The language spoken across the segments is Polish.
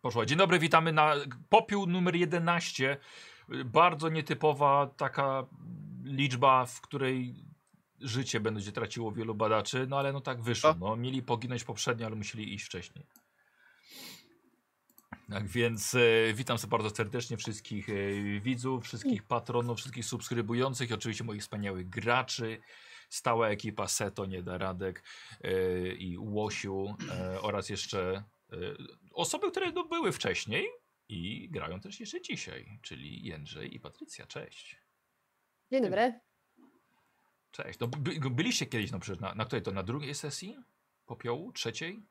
Poszła. Dzień dobry, witamy na popiół numer 11. Bardzo nietypowa taka liczba, w której życie będzie traciło wielu badaczy, no ale no tak wyszło. Co? No, mieli poginąć poprzednio, ale musieli iść wcześniej. Tak więc e, witam sobie bardzo serdecznie wszystkich e, widzów, wszystkich patronów, wszystkich subskrybujących i oczywiście moich wspaniałych graczy. Stała ekipa Seto, nie da Radek e, i Łosiu e, oraz jeszcze e, osoby, które no, były wcześniej i grają też jeszcze dzisiaj, czyli Jędrzej i Patrycja. Cześć. Dzień dobry. Cześć. No, by, byliście kiedyś no, przecież na, na której to? Na drugiej sesji? Popiołu? Trzeciej?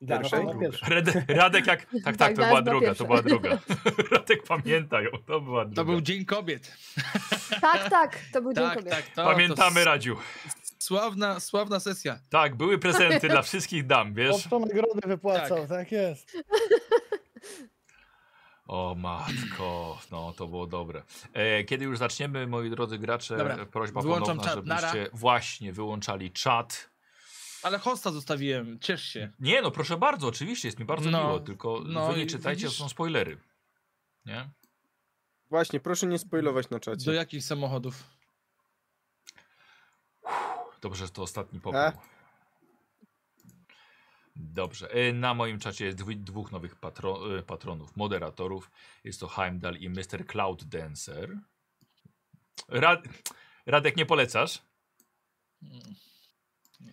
Dla Pierwszej? Rafała Druga. pierwszy. Rade- Radek jak... Tak, tak, Tak, to dla była nas była druga, to pierwsza. była druga. Radek pamiętaj, o, to była druga. To był Dzień Kobiet. Tak, tak, to był dzień Tak, kobiet. tak, to. Pamiętamy, to Radziu. s- sławna, sławna sesja. Tak, były prezenty dla wszystkich dam, wiesz? Oto nagrody wypłacał, Tak. tak, jest. O matko, no to było dobre. E, kiedy już zaczniemy, moi drodzy gracze, Dobra, prośba wyłączam ponowna, czat, nara. żebyście właśnie wyłączali czat. Ale hosta zostawiłem, ciesz się. Nie, no proszę bardzo, oczywiście, jest mi bardzo No, miło, tylko no wy nie i czytajcie, widzisz- to są spoilery. Nie? Właśnie, proszę Mhm. nie spoilować na czacie. Do jakich samochodów? Dobrze, że to ostatni pokój. E? Dobrze. E, Na moim czacie jest dwu- dwóch nowych patro, e, patronów, moderatorów. Jest to Heimdall i Mr. Cloud Dancer. Ra Radek, nie polecasz?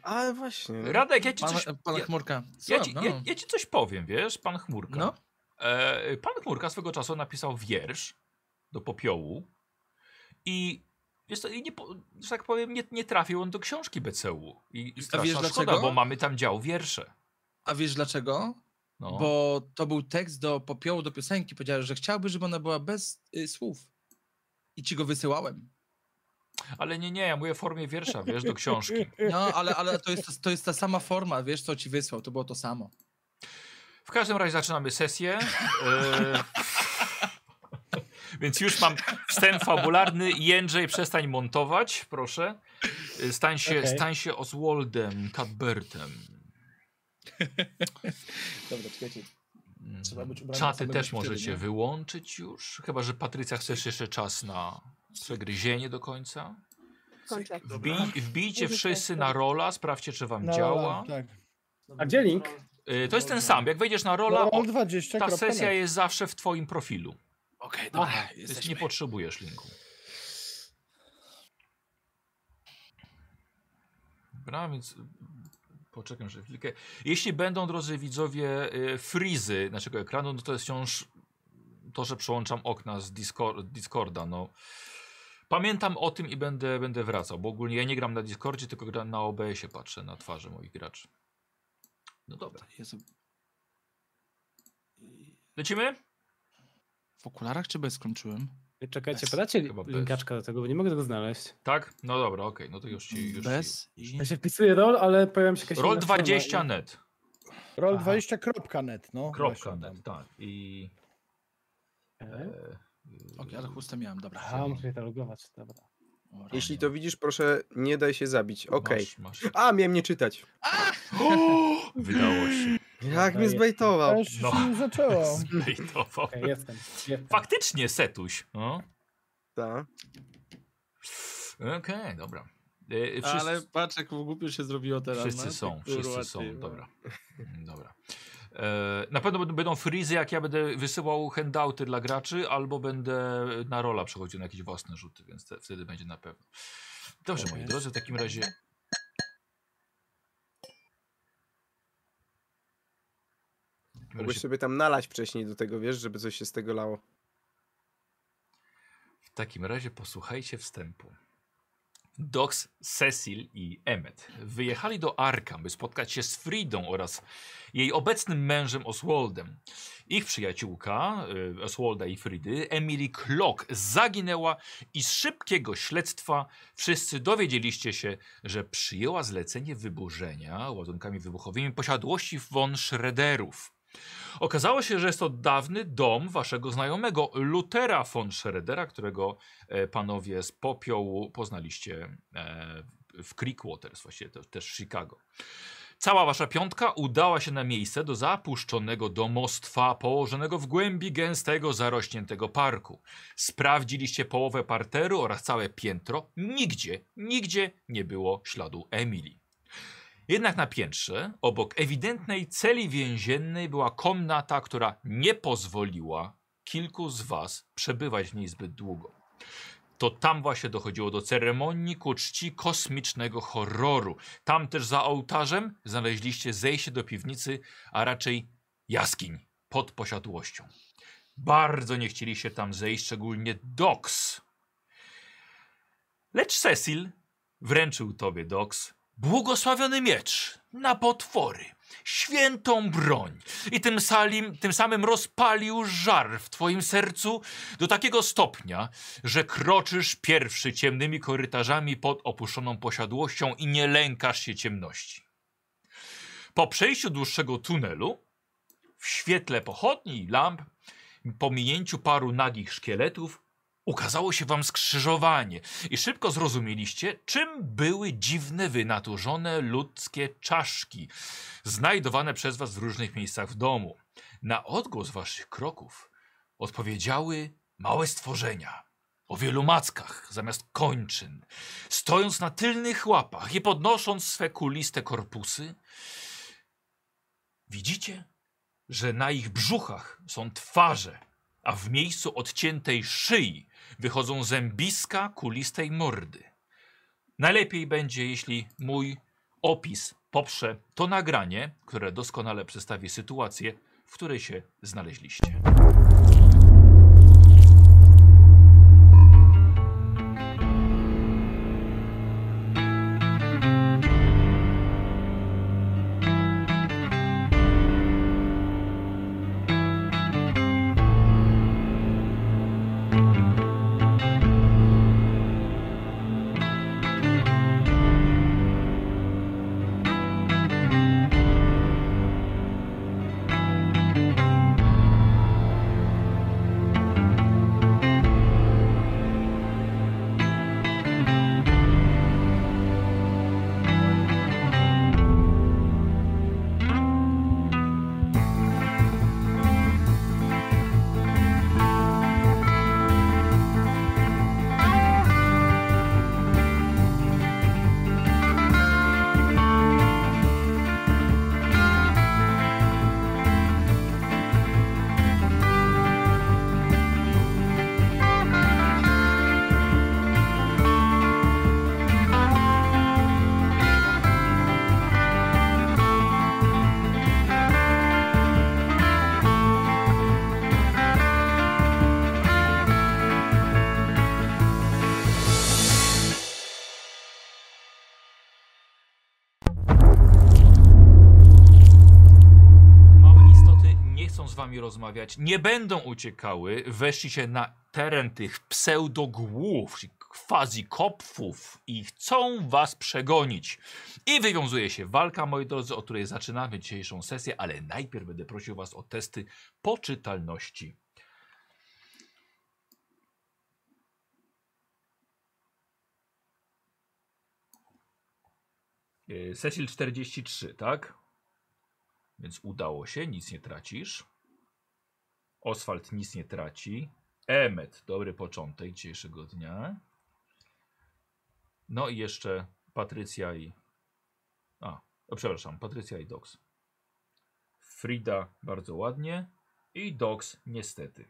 Ale właśnie. no. Radek, ja ci Pana, coś, pana ja, Chmurka. ja, Słab, ci, e, no. ja, ja ci coś powiem, wiesz, pan Chmurka. no. E, pan Chmurka swego czasu napisał wiersz do popiołu i, jest to, i nie, po- że tak powiem, nie, nie trafił on do książki BCU. I straszna wiesz szkoda, dlaczego? bo mamy tam dział wiersze. A wiesz dlaczego? No. Bo to był tekst do popiołu, do piosenki. Powiedziałeś, że chciałby, żeby ona była bez y, słów. I ci go wysyłałem. Ale nie, nie, ja mówię w formie wiersza, wiesz, do książki. No, ale, ale to, jest, to jest ta sama forma, wiesz, co ci wysłał. To było to samo. W każdym razie zaczynamy sesję. E, Więc już mam wstęp fabularny. Jędrzej, przestań montować, proszę. E, Stań się, Okej. stań się Oswaldem Cadbertem. Dobra, czekajcie. Mm. Trzeba być ubranym Czaty samemu też wtedy, możecie nie? wyłączyć już. Chyba, że Patrycja chcesz jeszcze czas na przegryzienie do końca. Kończę. Wbij, wbijcie Użycie. wszyscy na rola, sprawdźcie, czy wam Na działa. rola, Tak. A gdzie link? Y, To jest ten sam. Jak wejdziesz na rola, o, Roll20. ta sesja jest zawsze w twoim profilu. Okej, dobra, Więc nie jesteśmy. potrzebujesz linku. Dobra, więc y, poczekam jeszcze chwilkę. Jeśli będą, drodzy widzowie, y, frizy naszego ekranu, no to jest wciąż to, że przełączam okna z Discor- Discorda. No. Pamiętam o tym i będę, będę wracał, bo ogólnie ja nie gram na Discordzie, tylko gram na OBS-ie, patrzę na twarze moich graczy. No dobra. Jezu, Lecimy? w okularach czy bez skończyłem? Czekajcie, Bez. podacie Chyba bez. linkaczka do tego, bo nie mogę tego znaleźć. Tak? No dobra, okej, no to już ci... Już ci. Bez i... Ja się wpisuję rol, ale pojawia mi się jakaś Roll inna forma 20 i- net. Roll20.net, no. Kropka właśnie tam. net, tak. I. Okej. e, Okej, ale chusta miałem, dobra. Aha, muszę je logować, dobra. O, rany. Jeśli to widzisz, proszę nie daj się zabić. No Okej. Masz, masz. A, miałem nie czytać. Wydało się. Jak Daję. mnie zbejtował. Też No. się nie zaczęło. Zbejtował. Okej, jestem, jestem. Faktycznie setuś. No. Ta. Okej, dobra. E, wszyscy, Ale patrz, jak głupio się zrobiło teraz. no, wszyscy ty są, kurwa, wszyscy ty, są, no. dobra. Mm, Dobra. E, na pewno będą- będą frizy, jak ja będę wysyłał handouty dla graczy, albo będę na rola przechodził na jakieś własne rzuty, więc te, wtedy będzie na pewno. Dobrze, moi drodzy, w takim razie W takim Mogłeś razie sobie tam nalać wcześniej do tego, wiesz, żeby coś się z tego lało. W takim razie posłuchajcie wstępu. Dox, Cecil i Emmet wyjechali do Arkham, by spotkać się z Fridą oraz jej obecnym mężem Oswaldem. Ich przyjaciółka, y, Oswalda i Fridy, Emily Klock, zaginęła i z szybkiego śledztwa wszyscy dowiedzieliście się, że przyjęła zlecenie wyburzenia ładunkami wybuchowymi posiadłości von Schroederów. Okazało się, że jest to dawny dom waszego znajomego Lutera von Schroedera, którego e, panowie z popiołu poznaliście e, w Creekwaters, właściwie to, też w Chicago. Cała wasza piątka udała się na miejsce do zapuszczonego domostwa położonego w głębi gęstego, zarośniętego parku. Sprawdziliście połowę parteru oraz całe piętro. Nigdzie, nigdzie nie było śladu Emilii. Jednak na piętrze, obok ewidentnej celi więziennej, była komnata, która nie pozwoliła kilku z was przebywać w niej zbyt długo. To tam właśnie dochodziło do ceremonii ku czci kosmicznego horroru. Tam też za ołtarzem znaleźliście zejście do piwnicy, a raczej jaskiń pod posiadłością. Bardzo nie chcieliście tam zejść, szczególnie Dox. Lecz Cecil wręczył tobie, Dox, błogosławiony miecz na potwory, świętą broń i tym, salim, tym samym rozpalił żar w twoim sercu do takiego stopnia, że kroczysz pierwszy ciemnymi korytarzami pod opuszczoną posiadłością i nie lękasz się ciemności. Po przejściu dłuższego tunelu, w świetle pochodni i lamp, po minięciu paru nagich szkieletów, ukazało się wam skrzyżowanie i szybko zrozumieliście, czym były dziwne, wynaturzone ludzkie czaszki, znajdowane przez was w różnych miejscach w domu. Na odgłos waszych kroków odpowiedziały małe stworzenia o wielu mackach zamiast kończyn, stojąc na tylnych łapach i podnosząc swe kuliste korpusy. Widzicie, że na ich brzuchach są twarze, a w miejscu odciętej szyi wychodzą zębiska kulistej mordy. Najlepiej będzie, jeśli mój opis poprze to nagranie, które doskonale przedstawi sytuację, w której się znaleźliście. Małe istoty nie chcą z wami rozmawiać, nie będą uciekały. Weszli się na teren tych pseudogłów, czyli quasi-kopfów i chcą was przegonić. I wywiązuje się walka, moi drodzy, o której zaczynamy dzisiejszą sesję, ale najpierw będę prosił was o testy poczytalności. Yy, Cecil 43, tak? Więc udało się, nic nie tracisz. Oswald nic nie traci. Emmet, dobry początek dzisiejszego dnia. No i jeszcze Patrycja i. A, o, przepraszam, Patrycja i Dox. Frida bardzo ładnie i Dox niestety.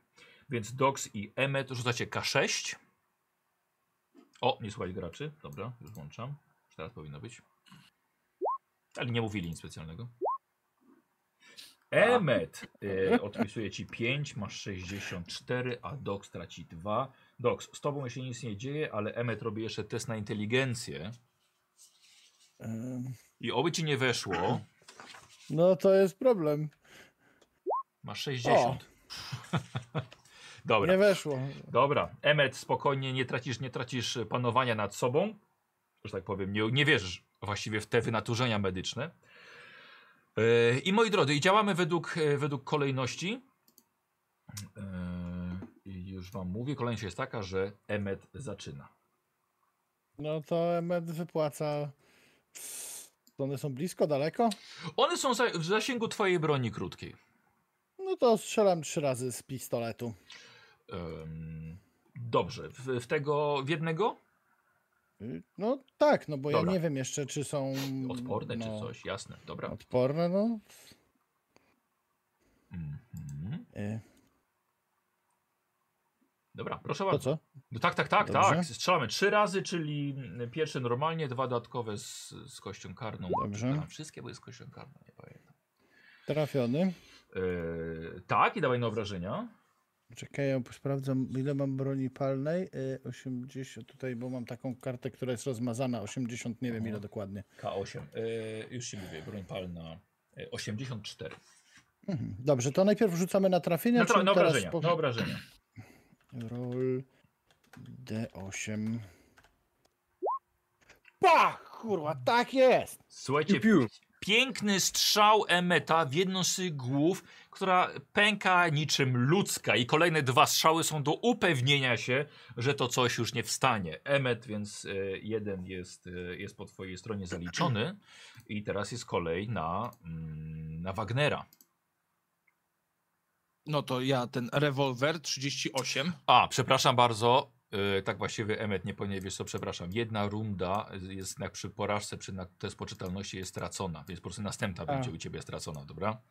Więc Dox i Emmet rzucacie K6. O, nie słuchaj graczy. Dobra, już włączam. Już teraz powinno być. Ale nie mówili nic specjalnego. Emmet y, odpisuje ci 5, masz 64, a Dox traci 2. Dox, z tobą się nic nie dzieje, ale Emmet robi jeszcze test na inteligencję Em, i oby ci nie weszło, No to jest problem. masz 60. Dobra, Nie weszło. dobra. Emmet, spokojnie, nie tracisz, nie tracisz e, panowania nad sobą, że tak powiem, nie, nie wierzysz właściwie w te wynaturzenia medyczne. Y, I moi drodzy, i działamy według, y, według kolejności. Yy, I już wam mówię, kolejność jest taka, że Emmet zaczyna. No to Emet wypłaca To E one są blisko, daleko? One są za- w zasięgu twojej broni krótkiej. No to strzelam trzy razy z pistoletu. Em, dobrze. W, w tego, w jednego? Y, No tak, no bo Dobra. ja nie wiem jeszcze, czy są... Odporne no, czy coś, jasne, dobra. Odporne, no. Mhm. Y, Dobra, proszę To bardzo. co? No tak, tak, tak, Dobrze. tak. Strzelamy trzy razy, czyli mm, pierwsze normalnie, dwa dodatkowe z, z kością karną. Dobrze. Czy to tam Wszystkie były z kością karną, nie pamiętam. Trafiony. Yy, tak, i dawaj na obrażenia. Czekaj, ja sprawdzam, ile mam broni palnej. Y, 80, tutaj, bo mam taką kartę, która jest rozmazana. 80, nie wiem ile dokładnie. K8. Yy, już się mówię, broń palna. Yy, 84. Mhm. Dobrze, to najpierw rzucamy na trafienie, Na, tra- czy na teraz obrażenia, po- na obrażenia. Roll D8. Pach, kurwa, tak jest! Słuchajcie, Piu, piu. piękny strzał Emeta w jedną z tych głów, która pęka niczym ludzka i kolejne dwa strzały są do upewnienia się, że to coś już nie wstanie. Emet, więc e, jeden jest, e, jest po twojej stronie zaliczony i teraz jest kolej na, mm, na Wagnera. No to ja ten rewolwer 38. A, przepraszam bardzo. e, tak właściwie Emmet nie powinien, wiesz co, przepraszam. Jedna runda jest jak przy porażce, przy na, test poczytalności jest stracona, więc po prostu następna będzie u ciebie stracona, dobra?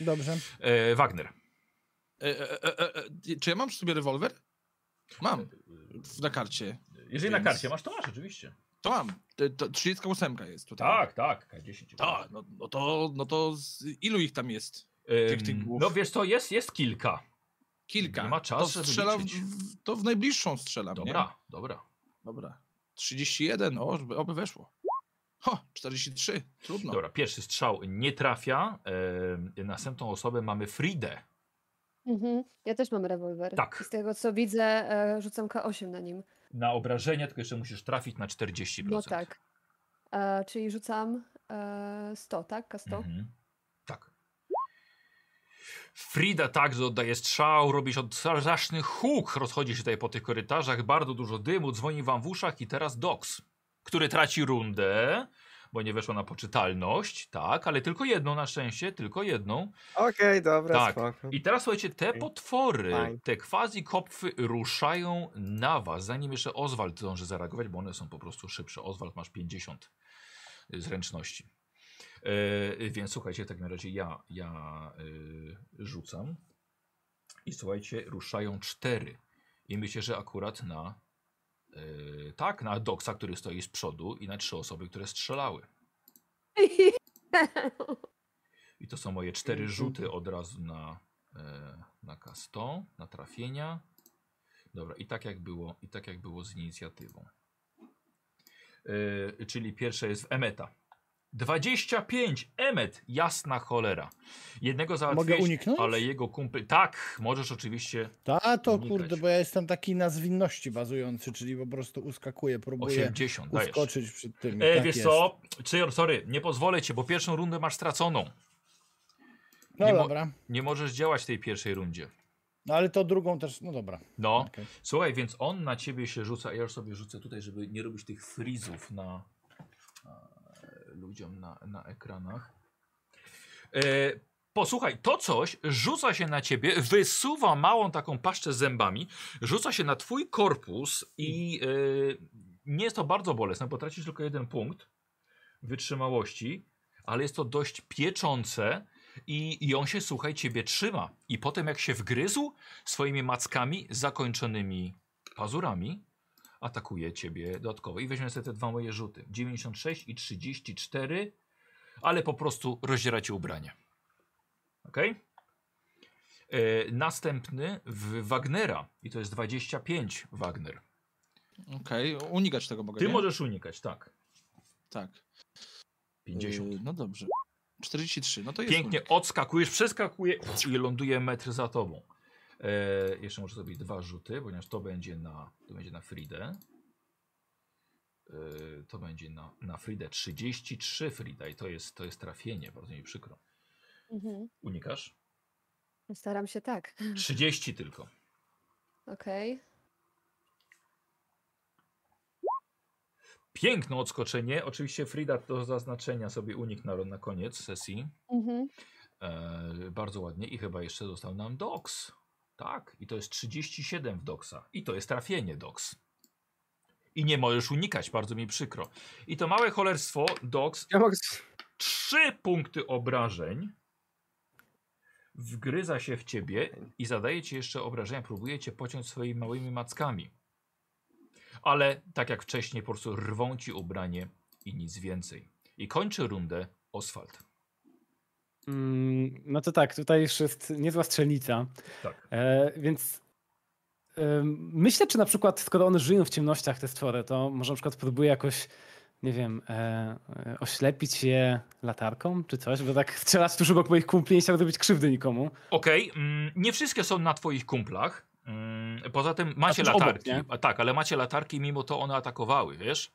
Dobrze. E, Wagner. E, e, e, e, e, czy ja mam przy sobie rewolwer? Mam. W- Na karcie. Jeżeli Więc- na karcie masz, to masz oczywiście. To mam. To, to 38 jest tutaj. Tak, tak, K10. Tak, no, no to, no to z ilu ich tam jest? Ym, tych- tych głów. No wiesz co, jest, jest kilka. Kilka. Nie ma czasu, to żeby strzelam, liczyć. w, to w najbliższą strzelam, nie? Dobra, dobra. Dobra. 31, o, żeby- oby weszło. Ho, 43, trudno. Dobra, pierwszy strzał nie trafia. Ym, następną osobę mamy Fridę. Mhm. Ja też mam rewolwer. Tak. I z tego co widzę, e, rzucam K8 na nim. Na obrażenie, tylko jeszcze musisz trafić na 40%. No tak. E, czyli rzucam e, 100, tak? K100? Mhm. Tak. Frida także oddaje strzał, robi się straszny huk, rozchodzi się tutaj po tych korytarzach, bardzo dużo dymu, dzwoni wam w uszach i teraz Dox, który traci rundę, bo nie weszła na poczytalność, tak, ale tylko jedną na szczęście, tylko jedną. Okej, dobra, Tak. spoko. I teraz słuchajcie, te Okej. potwory, Fajnie. te quasi-kopfy ruszają na was, zanim jeszcze Oswald zdąży zareagować, bo one są po prostu szybsze. Oswald masz 50 zręczności. E, więc słuchajcie, w takim razie ja, ja e, rzucam i słuchajcie, ruszają cztery. I myślę, że akurat na e, tak, na doksa, który stoi z przodu i na trzy osoby, które strzelały. I to są moje Mhm. cztery rzuty od razu na, e, na K100, na trafienia. Dobra, i tak jak było, i tak jak było z inicjatywą. E, czyli pierwsze jest w Emeta. 25! Emet! Jasna cholera. Jednego załatwiłeś, uniknąć? ale jego kumpel... Tak, możesz oczywiście Ta to Unikać. kurde, bo ja jestem taki na zwinności bazujący, czyli po prostu uskakuję, próbuję 80, dajesz. uskoczyć przed tym. E, tak wiesz jest. co? Czy, sorry, nie pozwolę ci, bo pierwszą rundę masz straconą. No nie mo- dobra, Nie możesz działać w tej pierwszej rundzie. no ale to drugą też, no dobra. No. okej. Słuchaj, więc on na ciebie się rzuca. Ja już sobie rzucę tutaj, żeby nie robić tych frizów na e, ludziom na, na ekranach. E, posłuchaj, to coś rzuca się na ciebie, wysuwa małą taką paszczę z zębami, rzuca się na twój korpus i e, nie jest to bardzo bolesne, bo tracisz tylko jeden punkt wytrzymałości, ale jest to dość pieczące i, i on się, słuchaj, ciebie trzyma. I potem jak się wgryzł, swoimi mackami zakończonymi pazurami atakuje ciebie dodatkowo. I weźmiemy sobie te dwa moje rzuty. 96 i 34, ale po prostu rozdziera ci ubranie. Ok? E, następny w Wagnera i to jest 25 Wagner. Okej, unikać tego mogę, Ty nie? możesz unikać, tak. Tak. 50. Yy, no dobrze. 43, no to jest Pięknie unik. odskakujesz, przeskakuje i ląduje metr za tobą. E, jeszcze może zrobić dwa rzuty, ponieważ to będzie na, to będzie na Fridę. E, to będzie na, na Fridę 33 Frida i to jest, to jest trafienie, bardzo mi przykro. Mhm. Unikasz? Staram się tak. Mm. 30 tylko. Okej. Piękne odskoczenie. Oczywiście Frida do zaznaczenia sobie uniknął na koniec sesji. Mhm. E, bardzo ładnie i chyba jeszcze został nam doks. Tak, i to jest 37 w doksa. I to jest trafienie doks. I nie możesz unikać, bardzo mi przykro. I to małe cholerstwo doks Ja mogę... trzy punkty obrażeń. Wgryza się w ciebie i zadaje ci jeszcze obrażenia. Próbuje cię pociąć swoimi małymi mackami. Ale tak jak wcześniej, po prostu rwą ci ubranie i nic więcej. I kończy rundę Oswald. Mm, no to tak, tutaj już jest niezła strzelnica. Tak. E, więc em, myślę, czy na przykład, skoro one żyją w ciemnościach, te stwory, to może na przykład próbuję jakoś, nie wiem, e, e, oślepić je latarką czy coś, bo tak strzelać tuż obok moich kumpli nie chciałbym zrobić krzywdy nikomu. Okej, mm, nie wszystkie są na twoich kumplach. Mm, poza tym macie też obok, latarki. nie? A, tak, ale macie latarki, mimo to one atakowały, wiesz?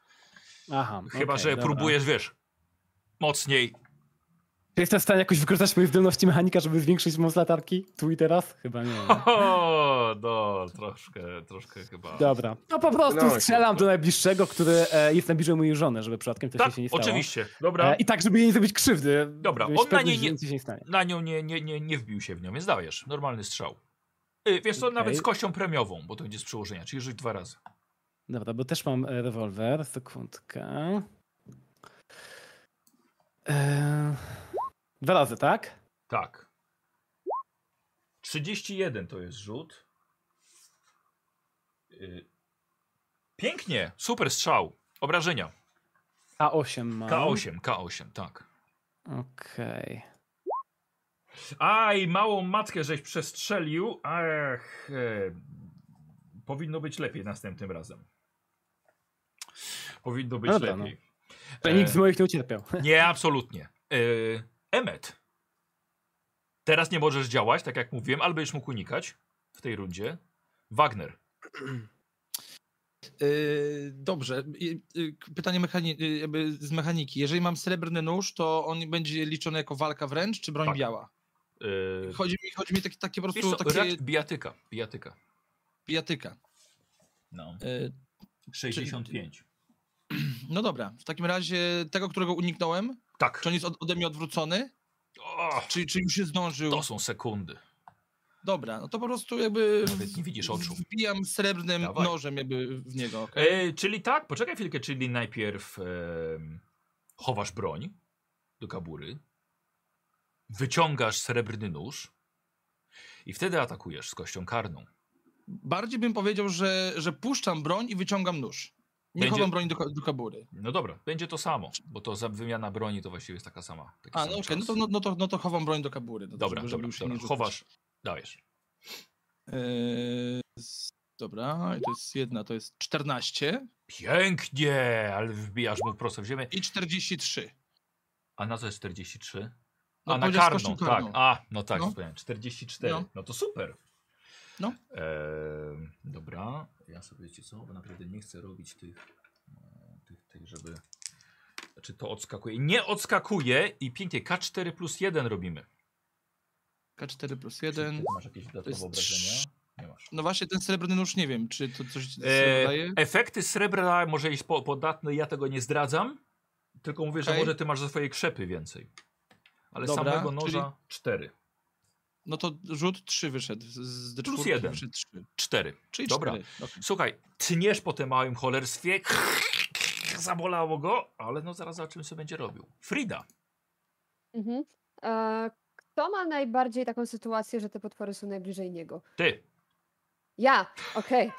Aha. Chyba, okej, że dobra. próbujesz, wiesz, mocniej. Czy jestem w stanie jakoś wykorzystać moje zdolności mechanika, żeby zwiększyć moc latarki tu i teraz? Chyba nie. O, no, troszkę, troszkę chyba. Dobra. No po prostu Dawaj. strzelam do najbliższego, który e, jest najbliżej mojej żony, żeby przypadkiem coś jej tak, się nie stało. oczywiście. E, Dobra. I tak, żeby jej nie zrobić krzywdy. Dobra, żeby mieć on na pewność, niej że nie- nic się nie stanie. Na nią nie, nie, nie, nie wbił się w nią, więc dajesz. Normalny strzał. Y, Wiesz co, Okej. nawet z kością premiową, bo to będzie z przełożenia, czyli rzuć dwa razy. Dobra, bo też mam e, rewolwer. Sekundkę. E, dwa razy, tak? Tak. 31 to jest rzut. Y, Pięknie, super strzał. Obrażenia. K8 mam. K8, K8, tak. Okej. Aj, małą matkę żeś przestrzelił. Ach, e, powinno być lepiej następnym razem. Powinno być Dobra, lepiej. Okay. E, Nikt z moich nie ucierpiał. Nie, absolutnie. E, Emmet. Teraz nie możesz działać, tak jak mówiłem, ale będziesz mógł unikać w tej rundzie. Wagner. Yy, dobrze. Yy, yy, pytanie mechani- yy, jakby z mechaniki. Jeżeli mam srebrny nóż, to on będzie liczony jako walka wręcz, czy broń Tak. biała? E, Chodzi mi, chodzi mi takie, takie po Wiesz prostu co, takie rac- bijatyka, bijatyka. bijatyka. No. Yy, 65. no dobra, w takim razie tego, którego uniknąłem, Tak. czy on jest od, ode mnie odwrócony? O, Czy, czy już się zdążył? to są sekundy. Dobra, no to po prostu jakby Nawet nie widzisz oczu. wbijam srebrnym Dawaj. nożem jakby w niego. okej? E, czyli tak, poczekaj chwilkę, czyli najpierw em, chowasz broń do kabury, wyciągasz srebrny nóż i wtedy atakujesz z kością karną. Bardziej bym powiedział, że, że puszczam broń i wyciągam nóż. Nie Będzie- chowam broni do, ka- do kabury. No dobra, będzie to samo, bo to za wymiana broni to właściwie jest taka sama. taki A, sam no okej, czas. no, to, no, no, to, no to chowam broń do kabury. No to Dobra, żeby- żeby dobra, już się dobra. nie rzucać. chowasz, dajesz. Eee, s- dobra, i to jest jedna, to jest 14 Pięknie, ale wbijasz mu prosto w ziemię. i 43. A na co jest 43? No, A na powiedziałeś z karną, kością tak. karną. A, no tak, No. zapomniałem. 44. No. No. to super. No. Ehm, dobra, ja sobie wiecie co, bo naprawdę nie chcę robić tych, e, tych, tych żeby... Czy to odskakuje? Nie odskakuje i pięknie K4 plus 1 robimy. K4 plus Czy ty 1. masz jakieś dodatkowe jest obrażenia? Nie masz. No właśnie, ten srebrny nóż, nie wiem, czy to coś E, daje? efekty srebra może jest po, podatne, ja tego nie zdradzam. Tylko mówię, że Okej. może ty masz ze swojej krzepy więcej. Ale Dobra, samego czyli- noża 4. No to rzut 3 wyszedł. Z, z D4 Plus jeden. Wyszedł 3. 4. Czyli No, Dobra. 4. Okay. Słuchaj, tniesz po tym małym cholerstwie. Zabolało go, ale no zaraz za czym sobie będzie robił. Frida. Mhm. E, kto ma najbardziej taką sytuację, że te potwory są najbliżej niego? Ty. Ja! Okej.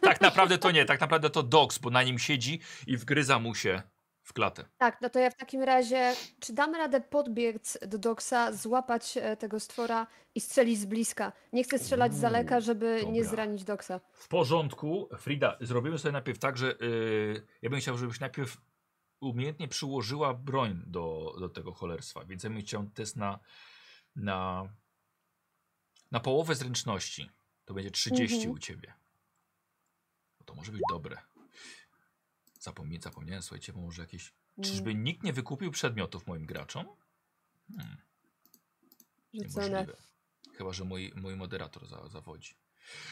Tak naprawdę to nie, tak naprawdę to Dogs, bo na nim siedzi i wgryza mu się w klatę. Tak, no to ja w takim razie, czy damy radę podbiec do doksa, złapać e, tego stwora i strzelić z bliska? Nie chcę strzelać z daleka, żeby nie dobra. zranić doksa. W porządku, Frida, zrobimy sobie najpierw tak, że yy, ja bym chciał, żebyś najpierw umiejętnie przyłożyła broń do, do tego cholerstwa, więc ja bym chciał test na, na, na połowę zręczności. To będzie 30 Mhm. u ciebie. No To może być dobre. Zapomnie, zapomniałem, słuchajcie, bo może jakieś... Mm, Czyżby nikt nie wykupił przedmiotów moim graczom? Hmm, Rzucone. niemożliwe. Chyba, że mój, mój moderator za, zawodzi.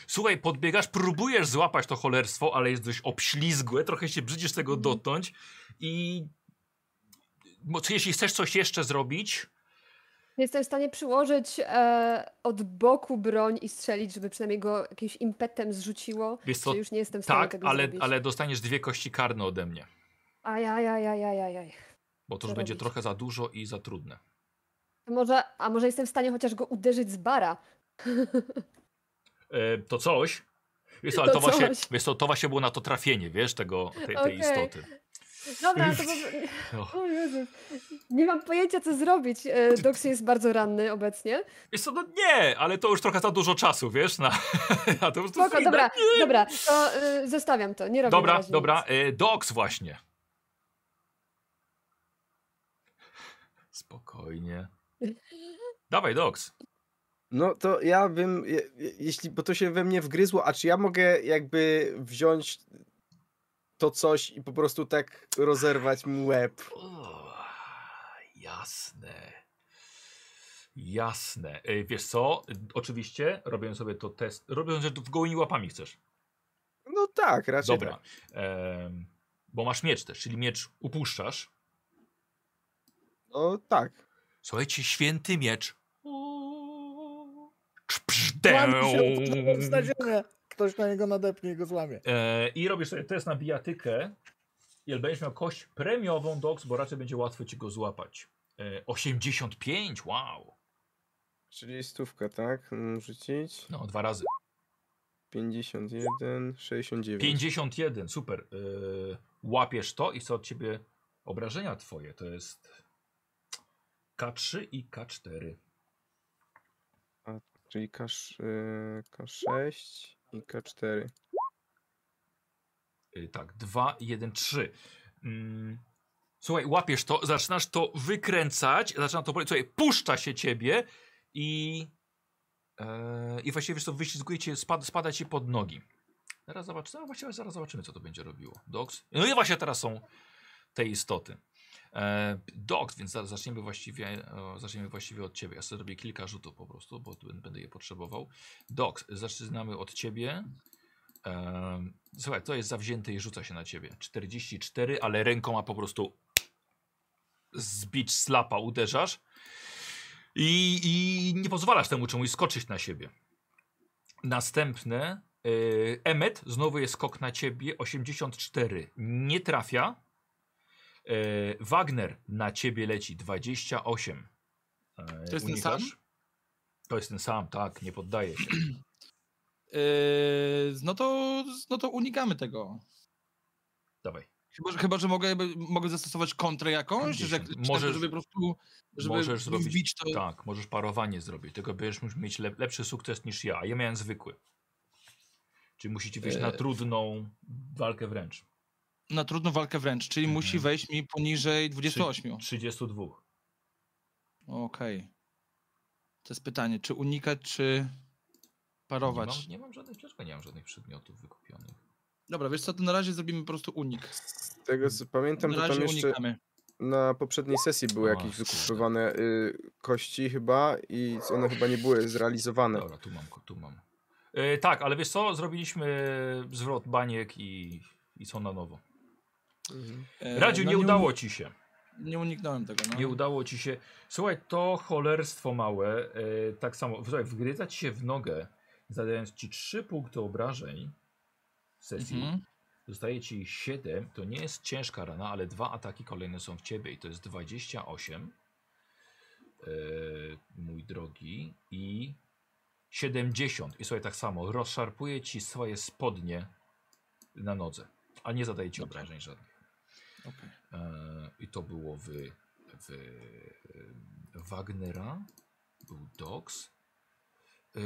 Słuchaj, podbiegasz, próbujesz złapać to cholerstwo, ale jest dość obślizgłe, trochę się brzydzisz Mhm. tego dotknąć i mo- czy jeśli chcesz coś jeszcze zrobić, Jestem w stanie przyłożyć e, od boku broń i strzelić, żeby przynajmniej go jakimś impetem zrzuciło. wiesz co, Czy już nie jestem w stanie tak, tego ale, zrobić. ale dostaniesz dwie kości karne ode mnie, Ajajajajajajaj. bo to Co już będzie robić? trochę za dużo i za trudne. To Może, a może jestem w stanie chociaż go uderzyć z bara? E, to coś, wiesz co, ale to, To właśnie, coś. wiesz co, to właśnie było na to trafienie, wiesz, tego, tej, tej Okej. istoty. Dobra, to Och. po... O Jezus. Nie mam pojęcia, co zrobić. E, Dox jest bardzo ranny obecnie. Wiesz co, no nie, ale to już trochę za dużo czasu, wiesz, na, na to już to Spoko, Frida- dobra, dobra, to y, zostawiam to, nie robię na Dobra, razie dobra. nic. E, Doks właśnie. Spokojnie. Dawaj, Doks. No to ja bym, je- je- jeśli, bo to się we mnie wgryzło, a czy ja mogę jakby wziąć to coś i po prostu tak rozerwać mu łeb? O, jasne. Jasne. E, wiesz co? E, Oczywiście robię sobie to test. Robię, że w gołymi łapami chcesz. No tak, raczej Dobra. tak. Em, bo masz miecz też, czyli miecz upuszczasz. No tak. Słuchajcie, święty miecz. O. no. Łamie się, odrzucając na ziemię. Ktoś na niego nadepnie i go złamie. E, I robisz sobie test na bijatykę. I będziesz miał kość premiową doks, bo raczej będzie łatwo ci go złapać. E, 85, wow. Czyli stówka, tak? Mm, Rzucić. No, dwa razy. 51, 69. 51, super. E, łapiesz to i chcę od ciebie obrażenia twoje. To jest K3 i K4. Czyli K6, K6 i K4. Y, Tak, 2, 1, 3. Mm. Słuchaj, łapiesz to, zaczynasz to wykręcać, zaczyna to boleć, słuchaj, puszcza się ciebie i e, i właściwie wiesz co, wyślizguje cię, spad, spada ci pod nogi. Zaraz zobaczymy, właściwie zaraz zobaczymy, co to będzie robiło. Doks. No i właśnie teraz są te istoty. E, Doks, więc zaraz zaczniemy właściwie, e, zaczniemy właściwie od ciebie. Ja sobie zrobię kilka rzutów po prostu, bo tu będę je potrzebował. Doks, zaczynamy od ciebie. Em, Słuchaj, to jest zawzięte i rzuca się na ciebie. 44, ale rękoma po prostu zbić slapa, uderzasz i, i nie pozwalasz temu czemuś skoczyć na siebie. Następne, yy, Emmet, znowu jest skok na ciebie, 84, nie trafia. Yy, Wagner na ciebie leci, 28. Yy, To jest ten sam? To jest ten sam, tak, nie poddaje się. Yy, no, to, no to unikamy tego. Dawaj. Chyba, że- chyba że mogę, jakby- mogę zastosować kontrę jakąś, że, Gdzieś że tak, tam. Możesz- żeby po prostu żeby możesz zrobić wbić to. Tak, możesz parowanie zrobić, tylko będziesz musiał mieć lep- lepszy sukces niż ja, a ja miałem zwykły. Czyli musi ci wejść na Eee. trudną walkę wręcz. na trudną walkę wręcz, czyli Mhm. musi wejść mi poniżej 28. 32. Okej. To jest pytanie, czy unikać, czy Nie mam, parować? nie mam żadnych, dlaczego nie mam żadnych przedmiotów wykupionych? Dobra, wiesz co, to na razie zrobimy po prostu unik. Z tego co pamiętam, Mm. Na to tam razie jeszcze unikamy. na poprzedniej sesji były O, jakieś kurde. wykupywane y, kości chyba i one chyba nie były No. zrealizowane. Dobra, tu mam, tu mam. Eee, tak, ale wiesz co, zrobiliśmy zwrot baniek i, i co na nowo. Mhm. E, Radziu, no nie udało uni- ci się. Nie uniknąłem tego, no. Nie udało ci się. Słuchaj, to cholerstwo małe, e, tak samo, słuchaj, wgryza ci się w nogę, zadając ci 3 punkty obrażeń w sesji, Mhm. zostaje ci 7, to nie jest ciężka rana, ale dwa ataki kolejne są w ciebie i to jest 28, e, mój drogi, i 70. I słuchaj, tak samo, rozszarpuje ci swoje spodnie na nodze, a nie zadaje ci Dobra. obrażeń żadnych. Okej. E, I to było w, w e, Wagnera, był Dox. E,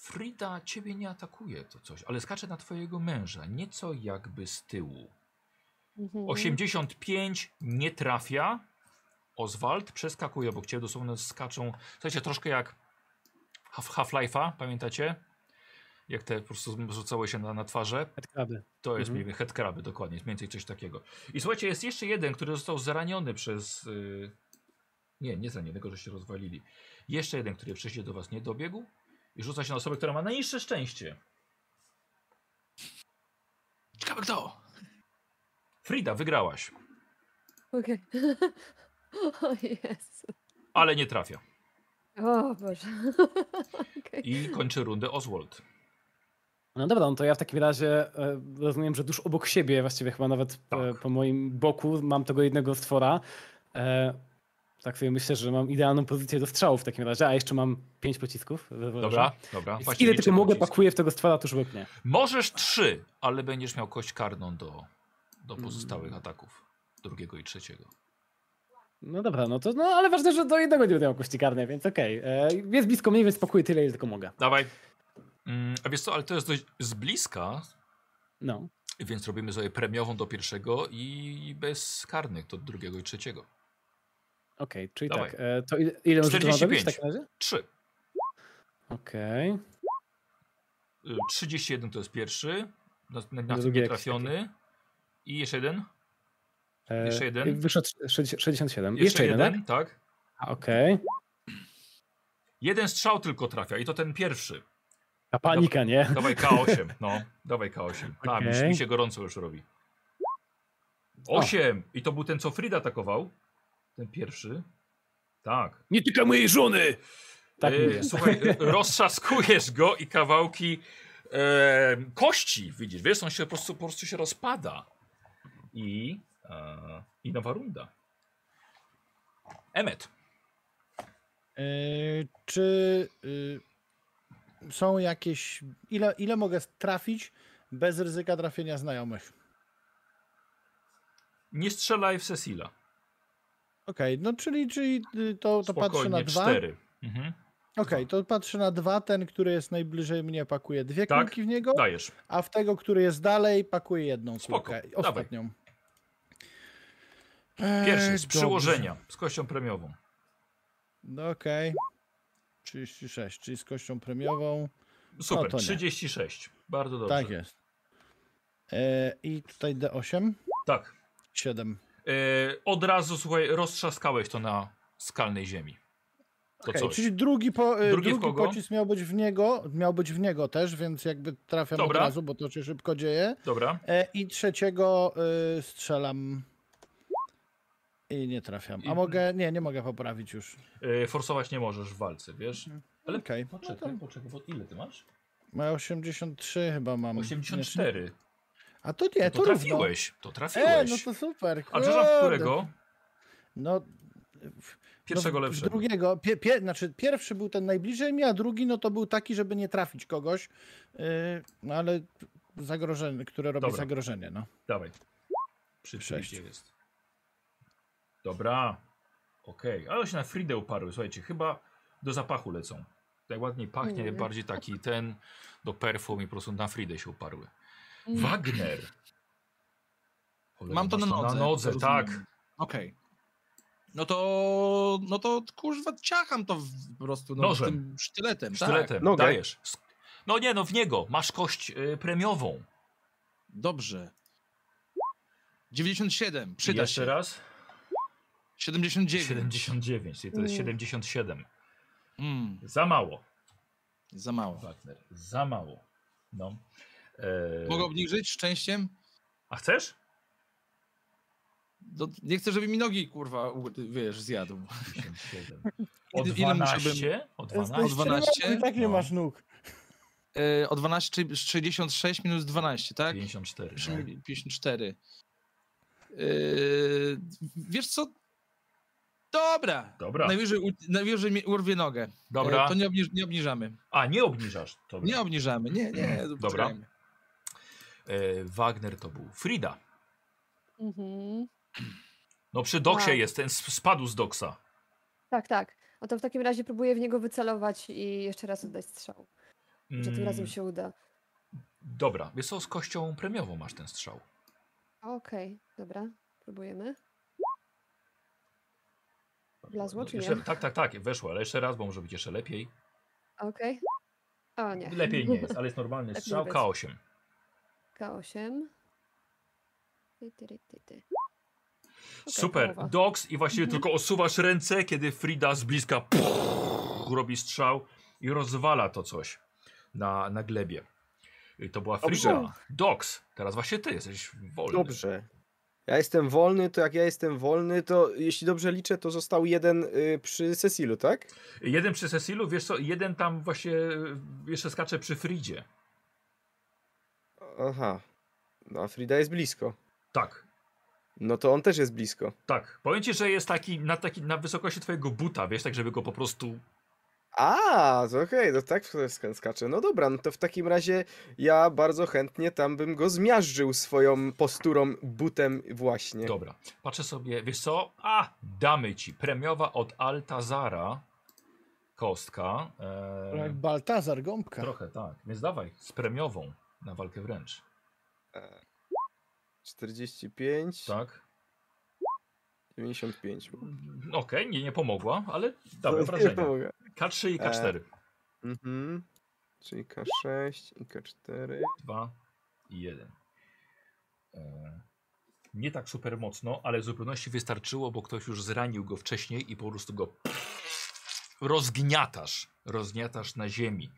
Frida ciebie nie atakuje to coś, ale skacze na twojego męża, nieco jakby z tyłu. Mhm. 85 nie trafia. Oswald przeskakuje obok ciebie, dosłownie skaczą. Słuchajcie, troszkę jak Half- Half-Life'a, pamiętacie? Jak te po prostu rzucały się na, na twarze. Headcraby. To jest Mhm. mniej więcej headcraby, dokładnie, jest mniej więcej coś takiego. I słuchajcie, jest jeszcze jeden, który został zraniony przez... y, Nie, nie zraniony, tylko że się rozwalili. Jeszcze jeden, który wcześniej do was nie dobiegł I rzuca się na osobę, która ma najniższe szczęście. Ciekawe kto? Frida, wygrałaś, Okej. o Jezu. ale nie trafia. O Boże. Okej. I kończy rundę Oswald. No dobra, no to ja w takim razie e, rozumiem, że tuż obok siebie, właściwie chyba nawet e, Tak. po moim boku mam tego jednego stwora. E, tak sobie myślę, że mam idealną pozycję do strzału w takim razie, a jeszcze mam pięć pocisków. we wrożu. Dobra, dobra. Więc Właśnie Ile liczę tylko mogę, pocisk. pakuję w tego stwora tuż obok mnie. Możesz trzy, ale będziesz miał kość karną do, do Mm. pozostałych ataków. Drugiego i trzeciego. No dobra, no to no, ale ważne, że do jednego nie będę miał kości karnej, więc okej. E, Jest blisko mnie, więc pakuję tyle, ile tylko mogę. Dawaj. Mm, a wiesz co, ale to jest dość z bliska, No. więc robimy sobie premiową do pierwszego i bez karnych do drugiego i trzeciego. Okej, czyli Dawaj. tak. E, to ile, ile rzutu mam robić 45. w takim razie? Trzy. Okej. Y, 31 to jest pierwszy, na, na, na Drugi nie jakiś trafiony. I jeszcze jeden. E, Jeszcze jeden? Wyszło trz- sześćdzie- 67. Jeszcze, jeden, tak? tak? A, Okej. Jeden strzał tylko trafia i to ten pierwszy. Ta panika, nie? Dawaj K8, no. Dawaj K8. Tam, już, Okej. mi się gorąco już robi. 8! I to był ten, co Frida atakował. Ten pierwszy. Tak. Nie tylko mojej żony! Tak E, mówię. słuchaj, e, roztrzaskujesz go i kawałki e, kości, widzisz, wiesz, on się po prostu, po prostu się rozpada. I, e, i nowa runda. Emmet, Yy, czy yy, są jakieś. Ile, ile mogę trafić bez ryzyka trafienia znajomych? nie strzelaj w Cecila. Okej, no czyli, czyli yy, to, to patrzę na Spokojnie, dwa. cztery. Mhm. Okej, to patrzę na dwa. Ten, który jest najbliżej mnie, pakuje dwie Tak. kulki w niego, Dajesz. a w tego, który jest dalej, pakuje jedną Spoko, kulkę. dawaj. Ostatnią. Pierwszy, Eee, z dobrze. przyłożenia, z kością premiową. No okej. 36, czyli z kością premiową. Super, No to nie. 36. Bardzo dobrze. Tak jest. E, I tutaj D8, Tak. 7. E, od razu, słuchaj, roztrzaskałeś to na skalnej ziemi. To Okej, coś. czyli drugi, po, e, Drugi w drugi kogo? pocisk miał być w niego, miał być w niego też, więc jakby trafiam Dobra. od razu, bo to się szybko dzieje. Dobra. E, I trzeciego e, strzelam. I nie trafiam. A I- mogę. Nie, nie mogę poprawić już. E, forsować nie możesz w walce, wiesz? Ale Okej. poczekaj, poczekaj, bo ile ty masz? Ma 83 chyba mam. Nie- 84. A to Mm, nie, No to, to, to równo. trafiłeś, to E, no trafiłeś. to super. A przepraszam, kurde. którego? No, Pierwszego no, w- w lepszego. Drugiego, pie, pie, znaczy pierwszy był ten najbliżej mnie, a drugi no to był taki, żeby nie trafić kogoś, yy, no ale zagrożenie, które robi Dobra. zagrożenie, no. Dawaj. Przy Sześć. przyjście jest. Dobra. Okej, ale się na Fridę uparły, słuchajcie, chyba do zapachu lecą. Najładniej pachnie, Mm. Nie. bardziej taki ten do perfum i po prostu na Fridę się uparły. Mm. Wagner. Cholera, Mam to masz na nodze, Na nodze, rozumiem. tak. Okej. No to, no to kurwa ciacham to w- po prostu no, Nożem. tym sztyletem. Tak. Sztyletem, Nogę. dajesz. Sk- No nie, no w niego, masz kość y, premiową. Dobrze. 97, przyda Jeszcze się. raz. 79. 79, czyli to jest Mm. 77. Mm, Za mało, za mało. Wagner, za mało. No. E, Mogę obniżyć szczęściem? A chcesz? No, nie chcę, żeby mi nogi, kurwa, u- wiesz, zjadł. 57. O Ile- ile musiałbym- 12? O 12? Jesteś- 12? I tak nie No. masz nóg. E, o 12, czyli 66 minus 12, tak? 54. Przy- No. 54. E, wiesz co? Dobra. Dobra. Najwyżej, u, najwyżej mi urwie nogę. E, Dobra. To nie, obniż, nie obniżamy. A, nie obniżasz. Dobra. Nie obniżamy. Nie, nie. Mm, Dobra. poczekajmy. E, Wagner to był. Frida. Mhm. No przy doksie Wow. jest, ten sp- spadł z doksa. Tak, tak. No to w takim razie próbuję w niego wycelować i jeszcze raz oddać strzał. Może tym razem Mm, się uda. Dobra, wiesz co, z kością premiową masz ten strzał. Okej, dobra. Próbujemy. No, Wlazło czy nie? jeszcze, tak, tak, tak, weszło, ale jeszcze raz, bo może być jeszcze lepiej. Okej. O nie. Lepiej nie jest, ale jest normalny Lepiej strzał być. K8. K8. Ty, ty, ty, ty, ty. Okej, Super, połowa. doks i właściwie tylko osuwasz ręce, kiedy Frida z bliska puch, robi strzał i rozwala to coś na, na glebie. I to była Frida. Dox, teraz właśnie ty jesteś wolny. Dobrze. Ja jestem wolny, to jak ja jestem wolny, to jeśli dobrze liczę, to został jeden y, przy Cecilu, tak? Jeden przy Cecilu, wiesz co, jeden tam właśnie y, jeszcze skacze przy Fridzie. Aha. No, a Frida jest blisko. Tak, No to on też jest blisko. tak. Powiem ci, że jest taki na, taki na wysokości twojego buta, wiesz, tak żeby go po prostu... A, to okej, to tak w- sk- skacze. No dobra, no to w takim razie ja bardzo chętnie tam bym go zmiażdżył swoją posturą, butem właśnie. Dobra, patrzę sobie, wiesz co, a, damy ci. Premiowa od Altazara, kostka. Jak E, Baltazar, gąbka. trochę, tak. Więc dawaj, z premiową na walkę wręcz. 45, Tak? Mm, 95. Okej, nie, nie pomogła, ale dawaj Nie wrażenie. mogę. K3 i K4. Mhm. Czyli K6 i K4. 2 i 1. E, nie tak super mocno, ale w zupełności wystarczyło, bo ktoś już zranił go wcześniej i po prostu go rozgniatasz. Rozgniatasz na ziemi.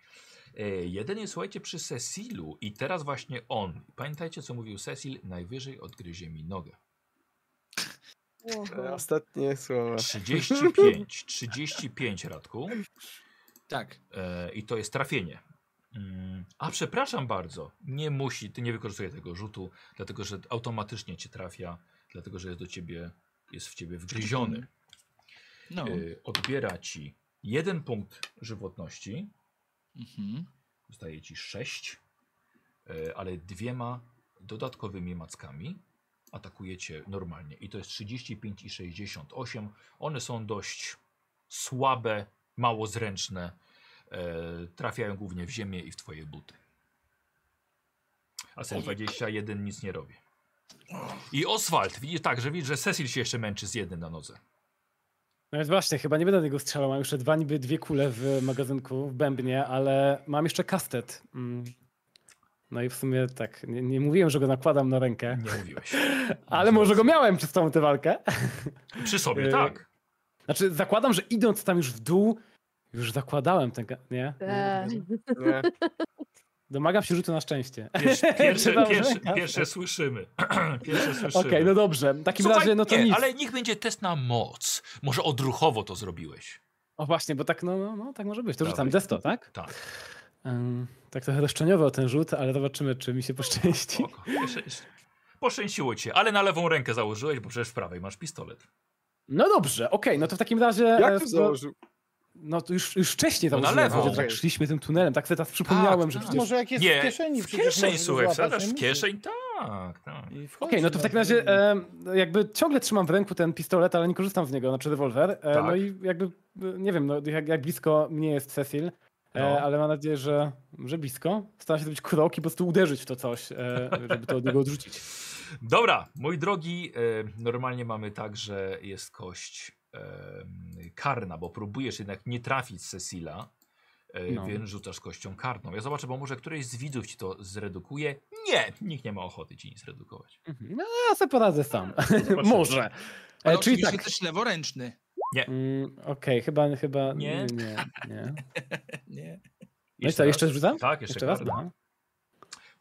E, jeden jest, słuchajcie, przy Cecilu i teraz właśnie on. Pamiętajcie, co mówił Cecil, najwyżej odgryzie mi nogę. Wow. Ostatnie słowa. 35, 35 Radku. Tak. E, I to jest trafienie. Mm, A przepraszam bardzo, nie musi, ty nie wykorzystuje tego rzutu, dlatego że automatycznie cię trafia, dlatego że jest do ciebie, jest w ciebie wgryziony. No. E, Odbiera ci jeden punkt żywotności, Mhm. zostaje ci sześć, e, ale dwiema dodatkowymi mackami atakujecie normalnie. I to jest 35 i 68. One są dość słabe, mało zręczne. E, trafiają głównie w ziemię i w twoje buty. A 21 nic nie robi. I Oswald, widzisz tak, że widzisz, że Cecil się jeszcze męczy z jednym na nodze. No więc właśnie, chyba nie będę do niego strzelał. Mam jeszcze dwa niby dwie kule w magazynku, w bębnie, ale mam jeszcze kastet. Mm. No i w sumie tak, nie, nie mówiłem, że go nakładam na rękę, Nie mówiłeś. ale może go miałem przez całą tę walkę. Przy sobie, E, tak. Znaczy zakładam, że idąc tam już w dół, już zakładałem ten, ga- nie? Eee, Nie. Domagam się rzutu na szczęście. Pierwsze, pierwsze, Dobrze. pierwsze, pierwsze słyszymy. pierwsze słyszymy. Okej, no dobrze. W takim Słuchaj, razie, no to nie, nic. ale niech będzie test na moc. Może odruchowo to zrobiłeś. O właśnie, bo tak, no, no, no tak może być. To Dawaj. rzucam desto, tak? Tak. Ym, tak trochę roszczeniowo ten rzut, ale zobaczymy, czy mi się poszczęści. Oko. Jeszcze- jeszcze. Poszczęściło cię, ale na lewą rękę założyłeś, bo przecież w prawej masz pistolet. No dobrze, okej, no to w takim razie... e, Jak to w- założył? No to już, już wcześniej No na założyłem, lewo. że tak szliśmy tym tunelem, tak sobie teraz przypomniałem, że tak. przecież... Może jak jest Nie, w kieszeni. w przecież kieszeń, możesz go słuchaj, złapać, wsadzasz nie w musisz. kieszeń, tak, tak. I Okej, wchodzi no to na w takim razie drugą. e, jakby ciągle trzymam w ręku ten pistolet, ale nie korzystam z niego, znaczy rewolwer. E, No Tak. i jakby, e, nie wiem, no, jak, jak blisko mnie jest Cecil, e, No. ale mam nadzieję, że, że blisko. Staram się zrobić krok i po prostu uderzyć w to coś, e, żeby to od niego odrzucić. Dobra, mój drogi, e, normalnie mamy tak, że jest kość e, karna, bo próbujesz jednak nie trafić Cecila, e, No. więc rzucasz kością karną. Ja zobaczę, bo może któryś z widzów ci to zredukuje. Nie, nikt nie ma ochoty ci nic zredukować. Mhm. No ja sobie poradzę sam. No, Zobaczymy. Może. Ale E, czyli oczywiście tak. też leworęczny. Mm, Okej, chyba, chyba. Nie? Nie, nie. nie. Nie. No i co, jeszcze rzucam? Tak, jeszcze, Jeszcze raz? karna. No,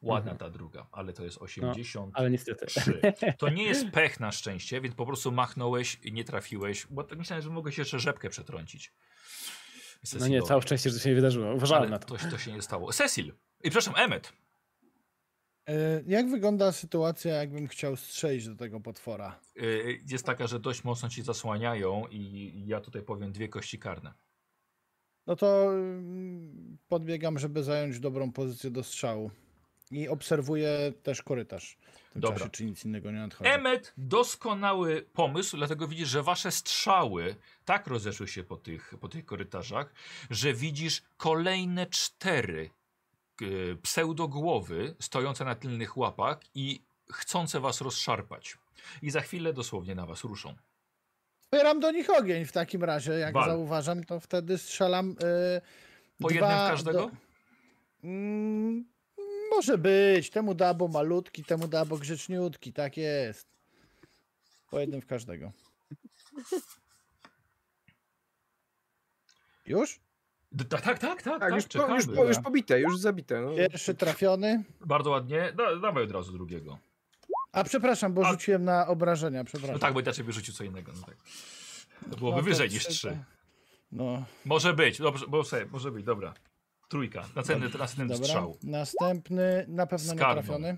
Ładna Mhm. ta druga, ale to jest 80. ale niestety. Trzy. To nie jest pech na szczęście, więc po prostu machnąłeś i nie trafiłeś, bo tak myślałem, że mogę się jeszcze rzepkę przetrącić. No nie, Cecilowi. całe szczęście, że to się nie wydarzyło. Uważałem Ale na to. To, to się nie stało. Cecil! I przepraszam, Emmet. E, Jak wygląda sytuacja, jakbym chciał strzelić do tego potwora? y, Jest taka, że dość mocno ci zasłaniają i ja tutaj powiem dwie kości karne. No to mm, podbiegam, żeby zająć dobrą pozycję do strzału. I obserwuję też korytarz. W tym Dobra. czasie, czy nic innego nie nadchodzi. Emmet, doskonały pomysł, dlatego widzisz, że wasze strzały tak rozeszły się po tych, po tych korytarzach, że widzisz kolejne cztery y, pseudogłowy stojące na tylnych łapach i chcące was rozszarpać. I za chwilę dosłownie na was ruszą. Otwieram do nich ogień w takim razie. Jak Wal. zauważam, to wtedy strzelam. y, Po dwa jednym w każdego? Do... Mm, może być. Temu da, bo malutki, temu da, bo grzeczniutki. Tak jest. Po jednym w każdego. Już? D- Tak, tak, tak, tak. Tak, tak już, po, czekamy. już, po, już pobite, już zabite. No. Pierwszy trafiony. Bardzo ładnie. Da, dawaj od razu drugiego. A przepraszam, bo A- rzuciłem na obrażenia, przepraszam. No tak, bo inaczej wyrzucił co innego. No tak. To No byłoby to wyżej niż trzeba- trzy. No, Może być, dobrze, bo sobie, może być, dobra. Trójka, następny, następny dobra. strzał. Następny na pewno nie Skarbą. trafiony.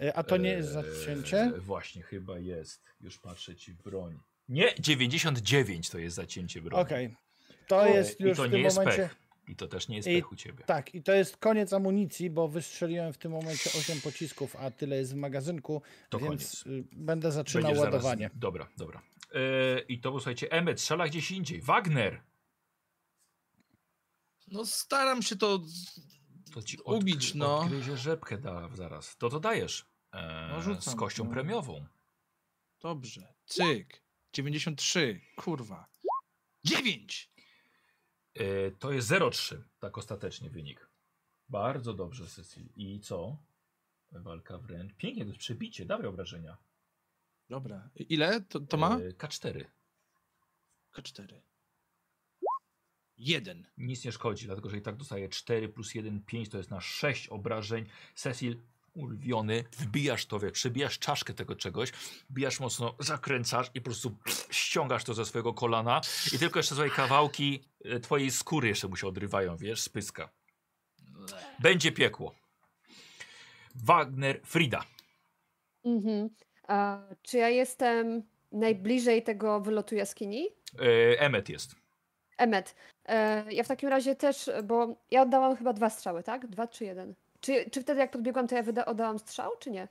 E, A to nie jest zacięcie? Eee, właśnie, chyba jest. Już patrzę ci broń. Nie, 99 to jest zacięcie broni. Okej. To jest I już to w nie tym jest momencie... pech. I to też nie jest I- pech u ciebie. Tak, i to jest koniec amunicji, bo wystrzeliłem w tym momencie 8 pocisków, a tyle jest w magazynku, To więc koniec. y, będę zaczynał Będziesz zaraz- ładowanie. Dobra, dobra. Eee, I to był, słuchajcie, Emmet, strzela gdzieś indziej. Wagner! No staram się to... To ci odkry- Ubić, no. Odgryzie rzepkę da, zaraz. To to dajesz. Eee, No, rzucam, z kością no. premiową. Dobrze. Cyk. 93. Kurwa. 9! Eee, to jest 0,3, tak ostatecznie wynik. Bardzo dobrze, Cecil. I co? Walka wręcz. Pięknie, to jest przebicie, dawaj obrażenia. Dobra. I- Ile to, to ma? Eee, K4. K4. 1. Nic nie szkodzi, dlatego że i tak dostaje 4 plus 1, 5 to jest na 6 obrażeń. Cecil ulwiony, wbijasz to, wie, przebijasz czaszkę tego czegoś, bijasz mocno, zakręcasz i po prostu ściągasz to ze swojego kolana i tylko jeszcze swoje kawałki e, twojej skóry jeszcze mu się odrywają, wiesz, z pyska. Będzie piekło. Wagner Frida. Mhm. A, czy ja jestem najbliżej tego wylotu jaskini? E, Emmet jest. Emmet, e, ja w takim razie też, bo ja oddałam chyba dwa strzały, tak? Dwa czy jeden? Czy, czy wtedy jak podbiegłam, to ja wyda- oddałam strzał, czy nie?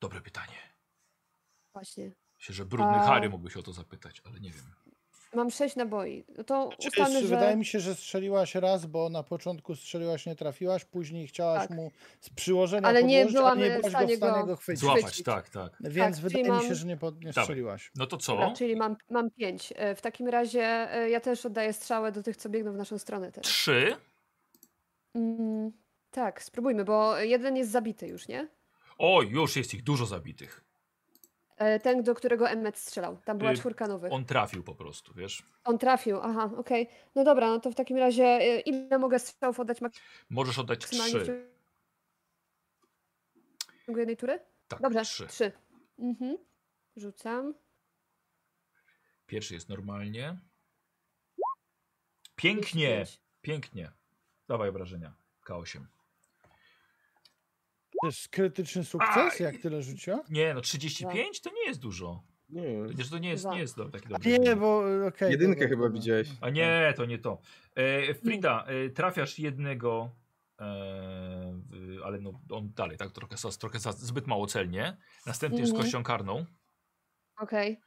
Dobre pytanie. Właśnie. Myślę, że brudny A- Harry mógłby się o to zapytać, ale nie wiem. Mam sześć naboi. No to Czy- ustalmy, czy że... Znaczy, Wydaje mi się, że strzeliłaś raz, bo na początku strzeliłaś, nie trafiłaś, później chciałaś Tak. mu z przyłożenia Ale nie podłożyć, a byłam nie byłaś w stanie go w stanie go go chwycić. Złapać, Chwycić. tak, tak. Więc Tak, wydaje czyli mi się, mam- że nie, pod, nie Dawaj. strzeliłaś. No to co? Dobra, czyli mam, mam pięć. E, W takim razie e, ja też oddaję strzałę do tych, co biegną w naszą stronę też. Trzy. Mm, tak, spróbujmy, bo jeden jest zabity już, nie? O, już jest ich dużo zabitych. E, Ten, do którego Emmet strzelał. Tam była Y, czwórka nowych. On, On trafił po prostu, wiesz? trafił, aha, okej. No dobra, no to w takim razie e, ile mogę strzałów oddać Możesz oddać maksymalnie w trzy. ciągu jednej tury? Tak, Dobrze, trzy. trzy. Mhm. Rzucam. Pierwszy jest normalnie. Pięknie, Pięć. pięknie. Dawaj obrażenia. K8. To jest krytyczny sukces, Aj! jak tyle rzuciła? Nie, no 35 to nie jest dużo. Nie. Przecież to nie jest, Dwa. nie jest do- taki A dobry. nie, wynik. bo e, okej. Jedynkę dobra, chyba dobra. widziałeś. A nie, to nie to. E, Frida, e, trafiasz jednego, e, w- ale no, on dalej, tak? Trochę, za- trochę za, zbyt mało celnie. Następny jest z Mhm. kością karną. Okej.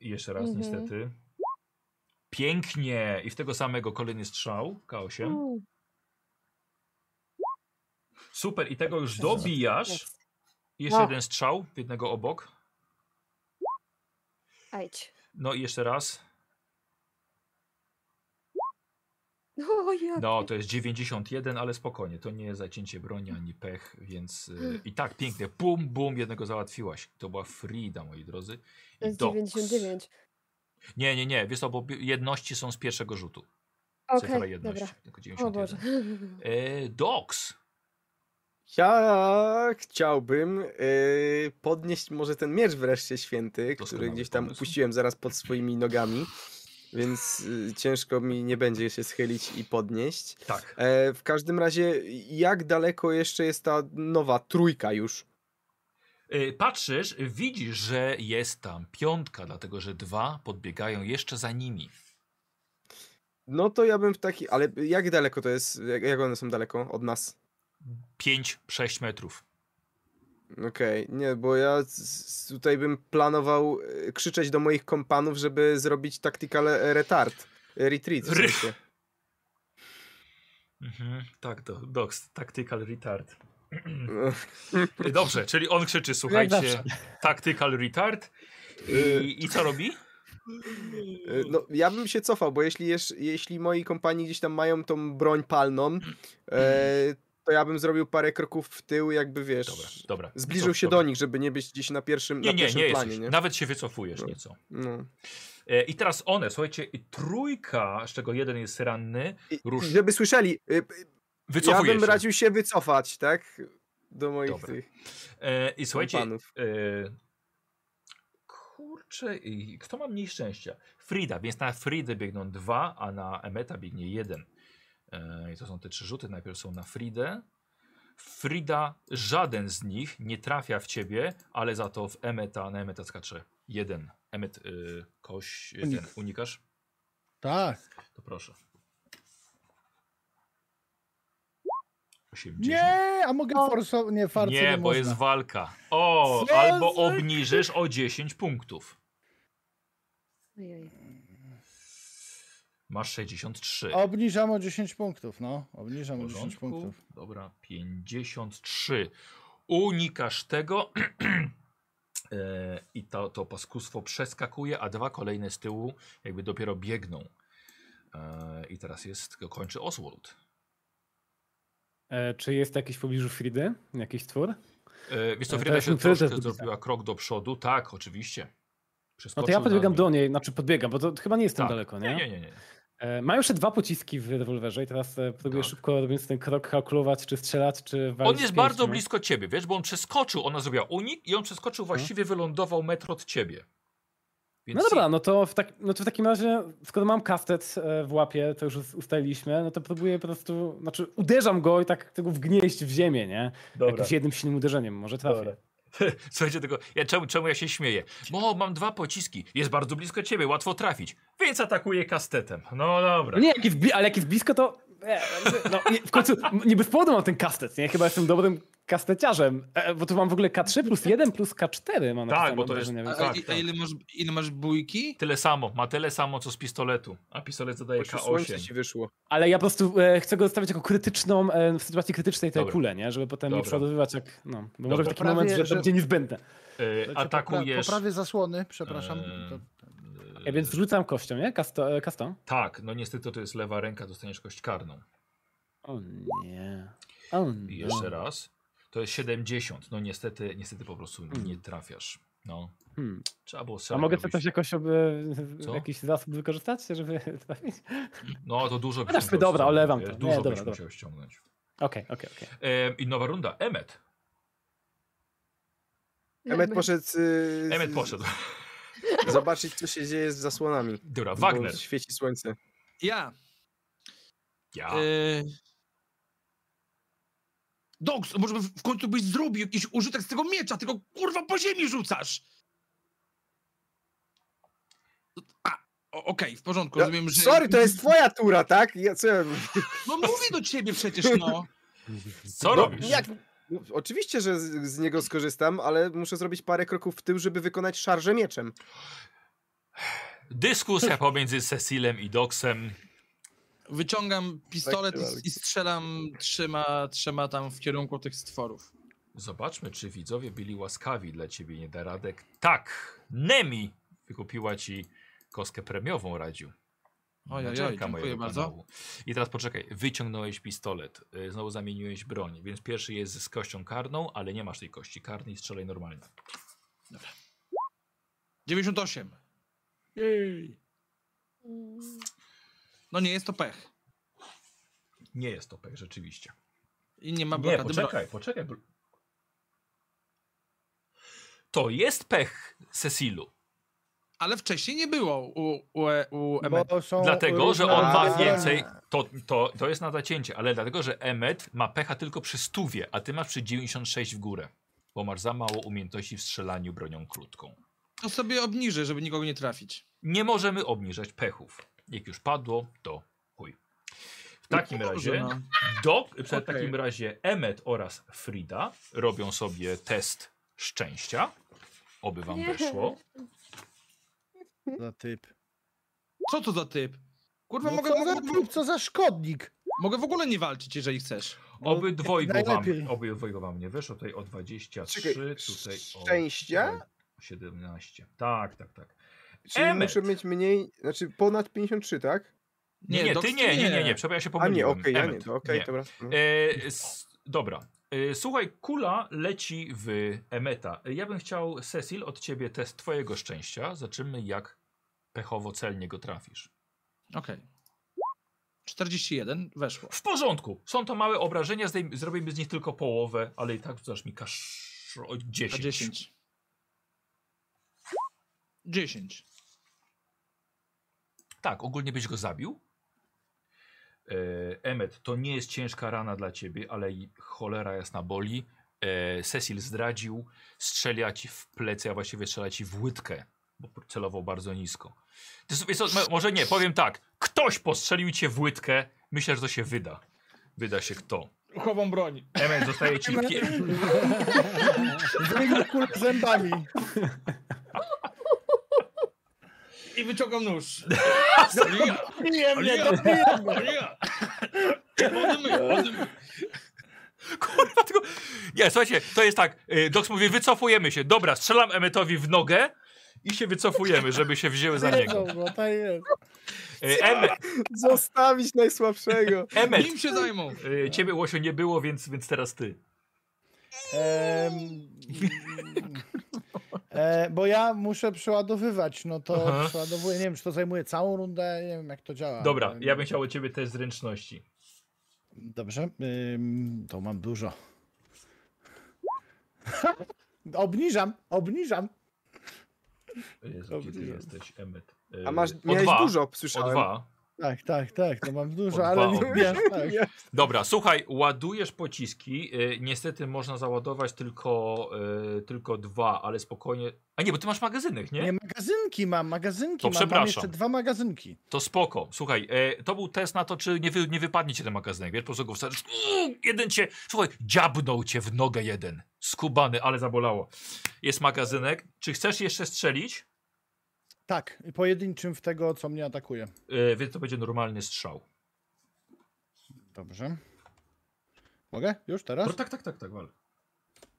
I jeszcze raz, Mhm. niestety. Pięknie! I w tego samego kolejny strzał, K8. Mm, Super, i tego już Przepraszam. dobijasz. jest. I Jeszcze No. jeden strzał, w jednego obok. Ajdź. No i jeszcze raz. O, ja No, to jest 91, ale spokojnie. To nie jest zacięcie broni ani pech, więc Mm. y, i tak pięknie. Bum, bum, jednego załatwiłaś. To była Frida, moi drodzy. I To jest Dox. 99. Nie, nie, nie. Wiesz co, bo bi- jedności są z pierwszego rzutu. Okej, Cyfra jedności. dobra. Tylko O Boże. 91. E, Dox. Ja chciałbym y, podnieść może ten miecz wreszcie święty, który Doskonały gdzieś tam pomysł. upuściłem zaraz pod swoimi nogami, więc y, ciężko mi nie będzie się schylić i podnieść. Tak. E, w każdym razie, jak daleko jeszcze jest ta nowa trójka już? Y, Patrzysz, widzisz, że jest tam piątka, dlatego że dwa podbiegają jeszcze za nimi. No to ja bym w taki, ale jak daleko to jest, jak, jak one są daleko od nas? 5-6 metrów. Okej, nie, bo ja z- z- tutaj bym planował e, krzyczeć do moich kompanów, żeby zrobić tactical e, retard, e, retreat w Ryf. sensie. Tak, do, Dox, tactical retard. No. Y, Dobrze, czyli on krzyczy, zawsze. słuchajcie, tactical retard. Y, I, I co robi? E, Yy, No, ja bym się cofał, bo jeśli, jeż- jeśli moi kompanii gdzieś tam mają tą broń palną, e, to ja bym zrobił parę kroków w tył, jakby wiesz. Dobra, dobra. Zbliżył się Dobra. do nich, żeby nie być gdzieś na pierwszym, Nie, na nie, pierwszym nie planie, jesteś. nie? Nawet się wycofujesz No. nieco. No. E, I teraz one, słuchajcie, i trójka, z czego jeden jest ranny, I, Rusz. żeby słyszeli, y, y, ja wycofuje bym się. radził się wycofać, tak? Do moich Dobra. tych E, I słuchajcie, panów. e, kurczę, i kto ma mniej szczęścia? Frida, więc na Fridę biegną dwa, a na Emeta biegnie jeden. E, I to są te trzy rzuty, najpierw są na Fridę. Frida, żaden z nich nie trafia w ciebie, ale za to w Emeta, na Emeta skacze jeden. Emet, y, koś, y, Unik. ten, unikasz? Tak. To proszę. 80. Nie, a mogę O. forsować. Nie, farce nie, Nie, bo można. jest walka. O, Co albo za- obniżysz o 10 punktów. Ojej. Masz 63. Obniżam o 10 punktów, no. Obniżam W o 10 porządku. punktów. Dobra, 53. Unikasz tego. E, I to, to paskustwo przeskakuje, a dwa kolejne z tyłu jakby dopiero biegną. E, I teraz jest, kończy Oswald. E, czy jest jakiś w pobliżu Fridy? Jakiś twór? No E, Wiesz co, E, Frida teraz się mi priorytet troszkę wpisał. zrobiła krok do przodu. Tak, oczywiście. No to Przeskoczył ja na podbiegam dół. do niej, znaczy podbiegam, bo to chyba nie jestem Tak. daleko, Nie, nie, nie. nie. E, Ma jeszcze dwa pociski w rewolwerze i teraz e, próbuję Tak. szybko robiąc ten krok kalkulować, czy strzelać, czy walić. On jest z bardzo pięścią. blisko ciebie, wiesz, bo on przeskoczył, ona zrobiła unik i on przeskoczył, właściwie wylądował metr od ciebie. Więc No dobra, no to, w tak, no to w takim razie, skoro mam kastet e, w łapie, to już us- ustaliliśmy, no to próbuję po prostu, znaczy uderzam go i tak tego wgnieść w ziemię, nie? Jakimś jednym silnym uderzeniem może trafię. Dobra. Słuchajcie tego, ja, czemu, czemu ja się śmieję? Bo mam dwa pociski, jest bardzo blisko ciebie, łatwo trafić, więc atakuje kastetem. No dobra. No nie, jak jest bli- ale jak jest blisko, to e, no, nie, w końcu m- nie bez powodu mam ten kastet, nie? Chyba jestem dobrym kasteciarzem, e, bo tu mam w ogóle K3 plus 1 plus K4 mam napisane bo to jest- uderzenia, A, więc- tak, i- a tak. ile, masz, ile masz bójki? Tyle samo, ma tyle samo co z pistoletu, a pistolet zadaje Boże, Słońce ci K8. wyszło. Ale ja po prostu e, chcę go zostawić jako krytyczną, e, w sytuacji krytycznej tej Dobra. kulę, nie? Żeby potem nie Dobra. przeładowywać jak, no. Bo może Dobra. być taki Prawie, moment, że, że- to będzie niezbędne. Yy, Słuchajcie, popra- atakujesz. Poprawię zasłony, przepraszam. Eee, To- Ja E, Yy. więc rzucam kością, nie? Kasto, e, kastą? Tak, no niestety to jest lewa ręka, dostaniesz kość karną. O nie. O no. nie. I jeszcze raz. To jest 70. No niestety, niestety po prostu nie trafiasz. No. Hmm. Trzeba było Mm. A strzelać, mogę robić. coś jakoś oby, Co? jakiś zasób wykorzystać, żeby trafić? No to dużo byś Chociaż musiał tak, dobra, ściągnąć, olewam wiesz, to. Nie, Dużo dobra, byś dobra. musiał ściągnąć. Okej, okej, okej. Em, I nowa runda. Emmet. Emet poszedł y, Emmet z- poszedł. zobaczyć, co się dzieje z zasłonami. Dobra, bo Wagner. Świeci słońce. Ja. Ja. Y... Dogs, może by w- w końcu byś zrobił jakiś użytek z tego miecza, tylko kurwa po ziemi rzucasz! A, o- okej, w porządku, Ja- rozumiem, że... No, Sorry, to jest twoja tura, tak? Ja, co ja... No mówię do ciebie przecież, no! Co No, robisz? Jak... No, Oczywiście, że z, z niego skorzystam, ale muszę zrobić parę kroków w tył, żeby wykonać szarżę mieczem. Dyskusja pomiędzy Cecilem i Doxem. Wyciągam pistolet Tak, tak. i, i strzelam trzema, trzema tam w kierunku tych stworów. Zobaczmy, czy widzowie byli łaskawi dla ciebie, nie da Radek. Tak, Nemi wykupiła ci kostkę premiową, Radziu. Ojej, Naczelka dziękuję No, mojego bardzo. kanału. I teraz poczekaj, wyciągnąłeś pistolet, y, znowu zamieniłeś broń, więc pierwszy jest z kością karną, ale nie masz tej kości karnej, strzelaj normalnie. 98. Jej. No nie jest to pech. Nie jest to pech, rzeczywiście. I nie ma Nie, blokady. Bro- poczekaj, poczekaj. bro- To jest pech Cecilu. Ale wcześniej nie było u, u, e, u Bo Emeta. są Dlatego, że różne on ma rodzaje więcej. broni. To, to, to jest na zacięcie, ale dlatego, że Emmet ma pecha tylko przy stówie, a ty masz przy 96 w górę. Bo masz za mało umiejętności w strzelaniu bronią krótką. To sobie obniżę, żeby nikogo nie trafić. Nie możemy obniżać pechów. Jak już padło, to chuj. W takim razie. No Dobrze, Dok, w Okej. takim razie Emmet oraz Frida robią sobie test szczęścia. Oby wam Nie. weszło. Za typ. Co to za typ? Kurwa, No mogę, co, mogę, za typ, co za szkodnik? mogę w ogóle nie walczyć, jeżeli chcesz. No, Obydwojgu wam, najlepiej. obydwojgu wam nie weszło. Tutaj o 23, Czekaj, tutaj o szczęścia? o 17. Tak, tak, tak. Czyli Emet. muszę mieć mniej, znaczy ponad 53, tak? Nie, nie, Doc, ty nie, nie, nie, nie, przepraszam, ja się A nie, pomyliłem. okej, ja nie, Emmet, to okej, nie. dobra. No. E, s, dobra. E, słuchaj, kula leci w Emeta. E, Ja bym chciał, Cecil, od ciebie test twojego szczęścia. Zobaczymy, jak pechowo celnie go trafisz. Okej. 41, weszło. W porządku, są to małe obrażenia, zdejm- zrobimy z nich tylko połowę, ale i tak rzucasz mi kasz... o, A 10. 10. 10. Tak, ogólnie byś go zabił. E, Emmet, to nie jest ciężka rana dla ciebie, ale i cholera jasna boli. E, Cecil zdradził, strzela ci w plecy, a właściwie strzela ci w łydkę, bo celował bardzo nisko. Ty sobie, co, mo- może nie, powiem tak. Ktoś postrzelił cię w łydkę, myślę, że to się wyda. Wyda się kto. Chowam broń. Emmet, zostaje ci... Pie- Zwykle kulę zębami. I wyciągam nóż. Nie, Ale mnie ja, to ale ja. Odmyj, odmyj. Kurwa, tylko... Nie, słuchajcie, to jest tak. y, Dox mówi, wycofujemy się. Dobra, strzelam Emmetowi w nogę i się wycofujemy, żeby się wzięły za niego. wiedzą, bo tak jest. Y, Emmet, Zostawić najsłabszego. Emmet, Nim się zajmą. y, ciebie Łosio nie było, więc, więc teraz ty. Em, e, bo ja muszę przeładowywać, no to Aha. przeładowuję, nie wiem, czy to zajmuje całą rundę, nie wiem, jak to działa. Dobra, Em, ja bym chciał od ciebie test zręczności. Dobrze, ym, to mam dużo. obniżam, obniżam. Jezu, gdzie ty Dobrze. E, jesteś, Emmet? Y, A masz, o miałeś dwa, dużo, O słyszałem. dwa. Tak, tak, tak, to mam dużo, O ale dwa nie obniżam. wiem. Tak. Dobra, słuchaj, ładujesz pociski. y, Niestety można załadować tylko, y, tylko dwa, ale spokojnie. A nie, bo ty masz magazynek, Nie, magazynki mam, magazynki To mam, przepraszam. mam jeszcze dwa magazynki. To spoko. Słuchaj, e, to był test na to, czy nie, wy, nie wypadnie ci ten magazynek. Wiesz, po prostu go wsadzisz. Uuu, Jeden cię. Słuchaj, dziabnął cię w nogę jeden. Skubany, ale zabolało. Jest magazynek. Czy chcesz jeszcze strzelić? Tak, pojedynczym w tego, co mnie atakuje. E, więc to będzie normalny strzał. Dobrze. Mogę? Już teraz? No, tak, tak, tak, tak, wal.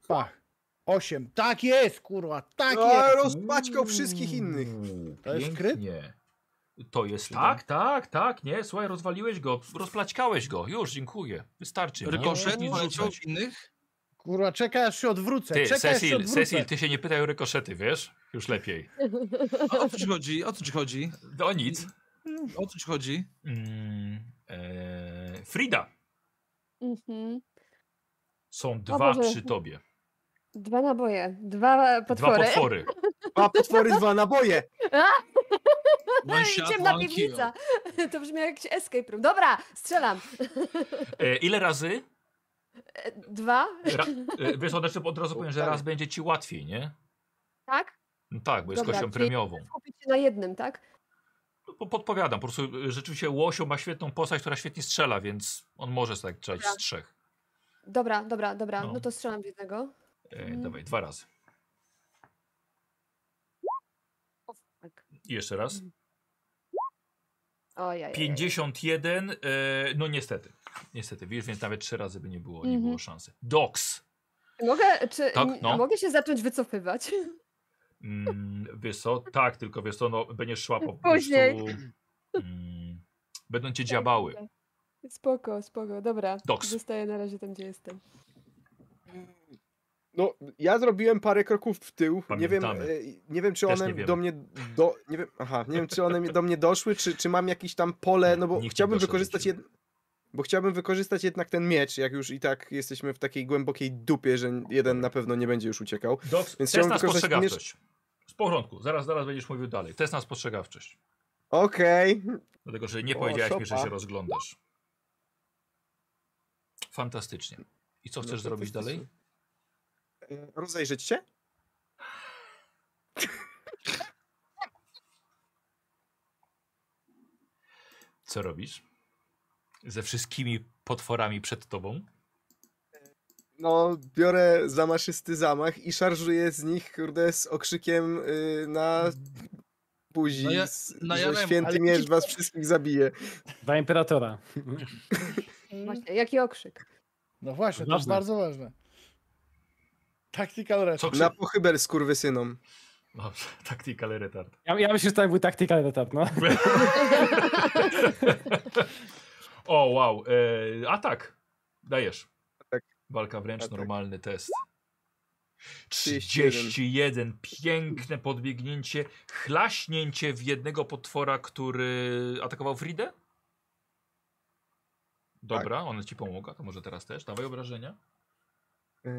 Pach. Osiem. Tak jest, kurwa, tak O, jest. rozpaćkał wszystkich innych. Uuu, To jest pięknie. kryt? To jest. Tak, tak, tak, nie. Słuchaj, rozwaliłeś go, rozplaćkałeś go. Już, dziękuję. Wystarczy. Nie Rykoszet musisz nic poleciał rzucać. w innych. Kurwa, czekaj aż się odwrócę, Ty, czekaj aż się Cecil, odwrócę. Cecil, ty się nie pytaj o rykoszety, wiesz? Już lepiej. A o co ci chodzi? O co ci chodzi? O nic. O co ci chodzi? Mm, e, Frida, Mhm. są dwa Boże. przy tobie. Dwa naboje, dwa potwory. Dwa potwory. Dwa potwory, dwa naboje. No One shot, Ciemna one piwnica. To brzmi jak jakiś escape room. Dobra, strzelam. E, ile razy? E, Dwa, Ra, e, wiesz, od razu, od razu powiem, że tak. raz będzie ci łatwiej, nie? tak? No tak, bo jest Dobra, kością czyli- premiową. Skupić się na jednym, tak? No, po- Podpowiadam, po prostu e, rzeczywiście Łosio ma świetną postać, która świetnie strzela, więc on może tak strzelać z trzech. Dobra, dobra, dobra. No. No to strzelam w jednego. E, Mhm. dawaj, dwa razy. Tak. I jeszcze raz. Ojej. 51, e, no niestety. Niestety, wiesz, więc nawet trzy razy by nie było, nie Mhm. było szansy. Dox. Mogę, czy, Tak, m- no. mogę się zacząć wycofywać? Mm, wiesz co? Tak, tylko wiesz co, no, będziesz szła po Później. prostu... Mm, będą cię dziabały. Spoko, spoko, dobra. Doks. Zostaję na razie tam, gdzie jestem. No, ja zrobiłem parę kroków w tył. Nie wiem, Pamiętamy. e, nie wiem, czy Też one nie do wiemy. mnie. Do, nie wiem, aha, nie wiem, czy one mi- do mnie doszły, czy, czy mam jakieś tam pole, no bo Nikt nie chciałbym doszedł do wykorzystać ciebie. jed, Bo chciałbym wykorzystać jednak ten miecz, jak już i tak jesteśmy w takiej głębokiej dupie, że jeden na pewno nie będzie już uciekał. Doks, Więc test chciałbym na wykorzystać spostrzegawczość. Z porządku, zaraz, zaraz będziesz mówił dalej. Test na spostrzegawczość. Okej. Dlatego, że nie O, powiedziałeś mi, że szopa. się rozglądasz. Fantastycznie. I co No, chcesz zrobić fantastycznie. dalej? E, Rozejrzeć się? Co robisz? Ze wszystkimi potworami przed tobą? No, biorę zamaszysty zamach i szarżuję z nich, kurde, z okrzykiem y, na buzi, Na ja- z, na że Jaremu. święty Ale- miecz was wszystkich zabije. Dla imperatora. Właśnie, jaki okrzyk. No właśnie, to jest Ważne. bardzo ważne. Tactical Red. Co krzy... Znaczy, Na pochybel z kurwysyną. Dobrze, tactical retard. Ja, ja myślę, że to był taktyka etap, no. O, wow. E, atak. Dajesz. Atak. Walka wręcz, Atak. normalny test. 31. 31. Piękne podbiegnięcie, chlaśnięcie w jednego potwora, który atakował Fridę? Dobra, Tak. ona ci pomogła, to może teraz też. Dawaj obrażenia. Y,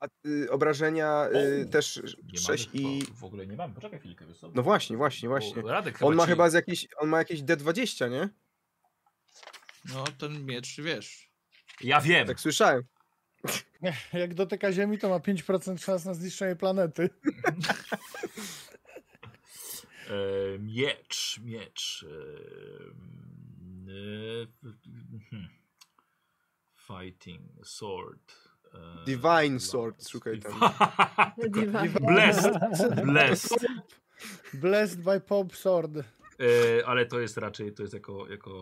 A y, obrażenia y, O, też Nie 6 mamy i... chyba- W ogóle nie mamy, poczekaj chwilkę, wiesz co? No właśnie, właśnie, właśnie. Bo Radek On ma ci- chyba z jakiejś, on ma jakieś D20, nie? No, ten miecz, wiesz. Ja wiem, Tak słyszałem. Jak dotyka Ziemi, to ma 5% szans na zniszczenie planety. E, miecz, miecz. em, e, hmm. Fighting, sword. e, Divine sword, szukaj tam. Diwa. Blessed, blessed. Blessed by Pop Sword. E, ale to jest raczej, to jest jako, jako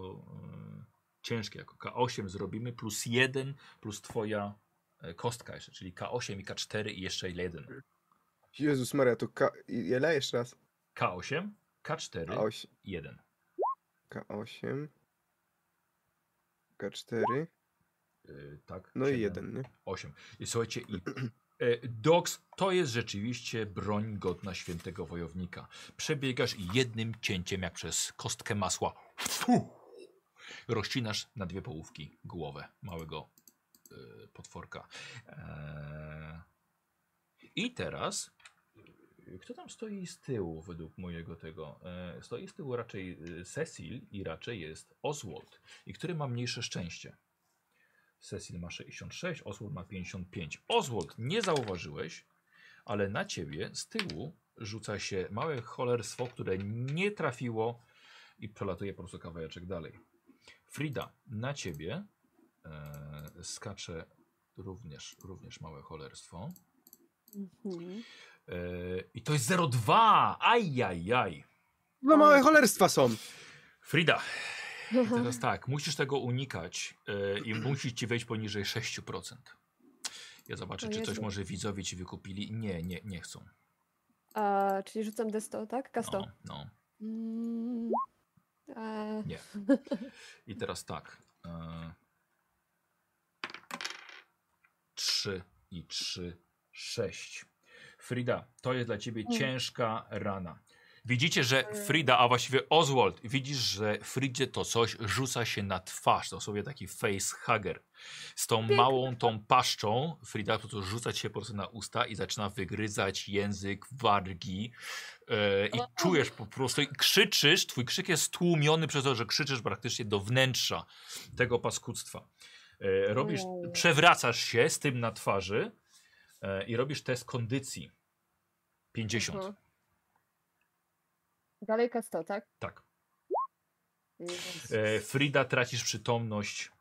e, ciężkie, jako K8 zrobimy, plus jeden, plus twoja e, kostka jeszcze, czyli K8 i K4 i jeszcze jeden. Jezus Maria, to K... Ile jeszcze raz? K8, K4, K8. jeden. K8. K4. E, tak, No i siedem. jeden, nie? 8. I Słuchajcie, i e, Dox to jest rzeczywiście broń godna świętego wojownika. Przebiegasz i jednym cięciem, jak przez kostkę masła, fu, rozcinasz na dwie połówki głowę małego e, potworka. E, I teraz. e, Kto tam stoi z tyłu według mojego tego? E, stoi z tyłu raczej e, Cecil i raczej jest Oswald. I który ma mniejsze szczęście? Cecil ma 66, Oswald ma 55. Oswald, nie zauważyłeś, ale na ciebie z tyłu rzuca się małe cholerstwo, które nie trafiło i przelatuje po prostu kawałeczek dalej. Frida, na ciebie e, skacze również, również małe cholerstwo. Mhm. E, I to jest 0,2! Ajajaj! No małe cholerstwa są. Frida, I Teraz tak, musisz tego unikać y, i musisz ci wejść poniżej 6%. Ja zobaczę, O czy coś Jezu. może widzowie ci wykupili. Nie, nie, nie chcą. A, czyli rzucam D100, tak? K100. No, no. Mm, e, I teraz tak. Y, 3 i 3, 6. Frida, to jest dla ciebie Mm. ciężka rana. Widzicie, że Frida, a właściwie Oswald, widzisz, że Fridzie to coś rzuca się na twarz. To sobie taki facehugger. Z tą małą tą paszczą Frida po prostu rzuca ci się po prostu na usta i zaczyna wygryzać język, wargi e, i czujesz po prostu i krzyczysz, twój krzyk jest tłumiony przez to, że krzyczysz praktycznie do wnętrza tego paskudztwa. E, robisz, Ojej. przewracasz się z tym na twarzy e, i robisz test kondycji. 50, aha. Dalej K100, tak? tak. Jezus. E, Frida, tracisz przytomność,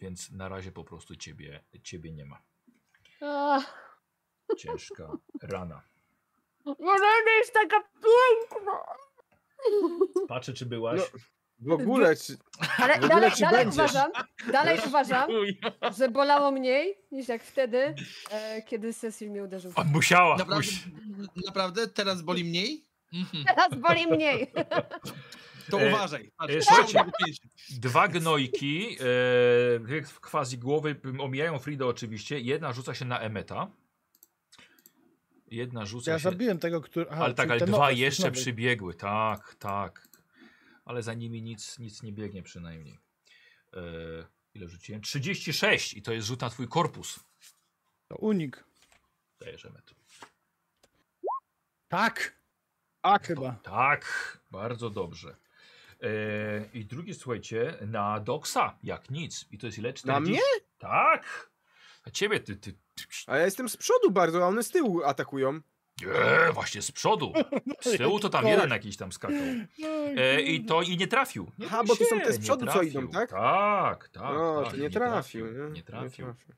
więc na razie po prostu ciebie, ciebie nie ma. A, Ciężka rana. Morena jest taka piękna! Patrzę, czy byłaś. No. W ogóle, czy... Ale ogóle dalej, ci dalej będzie. uważam, dalej uważam, że bolało mniej niż jak wtedy, e, kiedy Cecil mnie uderzył. A musiała. Naprawdę, musi- naprawdę teraz boli mniej? Mhm. Teraz boli mniej. To E, uważaj. patrz, e, strzał słuchajcie. do pięści. Dwa gnojki, e, w quasi głowy, m, omijają Fridę oczywiście. Jedna rzuca się na Emeta. Jedna rzuca Ja się... zabiłem tego, który... Aha, ale tak, czyli ale ten dwa nowy, jeszcze nowy. przybiegły. Tak, tak. Ale za nimi nic, nic nie biegnie przynajmniej. E, ile rzuciłem? 36 i to jest rzut na twój korpus. To unik. Dajesz Emet. Tak! Tak chyba. Tak, bardzo dobrze. E, I drugi, słuchajcie, na Doksa, jak nic. I to jest ile? 40? Na mnie? Tak. A ciebie, ty, ty, ty A ja jestem z przodu bardzo, a one z tyłu atakują. Nie, e, właśnie z przodu. Z tyłu to No tam jeden jakiś tam skakał. E, I to i nie trafił. Nie Aha, bój bo to są się, te z No nie przodu, co trafił. idą, tak? Tak, tak. no, tak, to i nie trafił. nie? Nie Nie trafił. trafił.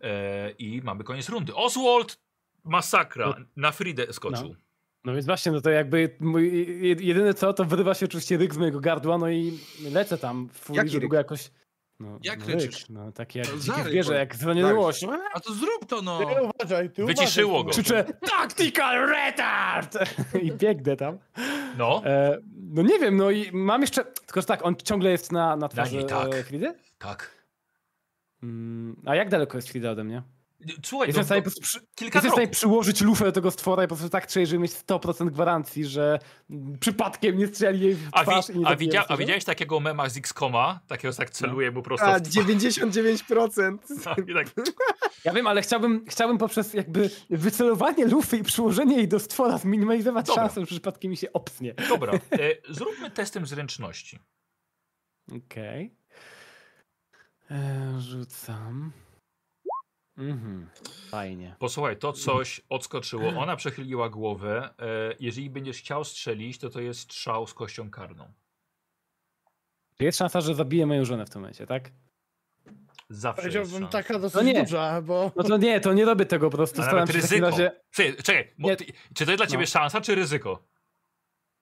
E, I mamy koniec rundy. Oswald! Masakra. Na Fridę skoczył. No więc właśnie, no to jakby mój, jed- jedyne co, to wyrywa się oczywiście ryk z mojego gardła, no i lecę tam w furii, Jaki żeby ryk? go jakoś... No, Jak no ryczysz? no taki jak To dziki zaryj, zwierzę, bo- jak zraniony łoś. A to zrób to no! E, Ty uważaj, ty Wyciszyło uważaj. go. Krzyczę, tactical retard! I biegnę tam. No, E, no nie wiem, no i mam jeszcze... Tylko, że tak, on ciągle jest na, na twarzy niej, tak. e, Fridy? tak. Mm, a jak daleko jest Frida ode mnie? Słuchaj, Jestem no, w stanie, no, po prostu przy... kilka Jestem w stanie kroków. przyłożyć lufę do tego stwora i po prostu tak czuję, żeby mieć 100% gwarancji, że mm, przypadkiem nie strzeli jej w A, twarz i wi- nie a, zabije widzia- a stworza. widziałeś takiego mema z X-Koma? Takiego, że tak No. celuje mu prosto A, w twarz. 99%. I tak, Ja wiem, ale chciałbym, chciałbym poprzez jakby wycelowanie lufy i przyłożenie jej do stwora zminimalizować Dobra. szansę, że przypadkiem mi się opsnie. dobra, e, zróbmy testem zręczności. Okej. E, Rzucam. Mhm. Fajnie. Posłuchaj, to coś odskoczyło, ona przechyliła głowę. E, jeżeli będziesz chciał strzelić, to to jest strzał z kością karną. Czy Jest szansa, że zabiję moją żonę w tym momencie, tak? Zawsze jest Powiedziałbym szansa. taka No dosyć nie. duża, bo No to nie, to nie robię tego po prostu. A No Staram nawet się w takim ryzyko. razie... Czekaj, czekaj bo Nie. ty, czy to jest dla ciebie No. szansa, czy ryzyko?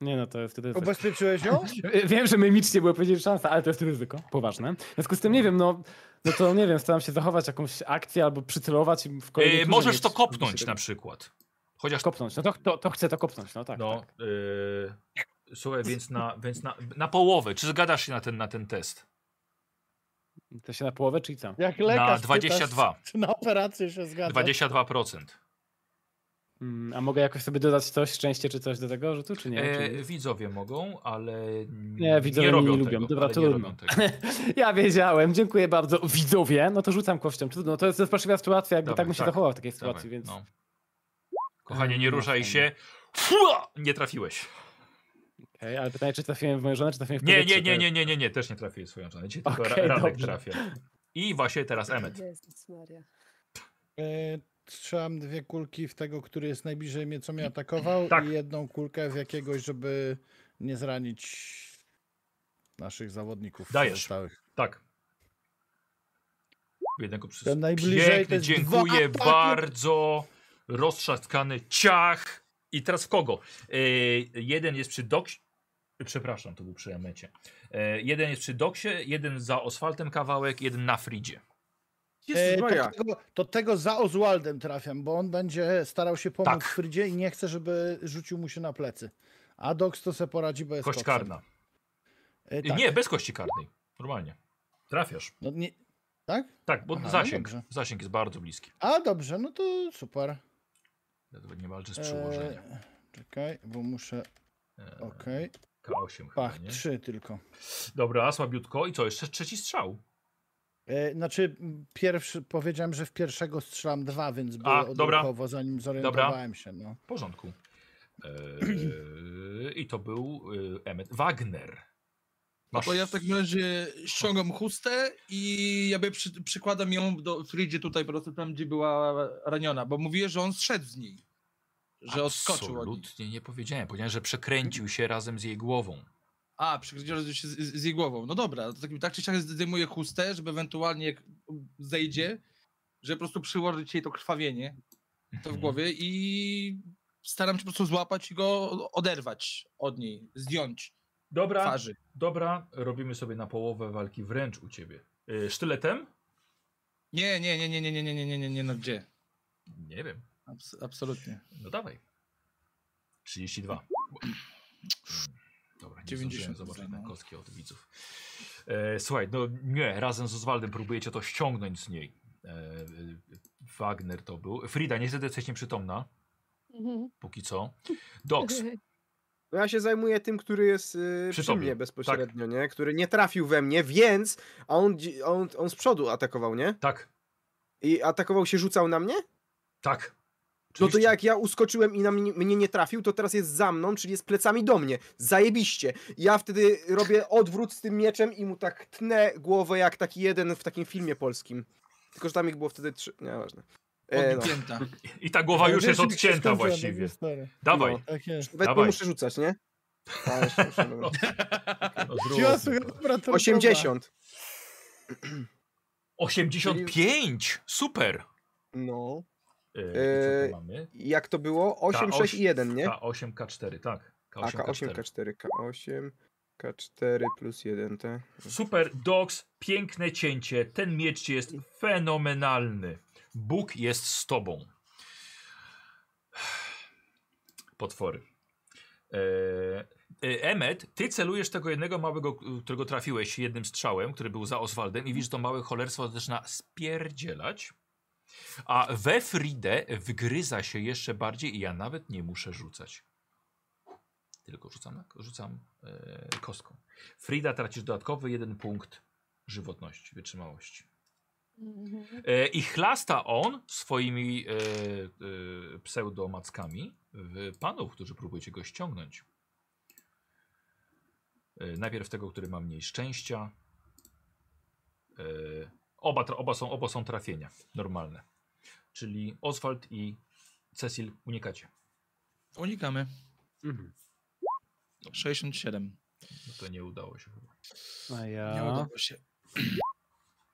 Nie no, to jest... To jest ubezpieczyłeś ją? Wiem, że mimicznie było powiedzieć szansa, ale to jest ryzyko. Poważne. W związku z tym nie wiem, no, no to nie wiem, staram się zachować jakąś akcję albo przycelować i w kolejnej E, turze możesz mieć- to kopnąć mieć- na przykład. Chociaż Kopnąć, no to, to, to chcę to kopnąć, no tak. No, tak. y, słuchaj, więc, na, więc na, na połowę. Czy zgadasz się na ten, na ten test? To się na połowę, czyli co? Jak lekarz pytasz, 22. czy na operację się zgadza? 22%. Mm, A mogę jakoś sobie dodać coś, szczęście czy coś do tego rzutu, czy nie? E, Czy- widzowie mogą, ale Nie, widzowie nie mnie robią nie tego. lubią. Dobra, ale nie trudno. robią tego. Ja wiedziałem, dziękuję bardzo. Widzowie, no to rzucam kością. Trudno, to jest rozpaczliwa sytuacja, jakby Dawaj, tak bym się tak, zachował w takiej sytuacji, Dawaj, więc... no. Kochanie, nie Mm, ruszaj no się. Fua! Nie trafiłeś. Okej, ale pytanie, czy trafiłem w moją żonę, czy trafiłem w Nie, powietrze, nie, to nie, jest- nie, nie, nie, nie. Też nie trafiłeś swoją żonę. Dzisiaj tylko Okej, ra- Radek dobrze. trafia. I właśnie teraz Emmet. Jezus Maria. E, Strzelam dwie kulki w tego, który jest najbliżej mnie, co mnie atakował Tak. i jedną kulkę w jakiegoś, żeby nie zranić naszych zawodników Dajesz. pozostałych. Tak. Jednego przy... Ten najbliżej to Piękny, jest dziękuję dwa ataki. bardzo. Roztrzaskany ciach. I teraz w kogo? E, jeden jest przy doksie. Przepraszam, to był przy Emecie. E, jeden jest przy doksie, jeden za asfaltem kawałek, jeden na fridzie. E, Jezus Maria. tak. to, tego, to tego za Oswaldem trafiam, bo on będzie starał się pomóc Tak. tak. Frydzie i nie chce, żeby rzucił mu się na plecy. A Dox to se poradzi, bo jest Kość koksem. karna. E, tak. Nie, bez kości karnej. Normalnie. Trafiasz. No, nie. Tak? Tak, bo Aha, no zasięg. dobrze. Zasięg jest bardzo bliski. A dobrze, no to super. Dlatego nie walczy z przyłożeniem. E, czekaj, bo muszę. E, Okej. K8 chyba, Pach, nie? trzy tylko. Dobra, słabiutko. I co? Jeszcze trzeci strzał. E, znaczy, m, pierwszy, powiedziałem, że w pierwszego strzelam dwa, więc A, było dobra. odruchowo, zanim zorientowałem się. No. W porządku. Eee, I to był y, Emmet Wagner. Masz... To No ja tak w takim razie ściągam chustę i jakby przy, przykładam ją do Fridzie tutaj po prostu tam, gdzie była raniona, bo mówię, że on zszedł z niej. Że odskoczył od niej. Absolutnie nie powiedziałem. Powiedziałem, że przekręcił się razem z jej głową. A, przykręciłem się z, z, z jej głową. No dobra, to tak, tak czy siak zdejmuję chustę, żeby ewentualnie jak zejdzie, żeby po prostu przyłożyć jej to krwawienie to w Mhm. głowie i staram się po prostu złapać i go oderwać od niej, zdjąć Dobra, twarzy. dobra, robimy sobie na połowę walki wręcz u ciebie. Y, sztyletem? Nie, nie, nie, nie, nie, nie, nie, nie, nie, nie, nie, no gdzie? Nie wiem. Abs- absolutnie. No dawaj. 32. Dobra, nie 90 90 zobaczyć na zdałem. kostki od widzów. E, słuchaj, no nie, razem z Oswaldem próbujecie to ściągnąć z niej. E, e, Wagner to był. Frida, niestety jesteś nieprzytomna, Mhm. póki co. Dox, No ja się zajmuję tym, który jest y, Przy przy, tobie, mnie bezpośrednio, nie? Który nie trafił we mnie, więc a on, dzi- on, on z przodu atakował, nie? tak, I atakował się, rzucał na mnie? tak. No to Oczywiście. jak ja uskoczyłem i na mnie, mnie nie trafił, to teraz jest za mną, czyli jest plecami do mnie. Zajebiście. Ja wtedy robię odwrót z tym mieczem i mu tak tnę głowę jak taki jeden w takim filmie polskim. Tylko, że tam ich było wtedy trzy. Nieważne. E, no. Odpięta. I ta głowa już Ja jest wiem, że się odcięta skończyła ta właściwie. historia. Dawaj. No. Tak jest. Nawet Dawaj. nie muszę rzucać, nie? A, jeszcze muszę, dobra. No, zrób. Siła, słuchaj, dobra, to 80. 85! Super! No. E, i E, co tu mamy? Jak to było? 8, 6 i 1, nie? K8, K4, tak. A, K8, K4, K8, K4 plus 1, te. Super Dogs, piękne cięcie. Ten miecz ci jest fenomenalny. Bóg jest z tobą. Potwory. Eee, e, Emmet, ty celujesz tego jednego małego, którego trafiłeś jednym strzałem, który był za Oswaldem i widzisz to małe cholerstwo zaczyna spierdzielać. A we Fridę wygryza się jeszcze bardziej i ja nawet nie muszę rzucać. Tylko rzucam, na- rzucam e, kostką. Frida tracisz dodatkowy jeden punkt żywotności, wytrzymałości. Mhm. E, I chlasta on swoimi e, e, pseudomackami w panów, którzy próbujecie go ściągnąć. E, najpierw tego, który ma mniej szczęścia. E, oba, tra- oba, są, oba są trafienia normalne. Czyli Oswald i Cecil unikacie. Unikamy. Mhm. 67. No to nie udało się chyba. A Nie ja udało się.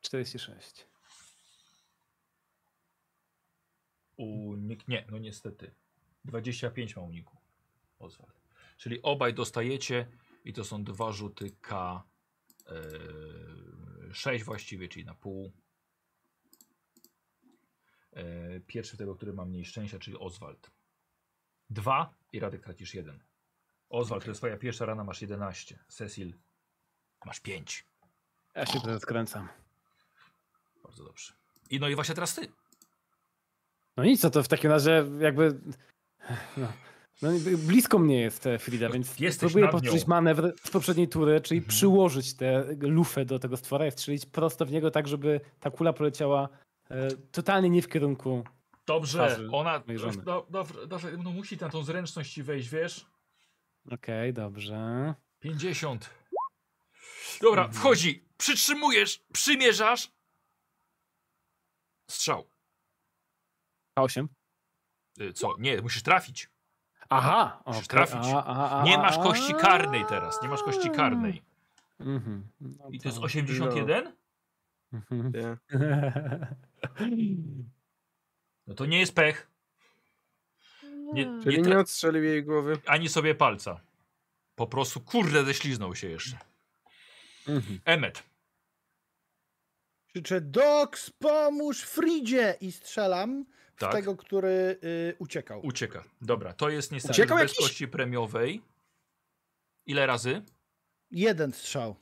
46. Unik... Nie, no niestety. 25 ma uniku. Oswald. Czyli obaj dostajecie i to są dwa rzuty K. Yy, 6 właściwie, czyli na pół. Yy, pierwszy tego, który ma mniej szczęścia, czyli Oswald. Dwa i Radek tracisz jeden. Oswald, to jest twoja pierwsza rana, masz 11. Cecil, masz 5. Ja się teraz kręcam. Bardzo dobrze. I no i właśnie teraz ty. No nic, no to w takim razie jakby... No. No, i blisko mnie jest e, Frida, No, więc jesteś próbuję nad powtórzyć nią. manewr z poprzedniej tury, czyli Mhm. przyłożyć tę lufę do tego stwora i strzelić prosto w niego tak, żeby ta kula poleciała e, totalnie nie w kierunku. Dobrze, Twarzy ona. mojej żony. Do, do, dobrze, no musi na tą zręczność ci wejść, wiesz? Okej, dobrze. 50. Dobra, Mhm. wchodzi. Przytrzymujesz, przymierzasz. Strzał. K8. Y, Co? Nie, musisz trafić. Aha! Musisz okej, trafić. a, a, a, Nie a, masz a. kości karnej teraz. Nie masz kości karnej. Mhm. No I to jest tak. 81? Mhm. Nie. No to nie jest pech. Nie, Mm. Czyli nie nie tra- odstrzelił jej głowy. ani sobie palca. Po prostu kurde ześliznął się jeszcze. Mhm. Emmet. Krzyczę, Doks, pomóż Fridzie! I strzelam w Tak. tego, który y, uciekał. Ucieka. Dobra, to jest niestety Uciekał bez jakiś? kości premiowej. Ile razy? Jeden strzał.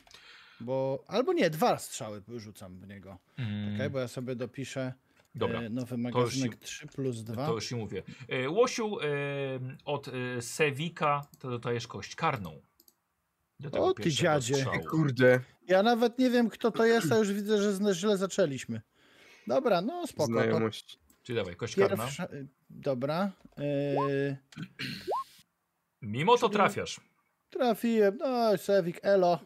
Bo, albo nie, dwa strzały rzucam w niego. Mm, Czekaj, bo ja sobie dopiszę Dobra. e, nowy już magazynek 3 plus 2. To już ci mówię. E, Łosiu e, od e, Sewika to dodajesz kość karną. Do tego O, ty pierwszego dziadzie. strzału. Kurde, Ja nawet nie wiem, kto to jest, a już widzę, że zna- źle zaczęliśmy. Dobra, no spoko. to znajomość. Czyli dawaj, kość karna. Pierwsza, y, dobra. y, Mimo to Czyli- trafiasz. trafiłem. No, Sewik, elo.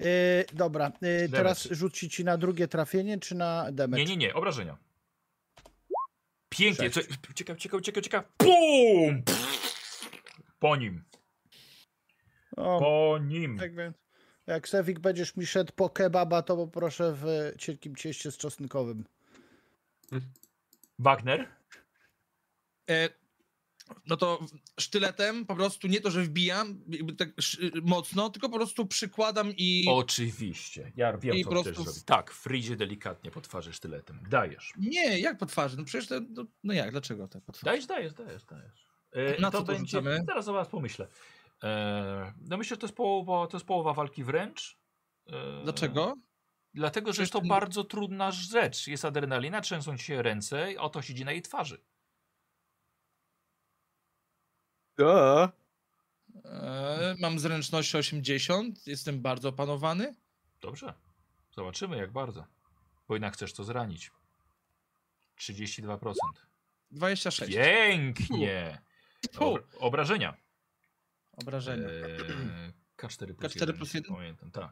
Y, dobra, y, teraz Damage. rzuci ci na drugie trafienie, czy na damage? Nie, nie, nie, obrażenia. Pięknie. Co, Sześć. ucieka, ucieka, ucieka, ucieka. Pum! Po nim. O, Po nim. tak więc, jak Sewik będziesz mi szedł po kebaba, to poproszę w cienkim cieście z czosnkowym. Wagner. E, no to sztyletem po prostu nie to, że wbijam jakby tak sz- mocno, tylko po prostu przykładam i Oczywiście. Ja wiem, I co po chcesz prostu- zrobić. Tak, Frizie delikatnie po twarzy sztyletem. Dajesz. Nie, jak po twarzy? No przecież to, no, no jak, dlaczego tak po twarzy? Dajesz, dajesz, dajesz, dajesz. E, Na to co to będzie, rzucamy? Zaraz zaraz pomyślę. E, no myślę, że to jest połowa, to jest połowa walki wręcz. E, Dlaczego? Dlatego, że jest to Przecież- bardzo trudna rzecz. Jest adrenalina, trzęsą ci się ręce, a to siedzi na jej twarzy. Da. E, mam zręczność 80, jestem bardzo opanowany. Dobrze. Zobaczymy jak bardzo. Bo jednak chcesz to zranić. 32%. 26 Pięknie. Fu. Obra- obrażenia. obrażenia. E, K4 plus K4 1. plus jeśli jeden? Pamiętam, tak.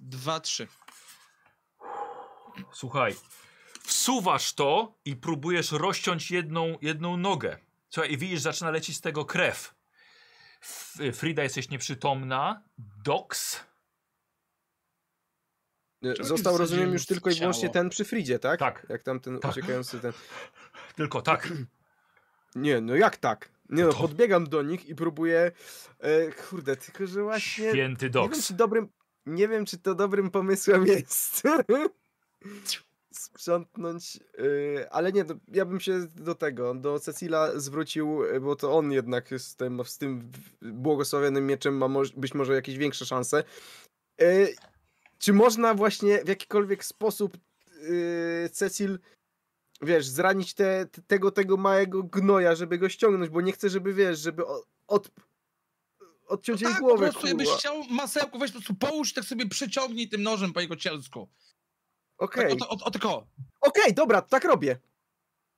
2, 3. Słuchaj, wsuwasz to i próbujesz rozciąć jedną, jedną nogę. Słuchaj, i widzisz, zaczyna lecieć z tego krew. F Frida jesteś nieprzytomna. Dox. Nie, Czemu E, Został, nie rozumiem, już wsadziłem tylko i wyłącznie ciało? ten przy Fridzie, tak? Tak. Jak tam ten Tak. uciekający ten. Tylko tak. Nie, no jak tak? Nie no, To- podbiegam do nich i próbuję. E, kurde, tylko że właśnie. Święty Nie wiem, Dox. czy dobrym, nie wiem, czy to dobrym pomysłem jest. Sprzątnąć. y, ale nie, do, ja bym się do tego, do Cecila zwrócił, y, bo to on jednak z tym, z tym w- błogosławionym mieczem ma moż, być może jakieś większe szanse. Y, czy można właśnie w jakikolwiek sposób y, Cecil wiesz, zranić te, te, tego, tego małego gnoja, żeby go ściągnąć, bo nie chcę, żeby, wiesz, żeby o- od, odciąć jej tak, po głowę, prostu jakbyś kurwa. chciał masełko, weź po prostu połóż, tak sobie przyciągnij tym nożem po jego cielsku. Okej, No Tak, okej, o, o, o tylko. dobra, tak robię.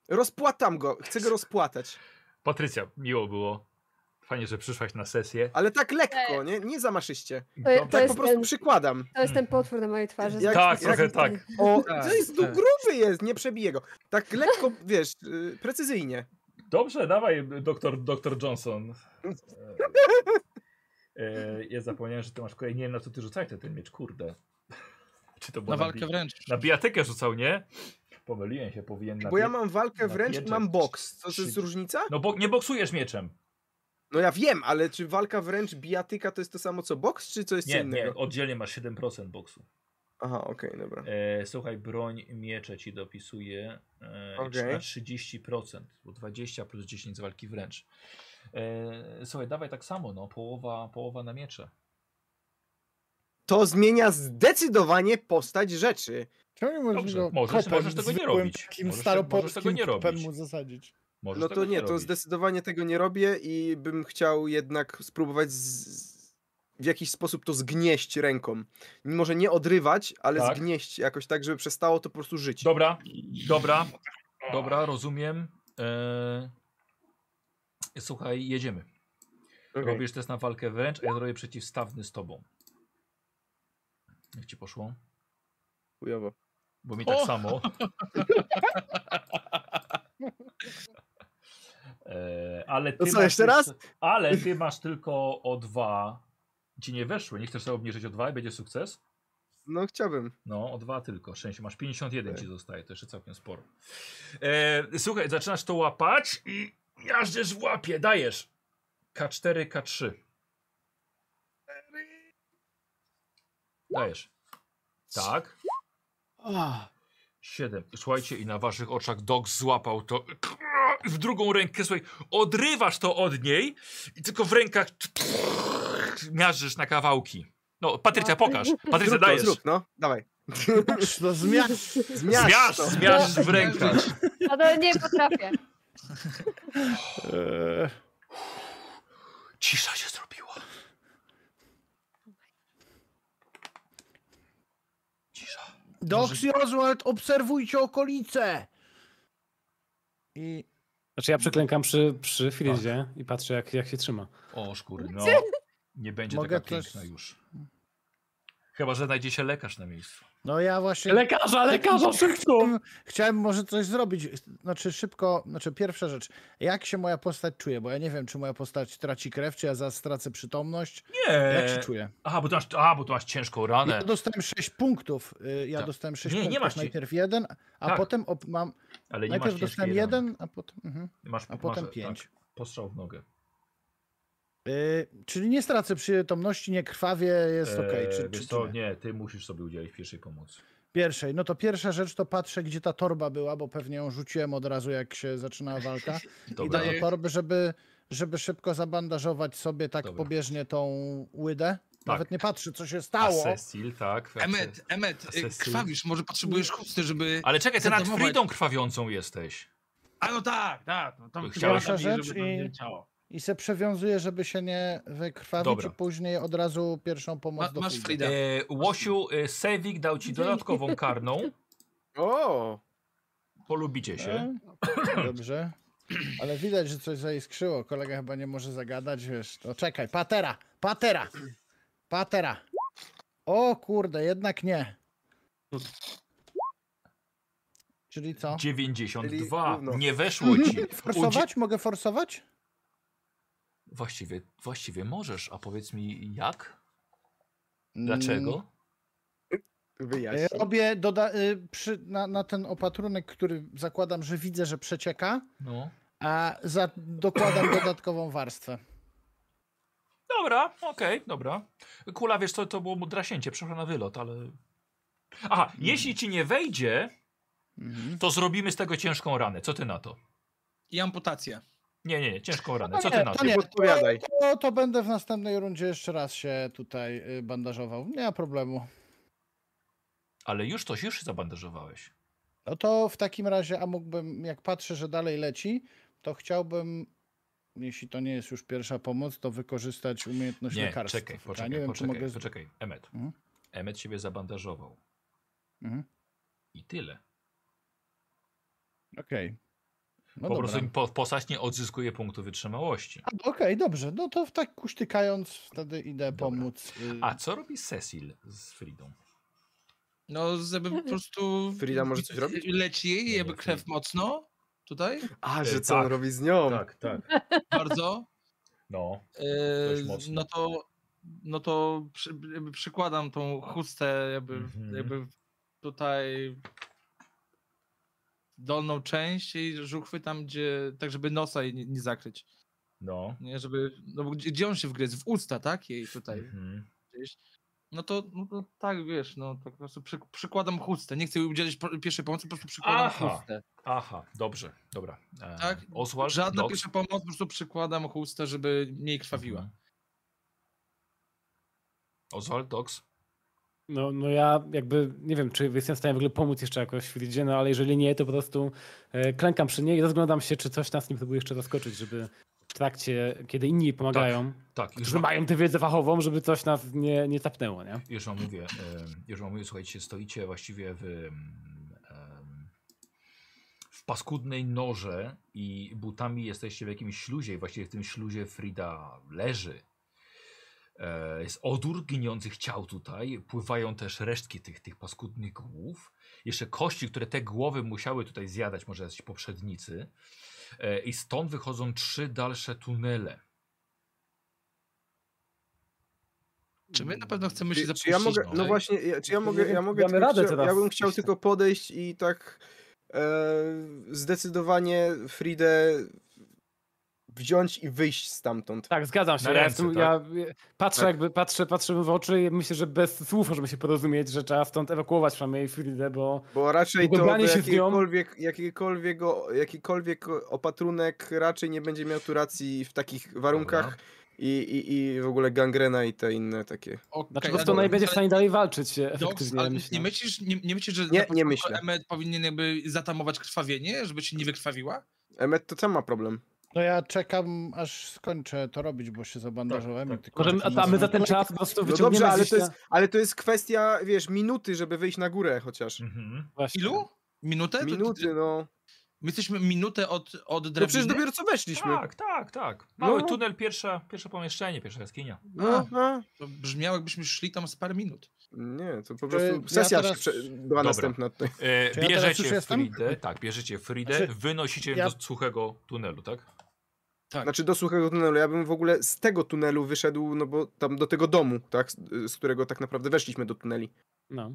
Rozpłatam go, chcę go rozpłatać. Patrycja, miło było. Fajnie, że przyszłaś na sesję. Ale tak lekko, nie? Nie zamaszyście. To- Dobrze. to Tak jest po prostu ten- przykładam. To jest ten potwór na mojej twarzy. Jak- Tak, jak- trochę tak. O, Tak, to jest, no, tak. gruby jest, nie przebiję go. Tak lekko, wiesz, y, precyzyjnie. Dobrze, dawaj, doktor, doktor Johnson. E, e, ja zapomniałem, że ty masz kolej. Nie wiem, na co ty rzucałeś ten, ten miecz, kurde. Czy to było Na walkę wręcz. Na bijatykę rzucał, nie? Pomyliłem się, powinien na Bo ja bi- mam walkę na wręcz i pieczę. mam boks. Co to Trzy- jest różnica? No bo nie boksujesz mieczem. No ja wiem, ale czy walka wręcz, bijatyka to jest to samo co boks, czy co jest co Nie, nie, innego? oddzielnie masz 7% boksu. Aha, okej, dobra. E, słuchaj, broń miecze ci dopisuje e, i Okej. na 30%, bo 20 plus 10 z walki wręcz. E, słuchaj, dawaj tak samo, no, połowa, połowa na miecze. To zmienia zdecydowanie postać rzeczy. Czemu nie możesz Dobrze, go możesz, kopem możesz tego nie zwykłym, robić. Takim Możesz te- możesz tego staropolskim nie kopem robić. mu zasadzić. Możesz no tego to nie, to robić. zdecydowanie tego nie robię i bym chciał jednak spróbować z... w jakiś sposób to zgnieść ręką. Może nie odrywać, ale Tak. zgnieść jakoś tak, żeby przestało to po prostu żyć. Dobra, dobra, dobra, rozumiem. E, słuchaj, jedziemy. Okej. Robisz test na walkę wręcz, a ja zrobię przeciwstawny z tobą. Jak ci poszło? Chujowo. Bo mi tak O! samo. E, ale ty No co, masz jeszcze raz? Ale ty masz tylko o dwa. Ci nie weszły, nie chcesz sobie obniżyć o dwa i będzie sukces? No chciałbym. No, o dwa tylko. Szczęście, masz 51 ci zostaje, to jeszcze całkiem sporo. E, słuchaj, zaczynasz to łapać i jażdżesz w łapie, dajesz. K4, K3. Dajesz. Tak. Siedem. Słuchajcie, i na waszych oczach Dog złapał to. W drugą rękę, słuchaj, odrywasz to od niej i tylko w rękach miażdżysz na kawałki. No, Patrycja, pokaż. Patrycja, Zrób to, dajesz. zrób, no, dawaj. Patrz, no zmiana. Zmiasz, Zmiasz, to. zmiasz w rękach. No to nie potrafię. Eee, Cisza się zrobiła. Cisza. Dox i Oswald, obserwujcie okolice! I Znaczy ja przeklękam przy, przy Frizie Tak. i patrzę jak, jak się trzyma. O szkury, no. Nie będzie Mogę taka też- piękna już. Chyba, że znajdzie się lekarz na miejscu. no ja właśnie... Lekarza, lekarza, szybko! Chciałem- Chciałem może coś zrobić. Znaczy szybko, znaczy pierwsza rzecz. Jak się moja postać czuje? Bo ja nie wiem, czy moja postać traci krew, czy ja zaraz stracę przytomność. Nie. Jak się czuję? Aha, bo tu masz, aha, bo tu masz ciężką ranę. Ja dostałem 6 punktów. y, Ja Tak. dostałem 6 Nie, nie punktów. masz ci- najpierw jeden, a Tak. potem op- mam. Ale nie masz najpierw ciężkiej dostałem rany. jeden, a potem. Mhm, Masz, a potem masz, pięć. Tak, postrzał w nogę. Y, czyli nie stracę przytomności, nie krwawie, Eee, jest ok. Czy, wiesz czy, czy co, nie? nie, ty musisz sobie udzielić pierwszej pomocy. Pierwszej. No to pierwsza rzecz to patrzę, gdzie ta torba była, bo pewnie ją rzuciłem od razu, jak się zaczynała walka. Dobra. no I do torby, żeby, żeby szybko zabandażować sobie tak Dobra. pobieżnie tą łydę. Tak. Nawet nie patrzy, co się A stało. Cecil, tak. Emet, Emet, y, Asesy. krwawisz, może potrzebujesz chusty, żeby... Ale czekaj, ty nad Zadomować. Fridą krwawiącą jesteś. A no tak, tak. No, To tam chciałeś- chyba lepiej, Rzecz żeby to nie i- leciało. I se przewiązuje, żeby się nie wykrwawić Dobra. i później od razu pierwszą pomoc Ma, do masz Fridy. Frida. E, Łosiu, e, Sewik dał ci dodatkową karną. O, Polubicie się. E, Dobrze. Ale widać, że coś zaiskrzyło. Kolega chyba nie może zagadać, wiesz. To czekaj, patera, patera, patera. O kurde, jednak nie. Czyli co? 92. Czyli gówno. Nie weszło ci. Udzie- Mhm. Forsować? Mogę forsować? właściwie, właściwie możesz, a powiedz mi jak? Dlaczego? Mm, wyjaśnij. Robię doda- y, przy, na, na ten opatrunek, który zakładam, że widzę, że przecieka, No. a za- dokładam dodatkową warstwę. Dobra, okej, dobra. Kula, wiesz co, to było mu drasięcie, przepraszam na wylot, ale... Aha, Mm. jeśli ci nie wejdzie, Mhm. to zrobimy z tego ciężką ranę. Co ty na to? I amputację. Nie, nie, nie, ciężką ranę. Co ty na to? to No nie, Podpowiadaj. No to będę w następnej rundzie jeszcze raz się tutaj y, bandażował. Nie ma problemu. Ale już coś, już się zabandażowałeś. No to w takim razie, a mógłbym, jak patrzę, że dalej leci, to chciałbym, jeśli to nie jest już pierwsza pomoc, to wykorzystać umiejętność Nie, lekarstwa. czekaj, Ja poczekaj, nie wiem, poczekaj, czy mogę. z- poczekaj. Emmet. Mhm. Emmet ciebie zabandażował. Mhm. I tyle. Okej. No po dobra. prostu po, posać nie odzyskuje punktu wytrzymałości. A, Okej, dobrze. No to w tak kusztykając, wtedy idę Dobra. pomóc. y, A co robi Cecil z Fridą? No, żeby po prostu... Frida może coś robić? Leci jej, nie, jakby krew Frida. mocno tutaj, A, E, że co on tak, robi z nią? tak. bardzo. No. E, Dość mocno. no to, no to przy, jakby przykładam tą chustę jakby, Mhm. jakby tutaj dolną część i żuchwy tam, gdzie, tak żeby nosa jej nie, nie zakryć. No. Nie, żeby, no bo gdzie, gdzie on się wgryzł? W usta, tak? Jej tutaj Mhm. gdzieś. No to, no to tak, wiesz, no to po prostu przy, przykładam chustę. Nie chcę jej udzielić po- pierwszej pomocy, po prostu przykładam Aha. chustę. Aha, dobrze, dobra. E, Tak? Oswald, Żadna Nox. pierwsza pomoc, po prostu przykładam chustę, żeby mniej krwawiła. Mhm. Oswald, Dox. No, no ja jakby nie wiem, czy jestem w stanie w ogóle pomóc jeszcze jakoś Fridzie, no ale jeżeli nie, to po prostu e, klękam przy niej i rozglądam się, czy coś nas nie próbuje jeszcze zaskoczyć, żeby w trakcie, kiedy inni jej pomagają, Tak, już, którzy wam- Mhm. mają tę wiedzę fachową, żeby coś nas nie, nie tapnęło, nie? już wam mówię, em, już wam mówię, słuchajcie, stoicie właściwie w, em, em, w paskudnej noże i butami jesteście w jakimś śluzie i właściwie w tym śluzie Frida leży. E, Jest odór gnijących ciał tutaj, pływają też resztki tych, tych paskudnych głów. Jeszcze kości, które te głowy musiały tutaj zjadać, może jacyś poprzednicy. E, I stąd wychodzą trzy dalsze tunele. Czy my na pewno chcemy się Czy, zapuścić? czy ja mogę, no dalej? właśnie, ja- czy ja Nie mogę, wiem, ja czy mogę damy tylko, radę chcia- teraz ja bym chciał jakoś tak. tylko podejść i tak e, zdecydowanie Fridę wziąć i wyjść stamtąd. Tak, zgadzam się. Na ja, ręce, jestem, ja e, patrzę Tak. jakby, patrzę, patrzę mu w oczy i myślę, że bez słów możemy się porozumieć, że trzeba stąd ewakuować przynajmniej Fridę, bo Bo raczej to do Ubranie się w nią. jakiejkolwiek, jakiejkolwiek, o- jakikolwiek opatrunek raczej nie będzie miał tu racji w takich warunkach i, i, i w ogóle gangrena i te inne takie. Okej, znaczy po ale- prostu ona nie będzie w ale- stanie dalej walczyć e, Doks, efektywnie. ale myślę. nie myślisz, nie, nie myślisz, że na Nie, nie początku myślę. Emmet powinien jakby zatamować krwawienie, żeby się nie wykrwawiła? Emet to tam ma problem. No ja czekam, aż skończę to robić, bo się zabandażowałem. Tak, i tylko Możemy, czekam a, na a my za swoją ten kolejkę. czas po prostu No wyciągniemy dobrze, ale gdzieś to, na- jest, ale to jest kwestia, wiesz, minuty, żeby wyjść na górę chociaż. Mhm. Właśnie. Ilu? Minutę? To- Minuty, no. My jesteśmy minutę od, od No drabiny? przecież dopiero co weszliśmy. Tak, tak, tak. Mały No. tunel, pierwsza, pierwsze pomieszczenie, pierwsza jaskinia. tak. No, no. To brzmiało jakbyśmy szli tam z parę minut. Nie, to po Czy prostu ja sesja teraz- się prze... była Dobra. następna tutaj. E, Czy ja teraz bierzecie już jestem? Fridę, tak, bierzecie Fridę, Znaczy, wynosicie ja- do suchego tunelu, tak? Znaczy do suchego tunelu. Ja bym w ogóle z tego tunelu wyszedł, no bo tam do tego domu, tak, z- z którego tak naprawdę weszliśmy do tuneli. No.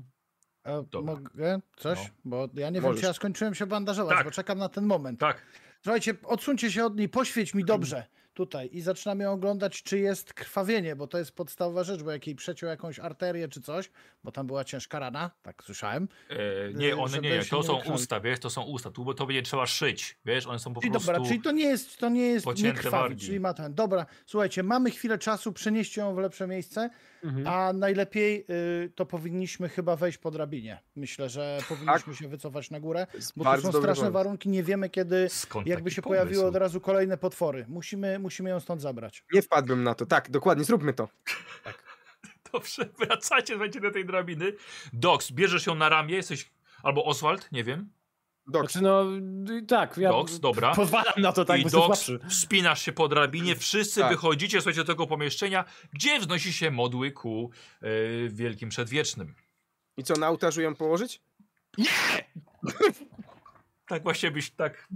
A Dobra. E, Mogę coś? No. Bo ja nie wiem, Możesz. czy ja skończyłem się bandażować, Tak. bo czekam na ten moment. Tak. Słuchajcie, odsuńcie się od niej, poświeć mi dobrze tutaj i zaczynam ją oglądać, czy jest krwawienie, bo to jest podstawowa rzecz, bo jak jej przeciął jakąś arterię czy coś, bo tam była ciężka rana, tak słyszałem. E, nie, Yy, one żeby nie, się to nie są wykrwawić. usta, wiesz, to są usta. Tu bo to będzie trzeba szyć, wiesz, one są po Czyli prostu... dobra, czyli to nie jest, to nie jest nie pocięte krwawi, wargi. czyli ma ten. Dobra, słuchajcie, mamy chwilę czasu, przenieście ją w lepsze miejsce, Mhm. a najlepiej y, to powinniśmy chyba wejść po drabinie. Myślę, że powinniśmy się wycofać na górę, To jest bo tu Tak. bardzo są dobry straszne pomysł. warunki, nie wiemy kiedy Skąd Jakby taki się pomysł? pojawiły od razu kolejne potwory. Musimy, musimy ją stąd zabrać. Nie wpadłbym na to. Tak, dokładnie, zróbmy to. Dobrze, wracacie, słuchajcie, do tej drabiny. Dox, bierzesz ją na ramię, jesteś... Albo Oswald, nie wiem. Doks. Znaczy no, y, tak, ja Dox, dobra. pozwalam na to, tak, I bo jestem Dox, słabszy. wspinasz się po drabinie, wszyscy Tak. wychodzicie, słuchajcie, do tego pomieszczenia, gdzie wznosi się modły ku e, Wielkim Przedwiecznym. I co, na ołtarzu ją położyć? Tak właśnie byś tak.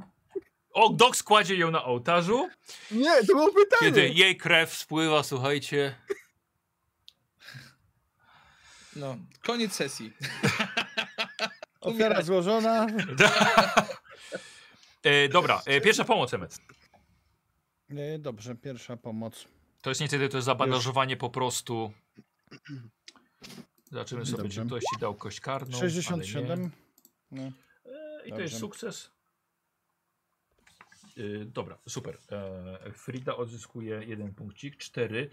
O, Dok składzie ją na ołtarzu, Nie, to było pytanie. kiedy jej krew spływa, słuchajcie. No, koniec sesji. Ofiara tak. Umierać. złożona. E, dobra, e, pierwsza pomoc, Emet. Nie, Y, Dobrze, pierwsza pomoc. To jest niestety to jest zabandażowanie po prostu. Zobaczymy sobie, Dobrze. czy ktoś ci dał kość karną. ale nie. 67. No. E, I to Dobrze. jest sukces. Y, E, dobra, super. E, Frida odzyskuje jeden punkcik, cztery.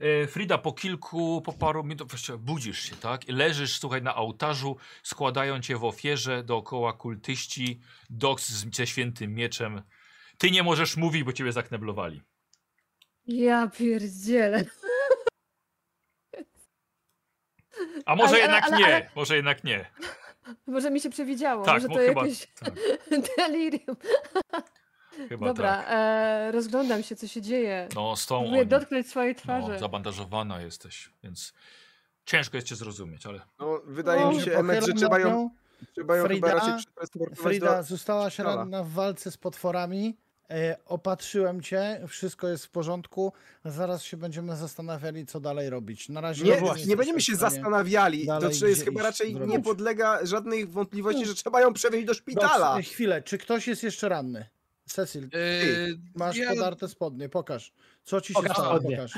E, Frida, po kilku, po paru minutach, właściwie budzisz się, tak? I leżysz, słuchaj, na ołtarzu, składają cię w ofierze dookoła kultyści, doks z, ze świętym mieczem. Ty nie możesz mówić, bo ciebie zakneblowali. Ja pierdzielę. A może Ale- ale- jednak ale- nie, ale- może jednak nie. Może mi się przewidziało, Tak, że bo to chyba, jakieś tak, delirium. chyba Dobra, tak. e, rozglądam się, co się dzieje. No, z tą Próbuję oni. dotknąć swojej No, twarzy. zabandażowana jesteś, więc ciężko jest cię zrozumieć, ale No, wydaje No, mi się się, Emet, że pochylam trzeba nad ją, nią. trzeba ją Frida- chyba raczej przetransportować do... Frida, zostałaś szpitala. ranna w walce z potworami. E, Opatrzyłem cię, wszystko jest w porządku. Zaraz się będziemy zastanawiali, co dalej robić. Na razie Nie, nic właśnie. nie jesteśmy będziemy w się stanie. zastanawiali. To dalej czy jest gdzie chyba iść raczej nie zrobić. No. podlega żadnych wątpliwości, że trzeba ją przewieźć do szpitala. Doks, e, Chwilę, czy ktoś jest jeszcze ranny? Cecil, Yy, masz ja- podarte spodnie, pokaż. Co ci się Pokaż stało, spodnie. pokaż.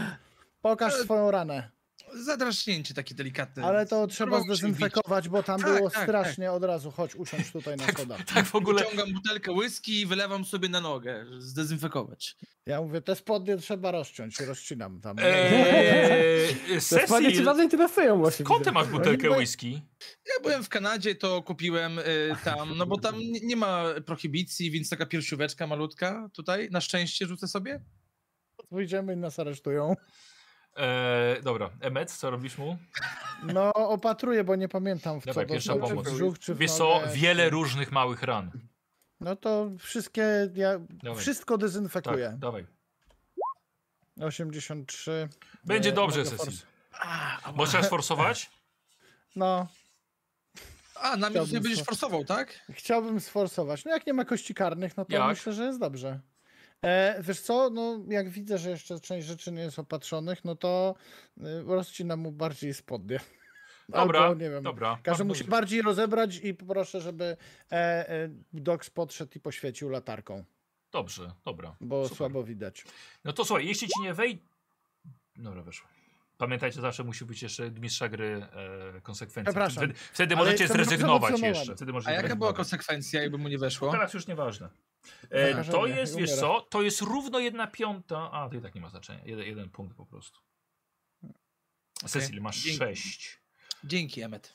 Pokaż Ale- swoją ranę. zadraśnięcie takie delikatne. Ale to trzeba Próbował się zdezynfekować, bo tam Tak, było tak, strasznie od razu. Chodź, usiądź tutaj na Tak, schodach. tak w ogóle Wyciągam butelkę whisky i wylewam sobie na nogę, żeby zdezynfekować. Ja mówię, te spodnie trzeba rozciąć i rozcinam tam. E. Eee, To spadnie ci Cecil, bardzo interesują właśnie. skąd ty widzę. tak? masz butelkę whisky? Ja byłem w Kanadzie, to kupiłem y, tam, no bo tam nie- nie ma prohibicji, więc taka piersióweczka malutka tutaj, na szczęście rzucę sobie. Pójdziemy i nas aresztują. Eee, dobra, Emmet, co robisz mu? No, opatruję, bo nie pamiętam w co Dawaj, pierwsza doszło, czy w pomoc. brzuch, czy w Wiesz co, nogę, wiele czy- różnych małych ran. No to wszystkie, ja Dawaj. wszystko Tak, dezynfekuję. dawaj. 83. Tak. Będzie e, dobrze, mogę Cecil. fors- Możesz forsować? No, A, na mnie Chciałbym nie będziesz to- forsował, tak? chciałbym sforsować. No jak nie ma kości karnych, no to Jak? myślę, że jest dobrze. E, wiesz co, no jak widzę, że jeszcze część rzeczy nie jest opatrzonych, no to y, rozcinam mu bardziej spodnie. Dobra, Albo, nie wiem, dobra. Każę Bardzo mu się dobrze. bardziej rozebrać i proszę, żeby e, e, Docs podszedł i poświecił latarką, Dobrze, dobra. bo Super. słabo widać. No to słuchaj, jeśli ci nie wej... Dobra, weszło. Pamiętajcie, zawsze musi być jeszcze mistrza gry e, konsekwencja. Przepraszam. Wtedy, wtedy Ale możecie jestem zrezygnować emocjonowany. jeszcze. Wtedy możecie A tak jaka była zrezygnować. konsekwencja, jakby mu nie weszło? Teraz już nieważne. E, Zakażenie, to jest, wiesz umiera. co, to jest równo jedna piąta. A, to i tak nie ma znaczenia. Jeden, jeden punkt po prostu. Cecil, masz Dzięki. sześć. Dzięki, Emet.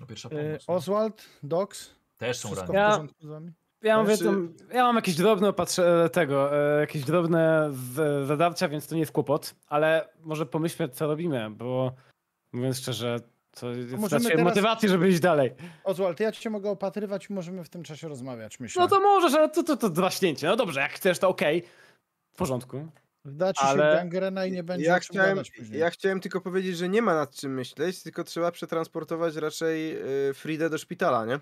No pierwsza E, pomoc. no. Oswald, Docs, Też są wszystko w rany. Ja- porządku z wami? Ja, mówię, Znaczy- tam, ja mam jakieś drobne opatrze tego, e, jakieś drobne z- zadarcia, więc to nie jest kłopot, ale może pomyślmy, co robimy, bo mówiąc szczerze, to jest możemy znaczy, teraz- motywacji, żeby iść dalej. Oswald, ja cię mogę opatrywać, możemy w tym czasie rozmawiać, myślę. No to możesz, ale to, to, to draśnięcie. No dobrze, jak chcesz, to okej. W porządku. Da ci ale- się gangrena i nie będzie Ja o czym chciałem, gadać później. ja chciałem tylko powiedzieć, że nie ma nad czym myśleć, tylko trzeba przetransportować raczej y, Fridę do szpitala, nie?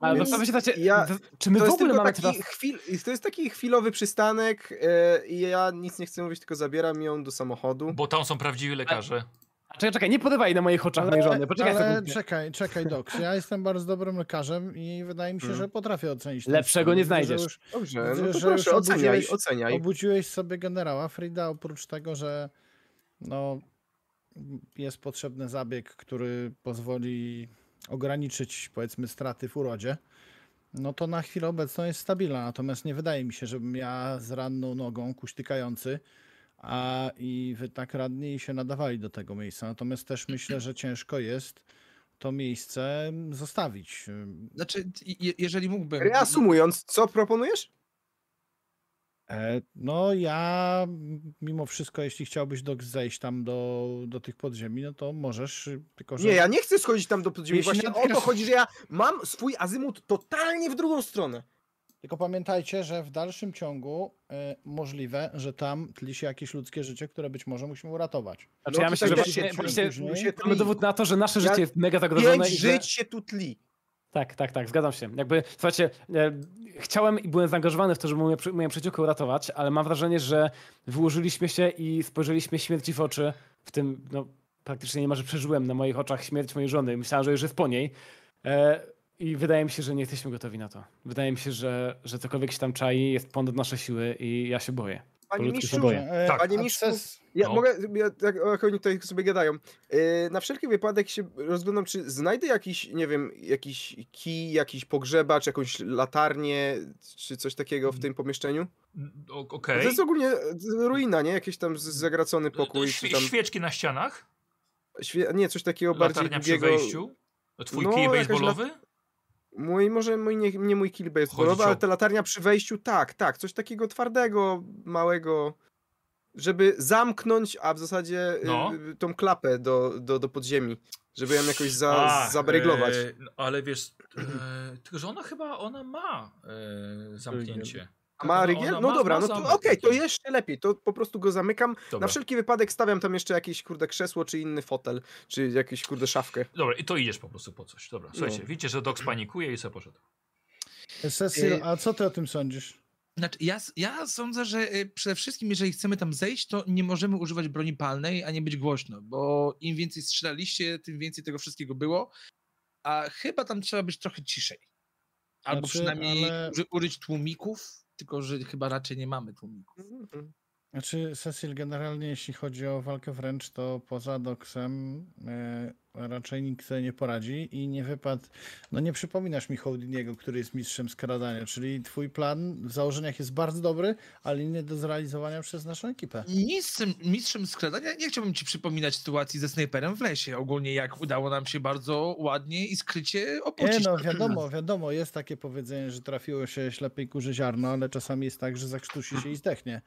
Ale Więc no, pamiętacie, ja- czy my to w jest ogóle tylko mamy taki teraz... chwil, to jest taki chwilowy przystanek y, i ja nic nie chcę mówić, tylko zabieram ją do samochodu. Bo tam są prawdziwi lekarze. Czekaj, czekaj, nie podawaj na moich oczach mojej żony. Poczekaj ale sekundę. czekaj, czekaj, Docs. Ja jestem bardzo dobrym lekarzem i wydaje mi się, Mm. że potrafię ocenić. ten Hmm. Lepszego stan. nie Widzę, że znajdziesz. już Dobrze, no to że proszę, już oceniaj, obudziłeś- oceniaj. Obudziłeś sobie generała Frida, oprócz tego, że no, jest potrzebny zabieg, który pozwoli ograniczyć powiedzmy straty w urodzie, no to na chwilę obecną jest stabilna. Natomiast nie wydaje mi się, żebym ja z ranną nogą, kuśtykający, a i wy tak radni się nadawali do tego miejsca. Natomiast też myślę, że ciężko jest to miejsce zostawić. Znaczy, je, jeżeli mógłbym. Reasumując, co proponujesz? E, No ja m, mimo wszystko, jeśli chciałbyś do, zejść tam do, do tych podziemi, no to możesz, y, tylko że... Nie, ja nie chcę schodzić tam do podziemi. Jeśli Właśnie o to nadkreśl- chodzi, że ja mam swój azymut totalnie w drugą stronę. Znaczy, Tylko pamiętajcie, że w dalszym ciągu y, możliwe, że tam tli się jakieś ludzkie życie, które być może musimy uratować. Znaczy, ja No, myślę, że tutaj właśnie, się- właśnie tu się mamy tli. dowód na to, że nasze Ja- życie jest mega zagrożone. Pięć i że... żyć się tu tli. Tak, tak, tak, zgadzam się. Jakby, słuchajcie, e, chciałem i byłem zaangażowany w to, żeby moje, przy- moją przyjaciółkę uratować, ale mam wrażenie, że wyłożyliśmy się i spojrzeliśmy śmierci w oczy, w tym, no, praktycznie niemalże przeżyłem na moich oczach śmierć mojej żony. Myślałem, że już jest po niej. E, I wydaje mi się, że nie jesteśmy gotowi na to. Wydaje mi się, że, że cokolwiek się tam czai jest ponad nasze siły i ja się boję. Panie Powolutku się mistrzu, boję. E, Tak. Panie a mistrzu, przez- ja No. mogę, ja, tak, jak oni tutaj sobie gadają. E, na wszelki wypadek się rozglądam, czy znajdę jakiś, nie wiem, jakiś kij, jakiś pogrzebacz, jakąś latarnię, czy coś takiego w tym pomieszczeniu. Mm, o- To Okej. jest ogólnie e, ruina, nie? Jakiś tam z- zagracony pokój, czy Świe- tam, Świeczki na ścianach? świe, nie, coś takiego bardziej Latarnia przy długiego. wejściu? Twój No, kij jakaś lat- baseballowy? Mój, może mój, nie, nie mój kill Chodzi baseballowy, ci o- ale ta latarnia przy wejściu, tak, tak, coś takiego twardego, małego, żeby zamknąć, a w zasadzie y, No. y, tą klapę do, do, do podziemi, żeby ją jakoś za, A, zabryglować. e, no, ale wiesz, e, tylko że ona chyba, ona ma e, zamknięcie. A ma ona- rygiel? ona No ma- dobra, ma no to zamek okej, to taki. jeszcze lepiej, to po prostu go zamykam. Dobra. Na wszelki wypadek stawiam tam jeszcze jakieś, kurde, krzesło, czy inny fotel, czy jakieś, kurde, szafkę. Dobra, i to idziesz po prostu po coś. Dobra, słuchajcie, No. widzicie, że Doc panikuje i sobie poszedł. y, Cecil, a co ty o tym sądzisz? Znaczy, ja, s- ja sądzę, że y, przede wszystkim, jeżeli chcemy tam zejść, to nie możemy używać broni palnej, a nie być głośno, bo im więcej strzelaliście, tym więcej tego wszystkiego było, a chyba tam trzeba być trochę ciszej. Albo Znaczy, przynajmniej ale- uży, użyć tłumików, tylko że chyba raczej nie mamy tłumików. Mhm. Znaczy, Cecil, generalnie jeśli chodzi o walkę wręcz, to poza doksem e, raczej nikt sobie nie poradzi i nie wypadł. No nie przypominasz mi Houdiniego, który jest mistrzem skradania, czyli twój plan w założeniach jest bardzo dobry, ale nie do zrealizowania przez naszą ekipę. Mistrzem, mistrzem skradania, nie chciałbym ci przypominać sytuacji ze snajperem w lesie, ogólnie jak udało nam się bardzo ładnie i skrycie Nie opuścić. no, wiadomo, wiadomo, jest takie powiedzenie, że trafiło się ślepej kurze ziarno, ale czasami jest tak, że zakrztusi się i zdechnie.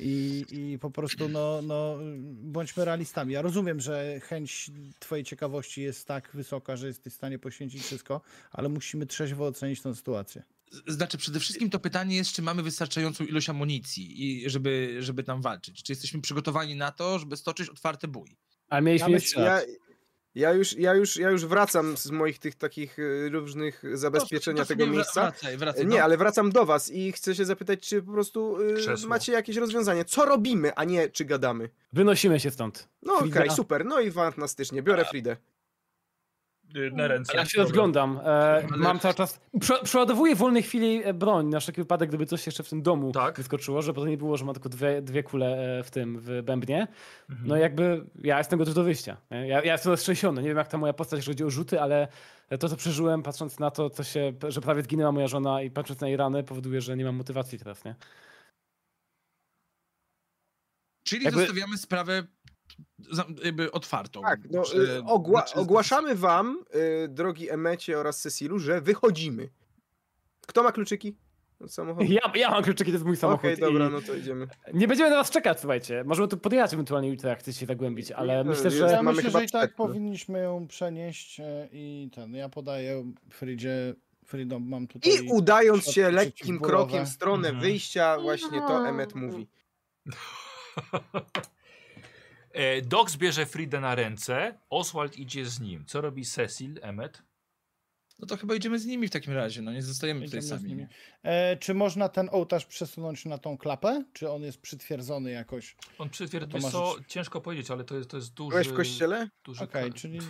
I, i po prostu, no, no, bądźmy realistami. Ja rozumiem, że chęć twojej ciekawości jest tak wysoka, że jesteś w stanie poświęcić wszystko, ale musimy trzeźwo ocenić tą sytuację. Z- Znaczy, przede wszystkim to pytanie jest, czy mamy wystarczającą ilość amunicji, i żeby, żeby tam walczyć. Czy jesteśmy przygotowani na to, żeby stoczyć otwarty bój? No, A Ja mieliśmy ja myślę- Tak. jeszcze Ja, ja, już, ja, już, ja już wracam z moich tych takich y, No, różnych zabezpieczenia znaczy Proszę, tego wra- miejsca. Wracaj, wracaj. E, Nie, no. ale wracam do was i chcę się zapytać, czy po prostu y, Krzesło. macie jakieś rozwiązanie. Co robimy, a nie czy gadamy? Wynosimy się stąd. No okej, Frida. super, no i fantastycznie, biorę Fridę. Y, Na ręce. Ja się rozglądam. E, Ale- mam cały czas. Prze przeładowuję w wolnej chwili e, broń na wszelki wypadek, gdyby coś jeszcze w tym domu Tak. wyskoczyło, żeby to nie było, że ma tylko dwie, dwie kule e, w tym, w bębnie. Mhm. No jakby ja jestem gotów do wyjścia. nie? Ja, ja jestem roztrzęsiony. Nie wiem, jak ta moja postać, jeżeli chodzi o rzuty, ale to, co przeżyłem, patrząc na to, co się, że prawie zginęła moja żona i patrząc na jej rany, powoduje, że nie mam motywacji teraz, nie? Czyli jakby- zostawiamy sprawę za- jakby otwartą. Tak, no, Czy- y, ogła znaczy- ogłaszamy wam, y, drogi Emecie oraz Cecilu, że wychodzimy. Kto ma kluczyki od samochodu? Ja, ja mam kluczyki, to jest mój samochód. Okej, dobra, i no to idziemy. Nie będziemy na was czekać, słuchajcie. Możemy tu podjechać ewentualnie jutro, jak chcecie się zagłębić, ale Nie, myślę, E, jest- że... Ja mamy myślę, chyba że i tak przed, no. powinniśmy ją przenieść e, i ten, ja podaję Fridzie, Fridą mam tutaj... I udając się Przeciwbólowe. lekkim krokiem w stronę Mhm. wyjścia, właśnie to No. Emet mówi. E, Doc bierze Fridę na ręce, Oswald idzie z nim. Co robi Cecil, Emmet? No to chyba idziemy z nimi w takim razie, no nie zostajemy Idziemy tutaj z sami. nimi. nie? E, czy można ten ołtarz przesunąć na tą klapę? Czy on jest przytwierdzony jakoś? On To przytwierdzi, masz co rzecz. ciężko powiedzieć, ale to jest, to jest duży... Byłeś w kościele? Duży Okej, kra- czyli. Tak,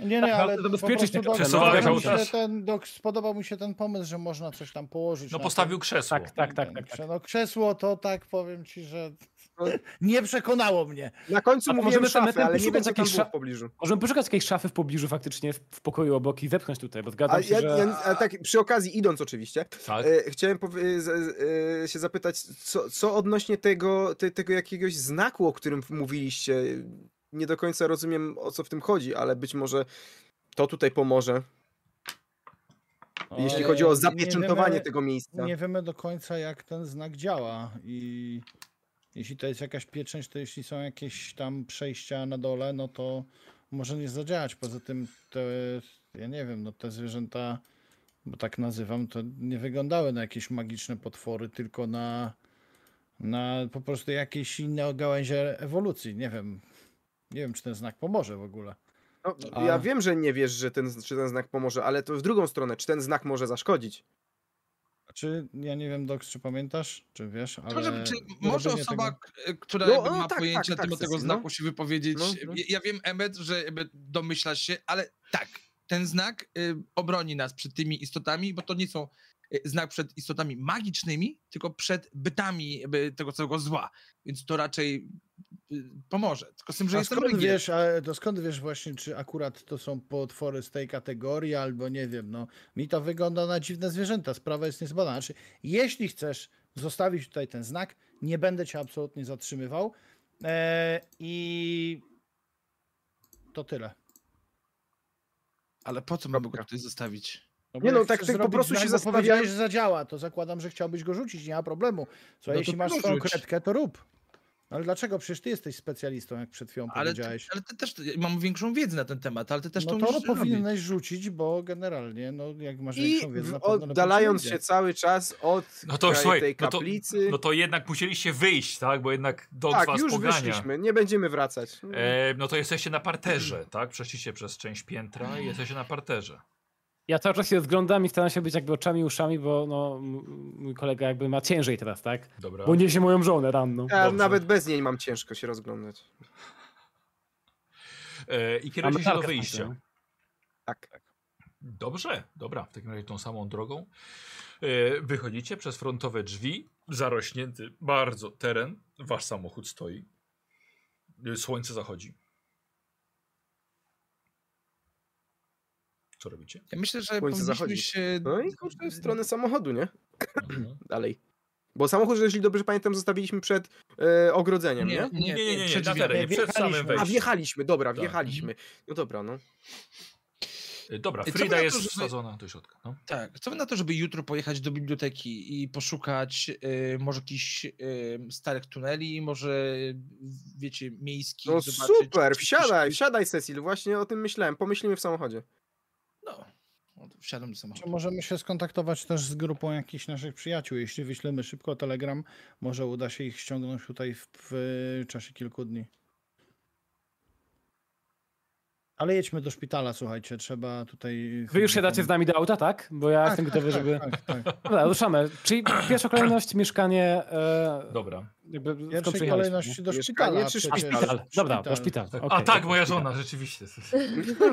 no, Nie, nie, ale po to zabezpieczyć prostu nie dobrze. przesuwamy Podobał mi ołtarz. się ten, dok- spodobał mi się ten pomysł, że można coś tam położyć. No na postawił tym. krzesło. Tak, tak, tak, tak. tak. Krze- No, krzesło to tak powiem ci, że No. nie przekonało mnie. Na końcu A to mówiłem możemy szafę, Emetem ale nie wiem, poszukać co tam jakiejś było sza- w pobliżu. Możemy poszukać jakiejś szafy w pobliżu faktycznie w w pokoju obok i zepchnąć tutaj, bo zgadzam A, się, ja, że... ja, a tak, przy okazji, idąc oczywiście, Tak. E, Chciałem powie- z- e, się zapytać, co, co odnośnie tego, te, tego jakiegoś znaku, o którym mówiliście? Nie do końca rozumiem, o co w tym chodzi, ale być może to tutaj pomoże, jeśli Ale chodzi o nie zapieczętowanie wiemy- tego miejsca. Nie wiemy do końca, jak ten znak działa. I jeśli to jest jakaś pieczęć, to jeśli są jakieś tam przejścia na dole, no to może nie zadziałać. Poza tym, te, ja nie wiem, no te zwierzęta, bo tak nazywam, to nie wyglądały na jakieś magiczne potwory, tylko na, na po prostu jakieś inne gałęzie ewolucji. Nie wiem. Nie wiem, czy ten znak pomoże w ogóle. No, A- ja wiem, że nie wiesz, że ten, czy ten znak pomoże, ale to w drugą stronę, czy ten znak może zaszkodzić? Czy ja nie wiem, Doks, czy pamiętasz, czy wiesz, ale. Może, czy może robienie osoba, tego- k- która No, jakby o, ma tak, pojęcie tak, na tak, temat tego Cecil, no. znaku się wypowiedzieć. No, no. Ja, ja wiem, Emmet, że jakby domyślasz się, ale tak, ten znak y, obroni nas przed tymi istotami, bo to nie są e, znak przed istotami magicznymi, tylko przed bytami jakby tego całego zła. Więc to raczej y, pomoże. Tylko z tym, że A jestem skąd rygid. wiesz, a to skąd wiesz właśnie, czy akurat to są potwory z tej kategorii, albo nie wiem, no mi to wygląda na dziwne zwierzęta, sprawa jest niezbadana. Znaczy, jeśli chcesz zostawić tutaj ten znak, nie będę cię absolutnie zatrzymywał Eee, i to tyle. Ale po co mam go tutaj zostawić? bo Nie no, jak tak- chcesz tak po zrobić prostu znak, się bo zastanawiałem- powiedziałeś, że zadziała, to zakładam, że chciałbyś go rzucić, nie ma problemu. Słuchaj, No to jeśli masz rzuć. swoją kredkę, to rób. No Ale dlaczego? Przecież ty jesteś specjalistą, jak przed No chwilą Ale ty, powiedziałeś. ale ty też, ja mam większą wiedzę na ten temat, ale ty też no to, to musisz powinieneś robić. rzucić, bo generalnie, no jak masz I większą wiedzę, w- na pewno lepiej ci oddalając idzie. się cały czas od No to słuchaj, tej no to- kaplicy. Y- No to jednak musieliście wyjść, tak? Bo jednak dog tak, was już pogania. wyszliśmy, nie będziemy wracać. E, no to jesteście na parterze, tak? Przeszliście przez część piętra i jesteście na parterze. Ja cały czas się rozglądam i staram się być jakby oczami i uszami, bo no, m- mój kolega jakby ma ciężej teraz, tak? Dobra. Bo niesie moją żonę ranną. Ja dobrze. nawet bez niej mam ciężko się rozglądać. E, I A kierujecie się do Natalka wyjścia. tam, no. Tak. Dobrze, dobra. W takim razie tą samą drogą. E, wychodzicie przez frontowe drzwi. Zarośnięty bardzo teren. Wasz samochód stoi. E, Słońce zachodzi. Co robicie? Ja myślę, że Słońce powinniśmy zachodzi. się... No i kurczę, w stronę samochodu, nie? Mhm. Dalej. Bo samochód, jeśli dobrze pamiętam, zostawiliśmy przed e, Nie, ogrodzeniem, nie? nie, Nie, nie, nie, nie, nie, przed na drzwiami. terenie, przed samym Wjechaliśmy. A wejściem. wjechaliśmy, dobra, Tak. wjechaliśmy. No dobra, no. E, Dobra, Co Frida by na to, jest żeby- wsadzona do środka. No. Tak, co wy na to, żeby jutro pojechać do biblioteki i poszukać y, może jakichś y, starych tuneli, może wiecie, miejskich. No zobaczyć, super, czy- czy- wsiadaj, wsiadaj Cecil, właśnie o tym myślałem. Pomyślimy w samochodzie. No, no to wsiadam do Czy samochodu. możemy się skontaktować też z grupą jakichś naszych przyjaciół? Jeśli wyślemy szybko telegram, może uda się ich ściągnąć tutaj w, w e, czasie kilku dni. Ale jedźmy do szpitala, słuchajcie, trzeba tutaj... Wy już się dacie z nami do auta, tak? Bo ja jestem gotowy, żeby... Tak, tak. Dobra, ruszamy. Czyli pierwsza kolejność mieszkanie... E, Dobra. jakby W skąd pierwszej przyjechaliśmy, kolejności do Mieszkanie szpitala. czy przecież. A, szpital. Dobra, do szpital. Okej, A tak, do moja szpitala. żona, rzeczywiście.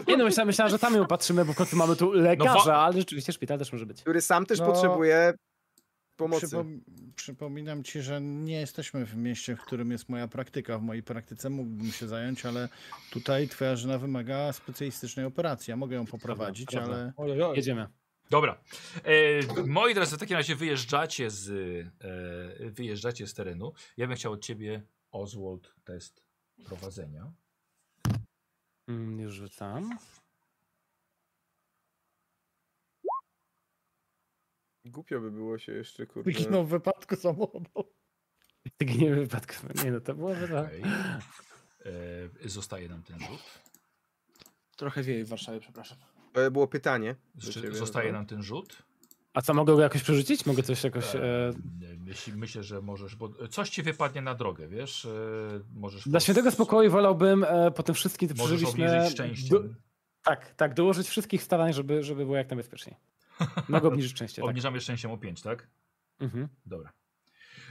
Nie no, myślałem, myślałem, że tam ją patrzymy, bo w końcu mamy tu lekarza, No wa- ale rzeczywiście szpital też może być. Który sam też No, potrzebuje pomocy. Przypom- przypominam ci, że nie jesteśmy w mieście, w którym jest moja praktyka. W mojej praktyce mógłbym się zająć, ale tutaj twoja żona wymaga specjalistycznej operacji. Ja mogę ją poprowadzić, prawda. ale... Ojojoj. Jedziemy. Dobra. E, moi drodzy, w takim razie wyjeżdżacie z, e, wyjeżdżacie z terenu. Ja bym chciał od ciebie, Oswald, test prowadzenia. Mm, już rzucam. Głupio by było się jeszcze, kurde. Wyginął w wypadku samochodu. Ty nie wypadku. Nie no, to byłoby tak. Okej. E, zostaje nam ten rzut. Trochę wieje w Warszawie, przepraszam. To było pytanie. do Zresztą ciebie, Zostaje dobra. nam ten rzut. A co, mogę go jakoś przerzucić? Mogę coś jakoś... E, E, myśl, myślę, że możesz, bo coś ci wypadnie na drogę, wiesz? E, możesz dla świętego spokoju wolałbym e, po tym wszystkim, co możesz przeżyliśmy... obniżyć szczęście. do- Tak, tak, dołożyć wszystkich starań, żeby, żeby było jak najbezpieczniej. Mogę obniżyć szczęście, tak. Obniżamy szczęściem o 5, tak? Mhm. Dobra.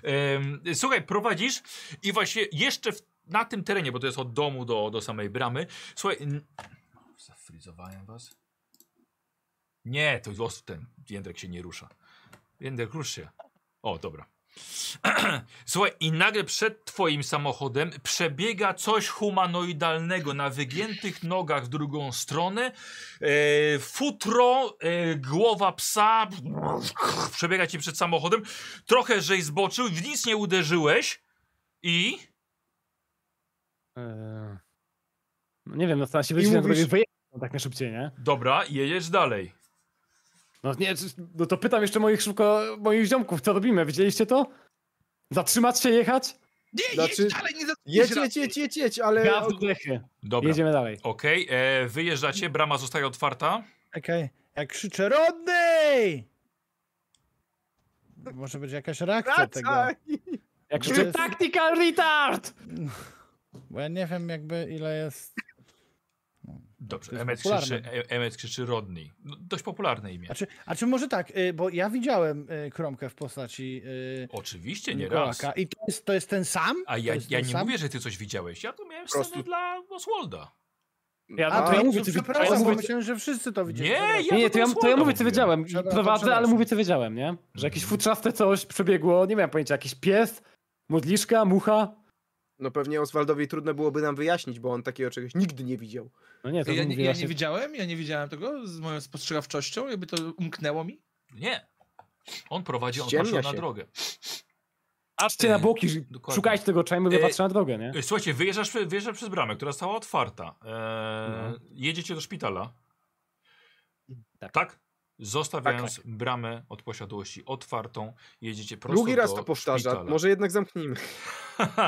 Em, słuchaj, prowadzisz i właśnie jeszcze w, na tym terenie, bo to jest od domu do, do samej bramy. Słuchaj. N- Zafryzowałem was. Nie, to los ten. Jędrek się nie rusza. Jędrek, rusz się. O, dobra. Słuchaj, i nagle przed twoim samochodem przebiega coś humanoidalnego na wygiętych nogach w drugą stronę. E, futro, e, głowa psa przebiega ci przed samochodem. Trochę żeś zboczył, w nic nie uderzyłeś i... E, no nie wiem, no staram I się wyjść na mówisz- drogę wyjechać no, tak na szybciej, nie? Dobra, jedziesz dalej. No nie, czy- no to pytam jeszcze moich szybko, moich ziomków, co robimy? Widzieliście to? Zatrzymać się, jechać? Nie, Znaczy- jedź dalej, nie Jedź, zatrzymaj jedź, jedź, jedź, jedź, ale... Ja wdechy. Dobra, Jedziemy dalej. okej, e, wyjeżdżacie, brama zostaje otwarta. Okej, jak krzyczę Rodney! Może być jakaś reakcja tego. Wracaj! Jak To krzyczę, jest- tactical retard! Bo ja nie wiem jakby ile jest... To Dobrze, jest Emmet krzyczy, popularne. E- Emmet krzyczy Rodney. No, dość popularne imię. A czy, a czy może tak, y, bo ja widziałem y, kromkę w postaci y, Oczywiście, nie raz. Mikołaka i to jest, to jest ten sam? A To ja, jest ja ten nie sam? mówię, że ty coś widziałeś. Ja tu miałem Prostu- scenę dla Oswalda. Ja, A, no, to to ja ja mówię, co wi- to ja przepraszam, bo mówię, myślałem, że wszyscy to widzieli. Nie, Dobra. ja nie, nie, to ja, to ja słowo mówię, co wiedziałem. I Dobra, to prowadzę, ale przepraszam. mówię, co wiedziałem, nie? Że jakieś futrzaste coś przebiegło, nie miałem pojęcia, jakiś pies, modliszka, mucha. No pewnie Oswaldowi trudno byłoby nam wyjaśnić, bo on takiego czegoś nigdy nie widział. No nie, to Ja, nie- mówię ja właśnie- nie widziałem, ja nie widziałem tego z moją spostrzegawczością, jakby to umknęło mi. Nie. On prowadzi, on Ściemnia patrzył na się. drogę. Patrzcie na boki, że- Dokładnie. szukajcie tego czajmy, E, bo patrzę na drogę, nie? E, Słuchajcie, wyjeżdżasz, wyjeżdżasz przez bramę, która stała otwarta. E, No. Jedziecie do szpitala. Tak. Tak? Zostawiając bramę od posiadłości otwartą, jedziecie prosto Drugi raz do to powtarza, szpitala. może jednak zamknijmy.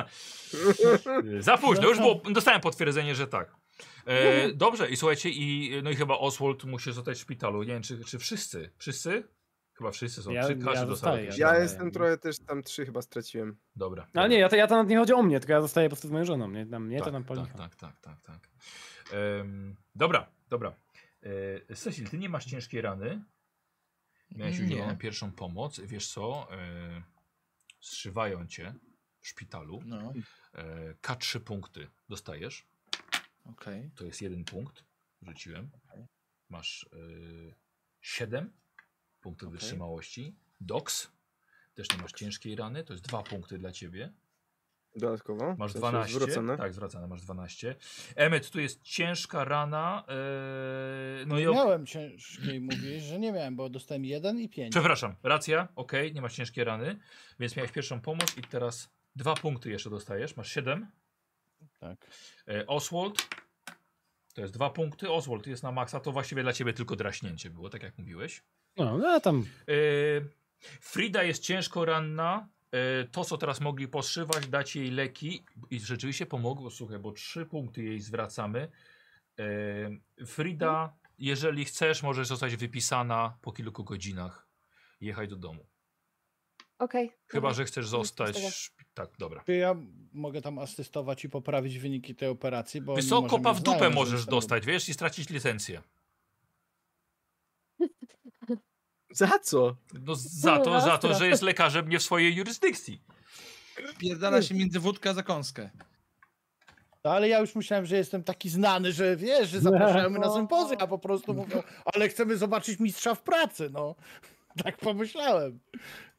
E, Za późno, No. już było, dostałem potwierdzenie, że tak. E, dobrze, i słuchajcie, i, no i chyba Oswald musi zostać w szpitalu. Nie wiem, czy, czy wszyscy? Wszyscy? Chyba wszyscy są. Ja- Czy każdy ja dostał zostaję, jakieś- Ja Dobra, jestem ja- trochę też tam trzy chyba straciłem. Dobra. Ale nie, ja, to, ja to nawet nie chodzi o mnie, tylko ja zostaję po prostu z moją żoną, nie? Tam, mnie to nam policha. tak, tak, tak, tak, tak. Em, dobra, dobra. E, Cecil, ty nie masz ciężkiej rany. Miałeś Nie. udzieloną pierwszą pomoc. Wiesz co? E, zszywają cię w szpitalu. No, E, K3 punkty dostajesz. okej. To jest jeden punkt. Rzuciłem. Masz y, 7 punktów Okej. wytrzymałości. Dox. Też nie masz ciężkiej rany. To jest dwa punkty dla ciebie. Dodatkowo? Masz W sensie no. 12. no. Zwrócone. Tak, zwracane. Masz 12. Emmet, tu jest ciężka rana. y, no i. Nie Ok... miałem ciężkiej, mówisz, że nie miałem, bo dostałem jeden i pięć. Przepraszam, racja. Ok, nie masz ciężkiej rany. Więc miałeś pierwszą pomoc i teraz dwa punkty jeszcze dostajesz. Masz 7. Tak. E, Oswald. To jest dwa punkty. Oswald jest na maksa. To właściwie dla ciebie tylko draśnięcie było, tak jak mówiłeś. No, no a tam Yy, Frida jest ciężko ranna. Yy, To, co teraz mogli poszywać, dać jej leki i rzeczywiście pomogło, słuchaj, bo trzy punkty jej zwracamy. Yy, Frida, jeżeli chcesz, możesz zostać wypisana po kilku godzinach. Jechaj do domu. Okej. Chyba, dobra. że chcesz z zostać. tego. Tak, dobra. Czy ja mogę tam asystować i poprawić wyniki tej operacji? Bo oni może Wysoko mnie pa w znają, dupę że możesz jestem- dostać, wiesz, i stracić licencję. Za co? No, za to, za to, że jest lekarzem nie w swojej jurysdykcji. Pierdala się między wódkę a zakąskę. No, ale ja już myślałem, że jestem taki znany, że wiesz, że zapraszają mnie na sympozję, a po prostu mówią, ale chcemy zobaczyć mistrza w pracy, no. Tak pomyślałem.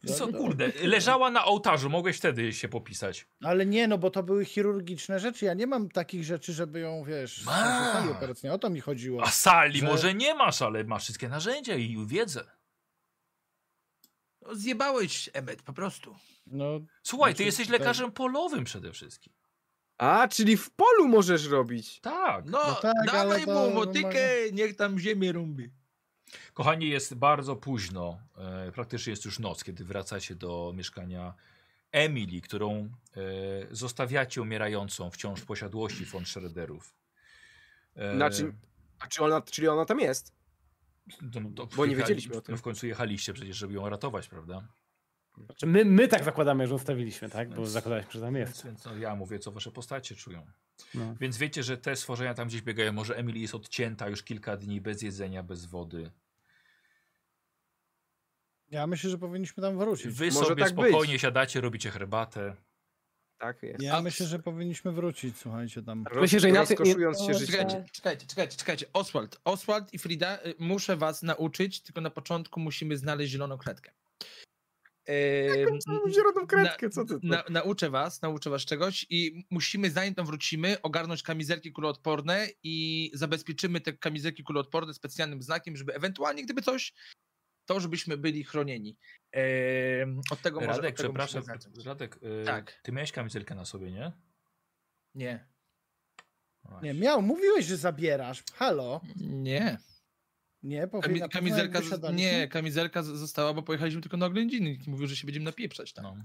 No, Co, no. kurde, leżała na ołtarzu, mogłeś wtedy się popisać. Ale nie, no bo to były chirurgiczne rzeczy. Ja nie mam takich rzeczy, żeby ją, wiesz, Ma. na sali operacyjnej. O to mi chodziło. A sali że- może nie masz, ale masz wszystkie narzędzia i wiedzę. No, zjebałeś, Emmet, po prostu. No, Słuchaj, ty Znaczy, jesteś tak. lekarzem polowym przede wszystkim. A, czyli w polu możesz robić. Tak. No, No tak, ale dawaj to mu motykę, normalnie. niech tam ziemię rumbi. Kochani, jest bardzo późno. E, praktycznie jest już noc, kiedy wracacie do mieszkania Emily, którą e, zostawiacie umierającą wciąż w posiadłości von Schroederów. E, Znaczy- A czy ona, czyli ona tam jest? no, no, bo nie wiedzieliśmy o tym. No w końcu jechaliście przecież, żeby ją ratować, prawda? Znaczy, My, my tak zakładamy, że zostawiliśmy, tak? Bo Więc- zakładaliśmy, że tam Więc, jest. więc no, ja mówię, co wasze postacie czują. No. Więc wiecie, że te stworzenia tam gdzieś biegają. Może Emily jest odcięta już kilka dni bez jedzenia, bez wody. ja myślę, że powinniśmy tam wrócić. Wy Może sobie tak być. spokojnie siadacie, robicie herbatę. Tak jest. Ja A- myślę, że powinniśmy wrócić, słuchajcie, tam. Roz, Myślę, że inaczej- rozkoszując no, się życiem. Czekajcie, czekajcie, czekajcie, czekajcie. Oswald, Oswald i Frida, y, muszę was nauczyć, tylko na początku musimy znaleźć zieloną kredkę. Ehm, Zieloną kredkę, co ty tu? Na, nauczę was, nauczę was czegoś i musimy, zanim tam wrócimy, ogarnąć kamizelki kuloodporne i zabezpieczymy te kamizelki kuloodporne specjalnym znakiem, żeby ewentualnie, gdyby coś, to żebyśmy byli chronieni. Ehm, od tego może... Radek, od tego przepraszam. musimy zacząć. Radek, y, Tak. ty miałeś kamizelkę na sobie, nie? No Nie. Nie, miał, mówiłeś, że zabierasz. Halo. Nie. Nie, Kami, powinna kamizelka, z- nie, kamizelka z- została, bo pojechaliśmy tylko na oględziny. Nikt nie Mówił, że się będziemy napieprzać tam. No,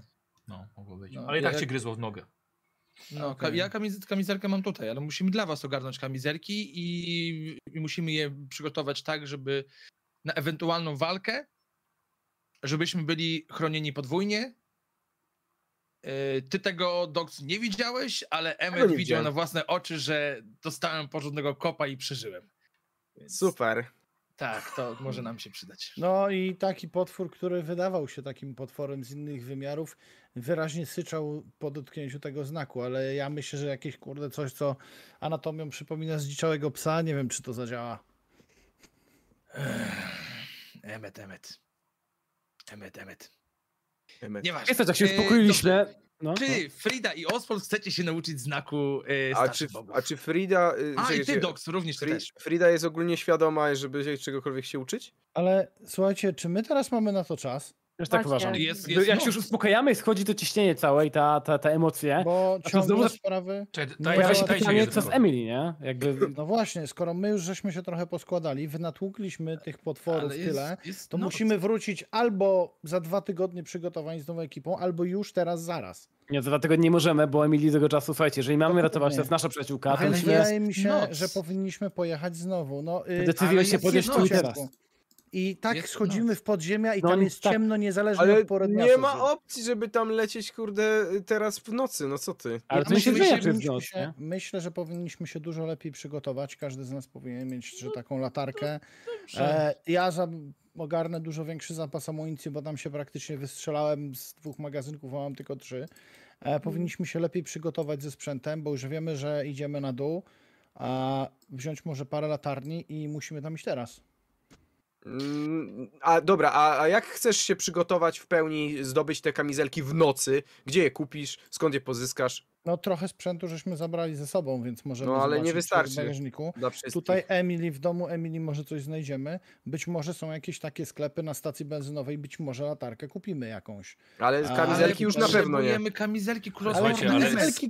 no mogło być. No, Ale i tak jak- cię gryzło w nogę. No, ka- Okej. ja kamiz- kamizelkę mam tutaj, ale musimy dla was ogarnąć kamizelki i, i musimy je przygotować tak, żeby na ewentualną walkę, żebyśmy byli chronieni podwójnie. Yy, Ty tego, Dox, nie widziałeś, ale Emmet widział widziałem. na własne oczy, że dostałem porządnego kopa i przeżyłem. Więc Super. Tak, to może nam się przydać. No i taki potwór, który wydawał się takim potworem z innych wymiarów, wyraźnie syczał po dotknięciu tego znaku, ale ja myślę, że jakieś kurde coś, co anatomią przypomina zdziczałego psa, nie wiem czy to zadziała. Emet, emet. Emet, emet. Emet. Nieważne. Jest to, jak się E, uspokoiliśmy. No, dobrze. Czy Frida i Oswald chcecie się nauczyć znaku e, A starszych czy, bogów? a czy Frida... y, A, czekaj, i ty, czekaj, Dox, również ty Fri- też. Frida jest ogólnie świadoma, żeby się czegokolwiek się uczyć? Ale słuchajcie, czy my teraz mamy na to czas? Też tak Właśnie. uważam. Jest, Bo jest Jak się noc. już uspokajamy i schodzi to ciśnienie całe i ta, ta, ta emocje, Bo E? to ciągle znowu- sprawy... Czekaj, Nie, daj, ja pojawia daj, się dajcie pytanie, dajcie co z Emily, nie? Jakby No właśnie, skoro my już żeśmy się trochę poskładali, wynatłukliśmy tych potworów Ale tyle, jest to noc. musimy wrócić albo za dwa tygodnie przygotowań z nową ekipą, albo już teraz, zaraz. nie, to dlatego nie możemy, bo Emily tego czasu, słuchajcie, jeżeli mamy ratować, to jest nasza przyjaciółka, to Ale musimy... wydaje mi się, noc. że powinniśmy pojechać znowu. No, y, Decyzję ale się jest podjąć jedno tu i ciemno. teraz. I tak Jest schodzimy w podziemia i No tam nie- jest tak. ciemno niezależnie Ale od pory dnia. nie co ma zrobię. opcji, żeby tam lecieć, kurde, y, teraz w nocy, no co ty? Ale Ja to nie się myślę, że zmienia przez Powinniśmy noc, się- nie? Myślę, że powinniśmy się dużo lepiej przygotować. Każdy z nas powinien mieć No, że taką latarkę. Dobrze. E, ja za, ogarnę dużo większy zapas amunicji, bo tam się praktycznie wystrzelałem z dwóch magazynków, a mam tylko trzy. Mhm. E, powinniśmy się lepiej przygotować ze sprzętem, bo już wiemy, że idziemy na dół. A wziąć może parę latarni i musimy tam iść teraz. Mm, A dobra, a, a jak chcesz się przygotować w pełni, zdobyć te kamizelki w nocy? Gdzie je kupisz? Skąd je pozyskasz? No trochę sprzętu żeśmy zabrali ze sobą, więc możemy No, ale nie zobaczyć, czy wystarczy. w bagażniku. Dla wszystkich. Tutaj Emily, w domu Emily może coś znajdziemy. Być może są jakieś takie sklepy na stacji benzynowej, być może latarkę kupimy jakąś. Ale A- kamizelki już na pewno nie. Potrzebujemy kamizelki Słuchajcie, kuloodporne. ale- Emet. wielki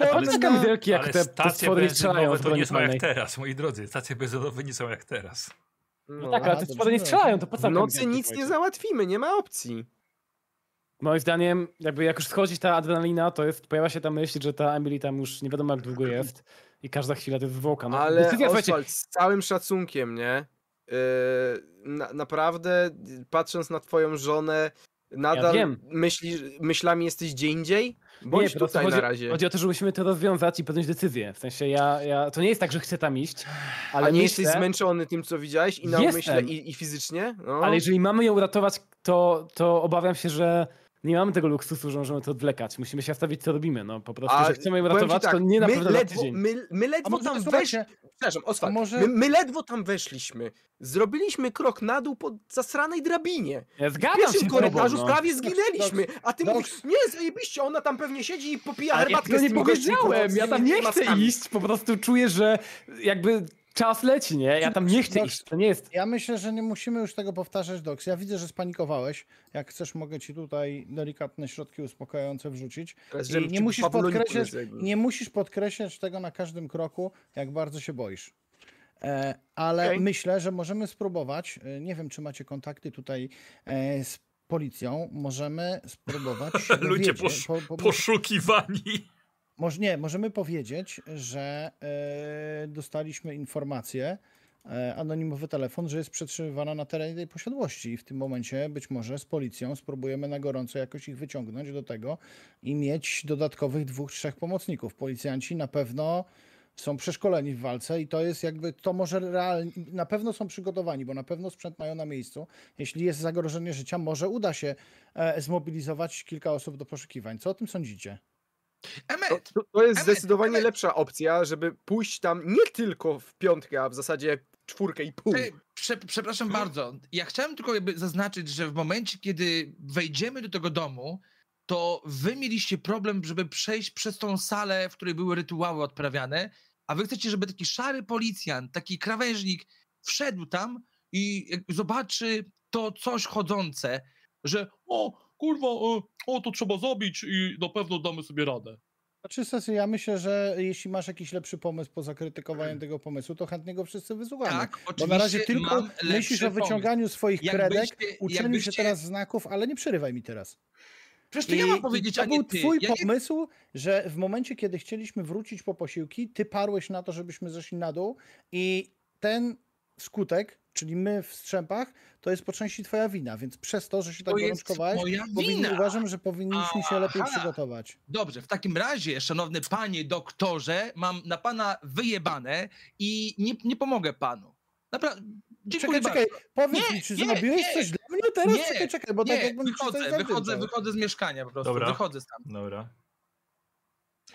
Ale odporny te na... kamizelki, jak Ale te, te stacje stwory strzelają benzynowe z to broni nie są jak palnej. teraz, moi drodzy. Stacje benzynowe nie są jak teraz. No No. tak, ale Aha, te stwory dobrze. nie strzelają, to po co W nocy kamizelki, nic nie słuchajcie? załatwimy, nie ma opcji. Moim zdaniem, jakby jak już schodzi ta adrenalina, to jest, pojawia się ta myśl, że ta Emily tam już nie wiadomo jak długo jest i każda chwila to jest zwłoka. No, Mhm. Ale decyzja, słuchajcie, Oswald, z całym szacunkiem, nie? Yy, na, naprawdę, y, patrząc na twoją żonę, nadal wiem. myślisz, myślami jesteś gdzie indziej? Bądź po prostu tutaj chodzi, na razie. Chodzi o to, że musimy to rozwiązać i podjąć decyzję. W sensie ja, ja to nie jest tak, że chcę tam iść, ale Ale nie myślę, jesteś zmęczony tym, co widziałeś i na umyśle Jestem. i, i fizycznie? No. ale jeżeli mamy ją uratować, to, to obawiam się, że nie mamy tego luksusu, że możemy to odwlekać. Musimy się wstawić, co robimy. No po prostu, A, że chcemy ją powiem ci uratować, tak, to nie na my pewno na ledwo, tydzień. my, my ledwo tam weszliśmy. słuchajcie, Przepraszam, Oswald, A może- my, my ledwo tam weszliśmy. Zrobiliśmy krok na dół po zasranej drabinie. Ja W zgadzam się pierwszym z tobą, korytarzu no. prawie zginęliśmy, a ty Doks. mówisz, nie, zajebiście, ona tam pewnie siedzi i popija Ale ja herbatkę tego z nie tym gościem, kurwa, powiedziałem, ja z tam tymi nie chcę maskami. iść, po prostu czuję, że jakby czas leci, nie? Ja tam nie No. chcę Dobrze. iść, to nie jest... ja myślę, że nie musimy już tego powtarzać, Doks. Ja widzę, że spanikowałeś. Jak chcesz, mogę ci tutaj delikatne środki uspokajające wrzucić. Teraz, I żebym nie ci musisz Pawloniku podkreślać, nie zajebał. nie musisz podkreślać tego na każdym kroku, jak bardzo się boisz. E, ale Okej. myślę, że możemy spróbować. e, Nie wiem, czy macie kontakty tutaj e, z policją. Możemy spróbować. się Ludzie dowiedzieć- posz- po- po- Poszukiwani. Moż, nie, możemy powiedzieć, że e, dostaliśmy informację, e, anonimowy telefon, że jest przetrzymywana na terenie tej posiadłości i w tym momencie być może z policją spróbujemy na gorąco jakoś ich wyciągnąć do tego i mieć dodatkowych dwóch, trzech pomocników. Policjanci na pewno są przeszkoleni w walce i to jest jakby, to może realnie, na pewno są przygotowani, bo na pewno sprzęt mają na miejscu. Jeśli jest zagrożenie życia, może uda się e, zmobilizować kilka osób do poszukiwań. Co o tym sądzicie? To, Emet, to, to jest Emet, zdecydowanie Emet. lepsza opcja, żeby pójść tam nie tylko w piątkę, a w zasadzie czwórkę i pół. Ej, prze, przepraszam Hmm? bardzo. Ja chciałem tylko jakby zaznaczyć, że w momencie, kiedy wejdziemy do tego domu, to wy mieliście problem, żeby przejść przez tą salę, w której były rytuały odprawiane, a wy chcecie, żeby taki szary policjant, taki krawężnik wszedł tam i jak zobaczy to coś chodzące, że o, kurwa, o, o to trzeba zabić i na pewno damy sobie radę. Znaczy, Sesy, ja myślę, że jeśli masz jakiś lepszy pomysł poza krytykowaniem tego pomysłu, to chętnie go wszyscy wysłuchamy. Tak, Bo oczywiście na razie tylko mam myślisz lepszy o wyciąganiu swoich pomysł. kredek, Jakbyście- uczeniu jakbyście- się teraz znaków, ale nie przerywaj mi teraz. Przecież to ja I- mam i powiedzieć, to a nie był ty. twój ja nie pomysł, że w momencie, kiedy chcieliśmy wrócić po posiłki, ty parłeś na to, żebyśmy zeszli na dół i ten skutek, czyli my w strzępach, to jest po części twoja wina, więc przez to, że się tak To jest gorączkowałeś, moja powinni, wina. uważam, że powinniśmy się lepiej Aha. przygotować. Dobrze, w takim razie, szanowny panie doktorze, mam na pana wyjebane i nie, nie pomogę panu. Napra- Dziękuję Czekaj, czekaj, powiedz Nie, mi, czy nie, zrobiłeś nie. coś dla mnie No teraz? Nie, czekaj, czekaj, bo bardzo. tak Nie, jakbym ci coś tak. wychodzę, no. wychodzę, zawdychał. wychodzę z mieszkania po prostu. Dobra. Wychodzę tam. Dobra.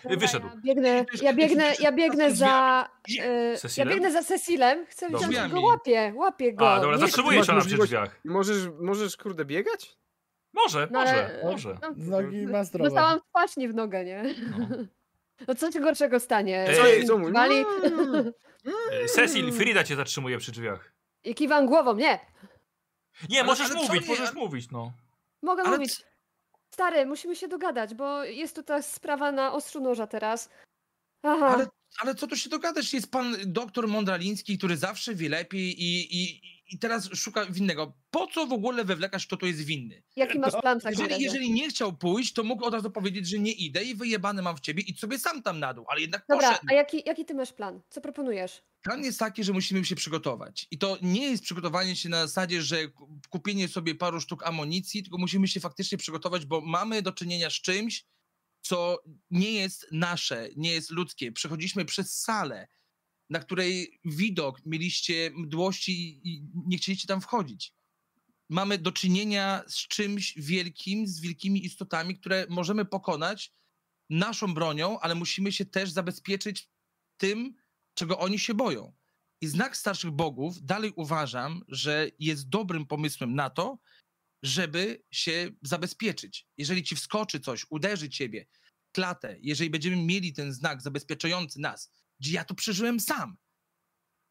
Dobra, Wyszedł. Ja biegnę, ja biegnę, ja biegnę za. y, ja Cecilem? biegnę za Cecilem. Chcę Dobra. wziąć go, Drzwiami. łapię, łapię go. A, dobra, Nie- zatrzymuje masz się ona przy możliwość- drzwiach. Możesz, możesz kurde biegać? Może, No, może, ale- może. no, Nogi ma zdrowe. Dostałam w paśni w nogę, nie? No. No co ci gorszego stanie? Ej, Co Ej, jej co mówi? Wali Mm. E, Cecil, Frida cię zatrzymuje przy drzwiach. i kiwam głową, nie. Nie, Ale- możesz ale co mówić, nie? możesz mówić, no. Mogę Ale mówić. Stary, musimy się dogadać, bo jest tu ta sprawa na ostrzu noża teraz. Aha, Ale, ale co tu się dogadasz? Jest pan doktor Mondraliński, który zawsze wie lepiej i, i, i teraz szuka winnego. Po co w ogóle wywlekasz, kto tu jest Tak, winny? jaki masz plan w takim Jeżeli, razie? jeżeli nie chciał pójść, to mógł od razu powiedzieć, że nie idę i wyjebany mam w ciebie i sobie sam tam na dół, ale jednak Dobra, poszedł. a jaki, jaki ty masz plan? Co proponujesz? Plan jest taki, że musimy się przygotować. I to nie jest przygotowanie się na zasadzie, że ku- kupienie sobie paru sztuk amunicji, tylko musimy się faktycznie przygotować, bo mamy do czynienia z czymś, co nie jest nasze, nie jest ludzkie. Przechodziliśmy przez salę, na której widok mieliście mdłości i nie chcieliście tam wchodzić. Mamy do czynienia z czymś wielkim, z wielkimi istotami, które możemy pokonać naszą bronią, ale musimy się też zabezpieczyć tym, czego oni się boją. I znak starszych bogów dalej uważam, że jest dobrym pomysłem na to, żeby się zabezpieczyć. Jeżeli ci wskoczy coś, uderzy ciebie, klatę, jeżeli będziemy mieli ten znak zabezpieczający nas, gdzie ja to przeżyłem sam,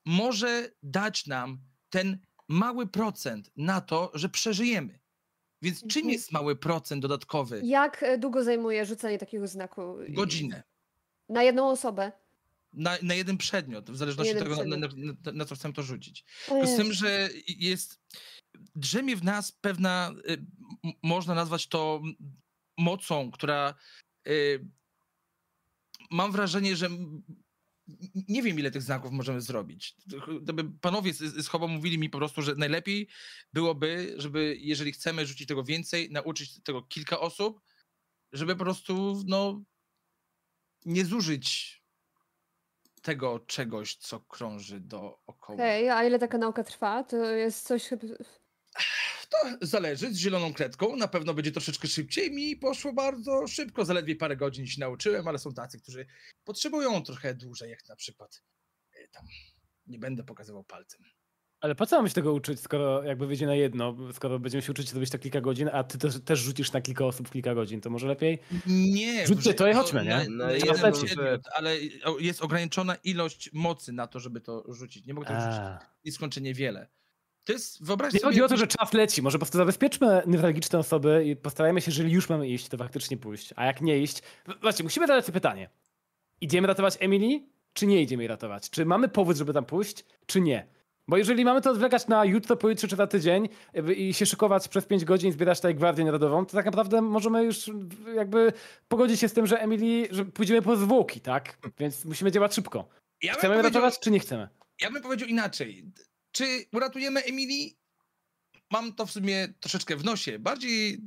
może dać nam ten mały procent na to, że przeżyjemy. Więc czym Mhm. jest mały procent dodatkowy? Jak e, długo zajmuje rzucenie takiego znaku? I- Godzinę. Na jedną osobę. Na, na jeden przedmiot, w zależności od jeden tego, na, na, na, na co chcę to rzucić. O Z tym, Jezu. że jest. Drzemie w nas pewna, y, m- można nazwać to m- mocą, która. y, Mam wrażenie, że. m- n- Nie wiem, ile tych znaków możemy zrobić. Ch- Gdyby panowie z, z Hobo mówili mi po prostu, że najlepiej byłoby, żeby, jeżeli chcemy rzucić tego więcej, nauczyć tego kilka osób, żeby po prostu, no, nie zużyć tego czegoś, co krąży dookoła. Okej, a ile taka nauka trwa? To jest coś... chyba- To zależy, z zieloną kredką na pewno będzie troszeczkę szybciej. Mi poszło bardzo szybko, zaledwie parę godzin się nauczyłem, ale są tacy, którzy potrzebują trochę dłużej, jak na przykład y, tam. Nie będę pokazywał palcem. Ale po co mamy się tego uczyć, skoro jakby wyjdzie na jedno, skoro będziemy się uczyć robić to kilka godzin, a ty też, też rzucisz na kilka osób kilka godzin, to może lepiej? Nie, Rzućcie wrze- to i chodźmy, nie? Na, No na i jeden leci. przedmiot, ale o- jest ograniczona ilość mocy na to, żeby to rzucić. Nie mogę tego rzucić A. nieskończenie wiele. To jest, wyobraźcie Nie sobie... chodzi o to, że czas leci. Może po prostu zabezpieczmy newralgiczne osoby i postarajmy się, jeżeli już mamy iść, to faktycznie pójść. A jak nie iść. Właśnie, musimy zadać sobie pytanie. Idziemy ratować Emily, czy nie idziemy jej ratować? Czy mamy powód, żeby tam pójść, czy nie? Bo jeżeli mamy to odwlekać na jutro, pojutrze czy na tydzień jakby i się szykować przez 5 godzin, zbierać tutaj Gwardię Narodową, to tak naprawdę możemy już jakby pogodzić się z tym, że Emily, że pójdziemy po zwłoki, tak? Więc musimy działać szybko. Ja bym Chcemy powiedział- ratować, czy nie chcemy? Ja bym powiedział inaczej. D- Czy uratujemy Emilii? Mam to w sumie troszeczkę w nosie. Bardziej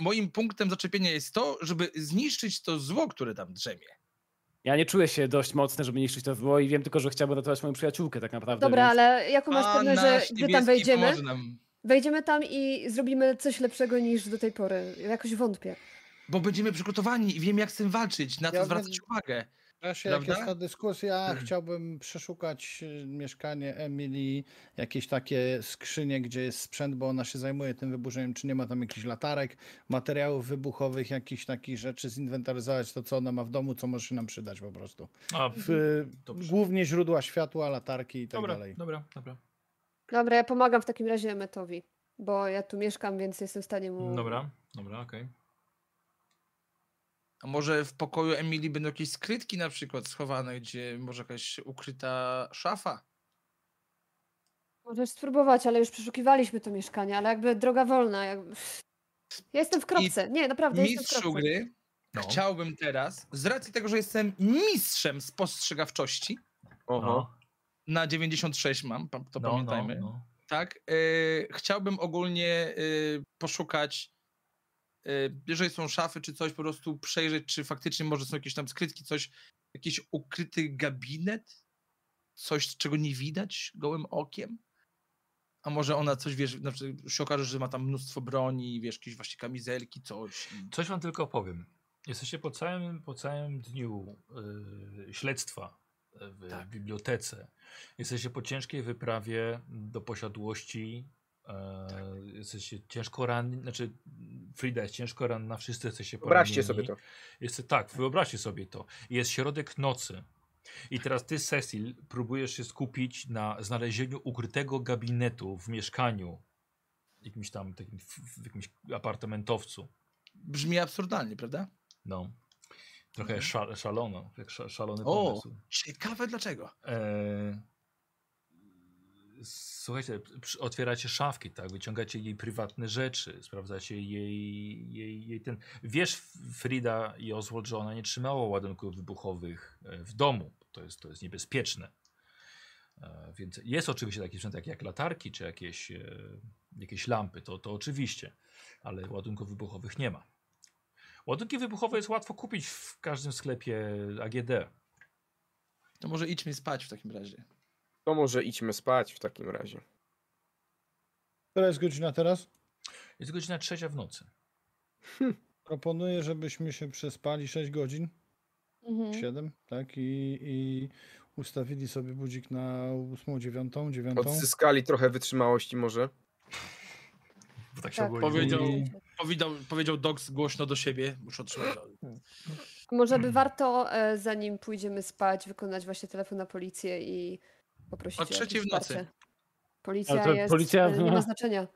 moim punktem zaczepienia jest to, żeby zniszczyć to zło, które tam drzemie. Ja nie czuję się dość mocny, żeby niszczyć to zło i wiem tylko, że chciałbym ratować moją przyjaciółkę tak naprawdę. Dobra, więc... ale jaką masz A pewność, że nasz gdy tam niebieski wejdziemy, pomoże Nam, wejdziemy tam i zrobimy coś lepszego niż do tej pory? Jakoś wątpię. bo będziemy przygotowani i wiem, jak z tym walczyć, na co Ja bym- zwracać uwagę. Czasie, jak jest Prawda? ta dyskusja, chciałbym przeszukać y, mieszkanie Emilii, jakieś takie skrzynie, gdzie jest sprzęt, bo ona się zajmuje tym wyburzeniem, czy nie ma tam jakichś latarek, materiałów wybuchowych, jakichś takich rzeczy, zinwentaryzować to, co ona ma w domu, co może się nam przydać po prostu. A, W, y, Mhm. Dobrze. głównie źródła światła, latarki i tak dobra, dalej. dobra, dobra. Dobra, ja pomagam w takim razie Emmetowi, bo ja tu mieszkam, więc jestem w stanie Mm. mu... Dobra, dobra, okej. A może w pokoju Emilii będą jakieś skrytki na przykład schowane, gdzie może jakaś ukryta szafa? Możesz spróbować, ale już przeszukiwaliśmy to mieszkanie, ale jakby droga wolna. Jak... Ja jestem w kropce. Nie, naprawdę, jestem w Mistrzu kropce. gry No. chciałbym teraz, z racji tego, że jestem mistrzem spostrzegawczości, Oho. No, na 96 mam, pa- to no, pamiętajmy. no, no. Tak. y, chciałbym ogólnie y, poszukać, y, jeżeli są szafy czy coś, po prostu przejrzeć, czy faktycznie może są jakieś tam skrytki, coś, jakiś ukryty gabinet, coś, czego nie widać gołym okiem. a może ona coś, wiesz, na przykład się okaże, że ma tam mnóstwo broni, wiesz, jakieś właśnie kamizelki, coś. i- Coś wam tylko powiem. Jesteście po całym, po całym dniu y, śledztwa y, w Tak. bibliotece. Jesteście po ciężkiej wyprawie do posiadłości. E, Tak. Jesteście ciężko ranni, znaczy Frida jest ciężko ranna, wszyscy jesteście poranieni. Wyobraźcie sobie to. Jest, tak, wyobraźcie sobie to. Jest środek nocy. I teraz ty, Cecil, próbujesz się skupić na znalezieniu ukrytego gabinetu w mieszkaniu, jakimś tam takim, w- w jakimś apartamentowcu. Brzmi absurdalnie, prawda? No. Trochę Mhm. szal, szalono, jak sza- szalony O! pomysł. Ciekawe dlaczego. E... Słuchajcie, przy- otwieracie szafki, tak? Wyciągacie jej prywatne rzeczy, sprawdzacie jej, jej, jej ten. Wiesz, Frida i Oswald, że ona nie trzymała ładunków wybuchowych e, w domu. To jest, to jest niebezpieczne. E, Więc jest oczywiście taki sprzęt jak, jak latarki czy jakieś, e, jakieś lampy, to, to oczywiście, ale ładunków wybuchowych nie ma. Ładunki wybuchowe jest łatwo kupić w każdym sklepie AGD. To może idźmy spać w takim razie. To może idźmy spać w takim razie. Która jest godzina teraz? Jest godzina trzecia w nocy. Proponuję, żebyśmy się przespali 6 godzin, Mhm. 7, tak? I, i ustawili sobie budzik na 8, 9, No 9. Odzyskali trochę wytrzymałości może. Bo tak się Tak. ogólnie Powiedział- mówi. Powiedział, powiedział Dox głośno do siebie, muszę otrzymać. Może Mhm. by warto, e, zanim pójdziemy spać, wykonać właśnie telefon na policję i poprosić O jakieś trzeciej w nocy. wsparcie. Policja Ale to jest, policja- policja... nie ma znaczenia.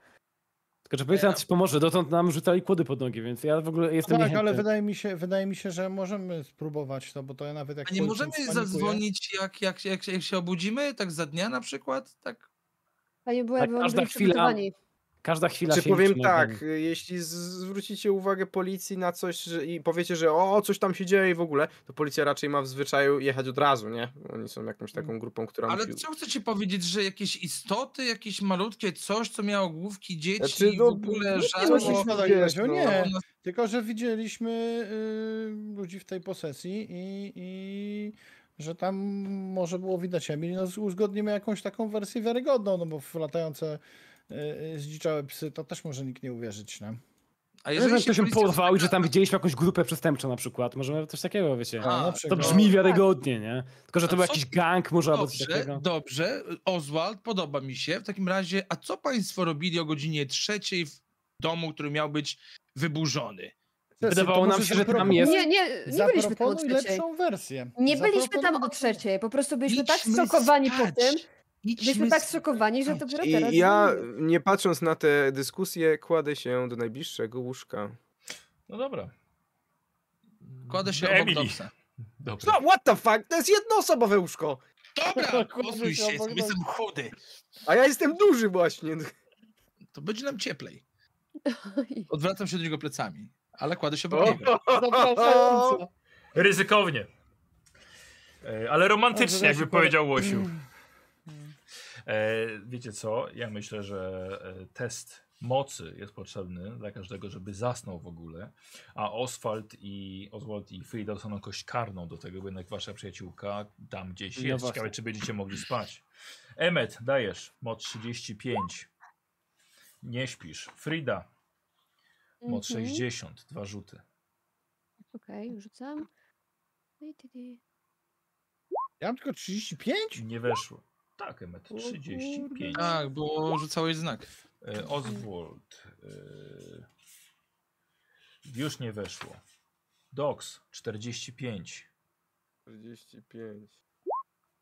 Tylko, że policja nam coś pomoże, dotąd nam rzucali kłody pod nogi, więc ja w ogóle jestem Tak, ale niechętny. wydaje mi, się, wydaje mi się, że możemy spróbować to, bo to ja nawet jak A nie policjant możemy spanikuje- zadzwonić, jak, jak, jak, jak się obudzimy? Tak za dnia na przykład? Tak. Panie byłem, Tak, tak, każda byli chwila- przygotowani. Każda chwila Czy się no, powiem liczy na tak, dni. y, jeśli z- zwrócicie uwagę policji na coś że, i powiecie, że o, coś tam się dzieje i w ogóle, to policja raczej ma w zwyczaju jechać od razu, nie? Oni są jakąś taką grupą, która Ale musi... co chcecie powiedzieć, że jakieś istoty, jakieś malutkie coś, co miało główki dzieci Znaczy, i w no, ogóle no, Nie Albo- no, żadne... się śmiać, wiesz, Grzesiu, no. nie. Tylko, że widzieliśmy y, ludzi w tej posesji i, i że tam może było widać Emil. No, z- uzgodnimy jakąś taką wersję wiarygodną, no bo w latające y, y, zdziczałe psy to też może nikt nie uwierzyć nam. A Jeżeli ktoś się policja porwał i że tam zapyta- widzieliśmy jakąś grupę przestępczą na przykład, możemy coś takiego, wiecie. No, A, To przykład. Tak. brzmi wiarygodnie, nie? Tylko, że A to był co- jakiś gang może albo coś Dobrze, takiego. dobrze. Oswald, podoba mi się. W takim razie, a co państwo robili o godzinie trzeciej w domu, który miał być wyburzony? Wydawało nam się, że tam jest... Nie, nie, nie byliśmy tam o Zaproponuj trzeciej. lepszą wersję. Nie byliśmy Zaproponuj tam o lepszą- trzeciej, po prostu byliśmy tak Idźmy zszokowani po spać. tym, Idźmy byliśmy tak spać. zszokowani, że dopiero teraz... I ja, dzwonimy. nie patrząc na te dyskusje, kładę się do najbliższego łóżka. No dobra. Kładę się Do obok Emily. Dobsa. Dobra. Co? What the fuck? To jest jednoosobowe łóżko! Dobra, Kładę kosuj się się, obok jestem chudy. A ja jestem duży właśnie. To będzie nam cieplej. Odwracam się do niego plecami, ale kładę się obok O, niego. Zapraszająco. Ryzykownie. E, Ale romantycznie, Dobrze, jakby Rysiu, powie- powiedział Łosiu. Mm. E, wiecie co? Ja myślę, że e, test mocy jest potrzebny dla każdego, żeby zasnął w ogóle. A Oswald i Oswald i Frida dostaną kość karną do tego, bo jednak wasza przyjaciółka tam gdzieś No jest. właśnie. Ciekawe, czy będziecie mogli spać. Emmet, dajesz. Moc 35. Nie śpisz. Frida, moc Mhm. 60. Dwa rzuty. Okej, rzucam. No Ty, ty, ty. Ja mam tylko 35? Nie weszło. Tak, Emmet, 35. Tak, bo rzucałeś znak. E, Oswald. E, już nie weszło. Dox, 45. 45.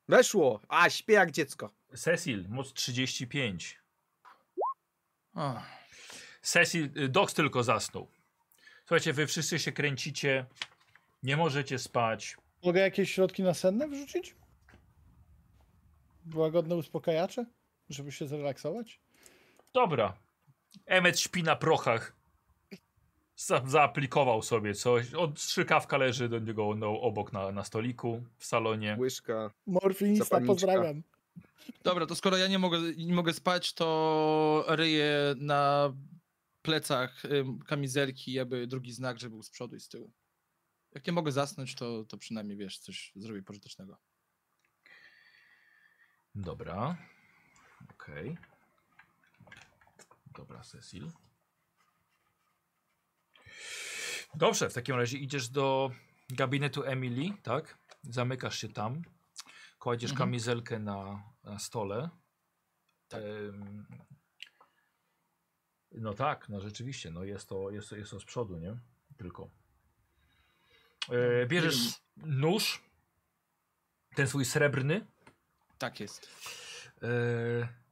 Weszło! A, śpię jak dziecko. Cecil, moc 35. O, Cecil, y, Dox tylko zasnął. Słuchajcie, wy wszyscy się kręcicie. Nie możecie spać. Mogę jakieś środki nasenne wrzucić? Łagodne uspokajacze? Żeby się zrelaksować? Dobra. Emmet śpi na prochach. Za, zaaplikował sobie coś. Od strzykawka leży do niego no, obok na, na stoliku w salonie. Łyżka. Morfinista, Zapalniczka. pozdrawiam. Dobra, to skoro ja nie mogę, nie mogę spać, to ryję na plecach ym, kamizelki, jakby drugi znak, żeby był z przodu i z tyłu. Jak nie mogę zasnąć, to, to przynajmniej wiesz, coś zrobię pożytecznego. Dobra. Okej. Dobra, Cecil. Dobrze, w takim razie idziesz do gabinetu Emily, tak? Zamykasz się tam. Kładziesz Mhm. kamizelkę na, na stole. Em, no tak, no rzeczywiście, no jest to, jest, to- jest to z przodu, nie? Tylko. E, bierzesz nóż, ten swój srebrny, Tak jest. Eee,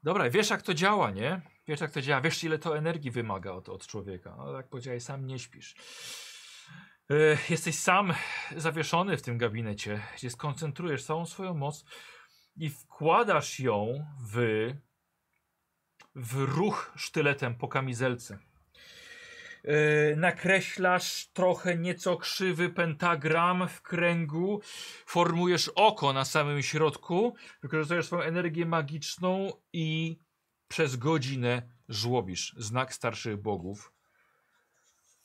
dobra, wiesz jak to działa, nie? Wiesz jak to działa, wiesz ile to energii wymaga od, od człowieka. No tak powiedziałeś, sam nie śpisz. Eee, jesteś sam zawieszony w tym gabinecie, gdzie skoncentrujesz całą swoją moc i wkładasz ją w, w ruch sztyletem po kamizelce. Eee, nakreślasz trochę nieco krzywy pentagram w kręgu, formujesz oko na samym środku, Wykorzystujesz swoją energię magiczną i przez godzinę żłobisz znak starszych bogów.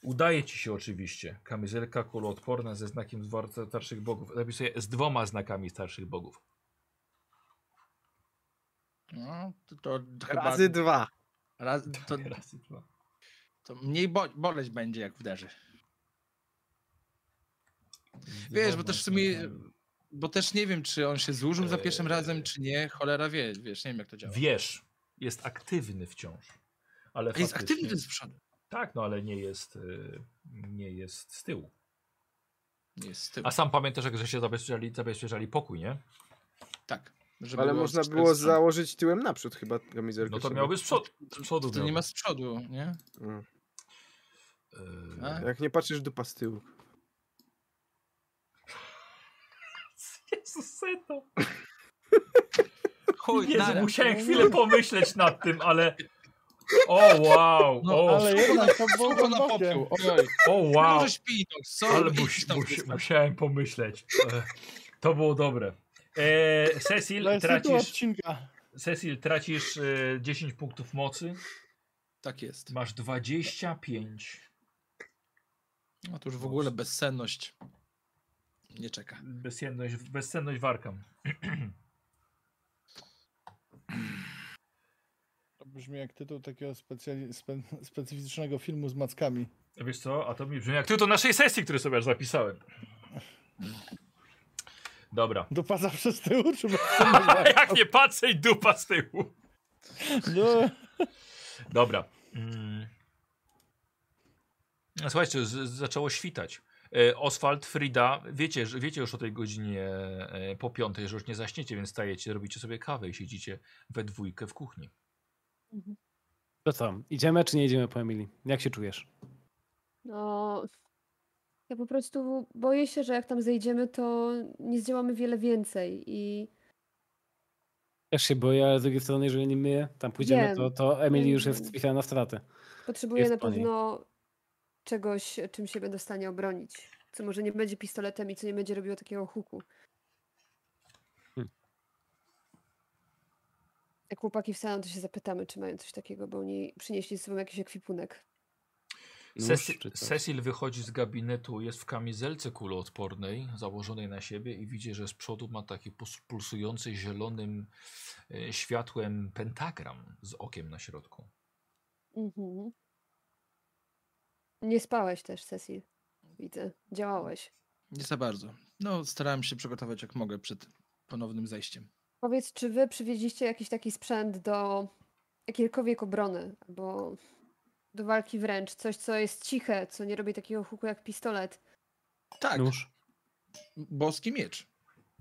Udaje ci się oczywiście. Kamizelka kuloodporna ze znakiem zwar- starszych bogów. Zapisuję z dwoma znakami starszych bogów. No, to, to chyba Razy dwa. raz, to, Raz i dwa. to mniej bo, boleć będzie, jak uderzy. Wiesz, bo też w sumie, bo też nie wiem, czy on się złożył za pierwszym Eee. razem, czy nie. Cholera wie, wiesz, nie wiem, jak to działa. Wiesz, jest aktywny wciąż. Ale A jest faktycznie- aktywny ten z przodu. Tak, no ale nie jest, y, nie jest z tyłu. Nie Jest z tyłu. A sam pamiętasz, jak że się zabezpieczali, zabezpieczali pokój, nie? Tak. żeby Ale było można z czterech było stron. założyć tyłem naprzód chyba kamizelkę. No to sobie. miałby z przodu. Z To, przodu to nie ma miałby. z przodu, nie? Mm. Y, A? Jak nie patrzysz dupa z tyłu. Jezus, to. Chuj, Jezu, nara. musiałem chwilę pomyśleć nad tym, ale. O wow, No, o, Ale jednak to było Słowo na głębokie. popiół, ojoj. o wow, Może śpi, no, co? ale idź mus, tam, mus, dziecko. musiałem pomyśleć. E, To było dobre. E, Cecil, Dla tytuł tracisz, odcinka. Cecil, tracisz e, 10 punktów mocy, Tak jest. masz 25. No to już w ogóle bezsenność nie czeka. Bezsenność, bezsenność warkam. To brzmi jak tytuł takiego specjali- spe, specyficznego filmu z mackami. Wiesz co, a to mi brzmi jak tytuł naszej sesji, który sobie aż zapisałem. Dobra. Dopaza przez tył, czy Jak nie patrzę i dupa z tyłu. no, Dobra. Mm. No, Słuchajcie, z, z- zaczęło świtać. E, Oswald, Frida, wiecie, że- wiecie już o tej godzinie e, po piątej, że już nie zaśniecie, więc stajecie, robicie sobie kawę i siedzicie we dwójkę w kuchni. To co, idziemy czy nie idziemy po Emilii? Jak się czujesz? No, ja po prostu boję się, że jak tam zejdziemy, to nie zdziałamy wiele więcej i Też się boję, ale z drugiej strony, jeżeli nie my tam pójdziemy, Wiem. to, to Emily już Wiem. jest chwila na straty. potrzebuję Jest na po niej. pewno czegoś, czym się będę w stanie obronić. Co może nie będzie pistoletem i co nie będzie robiło takiego huku. Hmm. Jak chłopaki wstaną, to się zapytamy, czy mają coś takiego, bo oni przynieśli z sobą jakiś ekwipunek. Nóż Cecil, No czy coś. Cecil wychodzi z gabinetu, jest w kamizelce kuloodpornej, założonej na siebie i widzi, że z przodu ma taki pus- pulsujący zielonym e, światłem pentagram z okiem na środku. Mhm. Nie spałeś też, Cecil. Widzę. Działałeś. Nie za bardzo. No, starałem się przygotować jak mogę przed ponownym zejściem. Powiedz, czy wy przywieźliście jakiś taki sprzęt do jakiejkolwiek obrony, albo do walki wręcz, coś, co jest ciche, co nie robi takiego huku jak pistolet. Tak, Nóż. boski miecz,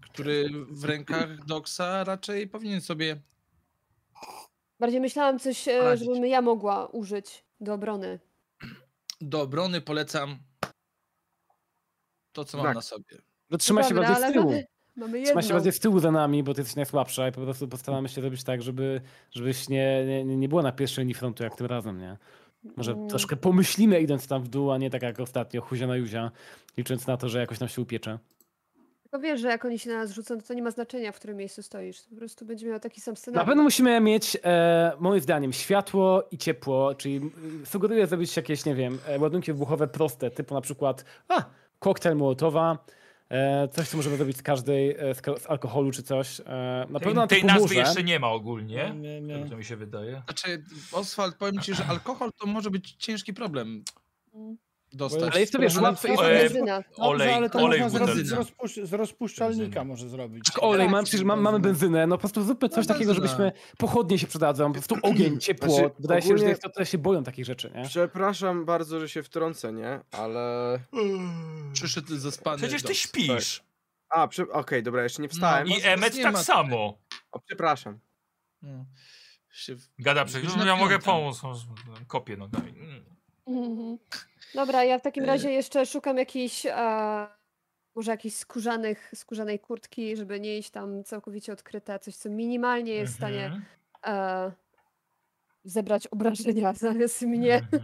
który w rękach Doksa raczej powinien sobie... Bardziej myślałam coś, e, Poradzić. żebym ja mogła użyć do obrony. Do obrony polecam to, co mam Tak. na sobie. No trzyma się dobra, bardziej z ale tyłu. mamy- Mamy jedną. Trzyma się bardziej z tyłu za nami, bo ty jesteś najsłabsza i po prostu postaramy się zrobić tak, żeby, żebyś nie, nie, nie było na pierwszej linii frontu jak tym razem, nie? Może Mm, troszkę pomyślimy idąc tam w dół, a nie tak jak ostatnio, huzia na juzia, licząc na to, że jakoś nam się upiecze. Tylko wiesz, że jak oni się na nas rzucą, to, to nie ma znaczenia, w którym miejscu stoisz. Po prostu będzie miał taki sam Na scenariusz. pewno musimy mieć, e, moim zdaniem, światło i ciepło, czyli y, sugeruję zrobić jakieś, nie wiem, e, ładunki wybuchowe proste, typu na przykład, a, koktajl Mołotowa, E, coś, co możemy zrobić z każdej, e, z, ka- z alkoholu czy coś. E, na Tej, pewno na tej tej nazwy jeszcze nie ma ogólnie. nie, Nie. nie. To mi się wydaje. Znaczy, Oswald, powiem ci, że alkohol to może być ciężki problem Mm. dostać. Ale jest to, wiesz, łatwe Jest E, benzyna. Olej, ale to olej można zrobić z, butelce. rozpusz- z rozpuszczalnika może zrobić. Tak, olej, mam, przecież mam, mamy benzynę, no po prostu zróbmy coś No, takiego, benzyna. żebyśmy, pochodnie się przydadzą, po prostu ogień, ciepło, Znaczy, wydaje się, ogólnie- że to, to się boją takich rzeczy, nie? Przepraszam bardzo, że się wtrącę, nie? Ale... Przyszedł zaspany. Przecież ty Doc. śpisz. A, prze... okej, dobra, jeszcze nie wstałem. No, I Mas- mas Emmet nie tak ma tutaj. samo. O, przepraszam. No. Się w- Gada przecież, Już na ja mogę piątym. pomóc. no, z- Kopię nogami. Mm. Mhm. Dobra, ja w takim E. razie jeszcze szukam jakichś, e, może jakichś skórzanych, skórzanej kurtki, żeby nie iść tam całkowicie odkryta, coś co minimalnie jest w stanie Mhm, e, zebrać obrażenia zamiast mnie. mhm,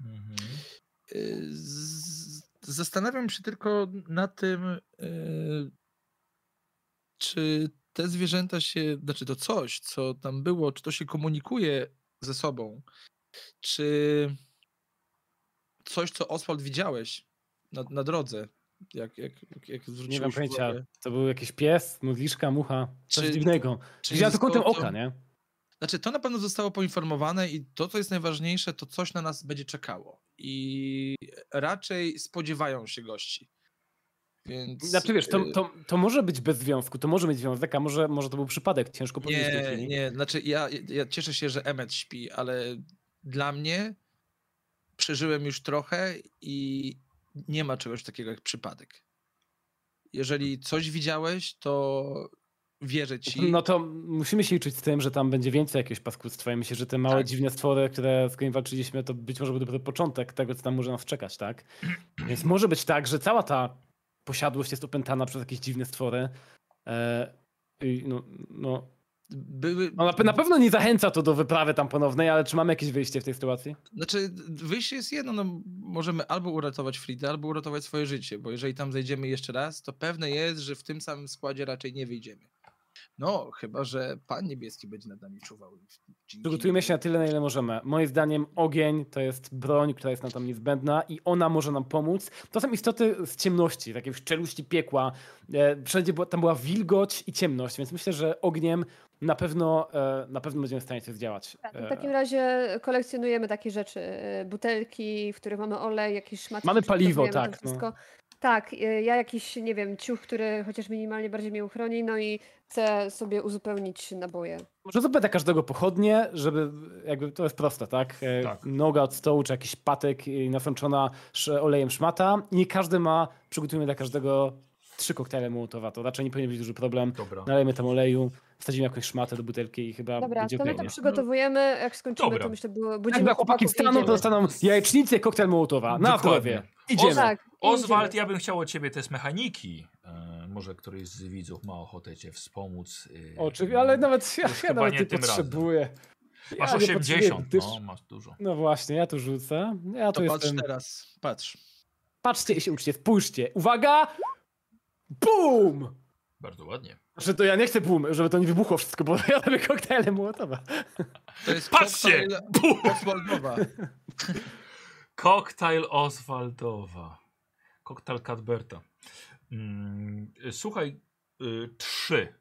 mhm. y, z- Zastanawiam się tylko na tym, y, czy te zwierzęta się, znaczy to coś, co tam było, czy to się komunikuje ze sobą, czy coś, co Oswald widziałeś na, na drodze, jak, jak, jak, jak zwróciłeś Nie mam pojęcia, uwagę, to był jakiś pies, modliszka, mucha, coś Czy- dziwnego. czy Widziałem to kątem zostało to- oka, nie? Znaczy, to na pewno zostało poinformowane i to, co jest najważniejsze, to coś na nas będzie czekało. I raczej spodziewają się gości. Więc. Znaczy wiesz, to, y, to, to może być bez związku, to może mieć związek, a może, może to był przypadek, ciężko powiedzieć. w tej Nie, chwili. nie, znaczy ja, ja cieszę się, że Emmet śpi, ale dla mnie przeżyłem już trochę i nie ma czegoś takiego jak przypadek. Jeżeli coś widziałeś, to wierzę ci. No to musimy się liczyć z tym, że tam będzie więcej jakiegoś paskudstwa i myślę, że te małe Tak. dziwne stwory, które z którymi walczyliśmy, to być może był dopiero początek tego, co tam może nas czekać, tak? Więc może być tak, że cała ta posiadłość jest opętana przez jakieś dziwne stwory. E, i no, no, Były, no na, pe- na pewno nie zachęca to do wyprawy tam ponownej, ale czy mamy jakieś wyjście w tej sytuacji? Znaczy, wyjście jest jedno, no, możemy albo uratować Frida, albo uratować swoje życie, bo jeżeli tam zejdziemy jeszcze raz, to pewne jest, że w tym samym składzie raczej nie wyjdziemy. No, chyba, że Pan Niebieski będzie nad nami czuwał. Dzięki Przygotujmy niemu. się na tyle, na ile możemy. Moim zdaniem ogień to jest broń, która jest nam tam niezbędna i ona może nam pomóc. To są istoty z ciemności, z jakiejś czeluści piekła. E, Wszędzie była, tam była wilgoć i ciemność, więc myślę, że ogniem na pewno, e, na pewno będziemy w stanie coś zdziałać. Dobra, to E, W takim razie kolekcjonujemy takie rzeczy, e, butelki, w których mamy olej, jakieś szmatki. Mamy przygotowujemy paliwo, to tak, no. wszystko. Tak, e, ja jakiś, nie wiem, ciuch, który chociaż minimalnie bardziej mnie uchroni, no i chcę sobie uzupełnić naboje. Może zupę dla każdego pochodnie, żeby jakby to jest proste, tak? E, Tak. Noga od stołu, czy jakiś patyk e, nasączona sz- olejem szmata. Nie każdy ma, przygotujmy dla każdego trzy koktajle Mołotowa. To raczej nie powinien być duży problem. Dobra. Nalejmy tam oleju, wsadzimy jakąś szmatę do butelki i chyba Dobra, będzie to my okej, to nie? przygotowujemy, jak skończymy, Dobra. to myślę, bu- Jak budzimy dla chłopaki chłopaków i wstaną, to idziemy. dostaną jajecznicę i koktajl Mołotowa. Na Dokładnie. zdrowie. Idziemy. Tak, i Oswald, idziemy. ja bym chciał od ciebie test mechaniki. E, może któryś z widzów ma ochotę cię wspomóc. e, Oczywiście, ale nawet ja, Już ja chyba nawet nie nie tym razem. potrzebuję. Masz Ja nie 80, potrzebuję, gdyż- no, masz dużo. No właśnie, ja tu rzucę. Ja tu To patrz jestem. teraz, patrz. Patrzcie i się uczcie, spójrzcie. Uwaga! Bum! Bardzo ładnie. Znaczy to ja nie chcę boom, żeby to nie wybuchło wszystko, bo ja robię koktajle Mołotowa. To jest Patrzcie! koktajl Oswaldowa. Koktajl Oswaldowa. Koktajl Cadberta. Mm, y, słuchaj, y, trzy.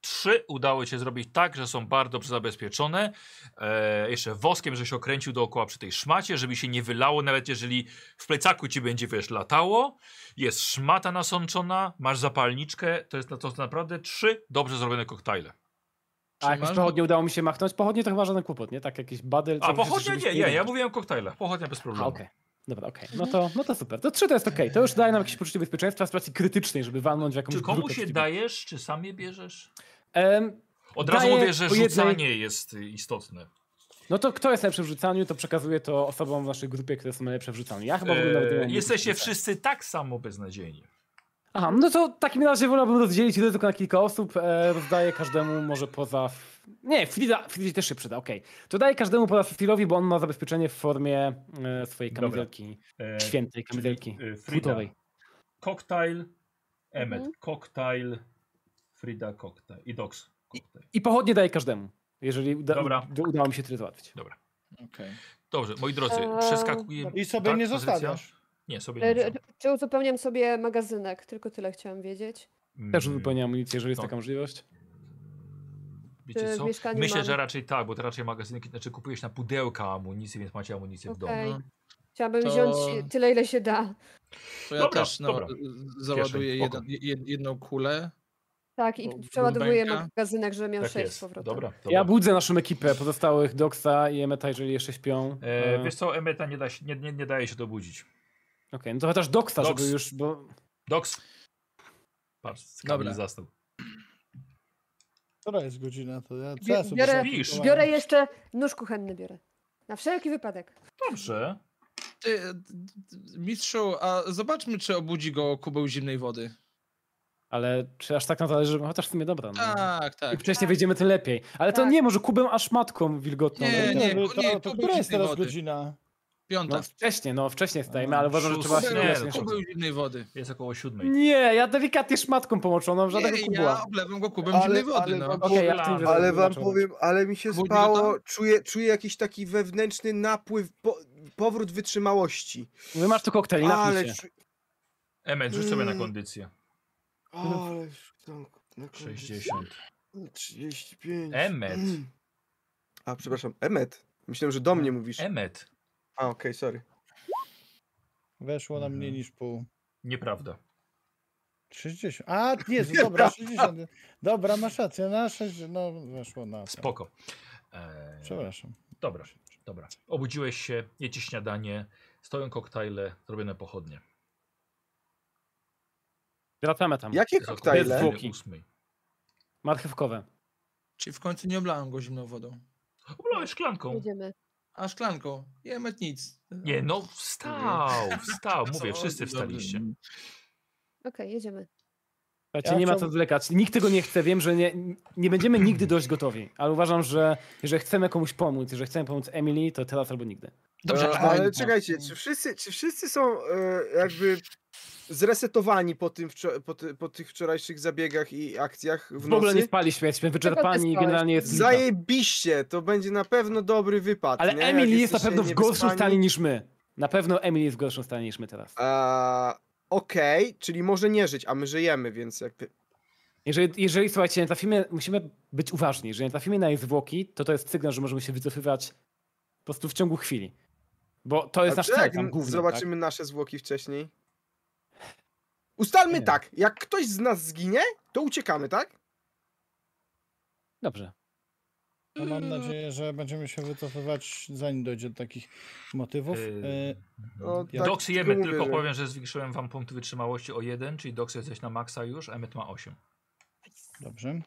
Trzy udało się zrobić tak, że są bardzo dobrze zabezpieczone. E, jeszcze woskiem, żeś okręcił dookoła przy tej szmacie, żeby się nie wylało, nawet jeżeli w plecaku ci będzie, wiesz, latało. Jest szmata nasączona, masz zapalniczkę. To jest na to są naprawdę trzy dobrze zrobione koktajle. A jakieś masz- pochodnie udało mi się machnąć. Pochodnie to chyba żaden kłopot, nie? Tak jakiś badyl. A coś, pochodnia? żebyś Nie, nie, ja robił. mówiłem o koktajlach. Pochodnia bez A, problemu. Okej. Dobra, okej. No, to, no to super. To trzy to jest okej. To już daje nam jakieś poczucie bezpieczeństwa w sytuacji krytycznej, żeby walnąć w jakąś Czy komuś grupę je przeciwnika. dajesz, czy sam je bierzesz? Em, Od razu Daję mówię, że po jednej- rzucanie jest y, istotne. no to kto jest najlepszy w rzucaniu, to przekazuję to osobom w naszej grupie, które są najlepsze w rzucaniu. Ja chyba w ogóle nawet nie mam Eee, jesteście nic do rzucania. wszyscy tak samo beznadziejni. Aha, no to w takim razie wolałbym rozdzielić ryzyko na kilka osób. E, rozdaję każdemu może poza... F... Nie, Frida, Fridzie też się przyda, okej. To daję każdemu poza Filowi, bo on ma zabezpieczenie w formie e, swojej Dobra. kamizelki. Eee, Świętej kamizelki. czyli, y, Frida, Futowej. koktajl, Emmet, Mhm. koktajl, Frida, koktajl i Dox, koktajl. I pochodnie daję każdemu, jeżeli uda, Dobra. udało mi się tyle załatwić. Okej. Dobrze, moi drodzy, Eee, przeskakuję. dobra. I sobie Tak, nie Patrycja? zostawiasz. Nie, sobie nie Ale muszę. r- Czy uzupełniam sobie magazynek? Tylko tyle chciałam wiedzieć. Też Mm, uzupełnia amunicję, jeżeli jest No. taka możliwość. Wiecie w co? mieszkaniu Myślę, mam- że raczej tak, bo to raczej magazynki, znaczy kupujesz na pudełka amunicji, więc macie amunicję w domu. Okej. No. Chciałabym To- wziąć tyle, ile się da. To ja Dobra, też no, dobra. z- załaduję Kieszeń, spoko. jeden, jed- jedną kulę. Tak, i Bo przeładowuję bębenka. magazynek, żeby miał Tak sześć jest. z powrotem. Dobra, dobra. Ja budzę naszą ekipę pozostałych Doxa i Emeta, jeżeli jeszcze śpią. E, E, wiesz co, Emeta nie, da się, nie, nie, nie daje się dobudzić. Okej, no to chociaż Doxa, Dox. żeby już, bo... Doks. Patrz, Kamil Dobra. zasnął. Która jest godzina? To ja, co Bie- ja sobie biorę- zanotowałem? Biorę jeszcze nóż kuchenny biorę. Na wszelki wypadek. Dobrze. Ty, d- d- mistrzu, a zobaczmy, czy obudzi go kubeł zimnej wody. Ale czy aż tak nam zależy, żeby... Chociaż w sumie dobra, no. Tak, Im tak. wcześniej wyjdziemy, tym lepiej. Ale to Tak. nie, może kubem aż matką wilgotną. Nie, będzie. To- nie, bo to, nie, to, tu która jest później teraz wody. godzina? Piąta. No wcześniej, no wcześniej wstajemy, A, ale uważam, że trzeba szósta. się Nie, nie, no, kubeł zimnej wody. Jest około siódmej. nie, ja delikatnie szmatką połączoną, żadnego Nie, ja kubła. oblewam go kubem Ale- zimnej wody. ale no. wam Okej, ja w Ale tym Ale wyrażeniu wam zobaczę. powiem, ale mi się Budzi go spało, tam? czuję, czuję jakiś taki wewnętrzny napływ, po, powrót wytrzymałości. Wy masz tu koktajl, napij Ale, się. czu- Emet, rzuć sobie na Mm. kondycję. ale tam na koniec 60. 35. Emet. A, przepraszam, Emet. Myślałem, że do mnie mówisz. Emet. A, okej, sorry. Weszło na mniej Mhm. niż pół. Nieprawda. 60. A, Jezu, dobra, 60. Dobra, masz rację, na 6, no weszło na... Spoko. E, Przepraszam. dobra, dobra. Obudziłeś się, jecie śniadanie, stoją koktajle, zrobione pochodnie. Wracamy tam. Jakie Jest około koktajle? godziny ósmej. Marchewkowe. Czyli w końcu nie oblałem go zimną wodą. Oblałeś szklanką. Jedziemy. A szklanką. Jemet nic. Nie, no wstał, wstał. Mówię, Co? wszyscy wstaliście. No, Okej, jedziemy. Słuchajcie, Ja nie ma co chciałbym- zwlekać. Nikt tego nie chce. Wiem, że nie, nie będziemy nigdy dość gotowi, ale uważam, że jeżeli chcemy komuś pomóc, jeżeli chcemy pomóc Emily, to teraz albo nigdy. Dobrze, E, ale ale czekajcie, czy wszyscy, czy wszyscy są e, jakby zresetowani po, tym wczor- po, ty- po tych wczorajszych zabiegach i akcjach w W ogóle nie nocy? spaliśmy, jesteśmy wyczerpani i spałeś? generalnie jest lipa. Zajebiście, to będzie na pewno dobry wypad. Ale nie? Jak Emily jest na jesteście pewno w gorszym niewyspani. stanie niż my. Na pewno Emily jest w gorszym stanie niż my teraz. A, Okej, czyli może nie żyć, a my żyjemy, więc jakby. Jeżeli, jeżeli słuchajcie, nie trafimy, musimy być uważni. Jeżeli nie trafimy na jej zwłoki, to to jest sygnał, że możemy się wycofywać po prostu w ciągu chwili. Bo to jest A nasz czy cel jak tam główny. tak? zobaczymy nasze zwłoki wcześniej. Ustalmy Nie. tak, jak ktoś z nas zginie, to uciekamy, tak? Tak? Dobrze. No, mam nadzieję, że będziemy się wycofywać, zanim dojdzie do takich motywów. Yy, Yy, No, Ja- tak, Doks i tylko Emet, mówię, tylko że- powiem, że zwiększyłem wam punkty wytrzymałości o jeden, czyli Doks jesteś na maksa już, Emet ma 8. Dobrze.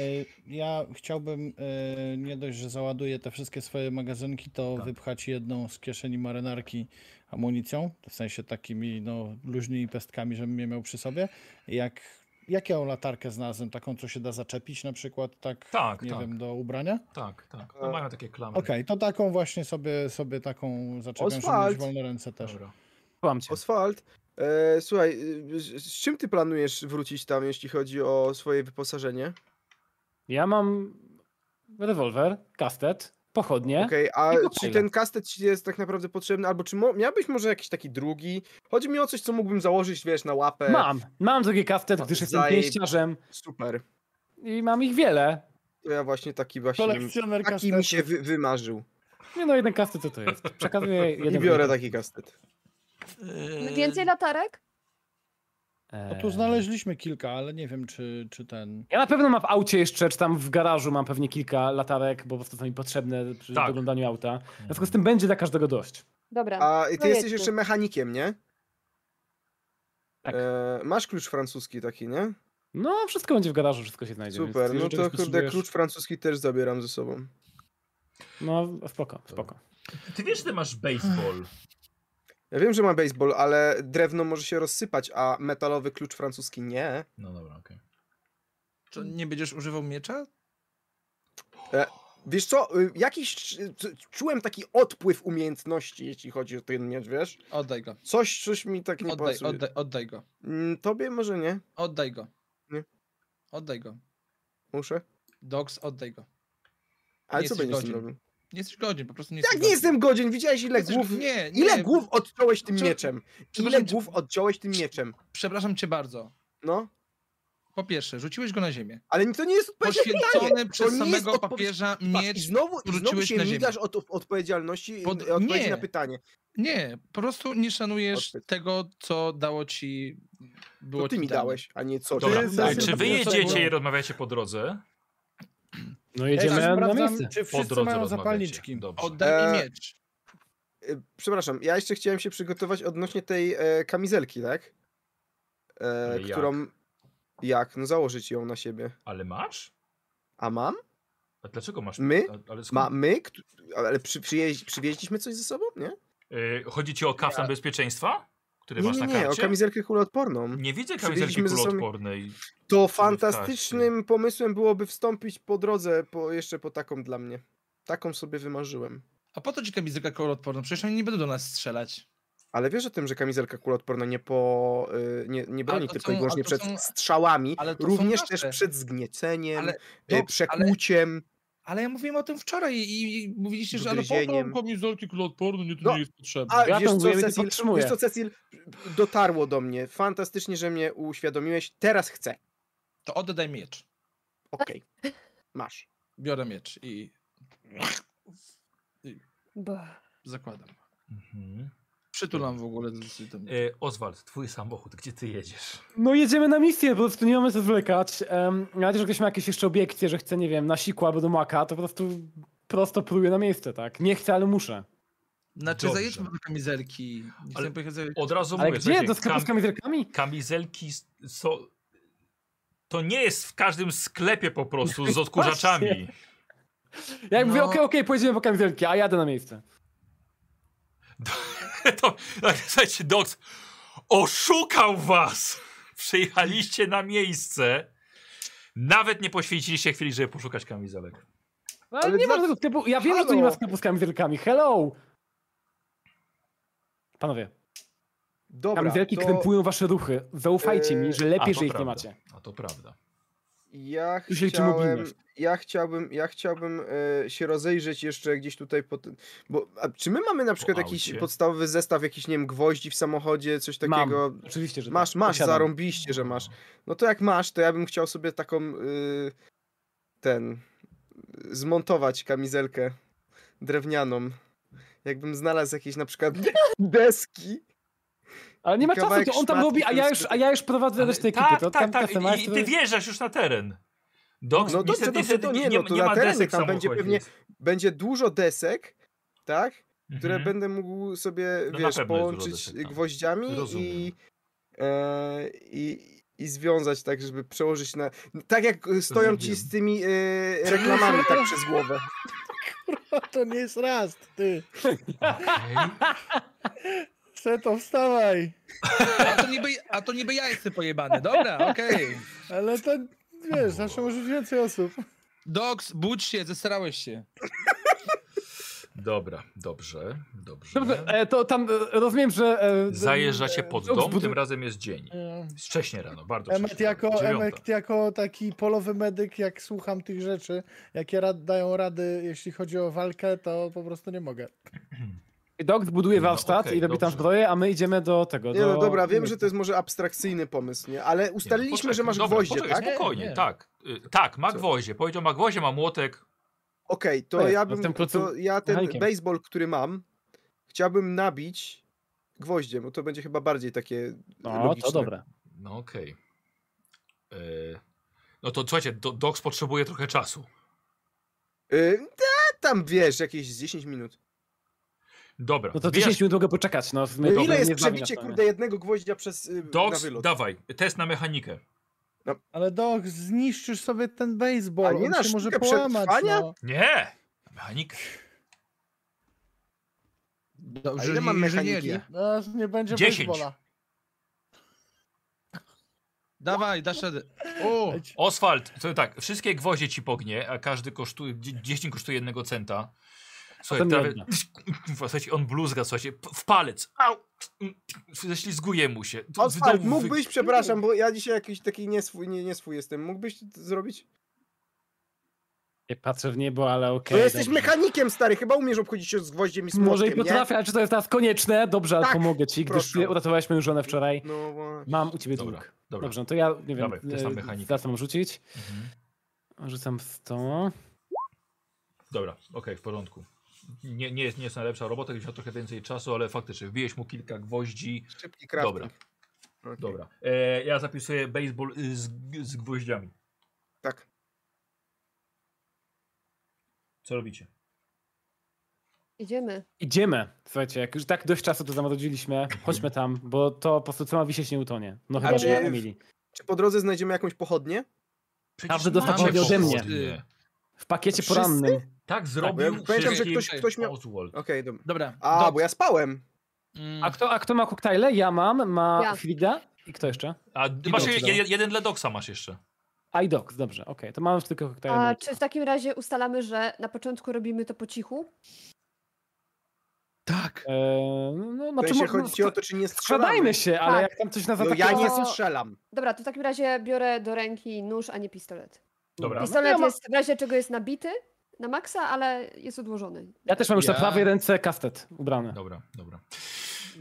Y, Ja chciałbym y, nie dość, że załaduję te wszystkie swoje magazynki, to Tak. wypchać jedną z kieszeni marynarki amunicją, w sensie takimi no, luźnymi pestkami, żebym je miał przy sobie. Jak, jak ja latarkę znalazłem? Taką, co się da zaczepić na przykład, tak, Tak, nie tak. wiem, do ubrania? Tak, tak. E, No mają takie klamy. Okej, to taką właśnie sobie, sobie taką zaczepiam, żeby Oswald! mieć wolne ręce też. Dobra. Kłam cię. Oswald, e, słuchaj, y, z, z czym ty planujesz wrócić tam, jeśli chodzi o swoje wyposażenie? Ja mam rewolwer, kastet, pochodnie. Okej, I a czy koktajle. ten kastet ci jest tak naprawdę potrzebny, albo czy mo- miałbyś może jakiś taki drugi? Chodzi mi o coś, co mógłbym założyć, wiesz, na łapę. Mam, mam drugi kastet, gdyż jestem Zajebi- pięściarzem Super. i mam ich wiele. To ja właśnie taki właśnie. Kolekcjoner Taki mi się wy- wymarzył. Nie no, jeden kastet to to jest. Przekazuję jeden. I biorę taki kastet. Więcej latarek? tak- No tu znaleźliśmy kilka, ale nie wiem, czy, czy ten... E, Ja na pewno mam w aucie jeszcze, czy tam w garażu mam pewnie kilka latarek, bo po prostu są mi potrzebne przy Tak. doglądaniu auta. W związku z tym będzie dla każdego dość. Dobra. A i ty No jesteś jedźmy. jeszcze mechanikiem, nie? Tak. E, masz klucz francuski taki, nie? No, wszystko będzie w garażu, wszystko się znajdzie. więc Super, no jeżeli to czegoś kurde, potrzebujesz- klucz francuski też zabieram ze sobą. No, spoko, spoko. Ty wiesz, że ty masz baseball. Ja wiem, że ma baseball, ale drewno może się rozsypać, a metalowy klucz francuski nie. No dobra, okej. Czy nie będziesz używał miecza? Wiesz co, y, jakiś c- c- czułem taki odpływ umiejętności, jeśli chodzi o ten miecz, wiesz? Oddaj go. Coś, coś mi tak nie Oddaj, pasuje. oddaj, oddaj go. Mm, Tobie może nie, Oddaj go. Nie. Oddaj go. muszę. Dogs, oddaj go. Ale Nie co jesteś będziesz z tym godzien. robił? Nie jesteś godzien, po prostu nie Jak jesteś nie godzien. jestem godzien? Widziałeś ile Jesteś- głów... Nie, nie. Ile głów odciąłeś tym Czy- mieczem? Ile przepraszam cię- głów odciąłeś tym mieczem? Przepraszam cię bardzo. No. Po pierwsze, rzuciłeś go na ziemię. Ale to nie jest odpowiedź na pytanie. Poświęcony przez nie jest samego odpowiedź- papieża Patrz, I miecz. znowu, i znowu wrzuciłeś na się ziemię. migasz od od odpowiedzialności, Pod- Pod... odpowiedzi nie. na pytanie. Nie, po prostu nie szanujesz Odpyt. tego, co dało ci. Było To ty ci mi dane. dałeś, a nie coś. Dobra, Ty, ty, tak, ty, czy ty, wy ty, ty, jedziecie ty. i rozmawiacie po drodze? No Ja jedziemy jeszcze na sprawdzam, miejsce. czy Po wszyscy drodze mają rozmawiacie. zapalniczki. Dobrze. Oddaj mi Eee, miecz. E, Przepraszam, ja jeszcze chciałem się przygotować odnośnie tej e, kamizelki, tak? E, Ale jak? którą. Jak? No założyć ją na siebie. Ale masz? A mam? A dlaczego masz? My? A, ale skąd- Ma, my? Kt- Ale przy, przyjeździ, przywieźliśmy coś ze sobą, nie? Y, chodzi ci o kaftan bezpieczeństwa? Który Nie, masz nie, na nie, o karcie? kamizelkę kuloodporną. Nie widzę kamizelki Przywieźliśmy ze sobą- kuloodpornej. To w karcie. fantastycznym pomysłem byłoby wstąpić po drodze po, jeszcze po taką dla mnie. Taką sobie wymarzyłem. A po to ci kamizelka kołoodporna? Przecież oni nie będą do nas strzelać. Ale wiesz o tym, że kamizelka kuloodporna nie, po, y, nie, nie broni to tylko są- i a wyłącznie to przed są- strzałami, ale to są również nasze. też przed zgnieceniem, Ale- y, Dobrze, ale- przekłuciem. Ale ja mówiłem o tym wczoraj i, i mówiliście, że ale po Ugryzieniem. to kamizelki kuloodporne, nie, to No, nie jest potrzebne. A Ja wiesz to mówię, co, ja to Cecil, podtrzymuję. wiesz co, Cecil, dotarło do mnie. Fantastycznie, że mnie uświadomiłeś. Teraz chcę. To oddaj miecz. Okej. Masz. Biorę miecz i Bo... zakładam. Mhm. Przytulam w ogóle. z- z tym. Y, Oswald, twój samochód, gdzie ty jedziesz? No jedziemy na misję, po prostu nie mamy co zwlekać. Um, nawet jeżeli ktoś ma jakieś jeszcze obiekcje, że chce, nie wiem, na sikła albo do maka, to po prostu prosto próbuję na miejsce, tak? Nie chcę, ale muszę. Znaczy, Dobrze. zajedźmy do kamizelki. Nie Ale- chcę pojechać za... Od razu Ale No mówię, gdzie? słuchajcie, Do sklepu z kam- kamizelkami? kamizelki s- są... To nie jest w każdym sklepie po prostu z odkurzaczami. Ja jak mówię, No. okej, okej, pojedziemy po kamizelki, a jadę na miejsce. to, tak, słuchajcie, Doc oszukał was! Przyjechaliście na miejsce. Nawet nie poświęciliście chwili, żeby poszukać kamizelek. No, Ale ale nie dla- ma tego sklepu. Ja wiem, że tu nie ma Halo. sklepu z kamizelkami. Hello! Panowie, Dobra, kamizelki to krępują wasze ruchy. Zaufajcie mi, że A lepiej, to że ich nie prawda. macie. A to prawda. ja Tu się liczy chciałem, mobilność. ja chciałbym, ja chciałbym e, się rozejrzeć jeszcze gdzieś tutaj po tym, bo a czy my mamy na przykład jakiś aucie? podstawowy zestaw jakichś, nie wiem, gwoździ w samochodzie, coś Mam. takiego? Oczywiście, że Masz, tak. masz, Posiadam. zarąbiście, że masz. No to jak masz, to ja bym chciał sobie taką y, ten y, zmontować kamizelkę drewnianą. Jakbym znalazł jakieś na przykład deski. Ale nie ma I czasu, kawałek to on tam szmatki, robi, a to ja jest- już, a ja już prowadzę Ale- resztę ekipy. tak, to tak, tam tak. kasę masz, I, I to ty jest- wjeżdżasz już na teren. Doc, No dobrze, niestety, dobrze, niestety to nie, nie, no to nie na ma terenie desek tam będzie samochodzie. pewnie- Będzie dużo desek, tak? Które Mhm. No będę mógł sobie, na wiesz, pewno jest dużo połączyć desek tam. gwoździami Rozumiem. i, e, i, i związać tak, żeby przełożyć na... Tak jak y, stoją ci z Zrobiłem. tymi e, reklamami tak przez głowę. Kurwa, to nie jest rast, ty. Okej. Seto, wstawaj. A, to niby, a to niby ja jestem pojebany. Dobra, okej. Ale to, wiesz, zawsze może być więcej osób. Doks, budź się, zestarałeś się. Dobra, dobrze, dobrze. Dobrze, e, to tam e, rozumiem, że... e, Zajeżdżacie pod Doc dom, zbudu- tym razem jest dzień. Nie. Jest Wcześnie rano, bardzo Emet wcześnie. rano, jako, dziewiąta. Emet jako taki polowy medyk, jak słucham tych rzeczy, jakie rad, dają rady, jeśli chodzi o walkę, to po prostu nie mogę. Dog zbuduje No, warsztat okej, i robi tam dobrze. zbroję, a my idziemy do tego. Nie do... no dobra, wiem, że to jest może abstrakcyjny pomysł, nie? Ale ustaliliśmy, że no, poczekaj, masz dobra, gwoździe, poczekaj, tak? Okej, Spokojnie, Nie, nie. tak. Y, tak, ma Co? gwoździe. Powiedział ma gwoździe, ma młotek. to Jest, ja no w bym, tym klucu- to ja ten mechanikiem. baseball, który mam, chciałbym nabić gwoździem, bo to będzie chyba bardziej takie No, logiczne. to dobre. No okej. Y, No to słuchajcie, do, Docs potrzebuje trochę czasu. Y, ta- tam wiesz, jakieś z 10 minut. Dobra, No to wiesz, 10 minut mogę poczekać. No, my Y, to Ile nie jest znamy przebicie, na to, nie? kurde, jednego gwoździa przez y, na Docs, wylot? dawaj, test na mechanikę. Ale dok, zniszczysz sobie ten baseball, A nie on na się może sztukę połamać. przetrwania? No. Nie! Mechanikę. Dobrze, ile mam inżynieria. mechaniki? No, aż nie będzie Dziesięć. baseballa. Dawaj, dasz radę. O, Oswald, to tak, wszystkie gwoździe ci pognie, a każdy kosztuje, dzie- 10 kosztuje jednego centa. Słuchaj, Potem prawie, jedna. słuchajcie, on bluzga, słuchajcie, p- w palec, au, ześlizguje mu się. To z Otwart, domu wy- mógłbyś, przepraszam, bo ja dzisiaj jakiś taki nieswój, nie, nieswój jestem. Mógłbyś to zrobić? Nie patrzę w niebo, ale okej. No jesteś dobrze. mechanikiem, stary, chyba umiesz obchodzić się z gwoździem i z Może i młotkiem, nie? potrafię, ale czy to jest teraz konieczne? Dobrze, ale Tak, pomogę ci, gdyż proszę. ty uratowałeś moją żonę wczoraj. No właśnie. Mam u ciebie Dobra, dług. dobra. Dobrze, no to ja nie wiem. Dawaj, to jest tam e, mechanika. Teraz mam rzucić. Mhm. Rzucam w to. Dobra, okej, w porządku. Nie, nie, jest, nie jest najlepsza robota, gdybyś miał trochę więcej czasu, ale faktycznie wbiłeś mu kilka gwoździ. Szybki crafting. No, Dobra, Okej. dobra. E, ja zapisuję baseball y, z, z gwoździami. Tak. Co robicie? Idziemy. Idziemy. Słuchajcie, jak już tak dość czasu to zamarodziliśmy, chodźmy tam, bo to po prostu co ma wisieć nie utonie. No chyba, Ale- że Emilii. Czy po drodze znajdziemy jakąś pochodnię? Każdy dostał macie pochodnie ode pochodnie. mnie. W pakiecie Wszyscy? Tak porannym. Bo Tak, ja zrobił pamiętam, że wszystkim ktoś, ktoś miał... Okej, Oswald. dobra. Dobra. A, Doc, bo ja spałem. mm, A kto, a kto ma koktajle? Ja mam, ma Ja. Frida i kto jeszcze? A d- masz Widocznie. je, jeden dla Doksa masz jeszcze. A i Doc, dobrze, okej, to mamy tylko koktajle. E, A na- czy w takim razie ustalamy, że na początku robimy to po cichu? Tak. Eee, no, No, się znaczy, mo- chodzi ci o to, czy nie strzelamy. Skradajmy się, ale Tak. jak tam coś nas No ja atakowało... nie No, strzelam. Dobra, to w takim razie biorę do ręki nóż, a nie pistolet. Dobra. no Pis- Pistolet ja ma- jest w razie czego jest nabity na maksa, ale jest odłożony. Ja No. też mam już na Ja- prawej ręce kastet ubrany. Dobra, dobra.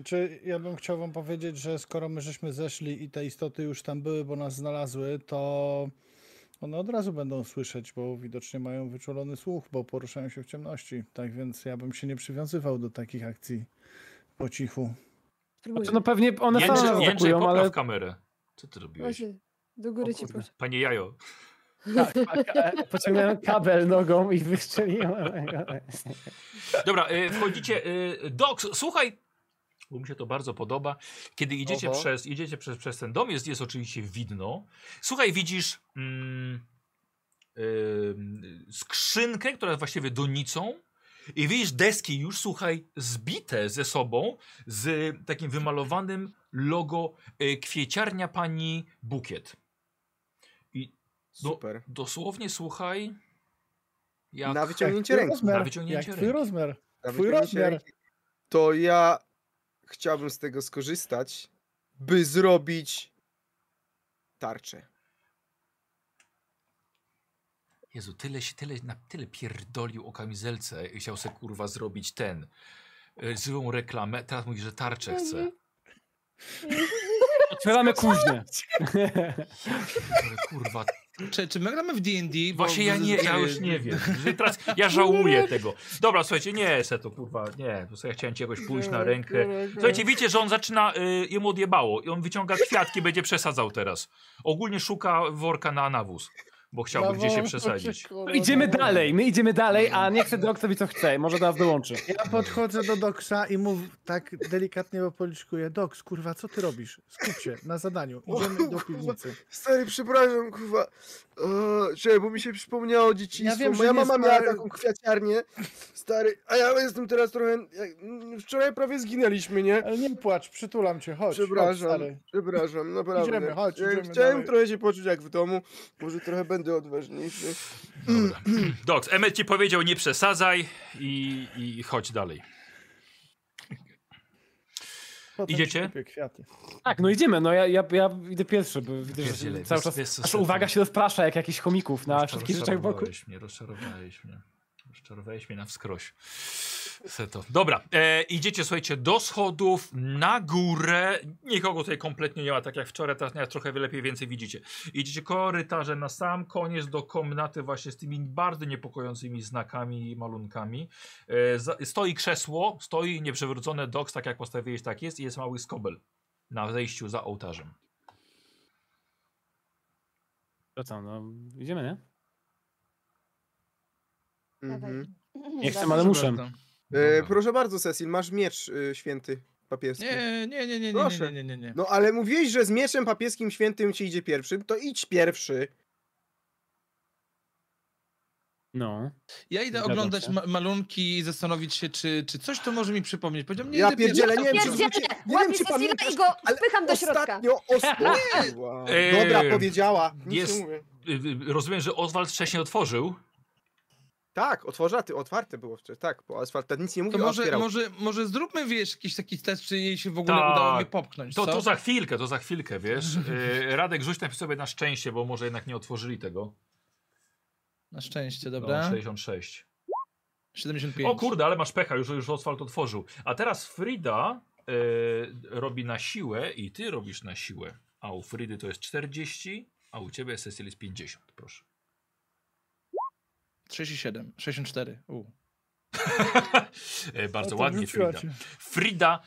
Czy ja bym chciał wam powiedzieć, że skoro my żeśmy zeszli i te istoty już tam były, bo nas znalazły, to one od razu będą słyszeć, bo widocznie mają wyczulony słuch, bo poruszają się w ciemności. Tak więc ja bym się nie przywiązywał do takich akcji po cichu. Spróbujmy. Znaczy, no pewnie one same nas Jędrzej, Jędrzej atakują, popraw ale... kamerę. Co ty robiłeś? Właśnie, do góry O cię kurde. proszę. Panie Jajo. Tak, tak, e, pociągnąłem kabel nogą i wystrzeliłem. Dobra, y, wchodzicie. Y, Doks, słuchaj! Bo mi się to bardzo podoba. Kiedy idziecie, Oho. przez, idziecie przez, przez ten dom, jest, jest oczywiście widno. Słuchaj, widzisz mm, ym, skrzynkę, która jest właściwie donicą. I widzisz deski już, słuchaj, zbite ze sobą z takim wymalowanym logo y, kwieciarnia pani Bukiet. No, Super. Dosłownie, słuchaj. Jak... Na wyciągnięcie Jak twój ręki. Rozmiar, Na wyciągnięcie jak twój ręki. rozmiar. Na Twój wyciągnięcie rozmiar. ręki. To ja chciałbym z tego skorzystać, by zrobić tarczę. Jezu, tyle się, tyle, na tyle pierdolił o kamizelce i chciał se kurwa zrobić ten. y, Złą reklamę, teraz mówi, że tarczę chce. Otwieramy kuźnię. Ale kurwa, Czy, czy my gramy w D&D? Bo właśnie ja nie, ja już nie wiem. Że Teraz ja żałuję tego. Dobra, słuchajcie, nie, se to kurwa, nie. To sobie ja chciałem ci jakoś pójść na rękę. Słuchajcie, wiecie, że on zaczyna, y, jemu odjebało i on wyciąga kwiatki, będzie przesadzał teraz. Ogólnie szuka worka na nawóz, bo chciałby gdzie się Zawołam, przesadzić. kurwa, No no. Idziemy zawołam. dalej, my idziemy dalej, a niech ten Doc sobie co chce, może do nas dołączy. Ja podchodzę do Doksa i mów tak delikatnie po policzkuję. Doks, kurwa, co ty robisz? Skup się na zadaniu. Idziemy do piwnicy. Stary, przepraszam, kurwa. Eee, Czekaj, bo mi się przypomniało Ja dzieciństwo. wiem, że Moja nie mama miała spal- taką kwiaciarnię, stary, a ja jestem teraz trochę... jak- mm, Wczoraj prawie zginęliśmy, nie? Ale nie płacz, przytulam cię, chodź. Chodź, Przepraszam, stary. przepraszam, naprawdę. Idziemy, chodź, Chciałem- idziemy Chciałem dalej. trochę się poczuć jak w domu, może trochę będę odważniejszy. Dobra. Doks, Emmet ci powiedział nie przesadzaj i, i chodź dalej. Potem Idziecie? ci kupię Kwiaty. Tak, no idziemy, no ja, ja, ja idę pierwszy, bo widzę, że Pierdziele, cały wiesz- czas wiesz co nasza sobie- uwaga się rozprasza jak jakichś chomików na No, wszystkich rzeczach wokół. Rozczarowałeś mnie, rozczarowałeś mnie. Rozczarowałeś mnie na wskroś. Seto. Dobra, e, idziecie, słuchajcie, do schodów, na górę. Nikogo tutaj kompletnie nie ma, tak jak wczoraj, teraz nawet trochę lepiej więcej widzicie. Idziecie korytarzem na sam koniec do komnaty właśnie z tymi bardzo niepokojącymi znakami i malunkami. E, za, stoi krzesło, stoi nieprzewrócone doks, tak jak postawiłeś, tak jest i jest mały skobel na wejściu za ołtarzem. To co, no idziemy, nie? Dawaj. Mhm. Nie chcę, ale muszę. E, Dobra. proszę bardzo, Cecil, masz miecz e, święty papieski. Nie, nie, nie, nie, nie, Proszę. nie, nie, nie, nie. No ale mówiłeś, że z mieczem papieskim świętym się idzie pierwszym, to idź pierwszy. No. Ja idę Zgadzam oglądać się. ma malunki i zastanowić się, czy, czy coś to może mi przypomnieć. Powiedział, nie, Ja idę pierwszy. pierdzielę, nie wiem, czy Pierdzielę! ludzie- nie wiem, Łapię czy Cecila pamiętasz, i go ale wpycham do środka. Ostatnio ostąpiła. Dobra, Eee, powiedziała. Nic jest- nie mówię. Y, y, Rozumiem, że Oswald wcześniej otworzył. Tak, otworza, ty, otwarte było wczoraj, tak, bo asfalt nic nie To mówił, może, otwierał. może, może zróbmy, wiesz, jakiś taki test, czy jej się w ogóle Tak. udało mnie popchnąć, To, co? to za chwilkę, to za chwilkę, wiesz. Y, Radek, rzuć najpierw sobie na szczęście, bo może jednak nie otworzyli tego. Na szczęście, No, dobra. 66. 75. O kurde, ale masz pecha, już, już asfalt otworzył. A teraz Frida e, robi na siłę i ty robisz na siłę. A u Fridy to jest 40, a u ciebie Cecil jest 50, proszę. 37, 64. U. E, No bardzo ładnie Frida. Frida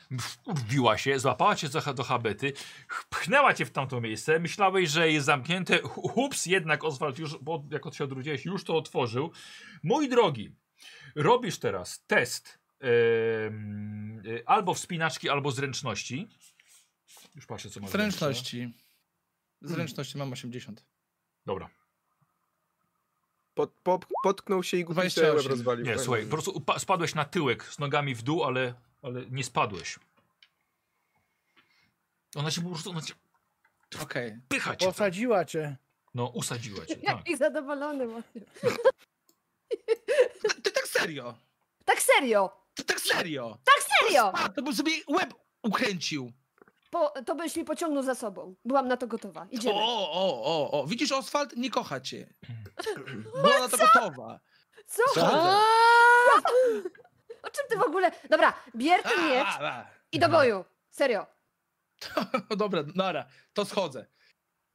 wbiła się, złapała cię za, do habety, pchnęła cię w tamto miejsce, myślałeś, że jest zamknięte, ups, jednak Oswald już, bo jak od się odwróciłeś, już to otworzył. Mój drogi, robisz teraz test em, y, albo wspinaczki, albo zręczności. Już patrzę, co masz. zręczne. Zręczności. Zręczności mam 80. Dobra. Pod, po, potknął się i głupi sobie łeb 28. rozwalił. Nie, Fajnie. słuchaj, po prostu upa- spadłeś na tyłek z nogami w dół, ale, ale nie spadłeś. Ona cię po prostu, ona cię Okej. pycha cię. tam. Posadziła cię. No, usadziła cię, tak. Jaki zadowolony właśnie. Ty tak serio! Tak serio! Ty tak serio! Tak serio! A, to bym sobie łeb ukręcił. Po, to byś mnie pociągnął za sobą. Byłam na to gotowa. O, Idziemy. o, o, o. Widzisz, Oswald nie kocha cię. Była na to gotowa. Co? Co? O czym ty w ogóle? Dobra, bier A, ten miecz a, a. i do boju. Serio. No Dobra, nara, to schodzę.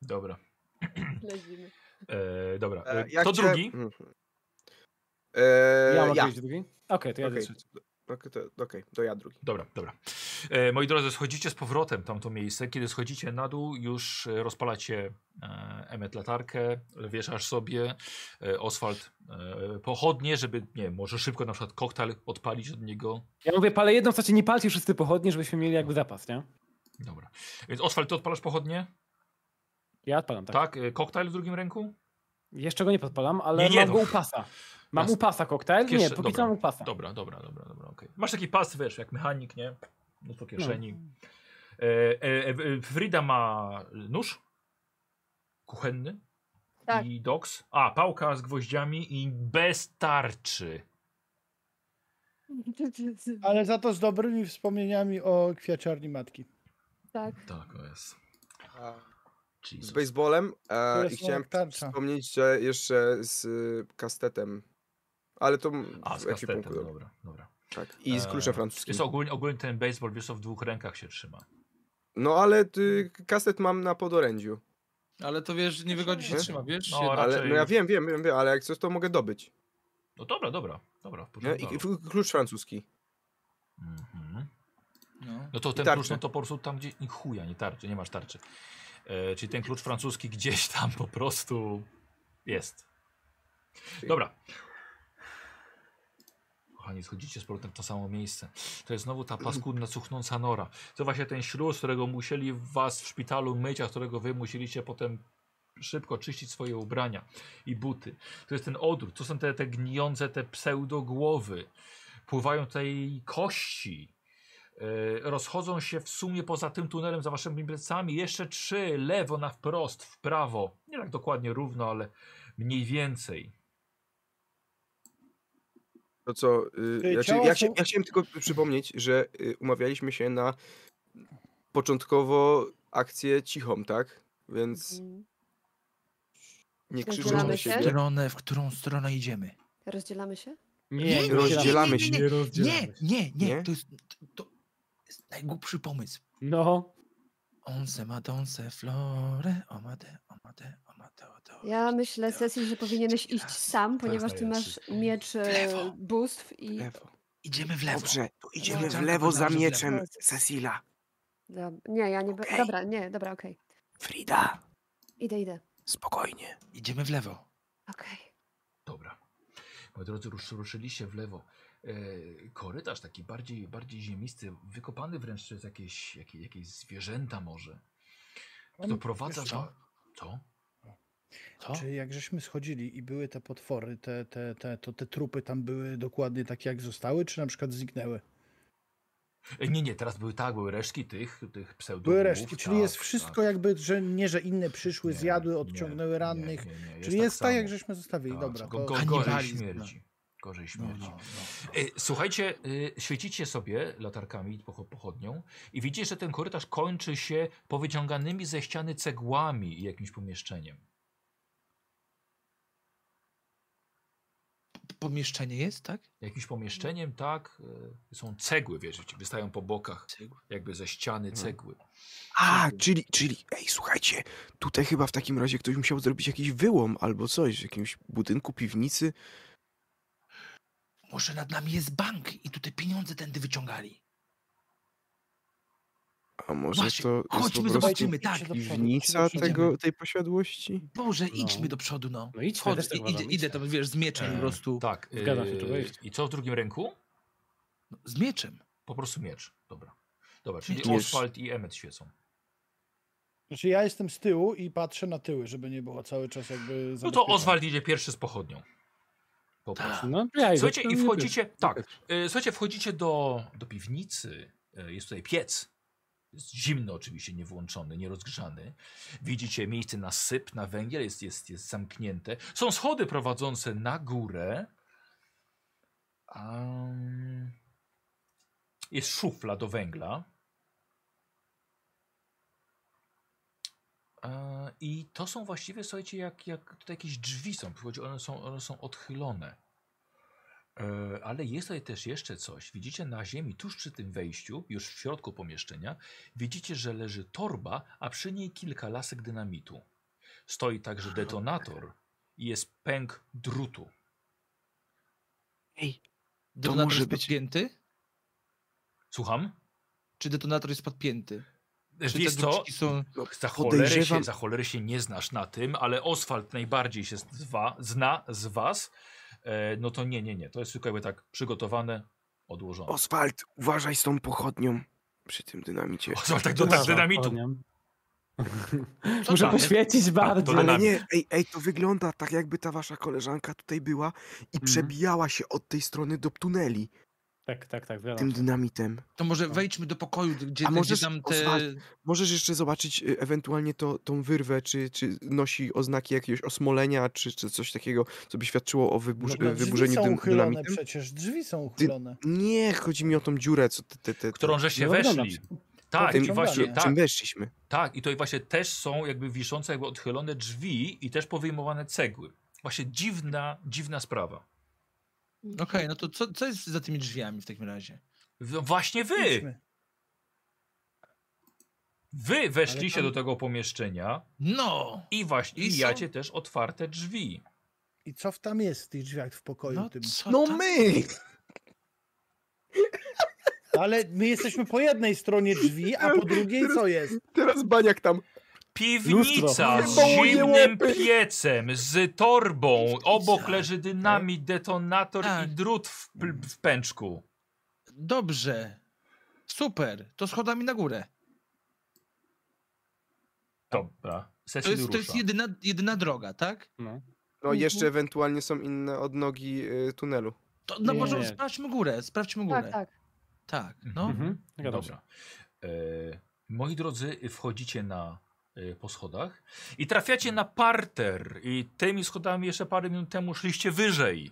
Dobra. Lezimy. E, dobra, E, e, jak to cię- drugi. Mhm. E, Ja ja. mam być drugi? Okej, to ja Okej. okay. trzeci. Ok, to- Okej, to ja drugi. Dobra, dobra. E, moi drodzy, schodzicie z powrotem tamto miejsce. Kiedy schodzicie na dół, już e, rozpalacie e, Emmet latarkę, wieszasz sobie e, Oswald e, pochodnie, żeby, nie wiem, może szybko na przykład koktajl odpalić od niego. Ja mówię, palę jedną, co cię nie palcie wszyscy pochodnie, żebyśmy mieli jakby zapas, nie? Dobra. Więc Oswald, ty odpalasz pochodnie? Ja odpalam, tak. Tak? E, koktajl w drugim ręku? Jeszcze go nie podpalam, ale Nie, nie, mam no. go u pasa. Mam Jasne. u pasa koktajl? Nie, Kiesz- póki dobra, co mam u pasa. Dobra, dobra, dobra, dobra, okej. Masz taki pas, wiesz, jak mechanik, nie? No to kieszeni. E, e, e, Frida ma nóż kuchenny. Tak. I doks. A, pałka z gwoździami i bez tarczy. Ale za to z dobrymi wspomnieniami o kwiaciarni matki. Tak. Tak, o jest. Z Jesus. baseballem e, Które i są chciałem jak tarcza. wspomnieć, że jeszcze z y, kastetem. Ale to m- A, z w ekwipunku. kastetem, dobra, dobra, dobra. Tak. I z E, kluczem francuskim. Jest ogólnie, ogólnie ten baseball, wiesz, co, w dwóch rękach się trzyma. No ale y, kastet mam na podorędziu. Ale to wiesz, nie wygodzi się Nie? trzyma, wiesz? No, Jednak. ra- Ale, raczej- no ja wiem, wiem, wiem, wiem, ale jak coś to mogę dobyć. No dobra, dobra, dobra, w Nie? porządku. I, i klucz francuski. Mhm. No. No to ten tarczy. klucz, no to po prostu tam gdzie... i Chuja, nie tarczy, nie masz tarczy. E, czyli ten klucz francuski gdzieś tam po prostu jest. Dobra. Kochani, schodzicie z powrotem w to samo miejsce. To jest znowu ta paskudna, cuchnąca nora. To właśnie ten śluz, którego musieli was w szpitalu myć, a którego wy musieliście potem szybko czyścić swoje ubrania i buty. To jest ten odór, to są te, te gnijące, te pseudogłowy. Pływają tutaj kości. E, rozchodzą się w sumie poza tym tunelem, za waszymi plecami. Jeszcze trzy, lewo na wprost, w prawo. Nie tak dokładnie równo, ale mniej więcej. To co. Y, Y, znaczy, ciała ja, się, są- ja chciałem tylko przypomnieć, że y, umawialiśmy się na początkowo akcję cichą, tak? Więc Mhm. nie krzyczymy na Rozdzielamy się? siebie. Stronę, w którą stronę idziemy. Rozdzielamy się? Nie, rozdzielamy rozdzielamy się. Nie rozdzielamy Nie, się. nie, Nie? nie, to jest, to jest najgłupszy pomysł. No, Once madonce flore, omade, omade, omade, omade. Ja myślę, Cecil, że powinieneś iść sam, To jest ponieważ ty masz najlepszy. miecz e, Lewo. bóstw i... Lewo. Idziemy w lewo. to idziemy w lewo za mieczem Cecila. Dob- Nie, ja nie... be- Okej. Dobra, nie, dobra, okej. Frida, Idę, idę. spokojnie. Idziemy w lewo. Okej. Dobra. Moi drodzy, rusz, ruszyliście w lewo. E, korytarz taki bardziej, bardziej ziemisty, wykopany wręcz przez jakieś, jakieś, jakieś zwierzęta może. Mam- To prowadza Mm, wiesz co? co? co? Co? Czy jak żeśmy schodzili i były te potwory, te, te, te, to te trupy tam były dokładnie takie jak zostały, czy na przykład zniknęły? E, nie, nie, teraz były tak, były resztki tych, tych pseudomów. Były resztki, czyli tak, jest wszystko tak. jakby, że nie, że inne przyszły, Nie, zjadły, nie, odciągnęły nie, rannych. nie, nie, czyli jest tak, jak samo. żeśmy zostawili. Tak, Dobra, go- to... go- gorzej Kanibalizm. śmierdzi. Gorzej No, śmierdzi. no, no. E, Słuchajcie, y, świecicie sobie latarkami, pocho- pochodnią i widzicie, że ten korytarz kończy się powyciąganymi ze ściany cegłami i jakimś pomieszczeniem. pomieszczenie jest, tak? Jakimś pomieszczeniem, tak? y, Są cegły, wiesz, wystają po bokach, jakby ze ściany cegły. A, czyli, czyli, ej, słuchajcie, tutaj chyba w takim razie ktoś musiał zrobić jakiś wyłom albo coś w jakimś budynku, piwnicy. Może nad nami jest bank i tutaj pieniądze tędy wyciągali. A może Właśnie, to jest chodźmy, po prostu zobaczymy, tak. piwnica Idziemy. tego, tej posiadłości? Boże, No. idźmy do przodu, no. No idźmy, Chodzę, też tak idę, uważam, idę idźmy. tam, wiesz, z mieczem Eee, E, po prostu. Tak. Zgadzam się, y, trzeba iść. I co w drugim ręku? No, z mieczem. Po prostu miecz. Dobra. Dobra, czyli Miecz. Miecz. Oswald i Emmet świecą. No Znaczy ja jestem z tyłu i patrzę na tyły, żeby nie było cały czas jakby No to zabezpieczone. Oswald idzie pierwszy z pochodnią. Po prostu. No, ja idę, Słuchajcie, to i nie wchodzicie, tak, y, słuchajcie, wchodzicie do, do piwnicy, y, jest tutaj piec, jest zimny oczywiście, nie włączony, nie rozgrzany. Widzicie miejsce na syp, na węgiel, jest, jest, jest zamknięte. Są schody prowadzące na górę. Am, jest szufla do węgla. E, I to są właściwie, słuchajcie, jak, jak tutaj jakieś drzwi są, chodzi, one są, one są odchylone. E, Ale jest tutaj też jeszcze coś. Widzicie na ziemi, tuż przy tym wejściu, już w środku pomieszczenia, widzicie, że leży torba, a przy niej kilka lasek dynamitu. Stoi także detonator i jest pęk drutu. Detonator może jest być- podpięty? Słucham? Czy detonator jest podpięty? Czy Wiesz co? druczki są... Za cholerę, się, podejrzewam- za cholerę się nie znasz na tym, ale Oswald najbardziej się zwa, zna z was. E, no to nie, nie, nie. To jest tylko jakby tak przygotowane, odłożone. Oswald, uważaj z tą pochodnią przy tym dynamicie. Oswald tak Dużo dotarł z za dynamitu. Tak, pochodnią. Co Muszę tam? poświecić bardziej. dynamit. Ale nie, ej, ej, to wygląda tak jakby ta wasza koleżanka tutaj była i przebijała się od tej strony do tuneli Tak, tak, tak, zgadzam tym się. dynamitem. To może wejdźmy do pokoju, gdzie, No. A gdzie możesz- tam te... Oswald, Możesz jeszcze zobaczyć y, ewentualnie to, tą wyrwę, czy, czy nosi oznaki jakiegoś osmolenia, czy, czy coś takiego, co by świadczyło o wyburz- No, y, drzwi wyburzeniu są dyn- uchylone dynamitem? przecież, drzwi są uchylone. Nie, chodzi mi o tą dziurę, co te, te, te, te, Którą żeście No, oglądam weszli. się. Tak, i Tym- właśnie, czym tak, czym weszliśmy. Tak, i to właśnie też są jakby wiszące, jakby odchylone drzwi i też powyjmowane cegły. Właśnie dziwna, dziwna sprawa. Okej, no to co, co jest za tymi drzwiami w takim razie? W- No Właśnie wy! Idźmy. Wy weszliście Ale tam- do tego pomieszczenia No! i właśnie I i są- jacie też otwarte drzwi. I co w tam jest w tych drzwiach w pokoju No, tym? co No tam? my! Ale my jesteśmy po jednej stronie drzwi, a po drugiej co jest? Teraz baniak tam. Piwnica Lustro. z Nie było zimnym piecem, z torbą, obok leży dynamit, detonator i Tak. drut w, Mm. pl- w pęczku. Dobrze. Super. To schodami na górę. Dobra, To Cecil jest, to jest rusza. jedyna, jedyna droga, tak? No. No jeszcze Mhm. ewentualnie są inne odnogi y, tunelu. To, no Nie, może nie. sprawdźmy górę, sprawdźmy górę. Tak, Tak, tak. no. Mhm. Zgadzam się. Dobra. E, moi drodzy, wchodzicie na e, po schodach i trafiacie na parter. I tymi schodami jeszcze parę minut temu szliście wyżej.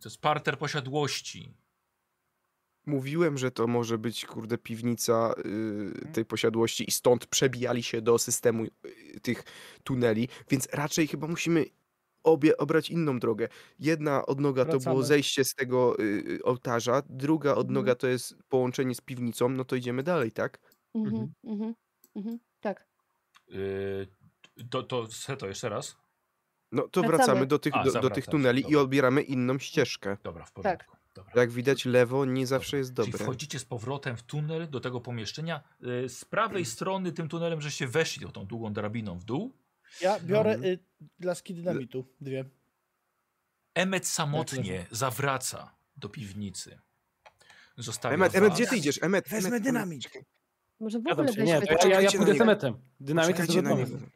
To jest parter posiadłości. Mówiłem, że to może być, kurde, piwnica y, tej posiadłości i stąd przebijali się do systemu y, tych tuneli, więc raczej chyba musimy obie obrać inną drogę. Jedna odnoga to było Wracamy. zejście z tego y, y, ołtarza, druga odnoga to jest połączenie z piwnicą, no to idziemy dalej, tak? Mhm, mhm, mhm. Tak. E, to, to, se to jeszcze raz? No to Wracamy. wracamy, do, tych, A, do, do zawracasz, tych tuneli i dobra. odbieramy inną ścieżkę. Dobra, w porządku. Dobra. Jak widać, lewo nie zawsze Dobra. jest Czyli dobre. wchodzicie z powrotem w tunel do tego pomieszczenia. E, z prawej strony tym tunelem, że się weszli tą długą drabiną w dół. Ja biorę Mhm. y, laski dynamitu, dwie. Emmet samotnie zawraca do piwnicy. Zostawia Emet, was. Emet, gdzie ty idziesz? Emet, Wezmę Emet, Emet, dynamit. czekaj, Może w Zgadzam ogóle się. Nie, weźmy to to. ja, ja, ja Poczekajcie na pójdę niego. temetem. Dynamit jest czekajcie na dodatkowy. niego.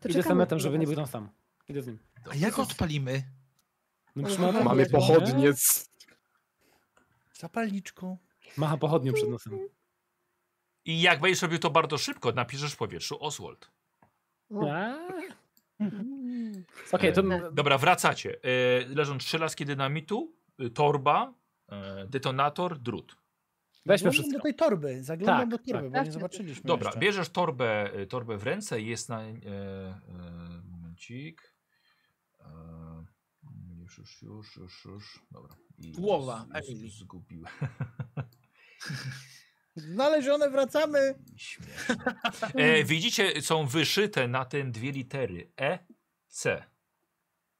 to Idę czekamy temetem, żeby na nie was. był tam sam. Idę z nim. A jak odpalimy? No, Ale trzyma- chyba Mamy Pochodnie. pochodnie. c- Zapalniczką. Macha pochodnią przed nosem. I jak będziesz robił to bardzo szybko, napiszesz w powietrzu Oswald. No. O. Mm. Okej, to E, Dobra, wracacie. E, leżą trzy laski dynamitu, y, torba, e, detonator, drut. weźmy Zaglądam do wszystko. tej torby, zaglądam Tak, do torby, bo tak. nie zobaczyliśmy Dobra, jeszcze. bierzesz torbę, y, torbę w ręce, jest na... E, e, momencik. E, nie Już, już, już, już, już. Dobra. I Głowa z- z- Emily. Zgubiłem. No Znalezione, wracamy! Śmieszne. E, widzicie, są wyszyte na tym dwie litery E, C.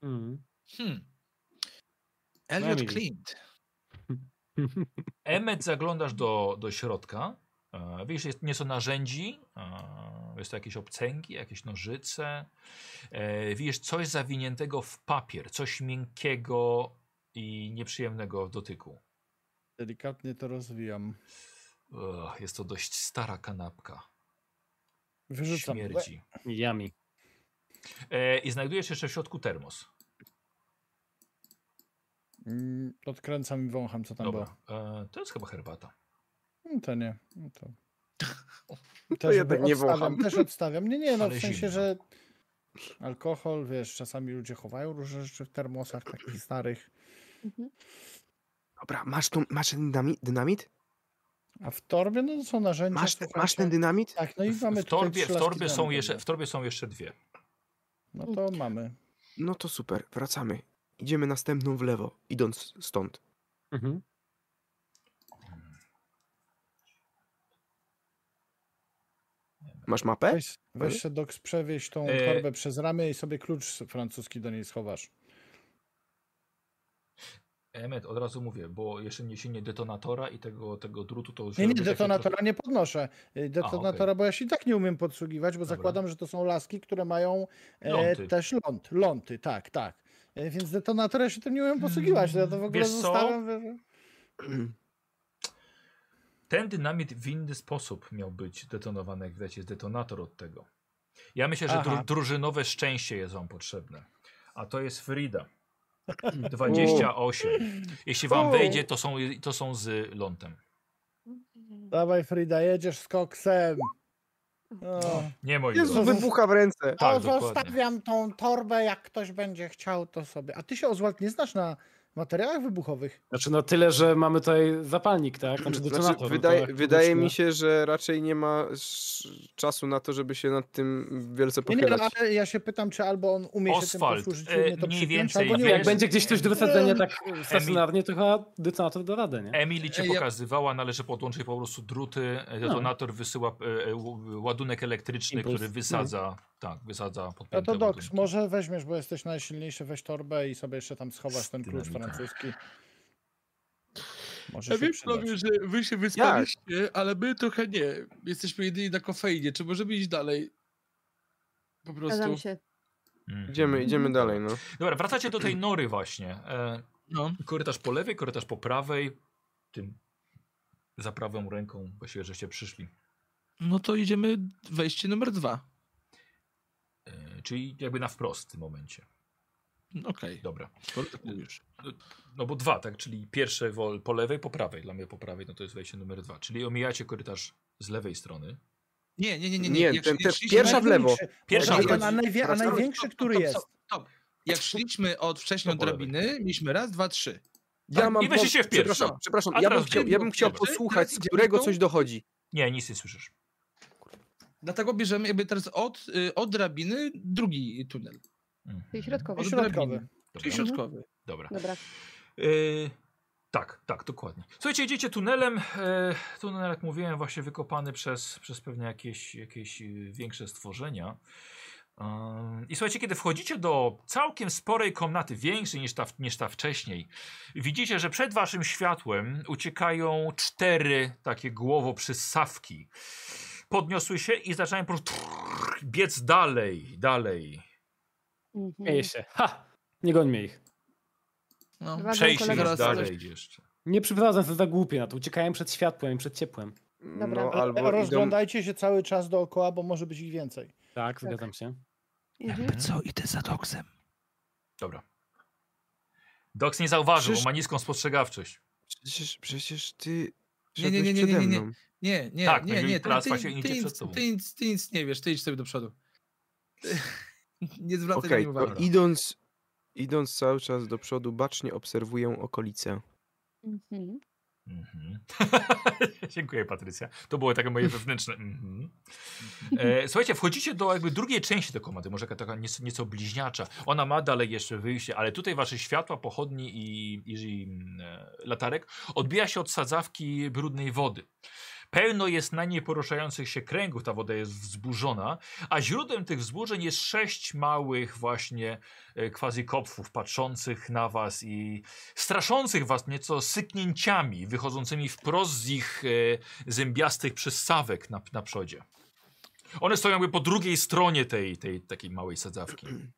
Mm. Hmm. Elliot Emily. Clint. Emmet zaglądasz do, do środka. E, Widzisz, jest, nieco narzędzi. E, Jest to jakieś obcęgi, jakieś nożyce. E, Widzisz, coś zawiniętego w papier, coś miękkiego i nieprzyjemnego w dotyku. Delikatnie to rozwijam. Ugh, jest to dość stara kanapka. Wyrzucam. Śmierdzi. Jami. E, I znajdujesz jeszcze w środku termos. Mm, Odkręcam i wącham, co tam było. Dobra. E, to jest chyba herbata. Mm, To nie. Mm, To, To jednak nie odstawiam, wącham. Też odstawiam. Nie, nie, no Ale w sensie, zimno. że alkohol, wiesz, czasami ludzie chowają różne rzeczy w termosach takich starych. Mhm. Dobra, masz, tą, masz ten dynami- dynamit? A w torbie, no to są narzędzia. Masz, te, masz ten słuchajcie. dynamit? Tak, no i W, mamy w, torbie, tutaj w, trzy torbie laski są damy jeszcze, pewnie. w torbie są jeszcze dwie. No to mamy. No to super, wracamy. Idziemy następną w lewo, idąc stąd. Mhm. Masz mapę? Weź, weź się Doks przewieź tą E, torbę przez ramię i sobie klucz francuski do niej schowasz. Emet, od razu mówię, bo jeszcze nie się nie detonatora i tego, tego drutu to już... Nie, nie, robi takie detonatora nie podnoszę. Y, Detonatora, bo ja się i tak nie umiem podsługiwać, bo Dobra. zakładam, że to są laski, które mają e, Ląty. też ląd. Ląty, tak, tak. E, więc detonatora ja się tym nie umiem posługiwać. Ja to w ogóle Wiesz co? zostawiam. że- Ten dynamit w inny sposób miał być detonowany, jak widać, jest detonator od tego. Ja myślę, że dru Aha. drużynowe szczęście jest wam potrzebne. A to jest Frida. 28. Jeśli wam U. wejdzie, to są, to są z lądem. Dawaj, Frida, jedziesz z koksem. No. O. Nie moi Jezu, drodzy. wybucha w ręce. Tak, o, dokładnie. zostawiam tą torbę, jak ktoś będzie chciał, to sobie. A ty się, Oswald, nie znasz na materiałach wybuchowych? Znaczy no tyle, że mamy tutaj zapalnik, tak? Znaczy Znaczy, detonator. no to wydaje Tak, jak wydaje powiedzmy. mi się, że raczej nie ma sz- czasu na to, żeby się nad tym wielce Nie, nie, pochylać. no, ale ja się pytam, czy albo on umie się tym Oswald, posłużyć, e, umie to mniej przypiąć, więcej albo nie wiesz- umie. Jak będzie gdzieś coś do wysadzenia tak stacjonarnie, to chyba detonator da radę, nie? Emily cię Ja- pokazywała, należy podłączyć po prostu druty. Detonator wysyła e, e, ł- ładunek elektryczny, Impuls. który wysadza. Tak, wysadza podpięte No to Doks, ładunki. może weźmiesz, bo jesteś najsilniejszy, weź torbę i sobie jeszcze tam schowasz ten klucz Dynamita. francuski. Może Ja się wiem, przydać. panowie, że wy się wyspaliście, ale my trochę nie. Jesteśmy jedyni na kofeinie. Czy możemy iść dalej? Po prostu. Zgadzam się. Mhm. Idziemy, Mm. idziemy dalej, no. Dobra, wracacie do tej nory właśnie. E, No. Korytarz po lewej, korytarz po prawej. Tym za prawą ręką właściwie żeście przyszli. no to idziemy wejście numer dwa. E, Czyli jakby na wprost w tym momencie. Okej, Dobra. skoro tak mówisz. No bo dwa, tak? Czyli pierwsze wol- po lewej, po prawej. Dla mnie po prawej no to jest wejście numer dwa. Czyli omijacie korytarz z lewej strony. Nie, nie, nie, nie. Nie, Jak ten- szli- ten szliśmy- Pierwsza w lewo. Największy. Pierwsza Może w ten lewo. A, najwie- a Wracamy. największy, który Stop, jest. stop, stop. Jak szliśmy od wcześniej od To po drabiny, mieliśmy raz, dwa, trzy. Ja Tak, mam i weźcie pom- się w pierwszą. Przepraszam, przepraszam. A Ja teraz bym chciał, ty, ja bym chciał dobra. posłuchać, Teraz z idziemy którego tą- coś dochodzi. Nie, nic nie słyszysz. Dlatego bierzemy jakby teraz od, y, od drabiny drugi tunel. Mhm. Czyli środkowo. I Od środkowy. drabiny. Czyli Dobra. środkowy. Dobra. Dobra. Yy, tak, tak, dokładnie. Słuchajcie, idziecie tunelem. E, tunel, jak mówiłem, właśnie wykopany przez, przez pewnie jakieś, jakieś yy, większe stworzenia. Yy, I słuchajcie, kiedy wchodzicie do całkiem sporej komnaty, większej niż ta, niż ta wcześniej, widzicie, że przed waszym światłem uciekają cztery takie głowoprzyssawki. Podniosły się i zaczynają po prostu biec dalej, dalej. Mhm. Mieje się. Ha! Nie gońmy ich. No. Dwa- Razem Przejście kolega jest z Zaraz- dalej jeszcze. Nie przyprowadzam to za głupie na to. Uciekałem przed światłem i przed ciepłem. Tak, Dobra. No, albo idą... Rozglądajcie się cały czas dookoła, bo może być ich więcej. Tak, zgadzam się. Mhm. Jakby co, idę za doksem. Dobra. Doks nie zauważył, Krzyż- bo ma niską spostrzegawczość. Przecież, przecież ty... Nie, nie, nie, szedłeś nie, nie, przede nie, nie. mną. Nie, nie, Tak, nie, będziemy nie. Ty, teraz ty, właśnie ty, idzie nic- przed tobą. ty, nic, ty, nic nie wiesz, ty idź sobie do przodu. nie zwracaj Okej, mi to uwagi. idąc, idąc cały czas do przodu, bacznie obserwuję okolice. Mhm. Mhm. Dziękuję, Patrycja. To było takie moje wewnętrzne. Mhm. E, słuchajcie, wchodzicie do jakby drugiej części tej komady, może taka nieco, nieco bliźniacza. Ona ma dalej jeszcze wyjście, ale tutaj wasze światła, pochodni i, i mm, e, latarek odbija się od sadzawki brudnej wody. Pełno jest na niej poruszających się kręgów, ta woda jest wzburzona, a źródłem tych wzburzeń jest sześć małych właśnie e, quasi-kopfów patrzących na was i straszących was nieco syknięciami wychodzącymi wprost z ich e, zębiastych przystawek na, na przodzie. One stoją jakby po drugiej stronie tej, tej takiej małej sadzawki. Mhm.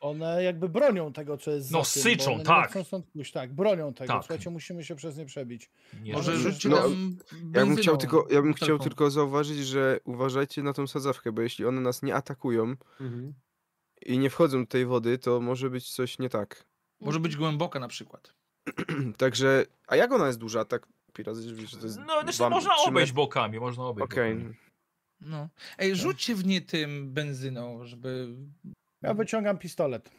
One jakby bronią tego, co jest No, za tym, syczą, bo one tak. Nie chcą stąd pójść, tak, bronią tego. Tak. Słuchajcie, musimy się przez nie przebić. Nie Może wiem. rzucić No, nam Ja bym, benzyną chciał tylko, ja bym chciał taką. tylko zauważyć, że uważajcie na tą sadzawkę, bo jeśli one nas nie atakują Mhm. i nie wchodzą do tej wody, to może być coś nie tak. Może być głęboka na przykład. Także, a jak ona jest duża, tak pi razy, że to jest No, znaczy dwa- można trzy obejść metry? bokami, można obejść Okej, bokami. No. Tak. Ej, rzućcie w nie tym benzyną, żeby... Ja wyciągam pistolet.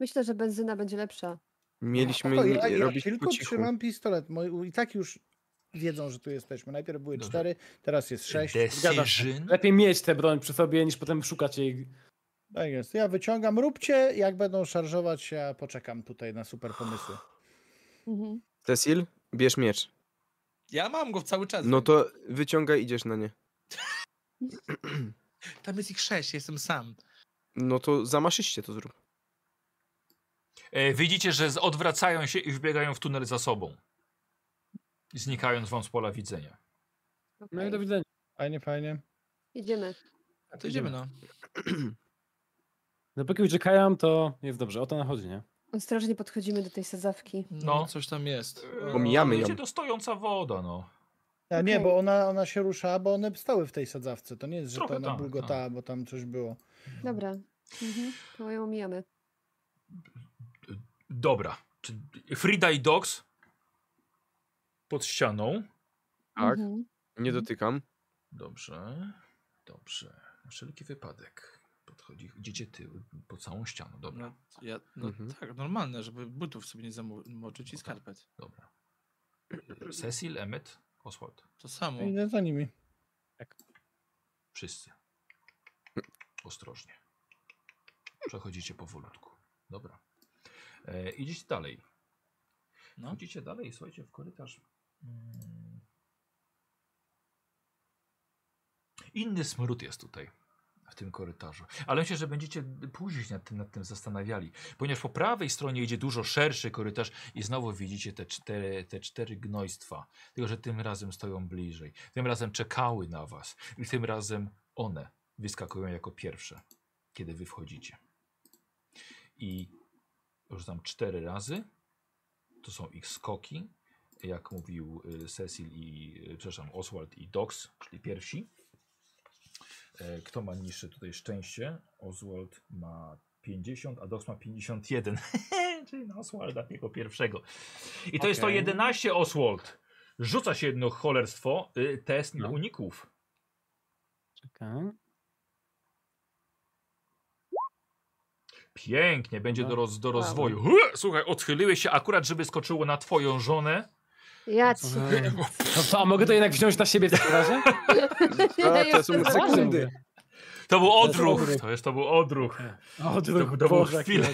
Myślę, że benzyna będzie lepsza. mieliśmy O, nie, No, ja, ja robić tylko po cichu. trzymam pistolet. Moi, I tak już wiedzą, że tu jesteśmy. Najpierw były Dobrze. cztery, teraz jest sześć. Zgadza się. Decision. Lepiej mieć tę broń przy sobie, niż potem szukać jej. Tak jest. Ja wyciągam, róbcie, jak będą szarżować, ja poczekam tutaj na super pomysły. Mhm. Cecil, bierz miecz. Ja mam go cały czas. No to wyciągaj, idziesz na nie. Tam jest ich sześć, jestem sam. No to zamaszyście to zrób. E, widzicie, że z- odwracają się i wbiegają w tunel za sobą. Znikając wam z pola widzenia. No i Okej. do widzenia. Fajnie, fajnie. Idziemy. To idziemy, no. Dopóki uciekają, to jest dobrze. O to nam chodzi, nie? Ostrożnie podchodzimy do tej sadzawki. No, No. coś tam jest. E, Omijamy ją. wiecie, to stojąca woda, no. A nie, Okej. bo ona, ona się rusza, bo one stały w tej sadzawce. To nie jest, że Trochę to ona tak, bulgotała, bo tam coś było. Dobra. Mhm. To ją omijamy. Dobra. Czy- Frida i Dogs pod ścianą. Tak. Mhm. Nie dotykam. Dobrze. Dobrze. Na wszelki wypadek. Podchodzi, idziecie tył, po całą ścianę. Dobra. No, ja, no Mhm. tak, normalne, żeby butów sobie nie zamoczyć i skarpet. Dobra. E, Cecil, Emmet, Oswald. To No. samo. Idę za nimi. Wszyscy. Ostrożnie. Przechodzicie powolutku. Dobra. E, idziecie dalej. No. Chodzicie dalej, słuchajcie, w korytarz. Mm. Inny smród jest tutaj, w tym korytarzu. Ale myślę, że będziecie później się nad tym, nad tym zastanawiali, ponieważ po prawej stronie idzie dużo szerszy korytarz i znowu widzicie te cztery, te cztery gnojstwa. Tylko, że tym razem stoją bliżej. Tym razem czekały na was i tym razem one wyskakują jako pierwsze, kiedy wy wchodzicie. I rzucam cztery razy. To są ich skoki, jak mówił y, Cecil i, y, przepraszam, Oswald i Dox, czyli pierwsi. E, Kto ma niższe tutaj szczęście? Oswald ma 50, a Dox ma 51. czyli na Oswalda, jego pierwszego. I to jest to Okej. 11 Oswald. Rzuca się jedno cholerstwo, y, test No. uników. Czekaj. Pięknie, będzie do, roz, do Wow. rozwoju. Hue! Słuchaj, odchyliłeś się akurat, żeby skoczyło na twoją żonę. Ja ci. No to, a mogę to jednak wziąć na siebie w takim razie? A, to są no, Jestem za- Poważnie sekundy. mówię. To był jest odruch. odruch. To, jest, to był odruch. E, O, to, To- to było chwilę.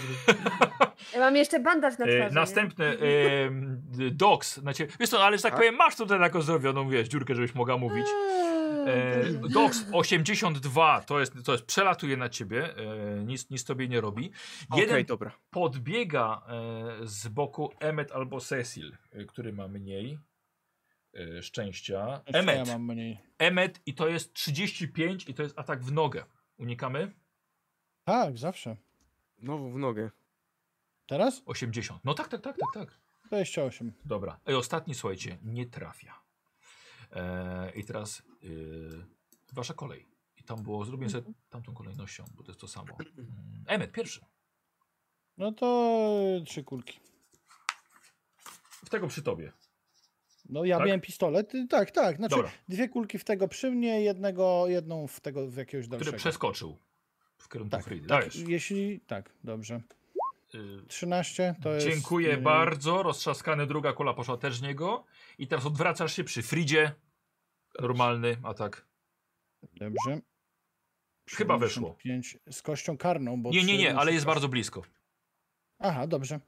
Ja mam jeszcze bandaż na E, twarzy. nie? następny e, m, d- doks na ciebie. Wiesz co, ale że tak A? powiem, masz tutaj taką zrobioną, wiesz, dziurkę, żebyś mogła mówić. E, Eee, dobrze. doks 82, to jest, to jest, przelatuje na ciebie, e, nic, nic tobie nie robi. Okej, Jeden dobra. podbiega e, z boku Emmet albo Cecil, e, który ma mniej e, szczęścia. Jeszcze Ja Emmet, mam mniej. Emmet i to jest 35 i to jest atak w nogę. Unikamy? Tak, zawsze. Znowu w nogę. Teraz? 80. No tak, tak, tak, tak, tak. 28. Dobra. I ostatni, słuchajcie, nie trafia. Eee, I teraz yy, wasza kolej. I tam było, zrobię Mhm. sobie tamtą kolejnością, bo to jest to samo. Mm, Emmet pierwszy. No to y, trzy kulki. W tego przy tobie. No ja Tak? miałem pistolet. y, Tak, tak. Znaczy Dobra. dwie kulki w tego przy mnie, jednego, jedną w tego w jakiegoś Który dalszego. przeskoczył w kierunku Tak, Fridy. tak, Dajesz. jeśli... Tak, dobrze. Y, 13 to jest... Dziękuję y, bardzo. Roztrzaskany druga kula poszła też w niego. I teraz odwracasz się przy Fridzie. Normalny atak. Dobrze. Chyba weszło. 75 Z kością karną, bo... Nie, nie, trzy nie, ale razy jest kość- bardzo blisko. Aha, dobrze.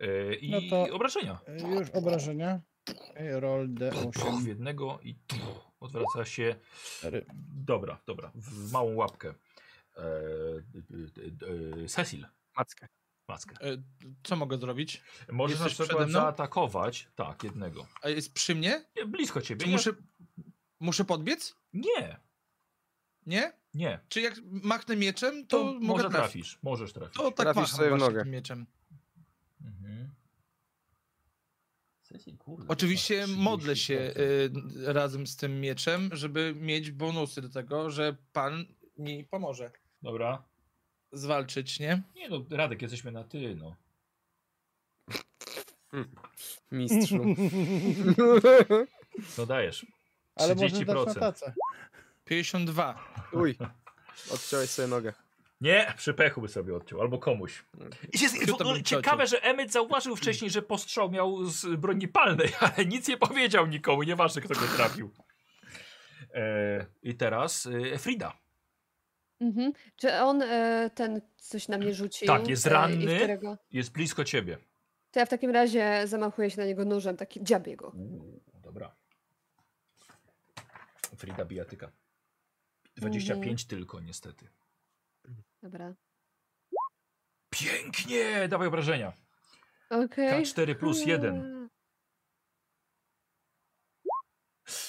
Yy, I No to- obrażenia. Y, Już obrażenia. Okay, roll Puch, w D8. jednego i tu odwraca się. Cztery. Dobra, dobra. W małą łapkę. E, e, e, Cecil, Mackę. maskę. E, Co mogę zrobić? Możesz Jesteś na przede przykład mną? zaatakować. Tak, jednego. A jest przy mnie? Nie, blisko ciebie. Czy nie? muszę, muszę podbiec? Nie, Nie? nie. Czy jak machnę mieczem, To, to, mogę może trafić? trafisz. Możesz trafić. To tak Trafisz macham sobie w właśnie nogę. tym mieczem. Mhm. Cecil, kurde, Oczywiście to Tak, ma modlę 30 się procent. y, razem z tym mieczem, żeby mieć bonusy do tego, że pan mi pomoże Dobra. zwalczyć, nie? Nie no, Radek, jesteśmy na ty, no. Mistrzu. No dajesz. Ale może dać na 30%. tacę. 52. Uj. Odciąłeś sobie nogę. Nie, przy pechu by sobie odciął, albo komuś. I się, Kto to w ogóle by ciekawe, że Emmet zauważył wcześniej, że postrzał miał z broni palnej, ale nic nie powiedział nikomu, nieważne kto go trafił. E, I teraz e, Frida. Mhm. Czy on e, ten coś na mnie rzucił? Tak, jest e, i ranny. Którego... Jest blisko ciebie. To ja w takim razie zamachuję się na niego nożem, taki dziabię go. Uuu, dobra. Frida bijatyka. 25 Mhm. tylko, niestety. Dobra. Pięknie! Dawaj obrażenia. Okej. K4 Tak, plus 1.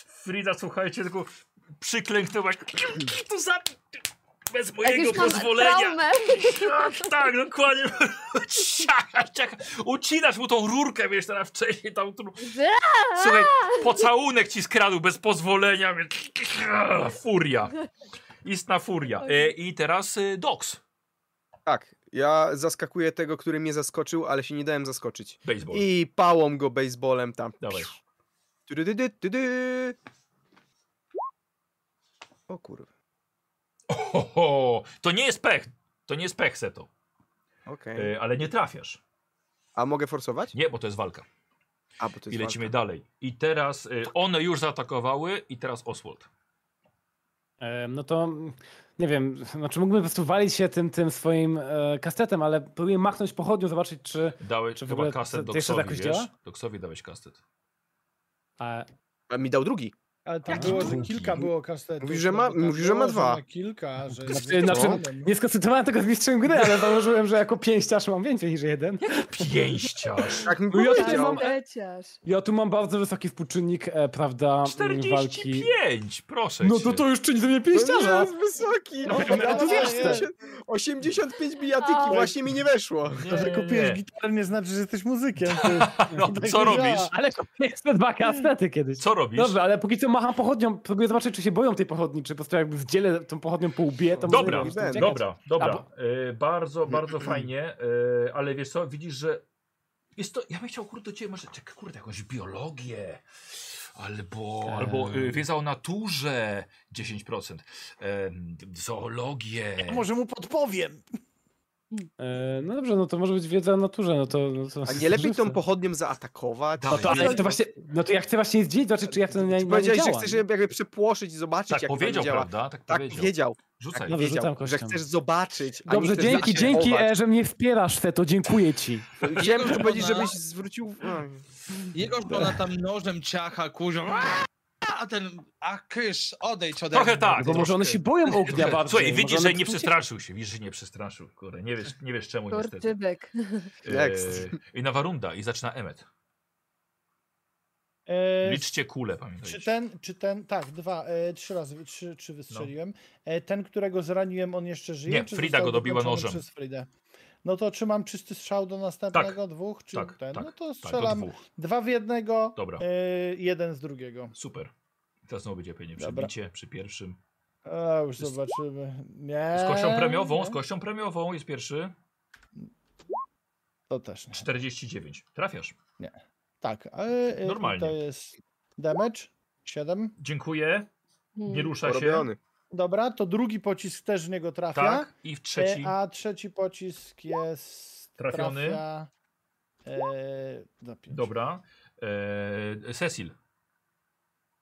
Frida, słuchajcie, tylko przyklęknęła. To za... Bez Jak mojego już mam pozwolenia. traumę. Tak, tak, dokładnie. Ciach, ciach. Ucinasz mu tą rurkę, wiesz, teraz wcześniej tam... tu- Słuchaj, pocałunek ci skradł bez pozwolenia. więc Furia. Istna furia. E, I teraz e, Dox. Tak, ja zaskakuję tego, który mnie zaskoczył, ale się nie dałem zaskoczyć. Baseball. I pałą go baseballem tam. Dawaj. Tudududu, tudu. O kurwa. Ho, ho. To nie jest pech. To nie jest pech, Seto. Okej. E, ale nie trafiasz. A mogę forsować? Nie, bo to jest walka. A, bo to I jest lecimy dalej. I teraz y, one już zaatakowały i teraz Oswald. E, No to mm, nie wiem, znaczy mógłbym po prostu walić się tym, tym swoim e, kastetem, ale próbuję machnąć pochodnią, zobaczyć czy... Dałeś Czy w chyba ogóle kastet to- to jeszcze tak Doksowi, jakoś wiesz? działa? Doksowi dałeś kastet. A, walka. A mi dał drugi. Ale tam Jaki było, że drugi? kilka było kastetów. Mówi, że no ma- to tam mówi, że ma było, dwa. ma kilka, że... Znaczy, znaczy, nie skoncentrowałem tego z mistrzem gry, ale założyłem, że jako pięściarz mam więcej niż jeden. Pięściarz! Tak mi No ja tutaj powiedział. mam- Leciarz. Ja tu mam bardzo wysoki współczynnik, e, prawda, m, walki. 45! Proszę No cię. to to już czyni ze mnie To No nie pięściarza. jest wysoki. No, no, Ja tu no, wiesz, no, 80 85 bijatyki A. właśnie mi nie weszło. Nie, To, że nie, kupiłeś nie. gitarę nie znaczy, że jesteś muzykiem. Ty. No, Tak co nie robisz? działa. Ale kupiłem te dwa kastety kiedyś. Co robisz? Dobrze, ale póki co macham pochodnią, próbuję zobaczyć, czy się boją tej pochodni, czy po prostu jakby zdzielę tą pochodnią po łbie, to Dobra, może dobra, Dobra, dobra. A, bo- Y, bardzo, bardzo fajnie, y, ale wiesz co, widzisz, że jest to, ja bym chciał, kurde, do ciebie może, czek, kurde, jakąś biologię, albo, Eee. albo y, wiedza o naturze, 10%, em, zoologię, Może mu podpowiem. E, No dobrze, no to może być wiedza o naturze, no to... No to A nie lepiej tą żywce. pochodnią zaatakować? No No to, ale Jezu. to właśnie, no to ja chcę właśnie zdzielić, zobaczyć, czy jak to na, na, Ty na Powiedziałeś, że działa. chcesz jakby przepłoszyć i zobaczyć, tak jak to powiedział, działa. prawda? Tak, Tak powiedział. powiedział. Rzucaj. Dobrze, Wiedział, rzucam że kością. chcesz zobaczyć. a nie Dobrze, chcesz dzięki, dzięki, zaatakować. e, że mnie wspierasz, Feto, dziękuję ci. Chciałem tylko powiedzieć, żona- żebyś zwrócił. Oj. Jego żona tam nożem ciacha, kurzą. A ten, a kysz, odejdź ode Trochę mnie. tak. Bo może one się boją ognia Słuchaj, bardziej. Słuchaj, może widzisz, one że nie tu przestraszył się, widzisz, że nie przestraszył, kurde, nie wiesz, nie wiesz czemu niestety. Torczybek. Next. Eee, I nowa runda i zaczyna Emmet. E, Liczcie kule, czy pamiętajcie. ten, czy ten, tak, dwa, e, trzy razy, trzy, trzy wystrzeliłem. E, ten, którego zraniłem, on jeszcze żyje? No. Nie, czy Frida został go dobiła wykończony nożem. Przez Fridę? No to czy mam czysty strzał do następnego, dwóch, czy Tak, ten? tak, no to Tak, do strzelam dwóch. dwa w jednego, Dobra. E, jeden z drugiego. Super. Teraz znowu będzie pewnie Dobra. przebicie przy pierwszym. A, już Z- zobaczymy. Nie. Z kością premiową, E, nie. z kością premiową jest pierwszy. To też nie. 49. Trafiasz. Tak, ale e, Normalnie. to jest damage, 7. Dziękuję. Mhm. Nie rusza się. Porobiony. Dobra, to drugi pocisk też w niego trafia. Tak. I w E, trzeci. A trzeci pocisk jest Trafiony. Trafia... E, za pięć. Dobra. E, Cecil,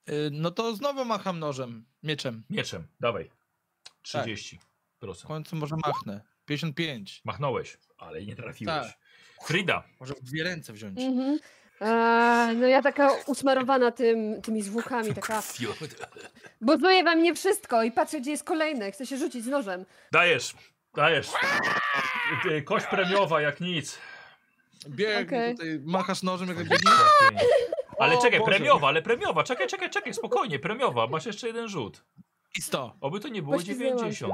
Y, No to znowu macham nożem, mieczem. mieczem, dawaj. 30%. W końcu może machnę. 55. Machnąłeś, ale nie trafiłeś. Tak. Frida, Może w dwie ręce wziąć. Mhm. A, no ja taka usmarowana tym, tymi zwłokami, taka, buduję wam nie wszystko i patrzę, gdzie jest kolejne, chcę się rzucić z nożem. dajesz, dajesz. Ty, Kość premiowa jak nic. Bieg, Okej. tutaj machasz nożem, jak biegnie. Ale O czekaj, Boże. premiowa, ale premiowa, czekaj, czekaj, czekaj, spokojnie, premiowa, masz jeszcze jeden rzut. I 100. Oby to nie było Poślizgnęłam się. 90.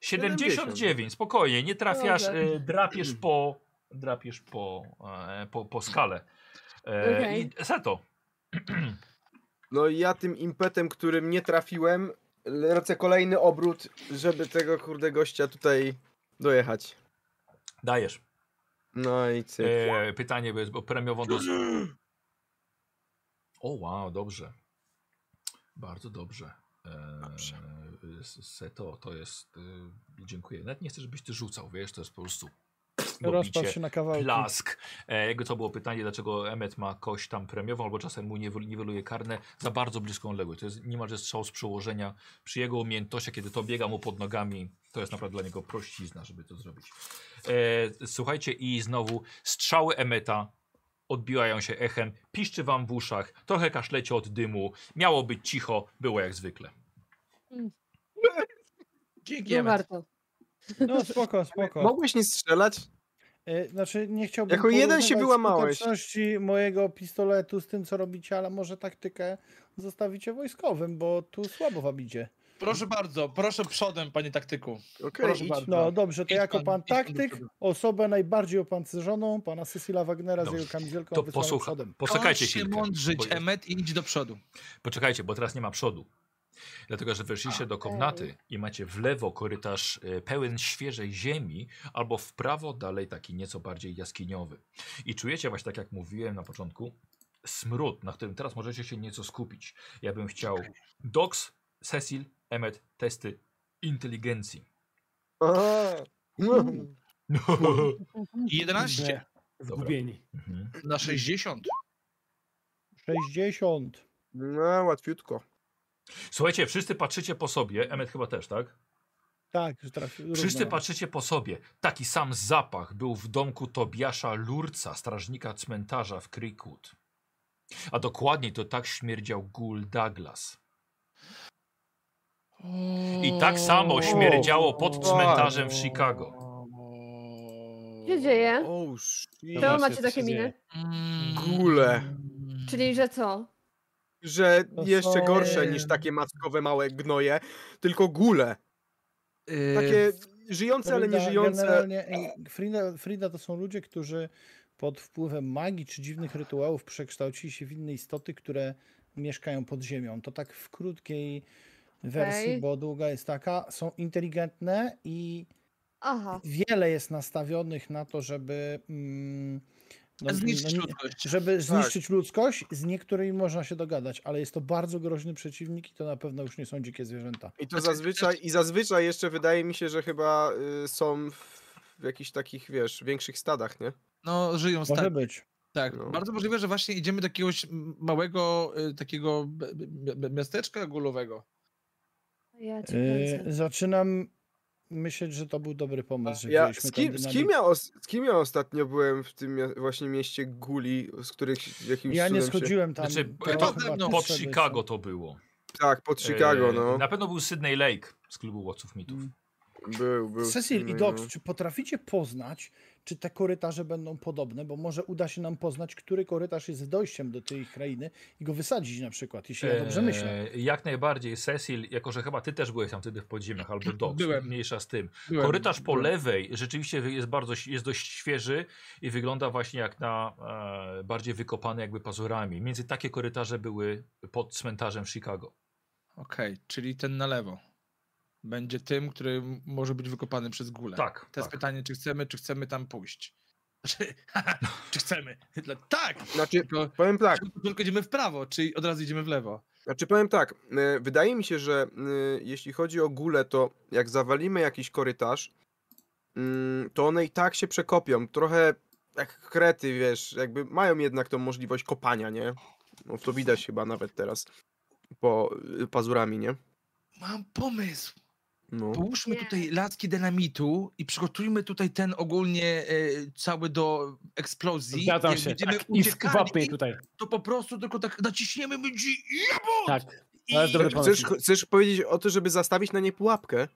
79, spokojnie, nie trafiasz, Dobrze. e, drapiesz po, drapiesz po, e, po, po skale. E, Okej. I Seto, No i ja tym impetem, którym nie trafiłem, lecę kolejny obrót, żeby tego kurde gościa tutaj dojechać. dajesz. No i cyk. E, pytanie, bo jest bo premiową dos... O wow, dobrze. Bardzo dobrze. E, Dobrze. s- Seto, to jest, e, dziękuję. Nawet nie chcę, żebyś ty rzucał, wiesz, to jest po prostu... Rozpadł dobicie. się na kawałki. Plask. E, Jakby to było pytanie, dlaczego Emmet ma kość tam premiową, albo czasem mu niwel- niweluje karne za bardzo bliską odległość. To jest niemalże strzał z przełożenia. Przy jego umiejętnościach, kiedy to biega mu pod nogami, to jest naprawdę dla niego prościzna, żeby to zrobić. E, słuchajcie, i znowu strzały Emeta odbijają się echem, piszczy wam w uszach, trochę kaszlecie od dymu. Miało być cicho, było jak zwykle. Dzięki, Nie Emet. warto. No spoko, spoko. Mogłeś nie strzelać? E, Znaczy nie chciałbym Jako jeden się porównywać wyłamałeś. skuteczności mojego pistoletu z tym co robicie, ale może taktykę zostawicie wojskowym, bo tu słabo wam idzie. Proszę bardzo, proszę przodem, panie taktyku. Okej, Proszę idź. bardzo. No dobrze, to Idź jako pan, pan idź pan do taktyk, przodu. osobę najbardziej opancerzoną, pana Cecila Wagnera Dobrze, z jego kamizelką To wysłaną posłucha, przodem. posłuchajcie Kończ się chwilkę, mądrzyć, bo- Emet, i idź do przodu. Poczekajcie, bo teraz nie ma przodu. Dlatego, że weszliście do komnaty i macie w lewo korytarz e, pełen świeżej ziemi, albo w prawo dalej taki nieco bardziej jaskiniowy. I czujecie właśnie, tak jak mówiłem na początku, smród, na którym teraz możecie się nieco skupić. Ja bym chciał Docs, Cecil, Emmet, testy inteligencji. Aha. No. I 11 Zgubieni. Mhm. na 60. 60. No, łatwiutko. Słuchajcie, wszyscy patrzycie po sobie, Emmet chyba też, tak? Tak, że trafił. Wszyscy równo. patrzycie po sobie. Taki sam zapach był w domku Tobiasza Lurca, strażnika cmentarza w Creekwood. A dokładniej to tak śmierdział Gul Douglas. I tak samo śmierdziało pod cmentarzem w Chicago. Co się dzieje? Oh, shit. Czemu właśnie, macie co takie się miny? dzieje? Mm. Gule. Czyli, że co? Że To jeszcze są- gorsze niż takie mackowe małe gnoje, tylko gule. Yy, Y, Takie żyjące, ale nie Frida- żyjące. Generalnie e, Frida, Frida to są ludzie, którzy pod wpływem magii czy dziwnych rytuałów przekształcili się w inne istoty, które mieszkają pod ziemią. To tak w krótkiej wersji, Okej. bo długa jest taka. Są inteligentne i Aha. wiele jest nastawionych na to, żeby. Mm, no, Zniszczyć no, nie- ludzkość. Tak. żeby zniszczyć ludzkość, z niektórymi można się dogadać, ale jest to bardzo groźny przeciwnik i to na pewno już nie są dzikie zwierzęta. I to zazwyczaj, i zazwyczaj jeszcze wydaje mi się, że chyba y, są w, w jakichś takich, wiesz, większych stadach, nie? No, żyją stale. Może być. Tak, No. bardzo możliwe, że właśnie idziemy do jakiegoś m- małego y, takiego b- b- b- miasteczka gulowego. Ja E, cię Yy, kręcę. zaczynam myśleć, że to był dobry pomysł. Że Ja, wzięliśmy z, tą kim, z, dynamik- kim ja os, z kim ja ostatnio byłem w tym mia- właśnie mieście Guli, z których jakimś Ja nie cudem się- schodziłem tam. Znaczy, to to chyba no, pod trzy były, Chicago to było. Tak, pod Chicago, E, no. Na pewno był Sydney Lake z klubu łowców mitów. Mm, Był, był. co. Cecil no, i no. Dox, czy potraficie poznać, czy te korytarze będą podobne? Bo może uda się nam poznać, który korytarz jest dojściem do tej krainy i go wysadzić na przykład, jeśli ja Eee, dobrze myślę. E, Jak najbardziej, Cecil, jako że chyba ty też byłeś tam wtedy w podziemiach Tak, albo Docs, Byłem. mniejsza z tym. Byłem. Korytarz po lewej rzeczywiście wy- jest bardzo ś- jest dość świeży i wygląda właśnie jak na e, bardziej wykopane jakby pazurami. Między takie korytarze były pod cmentarzem w Chicago. Okej, czyli ten na lewo. Będzie tym, który m- może być wykopany przez gulę. Tak. Teraz tak. pytanie, czy chcemy, czy chcemy tam pójść? Znaczy, No. czy chcemy? Dla- Tak! Znaczy, Tylko, powiem tak, tylko idziemy w prawo, czy od razu idziemy w lewo? znaczy powiem tak, y, e, wydaje mi się, że y, jeśli chodzi o Gulę, to jak zawalimy jakiś korytarz, mm, to one i tak się przekopią. Trochę jak krety, wiesz, jakby mają jednak tą możliwość kopania, nie? No, to widać chyba nawet teraz po y, pazurami, nie? Mam pomysł. No. Połóżmy Nie. tutaj laski dynamitu i przygotujmy tutaj ten ogólnie e, cały do eksplozji. Zgadzam Jak się. będziemy Tak, I wapnie uciekali, tutaj. to po prostu tylko tak naciśniemy ludzi Tak. i... To jest dobry pomysł. Chcesz, chcesz powiedzieć o tym, żeby zastawić na nie pułapkę?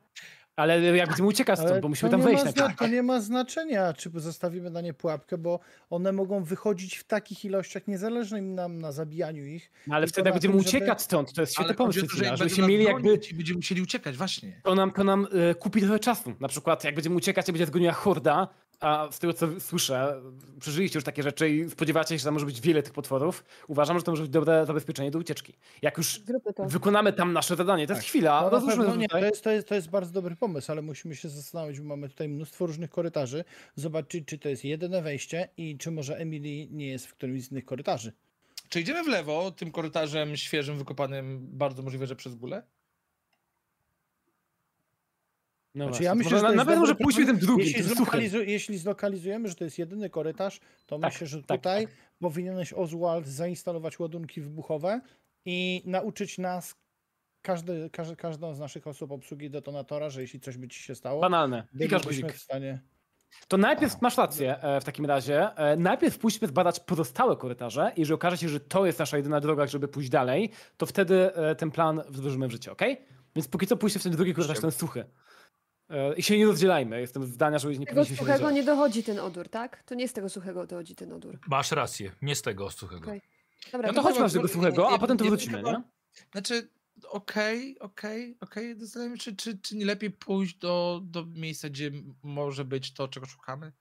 Ale jak będziemy uciekać stąd, Ale bo musimy to tam nie ma wejść na zna- To nie ma znaczenia, czy zostawimy na nie pułapkę, bo one mogą wychodzić w takich ilościach, niezależnie nam na zabijaniu ich. Ale tylko wtedy na jak będziemy tym, żeby- uciekać stąd, to jest świetny Ale chodzi pomysł, o to, że Cecilia, jak żeby będą się nas mieli jakby... gonić i będziemy musieli uciekać, właśnie. To nam, to nam e, kupi trochę czasu. Na przykład jak będziemy uciekać, jak będzie zgoniła horda, a z tego co słyszę, przeżyliście już takie rzeczy i spodziewacie się, że tam może być wiele tych potworów. Uważam, że to może być dobre zabezpieczenie do ucieczki. Jak już Zróbmy to. wykonamy tam nasze zadanie, to jest Tak. chwila, No, na rozłóżmy pewno to nie, to tutaj. jest, to, jest, to jest bardzo dobry pomysł, ale musimy się zastanowić, bo mamy tutaj mnóstwo różnych korytarzy, zobaczyć, czy to jest jedyne wejście i czy może Emily nie jest w którymś z innych korytarzy. No Czy idziemy w lewo tym korytarzem świeżym, wykopanym, bardzo możliwe, że przez górę? No Znaczy, właśnie, ja to myślę, może że to na- jest Nawet dobry może pójdźmy tym drugim, Jeśli, tym suchym. zlokalizu- jeśli zlokalizujemy, że to jest jedyny korytarz, to Tak, myślę, że tak, tutaj powinieneś Oswald zainstalować ładunki wybuchowe i nauczyć nas, każdy, każdy, każdą z naszych osób obsługi detonatora, że jeśli coś by ci się stało, Banalne. Klikasz bylibyśmy guzik. w stanie... To najpierw, masz rację e, w takim razie, e, najpierw pójdźmy zbadać pozostałe korytarze i jeżeli okaże się, że to jest nasza jedyna droga, żeby pójść dalej, to wtedy e, ten plan wdrożymy w życie, okej? Więc póki co pójście w ten drugi korytarz, ten suchy. E, I się nie rozdzielajmy, jestem zdania, że nie Tego powinniśmy się suchego rozdzielać. nie dochodzi ten odór, tak? To nie z tego suchego dochodzi ten odór. Masz rację, nie z tego suchego. Okej. No Dobra, to Ja chodźmy chyba- aż do tego suchego, a ja- potem to ja bym wrócimy, chyba- nie? Znaczy, okej, okej, okej. Zastanawiam się, czy, czy, czy nie lepiej pójść do, do miejsca, gdzie m- może być to, czego szukamy?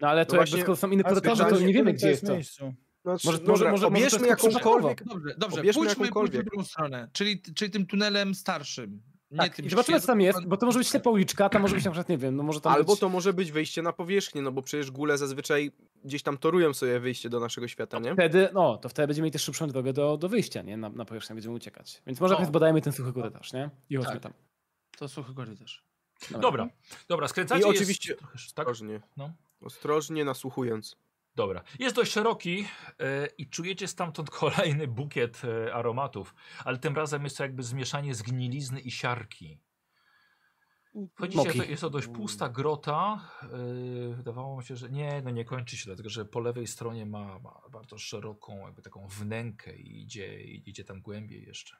No ale No to jakby właśnie- skoro są inne A korytarze, to pytanie, nie wiemy, którym gdzie jest to. miejscu. No, Może- czy- może- dobra, może- może to obierzmy jest tylko jakąkolwiek. Dobrze, dobrze. Obierzmy Pójdźmy, pójdźmy w jakąkolwiek. drugą stronę, czyli, czyli tym tunelem starszym. Nie Tak, tym i zobaczymy, co tam jest, świeżym. bo to może być ślepa uliczka, tam może być na przykład, nie wiem, no może tam Albo być... to może być wyjście na powierzchnię, no bo przecież góle zazwyczaj gdzieś tam torują sobie wyjście do naszego świata, nie? Wtedy, no, to wtedy będziemy mieli też szybszą drogę do, do wyjścia, nie? Na, na powierzchnię będziemy uciekać. Więc może O. najpierw zbadajmy ten suchy korytarz, nie? I chodźmy No. Tak. tam. To suchy korytarz. Dobra, dobra, skręcacie I jest- oczywiście- trochę- Tak? Ostrożnie. No. Ostrożnie nasłuchując. Dobra. Jest dość szeroki e, i czujecie stamtąd kolejny bukiet e, aromatów, ale tym razem jest to jakby zmieszanie zgnilizny i siarki. Chodzicie, Moki. to, jest to dość pusta grota. e, wydawało mi się, że nie, no nie kończy się, dlatego że po lewej stronie ma, ma bardzo szeroką jakby taką wnękę i idzie, idzie tam głębiej jeszcze.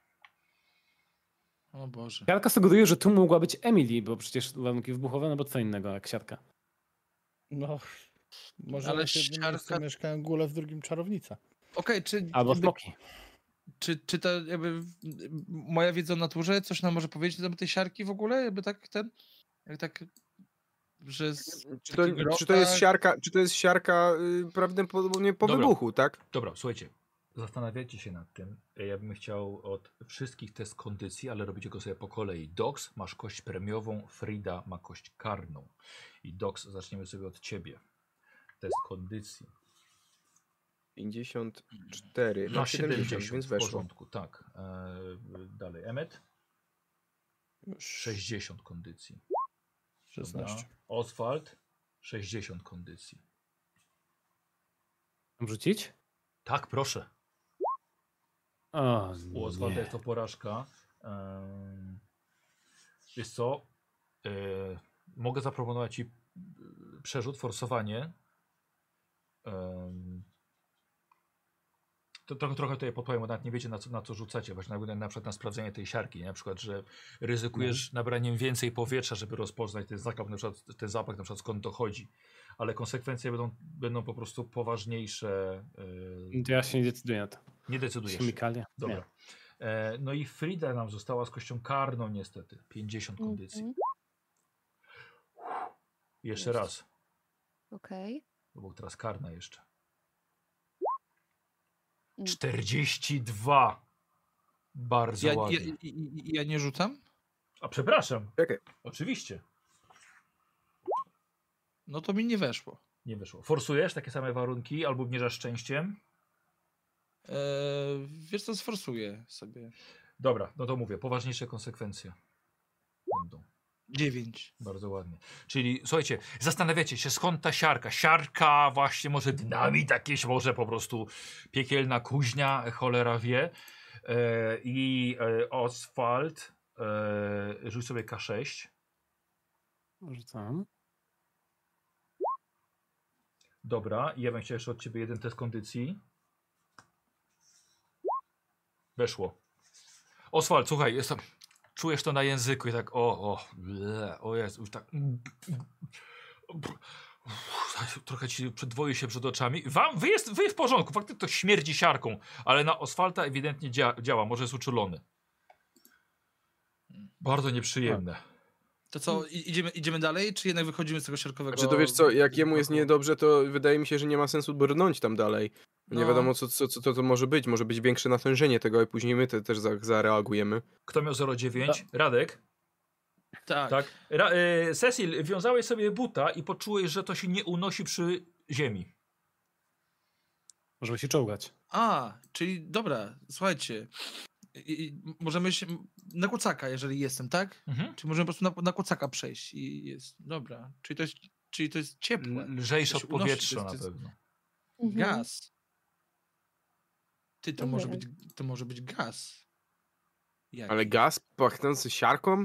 O Boże. Siarka sugeruje, że tu mogła być Emily, bo przecież warunki wybuchowe, no bo co innego jak siatka. No, może Ale ale w jednym miejscu ściarka- mieszkają góle, w drugim czarownica. Okej, czy, Albo jakby- smoki. czy, czy ta jakby m, m, moja wiedza o naturze coś nam może powiedzieć na temat tej siarki w ogóle? Jakby tak ten, jak tak, że z Czy to, takiego czy to jest grota- siarka, czy to jest siarka y, prawdopodobnie po Dobra. wybuchu, tak? Dobra, słuchajcie. Zastanawiacie się nad tym. E, Ja bym chciał od wszystkich test kondycji, ale robicie go sobie po kolei. Dox, masz kość premiową, Frida ma kość karną. I Dox, zaczniemy sobie od ciebie. Test kondycji. 54. Na Na 70, 70, no, więc w weszło. porządku, tak. E, dalej, Emmet. 60 kondycji. Dobra. 16. Oswald, 60 kondycji. Mam Rzucić? Tak, proszę. O, U Oswalda nie. jest to porażka. Ym, Wiesz co? Yy, Mogę zaproponować ci yy, przerzut, forsowanie. Ym, To trochę, trochę tutaj podpowiem, bo nawet nie wiecie na co, na co rzucacie. Właśnie na, na przykład na sprawdzenie tej siarki. nie? Na przykład, że ryzykujesz nabraniem więcej powietrza, żeby rozpoznać ten zapach, na przykład, ten zapach, na przykład skąd dochodzi. Ale konsekwencje będą, będą po prostu poważniejsze. Yy, To ja się nie decyduję na to. nie decydujesz. się. Chemikalia. Nie. Dobra. E, no i Frida nam została z kością karną niestety. 50 kondycji. Mhm, Jeszcze Jest. raz, no Okej. bo teraz karna jeszcze. Mm. 42. Bardzo Ja, ja, ładnie. i- i- i- ja nie rzucam? A przepraszam. Czekaj. Oczywiście. No to mi nie weszło. Nie wyszło. Forsujesz takie same warunki albo obniżasz szczęściem? Eee, wiesz co, sforsuję sobie. Dobra, no to mówię. Poważniejsze konsekwencje będą. Dziewięć. Bardzo ładnie. Czyli słuchajcie, zastanawiacie się skąd ta siarka. Siarka właśnie może dynamit jakieś, może po prostu piekielna kuźnia, cholera wie. E, I e, Oswald, e, rzuć sobie K6. Rzucam. Dobra, i ja bym chciał jeszcze od ciebie jeden test kondycji. Weszło. Oswald, słuchaj, jest to, czujesz to na języku i tak o, o, ble, o jest, już tak. Trochę ci przedwoju się przed oczami. Wam, wy, jest, wy w porządku, faktycznie to śmierdzi siarką, ale na Oswalta ewidentnie dzia, działa, może jest uczulony. Bardzo nieprzyjemne. To Hmm. co, i- idziemy, idziemy dalej, czy jednak wychodzimy z tego siarkowego? Znaczy to wiesz co, jak jemu jest niedobrze, to wydaje mi się, że nie ma sensu brnąć tam dalej. Nie No. wiadomo, co, co, co to, to może być. Może być większe natężenie tego i później my te, też za, zareagujemy. Kto miał 0,9? Radek? Tak. Tak. Ra, y, Cecil, wiązałeś sobie buta i poczułeś, że to się nie unosi przy ziemi. Możemy się czołgać. A, czyli dobra, słuchajcie. I, i, możemy się na kucaka, jeżeli jestem, tak? Mhm. Czy możemy po prostu na, na kucaka przejść i jest, dobra. Czyli to jest, czyli to jest ciepłe. Lżejsze To od się Znaczy, unosi, powietrza to na jest- to jest- pewno. Mhm. Gaz. Ty, to może, być, to może być gaz. Jakiś. Ale gaz pachnący siarką?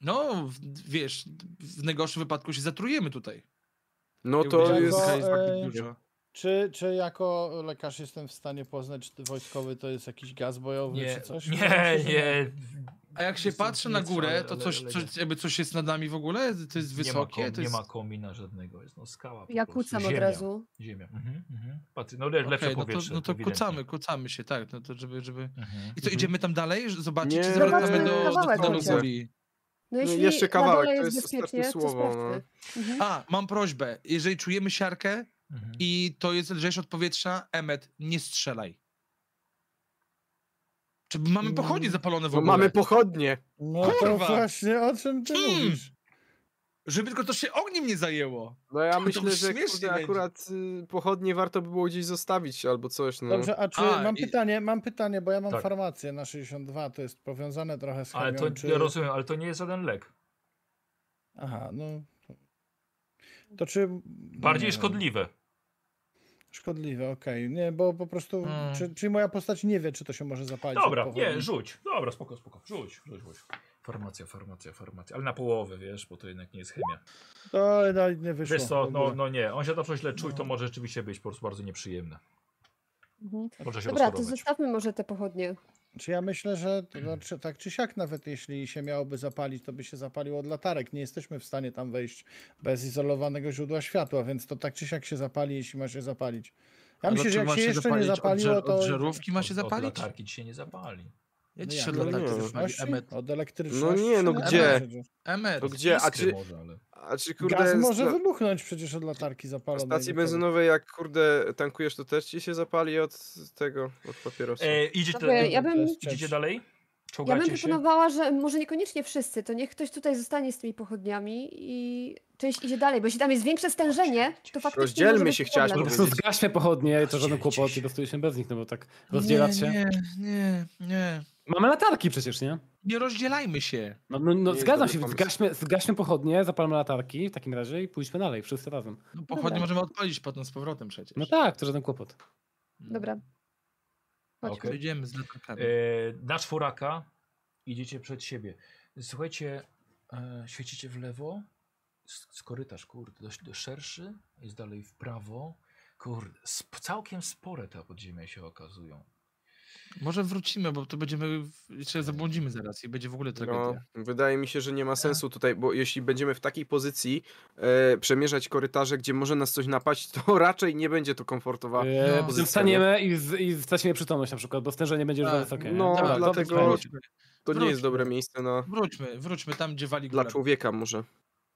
No, w- wiesz, w najgorszym wypadku się zatrujemy tutaj. No Jak to widziałem, jest... taka Ej. dużo. Czy, czy jako lekarz jestem w stanie poznać, czy wojskowy to jest jakiś gaz bojowy, Nie, czy coś? nie, Wydaje mi się, że nie. A jak się Jest to patrzę na nic, górę, ale- to ale- coś, ale coś, jakby coś jest nad nami w ogóle? To jest nie wysokie? ma, kom, to nie jest... ma komina żadnego, jest no skała. po Ja prostu, kucam od ziemia, razu. No Ziemia. Mhm, mhm. Patry, no le, lepsze Okej, no to, powietrze. no to ewidentnie. kucamy, kucamy się, tak, no to żeby, żeby... Mhm. I co, Mhm. idziemy tam dalej? ż- Zobaczyć, czy no Nie. zawracamy do, Zobaczmy kawałek do, do chociaż. Lugoli? No jeśli jeszcze na kawałek, dole to jest jest ostatnie bezpiecznie, to słowo, no. sprawdźmy. Mhm. A, mam prośbę. Jeżeli czujemy siarkę Mhm. i to jest lżejsze od powietrza, Emmet, nie strzelaj. Czy mamy Mm. pochodnie zapalone w No, ogóle? mamy pochodnie. No to Kurwa! właśnie, o czym ty Mm. Hmm. mówisz? Żeby tylko to się ogniem nie zajęło. No ja myślę, już że śmiesznie kurde, będzie. akurat y, pochodnie warto by było gdzieś zostawić albo coś. No. Dobrze, a czy A, mam i- pytanie, mam pytanie, bo ja mam Tak. farmację na 62, to jest powiązane trochę z chemią, Ale to, czy... ja rozumiem, ale to nie jest żaden lek. Aha, no... To czy... Bardziej nie no. wiem. szkodliwe. Szkodliwe, okej. Nie, bo po prostu, Mm. czy, czyli moja postać nie wie, czy to się może zapalić. od Hmm. Dobra, pochodni. nie, rzuć. Dobra, spoko, spoko. Rzuć, rzuć, rzuć. Formacja, formacja, formacja. Ale na połowę, wiesz, bo to jednak nie jest chemia. To no, nie wyszło. Wiesz w co, ogóle. no, no nie, on się zawsze źle czuł i to No. może rzeczywiście być po prostu bardzo nieprzyjemne. Mhm. Może się Dobra, to rozchorować. zostawmy może te pochodnie. Czy ja myślę, że to, znaczy, tak czy siak, nawet jeśli się miałoby zapalić, to by się zapaliło od latarek. Nie jesteśmy w stanie tam wejść bez izolowanego źródła światła, więc to tak czy siak się zapali, jeśli ma się zapalić. Ja myślę, że jak się jeszcze nie zapaliło, Od, to. żarówki ma się Od- zapalić? Od latarki ci się nie zapali. Ja No ci jak, się od od latarki nie. zapali. elektryczności? Emet. Od elektryczności. No nie, no Ja gdzie? myślę, że Emet. To gdzie? A Iskry czy, może, ale... a czy kurde... Gaz może sta- wybuchnąć przecież od latarki no, Na zapalonej. stacji gotowej. benzynowej, jak kurde tankujesz, to też ci się zapali od tego, od papierosa. E, idzie Dobra, ja to bym, jest cięższe. Idziecie dalej? ja bym Czołgacie się? proponowała, że może niekoniecznie wszyscy, to niech ktoś tutaj zostanie z tymi pochodniami i część idzie dalej, bo jeśli tam jest większe stężenie, to faktycznie Rozdzielmy może być się, chciałaś Po problem. prostu powiedzieć. zgaśmy pochodnie, to żaden Rozdzielcie kłopot, się. nie dostaliśmy bez nich, no bo tak rozdzielać się. Nie, nie, nie. Mamy latarki przecież, nie? Nie rozdzielajmy się. No, no, Nie no jest zgadzam dobry się, więc pomysł. zgaśmy, zgaśmy pochodnie, zapalmy latarki w takim razie i pójdźmy dalej, wszyscy razem. No, pochodnie Dobra. możemy odpalić potem z powrotem przecież. No tak, to żaden kłopot. Dobra. Chodźmy. Okej. Idziemy z latarkami. E, na czworaka idziecie przed siebie. Słuchajcie, e, świecicie w lewo. S- S korytarz, kurde, dość dość szerszy. Jest dalej w prawo. Kurde, sp całkiem spore te podziemia się okazują. Może wrócimy, bo to będziemy, w- jeszcze zabłądzimy zaraz i będzie w ogóle No, tragedia. wydaje mi się, że Tak. nie ma sensu tutaj, bo jeśli będziemy w takiej pozycji e, przemierzać korytarze, gdzie może nas coś napaść, to raczej nie będzie to komfortowa. E, no. potem wstaniemy i, z- i stracimy przytomność na przykład, bo stężenie będzie już Tak, za wysokie. nie? no, Tak, to dlatego- będzie- wróćmy, To nie jest wróćmy. dobre miejsce na, wróćmy, wróćmy tam, gdzie wali dla góra. człowieka może.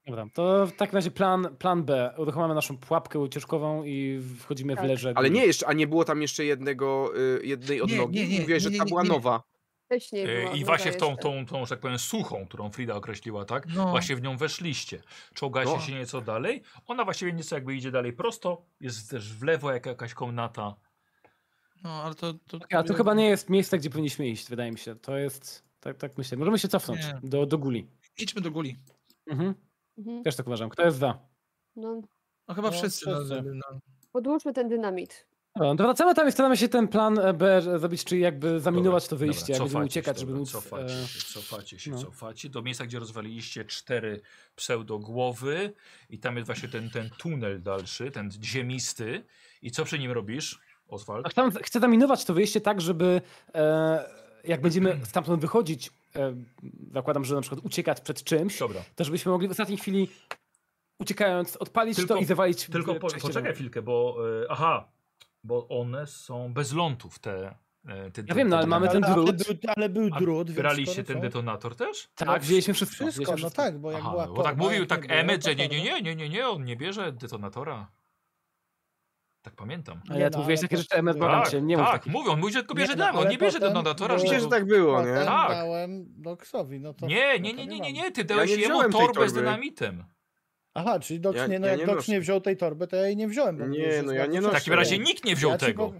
Dobra, to w takim razie plan, plan B. Uruchamiamy naszą pułapkę ucieczkową i wchodzimy Tak. w leże. Ale nie jeszcze, a nie było tam jeszcze jednego, y, jednej odnogi. nie, nie, Mówiłeś, nie, że nie, ta nie, była nie. nowa. Wcześniej E, była I woda właśnie w tą, jeszcze. tą, tą, że tak powiem, suchą, którą Frida określiła, tak? No. Właśnie w nią weszliście. Czołgacie No. się nieco dalej. Ona właściwie nieco jakby idzie dalej prosto. Jest też w lewo jak, jakaś komnata. No, ale to... to, A to chyba nie jest miejsce, gdzie powinniśmy iść, wydaje mi się. To jest. Tak, tak myślę. Możemy się cofnąć Nie. do, do guli. Idźmy do guli. Mhm. Mhm. Też tak uważam. Kto jest za? No, No chyba No, wszyscy. wszyscy. No, no. podłączmy ten dynamit. Dobra, no to wracamy tam i staramy się ten plan e, B zrobić, czyli jakby zaminować to wyjście, jak będziemy cofacie się, uciekać, żeby dobra, móc... Cofacie e, się, cofacie się, no. cofacie do miejsca, gdzie rozwaliliście cztery pseudogłowy i tam jest właśnie ten, ten tunel dalszy, ten ziemisty. I co przy nim robisz, Oswald? No, Chcę, chcę zaminować to wyjście tak, żeby e, jak będziemy stamtąd wychodzić, e, zakładam, że na przykład uciekać przed czymś, Dobra, to żebyśmy mogli w ostatniej chwili uciekając odpalić Tylko- to i zawalić w- tylko po, przejście poczekaj dalej. chwilkę, bo y, aha, bo one są bez lądów te, y, te Ja wiem, no, ale mamy Ale, ten ale, drut. był- ale był A drut, więc Braliście skoro ten co? detonator też? Tak, wzięliśmy wszystko. Wszystko, wzięliśmy no wszystko. tak, bo jak Aha, była no, bo tak torba, mówił jak tak nie było, Emmet, to że nie, nie, torba. no. nie, nie, nie, nie, on nie bierze detonatora. Tak pamiętam. A Nie ja no, tu mówiłeś ale takie to- rzeczy, Emmet, Tak, błagam cię, nie mów tak, takich. mówią, mówi, że tylko bierze Nie, no, damy, on ale nie bierze potem detonatora. było- Oczywiście, żeby- że tak było, nie? Potem Tak. dałem Doksowi, tak- no to... Nie, no nie, to nie, nie, nie, mam. nie, ty dałeś nie jemu wziąłem tej torbę z torby. dynamitem. Aha, czyli Dox Ja- nie, no ja jak nie Dox noszę. nie wziął tej torby, to ja jej nie wziąłem. bo Nie, mówił, że no ja zgadza nie się. W takim razie nikt nie wziął Ja ci tego. pow-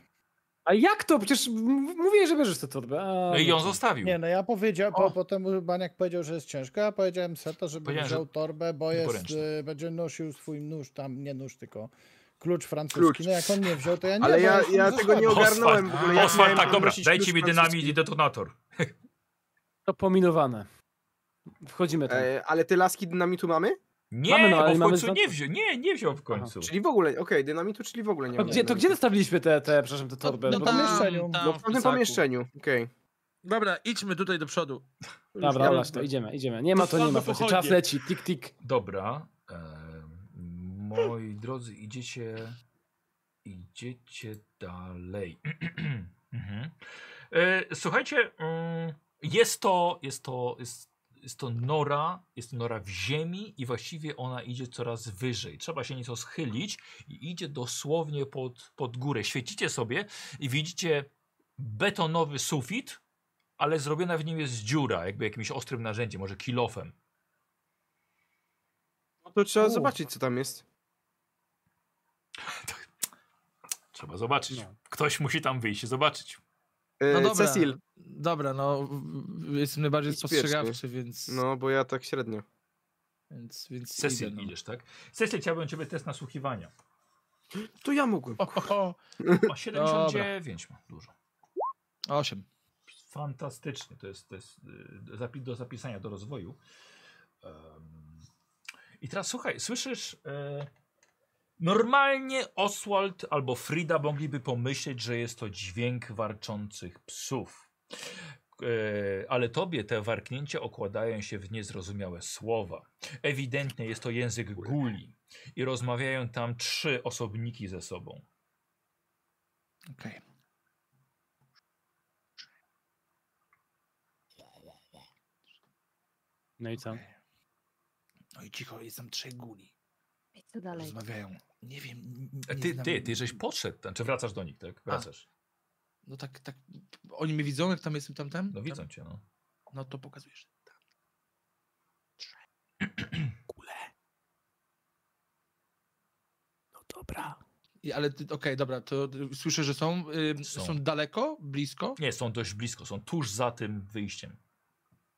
A jak to? Przecież m- mówię, że bierzesz tę torbę. A, No I no ją to- zostawił. Nie, no ja powiedziałem, O. po, potem Baniak powiedział, że jest ciężko, a powiedziałem Seto, żeby Powiedziałem, że wziął torbę, bo jest, poręczny. y, będzie nosił swój nóż, tam nie nóż, tylko klucz francuski. No jak on nie wziął, to ja nie Ale bo ja, już ja mam ze tego nie sobą. Oswald, ogarnąłem w ogóle. jak Oswald, miałem tak, dobra, podnosić dajcie klucz mi dynamit i detonator. To pominowane. Wchodzimy tam. E, ale te laski dynamitu mamy? Nie, Mamy, no, ale bo w mamy końcu znak- nie wziął, nie, nie wziął w końcu. Czyli w ogóle, okej, dynamitu, czyli w ogóle nie To mamy. gdzie, to gdzie dostawiliśmy te, te, przepraszam, te torby? no, Bo- tam, pomieszczeniu. tam, No, w W tym pisaku. pomieszczeniu, okej. Dobra, idźmy tutaj do przodu. Dobra, dobra, to idziemy, idziemy. Nie ma to, nie ma. Dostawmy to. pochodnie. Czas leci, tik, tik. Dobra. em, moi drodzy, idziecie. Idziecie dalej. Mhm. E, Słuchajcie, mm, jest to, jest to, jest, jest to nora, jest to nora w ziemi i właściwie ona idzie coraz wyżej. Trzeba się nieco schylić i idzie dosłownie pod, pod górę. Świecicie sobie i widzicie betonowy sufit, ale zrobiona w nim jest dziura, jakby jakimś ostrym narzędziem, może kilofem. No to trzeba U. zobaczyć, co tam jest. Trzeba zobaczyć. No. Ktoś musi tam wyjść i zobaczyć. E, No dobra. Cecil, Dobra, no w- w- jestem najbardziej Idź pierwszy. spostrzegawczy, więc, no bo ja tak średnio. więc, więc Cecil idę, no. idziesz, tak? Cecil, chciałbym ciebie test nasłuchiwania. To ja mogłem. O, o, Ma 79 ma dużo. o, osiem. Fantastycznie, to jest, to jest y, zapi- do zapisania, do rozwoju. Em, I teraz słuchaj, słyszysz, e, normalnie Oswald albo Frida mogliby pomyśleć, że jest to dźwięk warczących psów. E, Ale tobie te warknięcia okładają się w niezrozumiałe słowa. Ewidentnie jest to język guli i rozmawiają tam trzy osobniki ze sobą. Okej. No i co? No i cicho, jest tam trzej guli. I co dalej? Rozmawiają. Nie wiem. n- A nie E, Ty, znam- ty, ty żeś podszedł, tam, czy wracasz do nich, tak? Wracasz. No tak, tak. Oni mnie widzą, jak tam jestem tam, tam? No Tam? widzą cię, no. No to pokazujesz. Tam. Trzej. Gule. No dobra. I, ale ty- okej, dobra, to y, słyszę, że są, y, Są. są. daleko, blisko, Nie, są dość blisko, są tuż za tym wyjściem.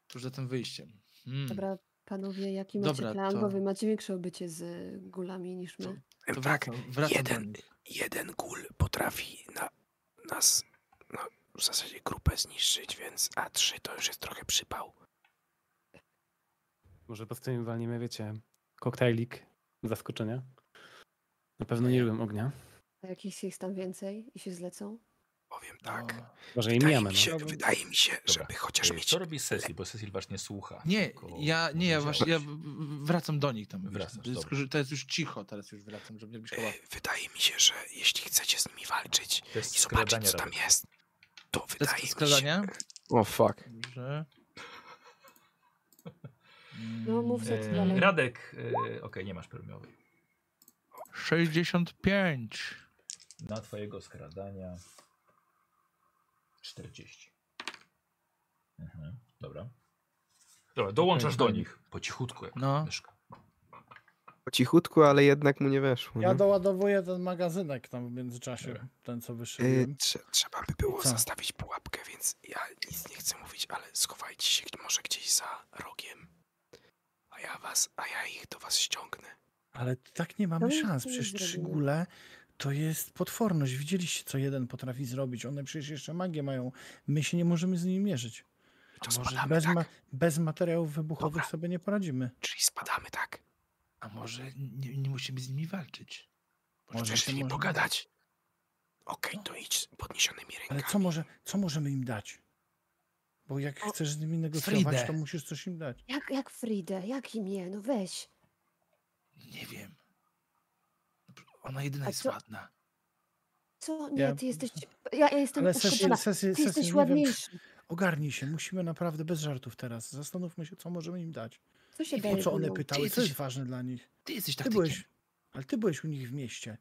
tuż za tym wyjściem. Hmm. Dobra, panowie, jaki macie Dobra, plan? to- Bo wy macie większe obycie z y, gulami niż my. To wracam, wracam do jeden, nich. jeden gul potrafi na, nas, no, w zasadzie grupę zniszczyć, więc A3 to już jest trochę przypał. Może po tym walniemy, wiecie, koktajlik zaskoczenia. Na pewno nie lubię ognia. A jakichś jest tam więcej i się zlecą? Powiem No. tak. O. Może i Wydaje mijamy, mi się, no. wydaje mi się żeby chociaż E, Ej, mieć e, Co robi Cecil, bo Cecil właśnie słucha. Nie, tylko ja, nie, ja powiedziałeś. właśnie, ja w- w- wracam do nich tam. wiesz, Wracasz, to jest- dobra. To jest już cicho, teraz już wracam, żeby nie być koła. E, Wydaje mi się, że jeśli chcecie z nimi walczyć To jest i zobaczyć, skradanie co tam rady. jest, to wydaje Test mi się... skradania? O fuck. Dobrze. No, mów Mm, co E, dalej. Radek, e, okej, nie masz premiowej. 65. Na twojego skradania 40. Mhm, dobra. Dobra, dołączasz do nich po cichutku, jak No. myszka. Po cichutku, ale jednak mu nie weszło. Ja nie? doładowuję ten magazynek tam w Mhm. międzyczasie, ten co E, wyszyłem. Trze- trzeba by było Co? zastawić pułapkę, więc ja nic nie chcę mówić, ale schowajcie się może gdzieś za rogiem. A ja was, a ja ich do was ściągnę. Ale tak nie No mamy nic szans. nie Przecież trzy zrobimy. gule to jest potworność. Widzieliście, co jeden potrafi zrobić. One przecież jeszcze magię mają. My się nie możemy z nimi mierzyć. To może spadamy, Bez, tak? ma- bez materiałów wybuchowych Dobra. sobie nie poradzimy. Czyli spadamy, tak? A może nie, nie musimy z nimi walczyć? Może Możesz z to nimi może- pogadać. Okej, to idź z podniesionymi Ale rękami. co, może, co możemy im dać? Bo jak O, chcesz z nimi negocjować, Fridę. to musisz coś im dać. Jak, jak Fridę? Jak imię? No weź. Nie wiem. Ona jedyna A jest co- ładna. Co? Nie, Ja- ty jesteś... Ja, ja jestem Ale sesję, uszkodzona. sesję, Ty jesteś sesję, nie wiem, ładniejszy. ogarnij się. Musimy naprawdę bez żartów teraz. Zastanówmy się, co możemy im dać. Co się I po Po daje? co one mną? pytały, co jesteś- jest ważne dla nich. Ty jesteś Ty taktykiem. byłeś, ale ty byłeś u nich w mieście.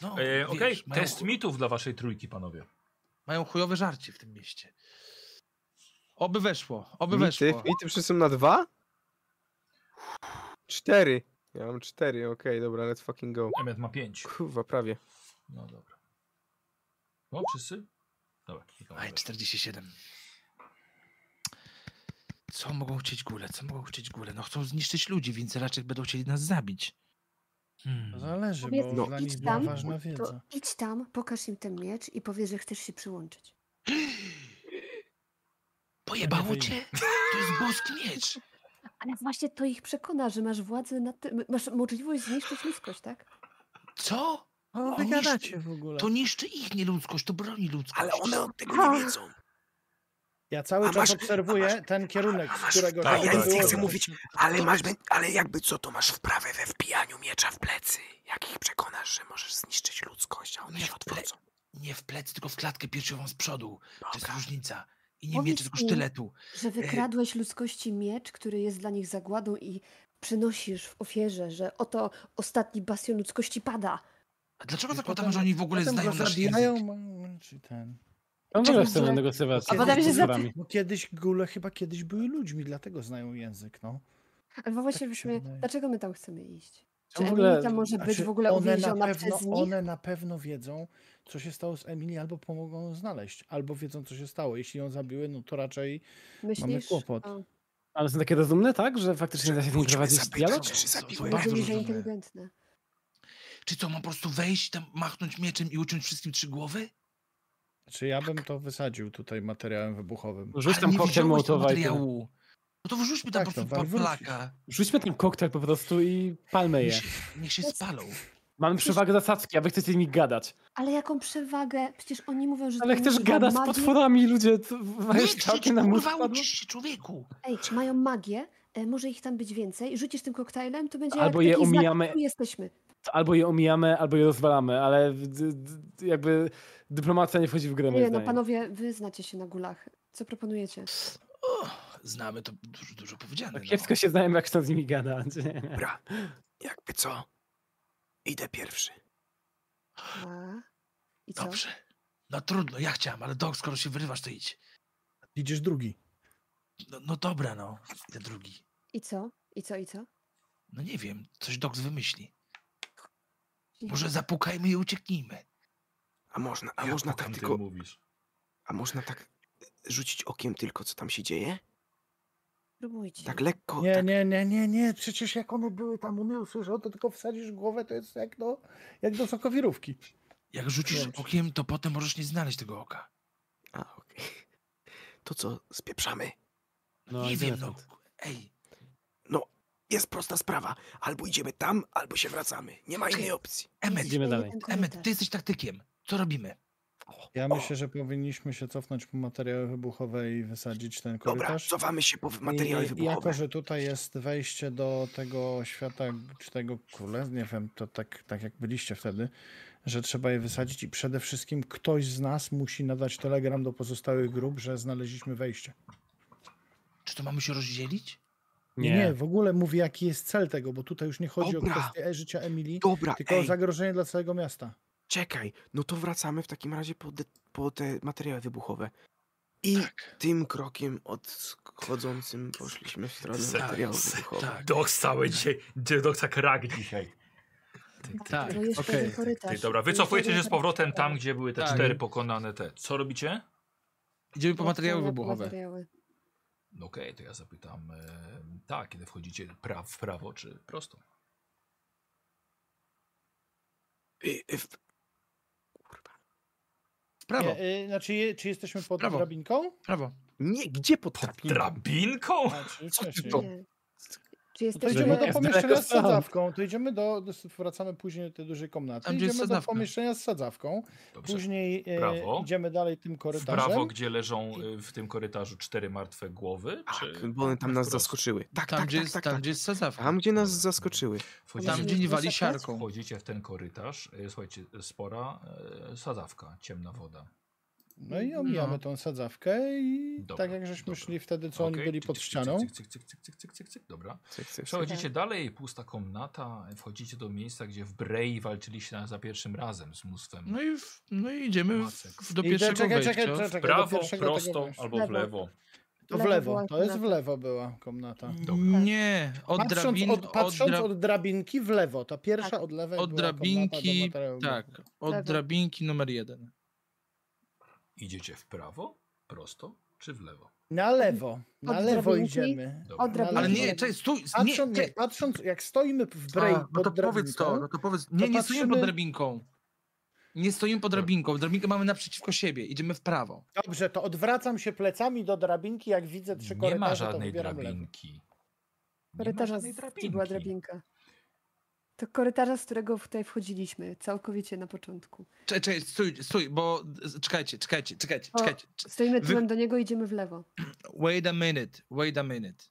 No, E, wiesz, Okej, mają test chu- mitów dla waszej trójki, panowie. Mają chujowe żarcie w tym mieście. Oby weszło, oby Mity, weszło. mity wszyscy są na dwa? Cztery. Ja mam cztery, okej, dobra, let's fucking go. Emmet ma 5. Kurwa, prawie. No dobra. No, wszyscy? No Dobra, nikomu nie Aj, 47. Co mogą chcieć góle? Co mogą chcieć góle? No chcą zniszczyć ludzi, więc raczej będą chcieli nas zabić. To Hmm. No zależy, Powiedz bo im, dla idź nich była tam, ważna wiedza. To idź tam, pokaż im ten miecz i powiedz, że chcesz się przyłączyć. Pojebało wyjdzie. cię? To jest boski miecz. Ale właśnie to ich przekona, że masz władzę nad tym, masz możliwość zniszczyć ludzkość, tak? Co? O, wy gadacie No, w ogóle. To niszczy ich nieludzkość, to broni ludzkość. Ale one od tego nie A. wiedzą. Ja cały A czas masz- obserwuję a masz- ten kierunek, a z masz- którego tak, Ale ja tak, nic nie tak, chcę tak. mówić, ale, masz, ale jakby co, to masz wprawę we wbijaniu miecza w plecy. Jak ich przekonasz, że możesz zniszczyć ludzkość, a one Miecz się w ple- odwrócą. Nie w plecy, tylko w klatkę piersiową z przodu. To jest Dobra. różnica. I nie Powiedz mieczy, tylko im- sztyletu. Że wykradłeś ludzkości miecz, który jest dla nich zagładą i przynosisz w ofierze, że oto ostatni bastion ludzkości pada. A dlaczego I zakładamy, potem- że oni w ogóle potem znają go nasz zabijają, język? ma- Czy ten. On w Czemu ogóle chce nie? negocjować A z potem się tymi zapy- górami. Bo kiedyś góle chyba kiedyś były ludźmi, dlatego znają język, no. Albo właśnie mi się byśmy, wydaje. dlaczego my tam chcemy iść? Czemu Czy w ogóle- Emilia tam może być Znaczy, w ogóle one na, uwięziona pewno, przez nich? one na pewno wiedzą, co się stało z Emily, albo pomogą ją znaleźć, albo wiedzą, co się stało. Jeśli ją zabiły, no to raczej Myślisz? kłopot. O, Ale są takie rozumne, tak? Że faktycznie da się z nimi Musimy prowadzić zapytać, dialog? czy zabiły. Bardzo Bardzo że rozumne. inteligentne. Czy co, mam po prostu wejść, tam machnąć mieczem i uciąć wszystkim trzy głowy? Czy ja bym to wysadził tutaj materiałem wybuchowym. Rzuć Ale tam nie koktajl wziąłeś tego mołotowa i tyle. materiału. No to wyrzućmy tam Tak, po to prostu wal- plaka. Rzućmy ten koktajl po prostu i palmy Niech je. się, niech się spalą. Mamy przewagę zasadzki, a wy chcecie z nimi gadać. Ale jaką przewagę? Przecież oni mówią, że Ale tam chcesz używa gadać z magii. potworami, ludzie. to- Nie Weź krzycz, całkiem na mózg kurwa, padło. uczysz się człowieku. Ej, mają magię, e, może ich tam być więcej. Rzucisz tym koktajlem, to będzie Albo jak je taki znak, omijamy. tu jesteśmy. Albo je omijamy, albo je rozwalamy, ale d- d- jakby dyplomacja nie wchodzi w grę, moim Nie, no zdaniem. panowie, wy znacie się na gulach. Co proponujecie? O, znamy to dużo, dużo powiedziane. Tak No. kiepsko się znałem, jak chcę z nimi gadać. Dobra, jakby co, idę pierwszy. A? I co? Dobrze. No trudno, ja chciałam, ale dok, skoro się wyrywasz, to idź. Idziesz drugi. No, no dobra, no. I ten drugi. I co? I co? I co? No nie wiem, coś Doks wymyśli. Nie. Może zapukajmy i ucieknijmy. A można, a Jak można o tak tym ty tylko, mówisz. a można tak rzucić okiem tylko, co tam się dzieje? Spróbujcie. Tak lekko, Nie, tak, nie, nie, nie, nie. Przecież jak one były tam, one usłyszał, to tylko wsadzisz głowę, to jest jak do, jak do sokowirówki. Jak rzucisz Dobrze. okiem, to potem możesz nie znaleźć tego oka. a okej. To co, spieprzamy? No, nie wiem, idziemy no. stąd. Ej, Jest prosta sprawa, albo idziemy tam, albo się wracamy. Nie ma Okej. innej opcji. Emmet, Idziemy dalej. Emmet, ty jesteś taktykiem. Co robimy? Ja O, myślę, że powinniśmy się cofnąć po materiały wybuchowe i wysadzić ten Dobra, korytarz. cofamy się po materiały I jako, wybuchowe. że tutaj jest wejście do tego świata, czy tego króle, nie wiem, to tak, tak jak byliście wtedy, że trzeba je wysadzić i przede wszystkim ktoś z nas musi nadać telegram do pozostałych grup, że znaleźliśmy wejście. Czy to mamy się rozdzielić? Nie, nie w ogóle mówię, jaki jest cel tego, bo tutaj już nie chodzi Dobra. o kwestię życia Emilii, Dobra, tylko o ej, zagrożenie dla całego miasta. czekaj. No to wracamy w takim razie po, de, po te materiały wybuchowe. I tym krokiem odchodzącym poszliśmy w stronę Tak, materiałów tak. wybuchowych. Doks cały dzisiaj. Gdzie doksa krak No. dzisiaj. Tak, To jeszcze okej. jeden korytarz. Ty, dobra, To jeszcze wycofujecie jeden się z powrotem korytarz. tam, gdzie były te Tak. cztery pokonane te. Co robicie? Idziemy po Wracamy materiały po wybuchowe. materiały. No okej, to ja zapytam. E, tak, kiedy wchodzicie pra w prawo czy prosto? Y, y, w- Kurwa. W prawo, Nie, y, znaczy, je- czy jesteśmy pod Prawo. drabinką? w prawo. Nie, gdzie pod Pod drabinką? drabinką? A, czyli wcześniej. to- Nie. Czy To jesteś idziemy do jest pomieszczenia daleko z stąd. sadzawką, to idziemy do, do, wracamy później do tej dużej komnaty, Tam, gdzie jest idziemy do sadzawka. pomieszczenia z sadzawką, Dobrze. później Prawo. e, idziemy dalej tym W korytarzem. prawo, gdzie leżą y, w tym korytarzu cztery martwe głowy? Tak, Czy bo one tam nas wprost? zaskoczyły. Tak, tam, tak, gdzie tak, jest, tak, tam, tak. gdzie jest sadzawka. Tam, gdzie nas zaskoczyły. wchodzicie, Tam, gdzie nie wali siarką. wchodzicie w ten korytarz? y, Słuchajcie, spora y, sadzawka, ciemna woda. No i omijamy No. tą sadzawkę i Dobra, tak jak żeśmy dobra. szli wtedy, co Okej, oni byli cyk, pod cyk, cyk, ścianą. cyk, cyk, cyk, cyk, cyk, cyk, cyk, cyk, Dobra. Cyk, cyk, cyk. Przechodzicie dalej, pusta komnata, wchodzicie do miejsca, gdzie w Brei walczyliście na- za pierwszym razem z mnóstwem. No i, w, no i idziemy Macek. w, do I pierwszego czekaj, wejścia. czekaj, czekaj, w tak, do prawo, pierwszego tego prosto wejścia. albo w Lewo. lewo. To w lewo, była to jest w komnata. lewo była komnata. Dobra. Nie, od Patrząc, drabin, od, patrząc dra- od drabinki w lewo, ta pierwsza Tak. od lewej od była drabinki, komnata do materiału. tak, od Lewo. drabinki numer jeden. Idziecie w prawo, prosto czy w lewo? Na lewo, na Od lewo drabinki? idziemy. Dobra. Od drabinki. Ale lewo. nie, czekaj, stój, nie, Patrząc, nie, czekaj. patrząc jak stoimy w A, brej no pod to powiedz to, drabinką, no to powiedz. Nie, nie stoimy pod patrzymy- drabinką. Nie stoimy pod drabinką. Drabinkę mamy naprzeciwko siebie. Idziemy w prawo. Dobrze, to odwracam się plecami do drabinki, jak widzę trzy Nie korytarze, ma to żadnej wybieram lewo. drabinki. Nie ma korytarza, żadnej z gdzie była drabinka? To korytarza, z którego tutaj wchodziliśmy, całkowicie na początku. Czekaj, czekaj, stój, stój, bo czekajcie, czekajcie, czekajcie, O. czekajcie. Cz- Stoimy Wy- tyłem do niego, idziemy w lewo. Wait a minute, wait a minute.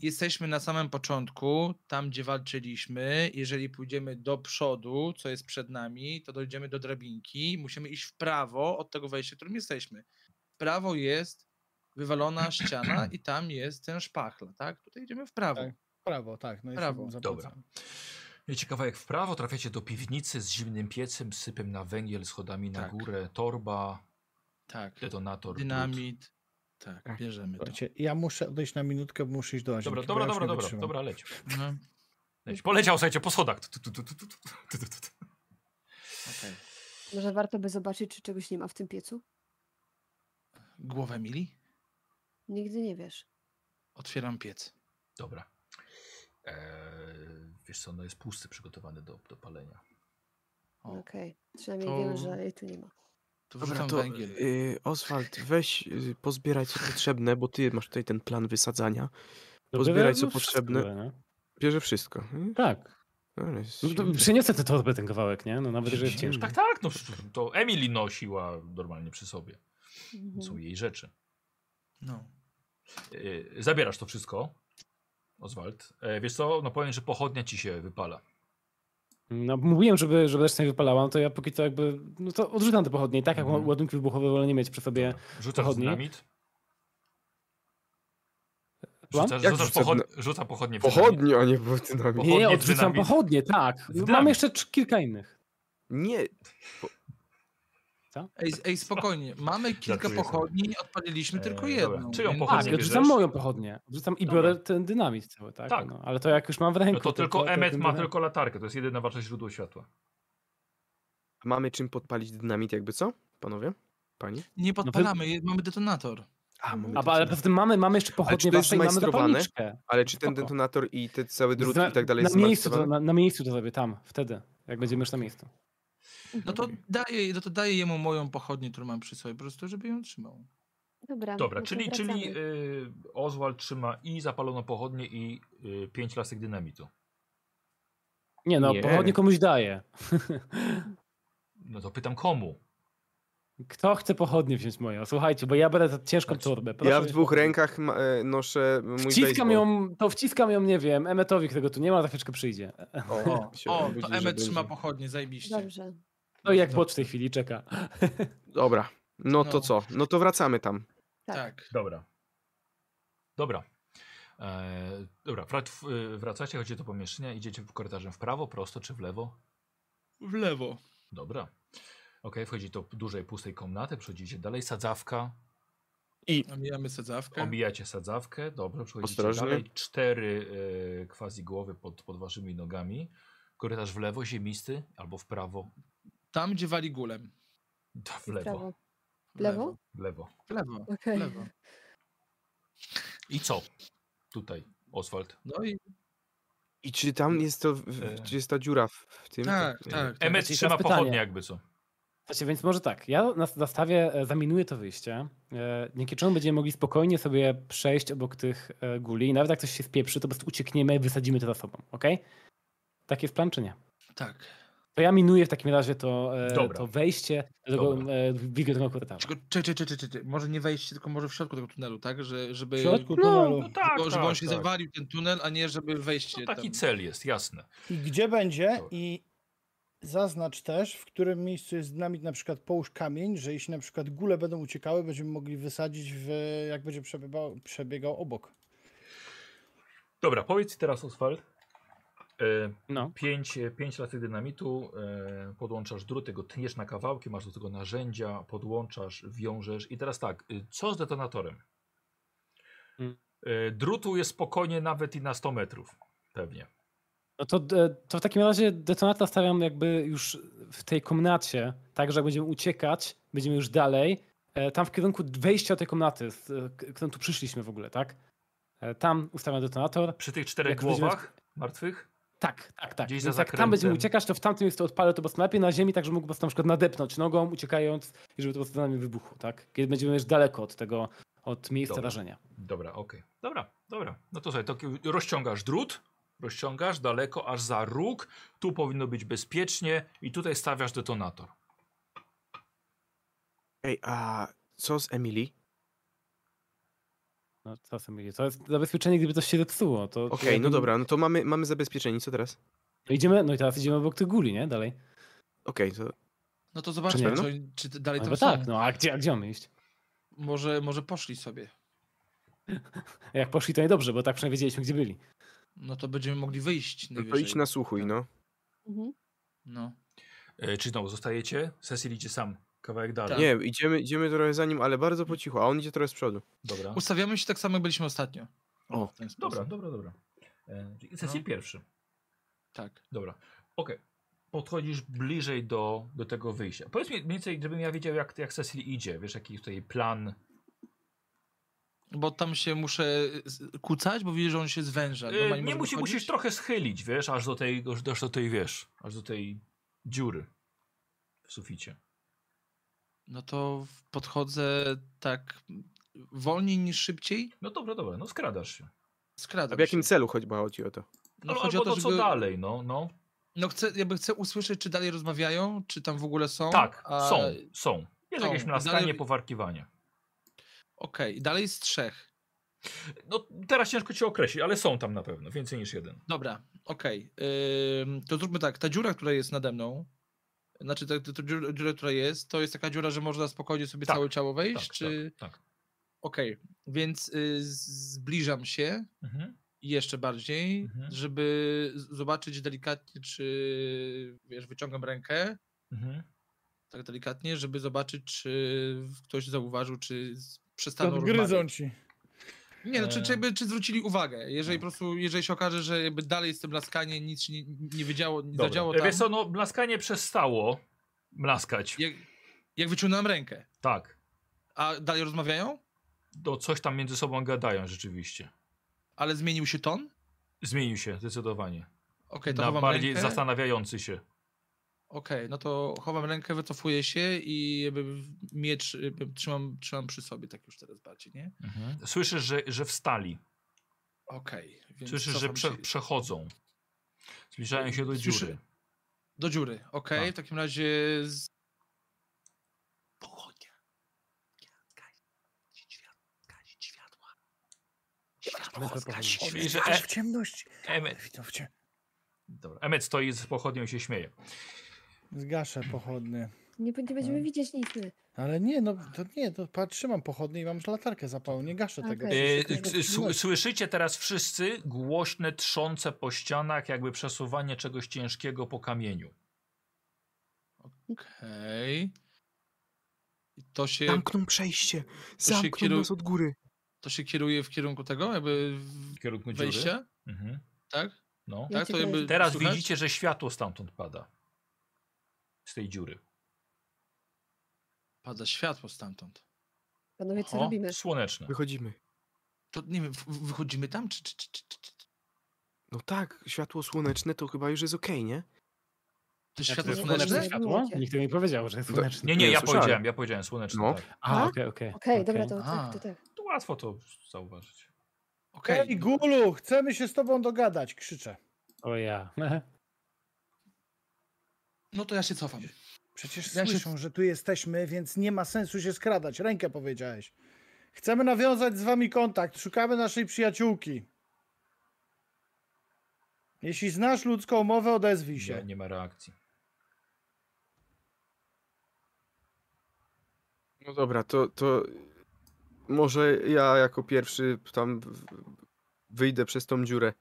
Jesteśmy na samym początku, tam gdzie walczyliśmy. Jeżeli pójdziemy do przodu, co jest przed nami, to dojdziemy do drabinki. Musimy iść w prawo od tego wejścia, w którym jesteśmy. W prawo jest wywalona ściana i tam jest ten szpachla, tak? Tutaj idziemy w prawo. Tak. Prawo, tak. No i Prawo. się Dobra. zawracam. Wiecie, kawałek w prawo, trafiacie do piwnicy z zimnym piecem, sypem na węgiel, schodami na Tak. górę, torba, Tak. detonator, drut. Dynamit. Tak, bierzemy to. Słuchajcie, ja muszę odejść na minutkę, bo muszę iść do łazienki. Dobra, bo dobra, ja już dobra, nie dobra, wytrzymam. dobra, leć. No. leć. Poleciał, słuchajcie, po schodach. Tu, tu, tu, tu, tu, tu, tu, tu, tu, tu. Może warto by zobaczyć, czy czegoś nie ma w tym piecu? Głowę mili? Nigdy nie wiesz. Otwieram piec. Dobra. Eee, wiesz co, ono jest pusty, przygotowany do, do palenia. O, Okej. Przynajmniej wiemy, że jej tu nie ma. to Dobra, wrzucam to węgiel. y, Oswald, weź y, pozbieraj co potrzebne, bo ty masz tutaj ten plan wysadzania. Pozbieraj, co No, wszystko potrzebne. było, nie? Bierze wszystko. Hmm? Tak. Dobra, jest No, to silny. przyniosę tę torbę ten kawałek, nie? No nawet jeżeli Już Mhm. ciężko. tak, tak, no to Emily nosiła normalnie przy sobie. To Są Mhm. jej rzeczy. No. Eee, zabierasz to wszystko, Oswald. Eee, wiesz co, no powiem, że pochodnia ci się wypala. No, mówiłem, żeby, żeby reszta nie wypalała, no to ja póki to jakby, no to odrzucam te pochodnie i tak jak Mhm. Tak. ładunki wybuchowe wolę nie mieć przy sobie. Rzucasz Pochodnie? dynamit. Mam? Rzucasz, Jak rzucasz rzucę pochod... rzuca pochodnie w dynamit. Pochodnie, a nie było dynamit. Nie, nie, Pochodnie odrzucam dynamit. pochodnie, tak. No, Dynamit. Mam jeszcze trz- kilka innych. Nie, Ej, s- ej, spokojnie. Mamy kilka Żartuję sobie. pochodni, odpaliliśmy tylko Eee, dobra. jedną. Czyją więc- pochodnię Tak, bierzesz? odrzucam moją pochodnię. Odrzucam i Dobra. biorę ten dynamit cały, tak? Tak. No, ale to jak już mam w ręku. No to tylko ten Emmet ma dynamit- tylko latarkę, to jest jedyna wartość źródło światła. mamy czym podpalić dynamit jakby co, panowie? Pani? No Nie podpalamy, je- mamy detonator. A, mamy A, bo- ale detonator. poza tym mamy, mamy jeszcze pochodnie to jest wasze i mamy zmajstrowane? zapalniczkę. Ale czy ten Spoko. detonator i te całe druty Zna- i tak dalej na jest miejscu, to, zmarszczone? na, na miejscu to sobie, tam, wtedy. Jak będziemy już na miejscu. No to, daję, no to daję jemu moją pochodnię, którą mam przy sobie, po prostu, żeby ją trzymał. Dobra, Dobra, no to czyli, wracamy. czyli y, Oswald trzyma i zapaloną pochodnie i y, pięć lasek dynamitu. Nie no, Nie. pochodnie komuś daje. No to pytam komu? Kto chce pochodnie wziąć moją? Słuchajcie, bo ja będę za ciężką torbę. proszę Ja w wziąć dwóch pochodnie. rękach ma, e, noszę mój Wciskam baseball. ją, to wciskam ją, nie wiem, Emmetowi, którego tu nie ma, za chwileczkę przyjdzie. O, się Tak, o obudzi, to że Emmet trzyma będzie. pochodnie, zajebiście. Dobrze. No i jak No. bocz w tej chwili czeka. Dobra, no to No. co? No to wracamy tam. Tak. Tak. Dobra. Dobra. E, dobra, wrac- y, wracacie, chodzicie do pomieszczenia, idziecie korytarzem w prawo, prosto czy w lewo? W lewo. Dobra. Okej, wchodzicie do dużej, pustej komnaty, przechodzicie dalej, sadzawka, Omijamy sadzawkę. Obijacie sadzawkę, dobrze, przechodzicie Ostrożnie. dalej. Cztery e, quasi głowy pod, pod waszymi nogami. Korytarz w lewo, ziemisty, albo w prawo, Tam, gdzie wali gulem. Da, w W lewo, prawo. W lewo? w lewo. W lewo. Okej. W lewo. I co? Tutaj, Oswald. No i I czy tam jest to, w- E. w, czy jest ta dziura w, w tym? tak, tak. tak. Emmet Czyli teraz trzyma pytanie. pochodnie jakby co. Słuchajcie, więc może tak, ja nas zastawię, e, zaminuję to wyjście, e, dzięki czemu będziemy mogli spokojnie sobie przejść obok tych e, guli i nawet jak coś się spieprzy, to po prostu uciekniemy, wysadzimy to za sobą, okej? Taki jest plan, czy nie? tak. To ja minuję w takim razie to, e, Dobra. to wejście do Dobra. tego e, wilgotnego korytarza. Czekaj, czekaj, czekaj, czekaj, czekaj. Może nie wejście, tylko może w środku tego tunelu, tak? Że, żeby, W środku No, tunelu. No tak, żeby tak, on się tak. zawalił, ten tunel, a nie żeby wejście No, taki tam. cel jest, jasne. I gdzie będzie Dobra. i zaznacz też, w którym miejscu jest dynamit, na przykład połóż kamień, że jeśli na przykład gule będą uciekały, będziemy mogli wysadzić, w, jak będzie przebiegał, przebiegał obok. Dobra, powiedz teraz Oswald. E, No, Pięć, pięć lat dynamitu, e, podłączasz druty, go tniesz na kawałki, masz do tego narzędzia, podłączasz, wiążesz. I teraz tak, y, co z detonatorem? Mm. E, drutu jest spokojnie nawet i na 100 metrów, pewnie. no to, e, to w takim razie detonata stawiam jakby już w tej komnacie, tak, że jak będziemy uciekać, będziemy już dalej, e, tam w kierunku wejścia tej komnaty, z, e, k- którą tu przyszliśmy w ogóle, tak? E, Tam ustawiam detonator, Przy tych czterech Jak będziemy- głowach martwych? Tak, tak, tak. Gdzieś Więc za jak tam będziemy zakrętem. uciekać, to w tamtym miejscu odpalę to po prostu najpierw na ziemi, tak, że mógł po prostu na przykład nadepnąć nogą, uciekając i żeby to po prostu na mnie wybuchło, tak? Kiedy będziemy już daleko od tego, od miejsca Dobra. rażenia. Dobra, okej. Dobra, dobra. No to sobie, to ki- rozciągasz drut, rozciągasz daleko aż za róg, tu powinno być bezpiecznie i tutaj stawiasz detonator. Ej, a co z Emily? No, co sobie mówię? To jest zabezpieczenie, gdyby coś się zepsuło. To, to Okej, no jakby- dobra, no to mamy, mamy zabezpieczenie, co teraz? No, idziemy, no i teraz idziemy obok tych guli, nie? Dalej. Okej, to No to zobaczmy, nie? czy, oni- czy dalej No tam bo są. tak, no a gdzie, a gdzie mamy iść? Może, może poszli sobie. Jak poszli, to niedobrze, bo tak przynajmniej wiedzieliśmy, gdzie byli. No to będziemy mogli wyjść no to najwyżej. idź Tak. nasłuchuj, no. Mhm. No. E, czy znowu zostajecie? Cecil idzie sam, kawałek dalej. Tak. Nie, idziemy, idziemy trochę za nim, ale bardzo po cichu, a on idzie trochę z przodu. Dobra. Ustawiamy się tak samo, jak byliśmy ostatnio. O, w ten sposób. Dobra, dobra, dobra. E, czyli Cecil No. pierwszy. Tak. Dobra. Okej. Podchodzisz bliżej do, do tego wyjścia. Powiedz mi mniej więcej, żebym ja wiedział, jak, jak Cecil idzie. Wiesz, jaki tutaj E, plan. Bo tam się muszę z- kucać, bo widzę, że on się zwęża. E, Normalnie nie może musi, wychodzić. musisz trochę schylić, wiesz, aż do tej, aż do- aż do tej, wiesz, aż do tej dziury w suficie. No to w- podchodzę tak wolniej niż szybciej. No dobra, dobra, no skradasz się. Skradam A w jakim się. celu choć chodzi o to? No, No, chodzi albo o to, no, co żeby, dalej, no, no. No chcę, jakby chcę usłyszeć, czy dalej rozmawiają, czy tam w ogóle są. Tak, No, a- są, są. Jest są. jakieś mlaskanie, Dalej- powarkiwanie. Okej, dalej z trzech. No teraz ciężko cię określić, ale są tam na pewno, więcej niż jeden. Dobra, okej. Ym, to zróbmy tak, ta dziura, która jest nade mną, znaczy ta, ta, ta dziura, dziura, która jest, to jest taka dziura, że można spokojnie sobie Tak, całe ciało Tak, wejść, czy... tak, tak. Okej, więc y, zbliżam się Mhm. jeszcze bardziej, Mhm. żeby z- zobaczyć delikatnie, czy wiesz, wyciągam rękę, Mhm. tak delikatnie, żeby zobaczyć, czy ktoś zauważył, czy z- przestaną Odgryzą rozmawiać. ci. Nie, no, czy, E. No. czy, jakby, czy zwrócili uwagę, jeżeli po prostu, jeżeli się okaże, że jakby dalej jest to blaskanie, nic się nie, nie wiedziało, nie Dobra. zadziało E, tam. Wiesz co, no mlaskanie przestało mlaskać. Jak, jak wyciągnąłem rękę, Tak. a dalej rozmawiają, No coś tam między sobą gadają rzeczywiście. ale zmienił się ton. Zmienił się zdecydowanie. Okej, to Na chowam bardziej rękę. zastanawiający się. Okej, no to chowam rękę, wycofuję się i jakby miecz jakby trzymam, trzymam przy sobie tak już teraz bardziej, nie? Hmm? Słyszysz, że, że wstali. Okej, więc Słyszysz, że cofam prze, się przechodzą. Zbliżają się do Słyszę- dziury. do dziury. Okej, Tak. w takim razie z... pochodnia. Gazić światła. Czyli, że Aż e, w ciemności. Emmet, Widzą w ciem- dobra, Emmet stoi z pochodnią i się śmieje. Zgaszę pochodny. Nie, b- nie będziemy widzieć nic. my. Ale nie, no to nie, to patrz, trzymam pochodnie i mam latarkę zapaloną, nie gaszę Okej. tego. E, przecież E, to jest s- s- noc. Słyszycie teraz wszyscy głośne trzące po ścianach, jakby przesuwanie czegoś ciężkiego po kamieniu. Okej. I To się Zamkną przejście! Zamkną Y, kieru- nas od góry! To się kieruje w kierunku tego, jakby w- W kierunku dziury. wejścia, Mhm. tak? No. Ja tak cię to jakby kojarzę. Teraz słychać? widzicie, że światło stamtąd pada. Z tej dziury. Pada światło stamtąd. Panowie, co Oho, robimy? Słoneczne. Wychodzimy. To nie wiem, w- wychodzimy tam, czy, czy, czy, czy, czy czy No tak, światło słoneczne to chyba już jest okej, nie? to Jak światło to jest słoneczne słoneczne? światło? Nikt mi nie powiedział, że jest Do- słoneczne. Nie, nie, Nie, ja słyszałem. powiedziałem, ja powiedziałem słoneczny. No. Tak. A, okej, okej. Okej, okej. dobra, to A. tak, to tak. To Łatwo to zauważyć. Okej, Hej, Gulu, chcemy się z tobą dogadać, krzyczę. O ja. no to ja się cofam. Przecież Ja się- słyszą, że tu jesteśmy, więc nie ma sensu się skradać. Rękę powiedziałeś. Chcemy nawiązać z wami kontakt. Szukamy naszej przyjaciółki. Jeśli znasz ludzką mowę, odezwij Nie, się. nie ma reakcji. No dobra, to, to może ja jako pierwszy tam w- wyjdę przez tą dziurę.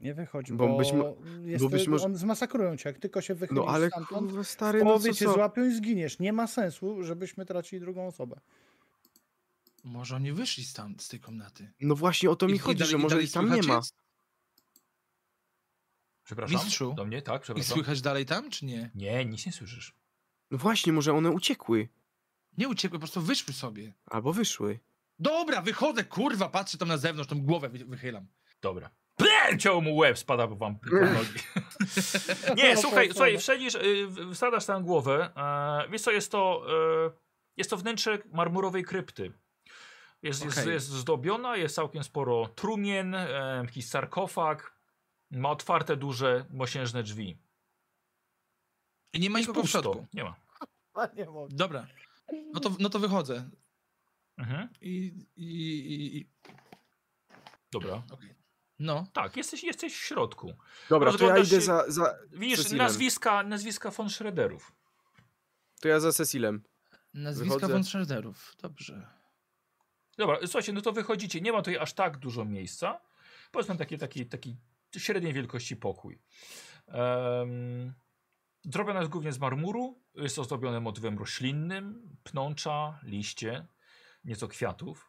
Nie wychodź, bo, Bo być mo- jest, bo być może- on zmasakrują cię. Jak tylko się No wychylisz ale stamtąd, kurwa, w stary, no połowie co, cię co? złapią i zginiesz. Nie ma sensu, żebyśmy tracili drugą osobę. Może oni wyszli stamtąd, z tej komnaty. No właśnie o to mi I- i chodzi, dalej- że i może dalej ich tam nie słychać ma. jest? Przepraszam? Mistrzu? Do mnie, tak, I przepraszam. słychać dalej tam, czy nie? Nie, nic nie słyszysz. No właśnie, może one uciekły. Nie uciekły, po prostu wyszły sobie. Albo wyszły. Dobra, wychodzę, kurwa, patrzę tam na zewnątrz, tą głowę wy- wychylam. Dobra. Plem! Ciął mu łeb, spada wam po Mm. nogi. No, Nie, słuchaj, słuchaj, wsadzisz, y, w- wsadzasz tam głowę. E, wiesz co, jest to, e, jest to wnętrze marmurowej krypty. Jest, jest, Okej. jest zdobiona, jest całkiem sporo trumien, e, jakiś sarkofag. Ma otwarte, duże, mosiężne drzwi. I nie ma Jest nikogo w pusto. środku. Nie ma. Nie mogę. Dobra, no to, no to wychodzę. Mhm. I, i, i, i Dobra. okej. No, Tak, jesteś, jesteś w środku. Dobra, to ja Rozglądasz idę się- za, za... Widzisz Cecilem. nazwiska, nazwiska von Schroederów. To ja za Cecilem. nazwiska Wychodzę. von Schroederów, dobrze. Dobra, słuchajcie, no to wychodzicie. Nie ma tutaj aż tak dużo miejsca. Powiedzmy taki, taki, taki średniej wielkości pokój. Um, zrobione jest głównie z marmuru. Jest to zdobione motywem roślinnym, pnącza, liście, nieco kwiatów.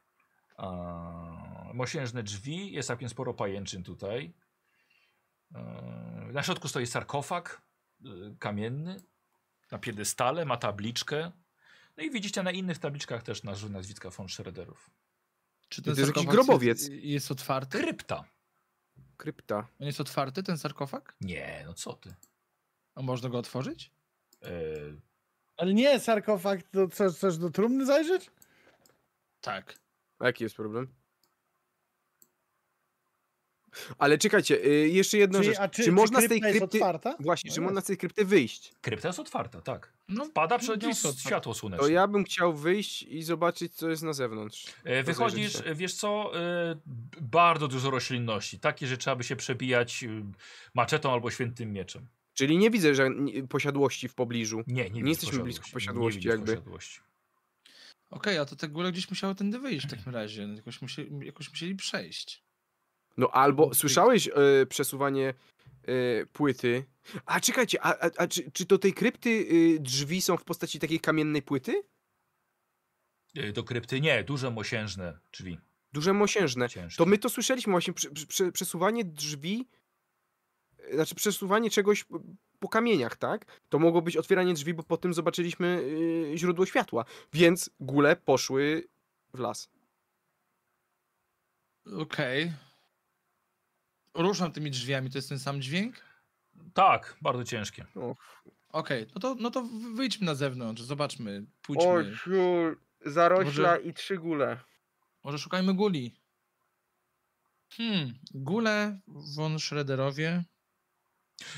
Eee, mosiężne drzwi, jest całkiem sporo pajęczyn tutaj. Eee, na środku stoi sarkofag e, kamienny. Na piedestale ma tabliczkę. No i widzicie na innych tabliczkach też nazw- nazwiska von Schroederów. Czy To jest jakiś sarkofag grobowiec. Jest, jest otwarty? Krypta. Krypta. On jest otwarty, ten sarkofag? Nie, no co ty. A można go otworzyć? Eee, Ale nie, sarkofag, to co, chcesz do trumny zajrzeć? Tak. A jaki jest problem? Ale czekajcie, y, jeszcze jedna Czy, rzecz. a czy, czy można z krypta tej jest krypty... otwarta? Właśnie, No czy jest. można z tej krypty wyjść? krypta jest otwarta, tak. No, Pada przed no nią jest otwarta. światło To słoneczne. E, ja bym chciał wyjść i zobaczyć, co jest na zewnątrz. Eee, Wychodzisz, Rozejrzeć się. e, wiesz co, eee, b- bardzo dużo roślinności. Takie, że trzeba by się przebijać y, maczetą albo świętym mieczem. Czyli nie widzę że posiadłości w pobliżu. Nie, nie, widzisz jesteśmy blisko posiadłości nie widzisz jakby. Posiadłości. Okej, a to te góle gdzieś musiały tędy wyjść w takim razie. no Jakoś musieli, jakoś musieli przejść. No albo Ty- słyszałeś e, przesuwanie e, płyty. A czekajcie, a, a, a czy, czy do tej krypty e, drzwi są w postaci takiej kamiennej płyty? Eee, Do krypty nie, duże mosiężne drzwi. Duże mosiężne. Ciężkie. No, To my to słyszeliśmy właśnie, prze, prze- prze, przesuwanie drzwi, e, znaczy przesuwanie czegoś p- po kamieniach, tak? To mogło być otwieranie drzwi, bo po tym zobaczyliśmy e, źródło światła. Więc góle poszły w las. Okej. Ruszam tymi drzwiami, to jest ten sam dźwięk? Tak, bardzo ciężkie. Okej, no, to, no to wy- wyjdźmy na zewnątrz, zobaczmy, pójdźmy. zarośla Może- i trzy góle. Może szukajmy guli. Hmm, gule von Schroederowie.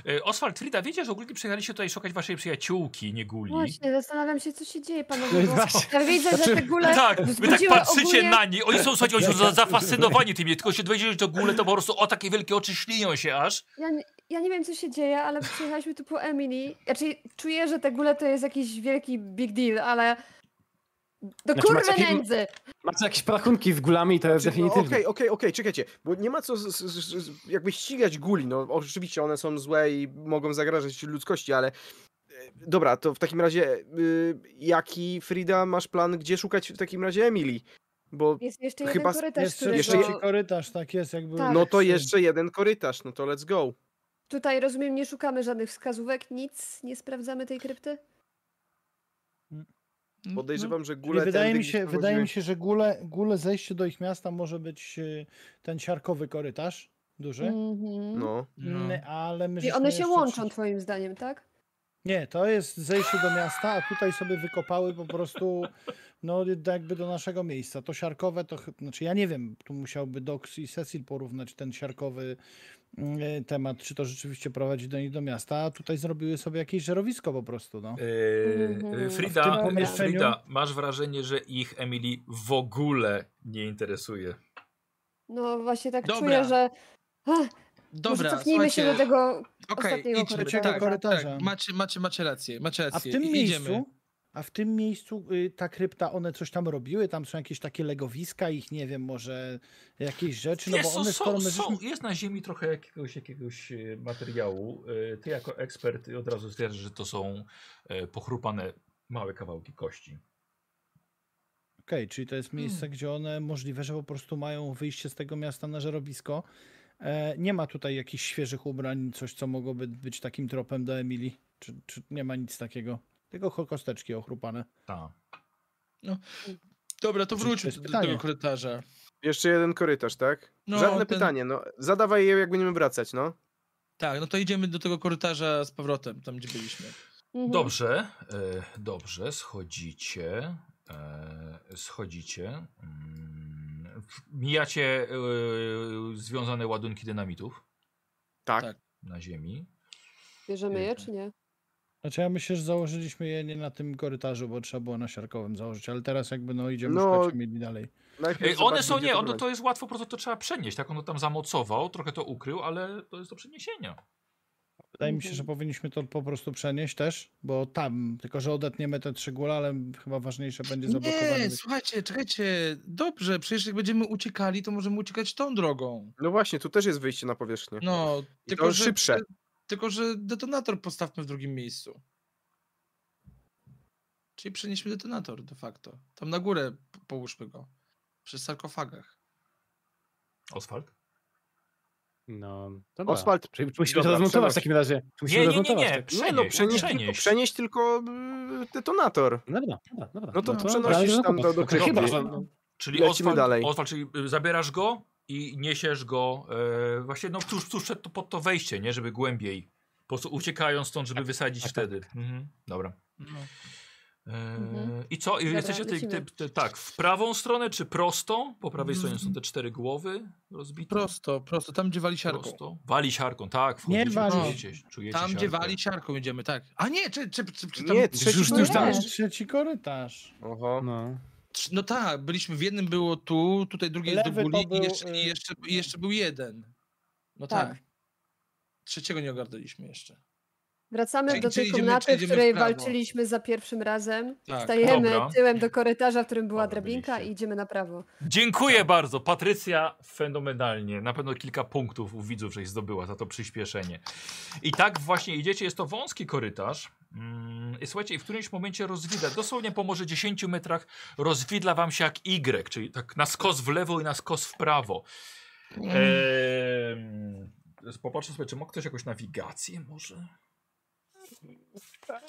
Eee, Oswald, Frida, wiecie, że ogólnie przyjechaliście tutaj szukać waszej przyjaciółki, nie guli. Właśnie, zastanawiam się, co się dzieje, No panowie, i bo właśnie. ja widzę, że te góle Tak, wy tak wzbudziły patrzycie ogólnie... na nie. Oni są, słuchajcie, oni są za- zafascynowani tymi. Tylko się dowiedzieli, że to góle to po prostu o takie wielkie oczy ślinią się aż. Ja, nie- ja nie wiem, co się dzieje, ale przyjechaliśmy tu po Emily. Znaczy, czuję, że te góle to jest jakiś wielki big deal, ale... Do Znaczy, macie kurwy film- nędzy! Macie jakieś porachunki z gulami, to jest Czy- no, Okej, definitywnie. okej, okej, czekajcie, bo nie ma co z, z, z, z- jakby ścigać guli, no oczywiście one są złe i mogą zagrażać ludzkości, ale e, dobra, to w takim razie y, jaki Frida masz plan, gdzie szukać w takim razie Emilii? Bo Jest jeszcze Chyba jeden s- korytarz, Jeszcze, którego... jeszcze jeszcze- korytarz, tak jest, jakby... Tak. no to jeszcze jeden korytarz, no to let's Mhm. go. Tutaj, rozumiem, nie szukamy żadnych wskazówek, nic, nie sprawdzamy tej krypty? Hmm, Podejrzewam, że Czyli gule wydaje tędy mi, się, gdzieś wydaje mi prowadziły. się, że gule, gule zejście do ich miasta może być y, ten siarkowy korytarz duży, Mhm. No. No. Mm, ale my I żeśmy one się jeszcze łączą, trzy- twoim zdaniem, tak? Nie, to jest zejście do miasta, a tutaj sobie wykopały po prostu no jakby do naszego miejsca. To siarkowe to, chy- znaczy ja nie wiem, tu musiałby Dox i Cecil porównać ten siarkowy y, temat, czy to rzeczywiście prowadzi do nich do miasta, a tutaj zrobiły sobie jakieś żerowisko po prostu, no. Yy, Mhm. yy, A w tym Frida, yy, pomieszczeniu? Frida, masz wrażenie, że ich Emily w ogóle nie interesuje. No właśnie tak Dobra. czuję, że. Ach, Dobra, może cofnijmy się do słuchajcie, tego. okej, ostatniego idźmy. korytarza. Tak, Korytarza. tak, macie, macie, macie rację, macie rację. A w tym I- miejscu, Idziemy. a w tym miejscu y, ta krypta, one coś tam robiły, tam są jakieś takie legowiska, ich nie wiem, może jakieś rzeczy, no Wiesz, bo są, one skoro są, my są, żeśmy... jest na ziemi trochę jakiegoś, jakiegoś e, materiału. E, Ty jako ekspert od razu stwierdzasz, że to są e, pochrupane małe kawałki kości. Okej, czyli to jest miejsce, gdzie one możliwe, że po prostu mają wyjście z tego miasta na żerowisko. E, nie ma tutaj jakichś świeżych ubrań, coś co mogłoby być takim tropem do Emilii, czy, czy nie ma nic takiego. Tylko ko- kosteczki ochrupane. Ta. Dobra, to Oczywiście wróćmy jest do, do pytanie. tego korytarza. Jeszcze jeden korytarz, tak? No, Żadne ten- pytanie, no. Zadawaj je, jak będziemy wracać, no. Tak, no to idziemy do tego korytarza z powrotem, tam gdzie byliśmy. Mhm. Dobrze, e, dobrze, schodzicie, e, schodzicie, mm, w- mijacie e, związane ładunki dynamitów Tak. Tak. na ziemi. Bierzemy je, Piękne. czy nie? Znaczy ja myślę, że założyliśmy je nie na tym korytarzu, bo trzeba było na siarkowym założyć, ale teraz jakby no idziemy No, szukać mieli dalej. Najpierw Ej, E, one zobaczmy, są, gdzie nie, ono prowadzi. to jest łatwo, po prostu to trzeba przenieść, tak? Ono tam zamocował, trochę to ukrył, ale to jest do przeniesienia. Wydaje mi się, że Mhm. powinniśmy to po prostu przenieść też, bo tam, tylko że odetniemy te trzy góle, ale chyba ważniejsze będzie zablokowanie. Nie, słuchajcie, czekajcie. Dobrze, przecież jak będziemy uciekali, to możemy uciekać tą drogą. No właśnie, tu też jest wyjście na powierzchnię. No, I to że, szybsze. Tylko, że detonator postawmy w drugim miejscu. Czyli przenieśmy detonator de facto. Tam na górę p- połóżmy go. Przy sarkofagach. Oswald? No, dobra. Oswald, Czyli musimy Dobra, to rozmontować przenoś. w takim razie. Musimy Nie, nie, nie, rozmontować, nie, tak? nie no, przenieś, Tylko, przenieść. przenieś tylko mm, detonator. No dobra, dobra, dobra. No to No, przenosisz tam do, do Okej, krypty. Chyba, że... no, Czyli Lecimy Oswald, dalej. Oswald, czyli y, zabierasz go i niesiesz go e, właśnie no tuż, tuż przed to, pod to wejście, nie? Żeby głębiej. Po prostu uciekając stąd, żeby wysadzić tak, wtedy. Mhm. Dobra. No. E, Mhm. I co? I Dobra, jesteście ty, ty, lecimy. Mhm. ty, tak, w prawą stronę czy prosto? Po prawej Mm. stronie są te cztery głowy rozbite. Prosto, prosto, tam gdzie wali siarką. Prosto. Wali siarką, tak. Wchodzicie, wali. czujecie, czujecie Tam gdzie siarkę. wali siarką idziemy, tak. A nie, czy, czy, czy, czy tam... Nie, trzeci Już- już, już tam- tam. Tam trzeci korytarz. Oho. no. trz- No tak, byliśmy w jednym było tu, tutaj drugi jest do Lewy to guli był, i, jeszcze, y, i jeszcze, i jeszcze był jeden. No tak. Tak. Trzeciego nie ogarnęliśmy jeszcze. Wracamy Czyli- do czyli tej Tak, idziemy- komnaty, przejdziemy w w której prawo. walczyliśmy za pierwszym razem. Tak. Stajemy Dobra. tyłem do korytarza, w którym była Dobra, drabinka byliście. i idziemy na prawo. Dziękuję bardzo. Patrycja fenomenalnie. Na pewno kilka punktów u widzów, żeś zdobyła za to przyspieszenie. I tak właśnie idziecie. Jest to wąski korytarz. Mm, I słuchajcie, i w którymś momencie rozwidla, dosłownie po może 10 metrach, rozwidla wam się jak Y, czyli tak na skos w lewo i na skos w prawo. Ehm, popatrzę sobie, czy ma ktoś jakąś nawigację może?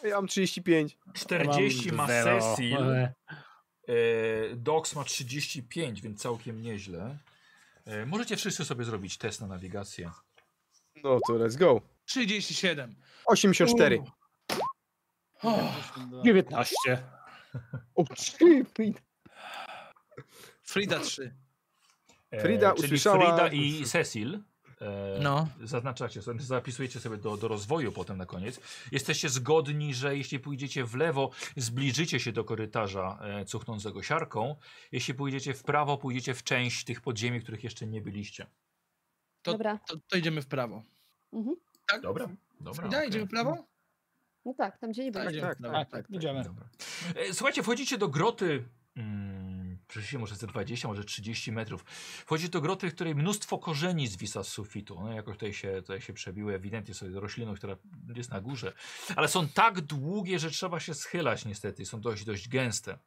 Ja mam 35. 40 ma Zero. Cecil. Ale- E, Dox ma 35, więc całkiem nieźle. E, Możecie wszyscy sobie zrobić test na nawigację. No to let's go. 37. 84. O, 19. O, trzy, Frida. Frida 3. E, Frida czyli usłyszała- Frida i Cecil. E, No. Zaznaczacie sobie, zapisujecie sobie do, do rozwoju potem na koniec. Jesteście zgodni, że jeśli pójdziecie w lewo, zbliżycie się do korytarza e, cuchnącego siarką. Jeśli pójdziecie w prawo, pójdziecie w część tych podziemi, których jeszcze nie byliście. To- Dobra. To, to idziemy w prawo. Mhm. Tak? Dobra. Dobra, Frida, okej. idziemy w prawo? No tak, tam gdzie nie byliśmy. idziemy w tak, prawo, Tak, tak, idziemy. Dobra. E, Słuchajcie, wchodzicie do groty. Mm, przecież może ze 20, może 30 metrów. Wchodzicie do groty, w której mnóstwo korzeni zwisa z sufitu. One jakoś tutaj się, tutaj się przebiły ewidentnie sobie rośliną, która jest na górze. Ale są tak długie, że trzeba się schylać niestety. Są dość, dość gęste.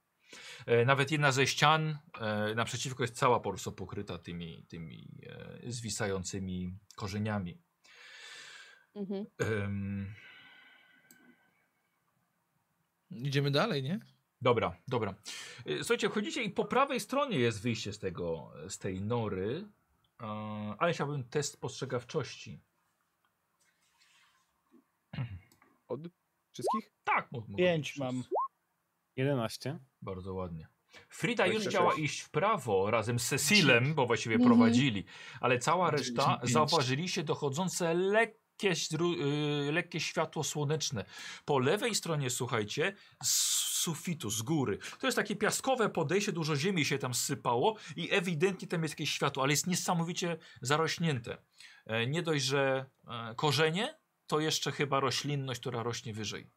E, Nawet jedna ze ścian e, naprzeciwko jest cała po prostu pokryta tymi, tymi e, zwisającymi korzeniami. Mhm. Em, Idziemy dalej, nie? Dobra, dobra. Y, Słuchajcie, wchodzicie i po prawej stronie jest wyjście z tego, z tej nory, e, ale chciałbym test postrzegawczości. Od wszystkich? Tak, mo- mogę Pięć przez- mam. 11. Bardzo ładnie. Frida Oj, już przecież. chciała iść w prawo razem z Cecilem, bo właściwie Mhm. prowadzili, ale cała reszta 95. zauważyliście dochodzące lekkie, zdru- y, lekkie światło słoneczne. Po lewej stronie, słuchajcie, z sufitu, z góry. To jest takie piaskowe podejście, dużo ziemi się tam sypało i ewidentnie tam jest jakieś światło, ale jest niesamowicie zarośnięte. E, Nie dość, że e, korzenie, to jeszcze chyba roślinność, która rośnie wyżej.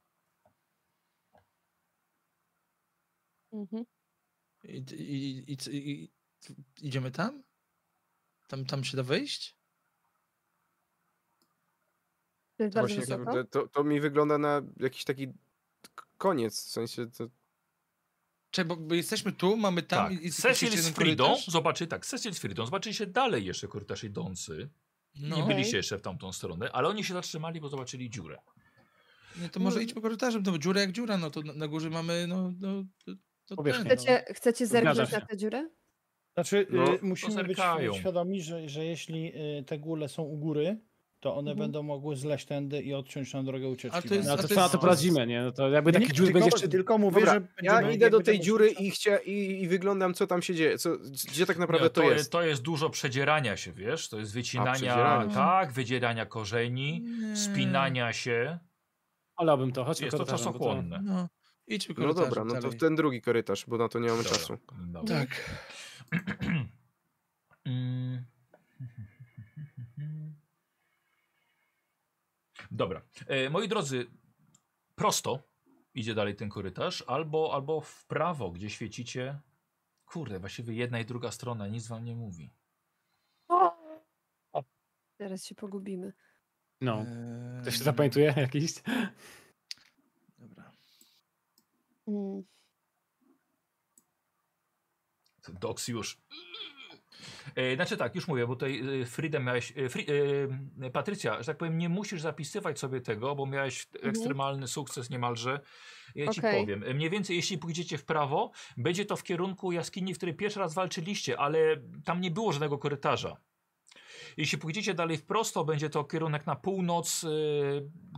Mhm. I, i, i, i, i idziemy tam? tam? Tam się da wejść? To jest bardzo Właśnie, No, wysoko. kurde, to, to mi wygląda na jakiś taki k- koniec, w sensie to... Czy bo, bo jesteśmy tu, mamy tam tak. i- i Cecil jeszcze z jeden Fridą, korytarz? zobaczy tak, Cecil z Fridą, zobaczyliście dalej jeszcze korytarz idący. No, Nie by- byliście jeszcze w tamtą stronę, ale oni się zatrzymali, bo zobaczyli dziurę. Tak nie, to może idźmy korytarzem, no bo dziura jak dziura, no to na, na górze mamy, no, no to, to Powierzchnię. ten, Chcecie, chcecie Zgadzam zerknąć się. na tę dziurę? Znaczy, No, y, musimy być pozerkają. świadomi, że, że jeśli y, te góle są u góry, to one Mhm. będą mogły zleść tędy i odciąć na drogę ucieczki. Ale to jest- No a to to co na jest- to poradzimy, nie? No to jakby taki dziur będzie jeszcze... Tylko mówię, Dobra, że Ja będziemy- idę jak do tej będziemy dziury szukać- i, chcia, i, i wyglądam, co tam się dzieje, co, gdzie tak naprawdę Nie, to, je- jest. to jest dużo przedzierania się, wiesz? To jest wycinania, przedzierania. tak, wydzierania korzeni, Nie. spinania się. Olałbym to, chodźmy Jest to korytarzem, bo czasochłonne. No, idźmy No korytarzem dobra, no to dalej. w ten drugi korytarz, bo na to nie mamy Dobra, czasu. dobra. Tak. Mm. Dobra. E, moi drodzy, prosto idzie dalej ten korytarz, albo, albo w prawo, gdzie świecicie. Kurde, właściwie jedna i druga strona nic wam nie mówi. Teraz się pogubimy. No, Eee, ktoś się zapamiętuje jakiś? Dobra. Mm. To Doks już. E, Znaczy tak, już mówię, bo tutaj e, Freedom miałeś. e, Fri, e, Patrycja, że tak powiem, nie musisz zapisywać sobie tego, bo miałeś ekstremalny sukces niemalże. Ja ci Okej. powiem. E, Mniej więcej, jeśli pójdziecie w prawo, będzie to w kierunku jaskini, w której pierwszy raz walczyliście, ale tam nie było żadnego korytarza. Jeśli pójdziecie dalej w prosto, będzie to kierunek na północ, e,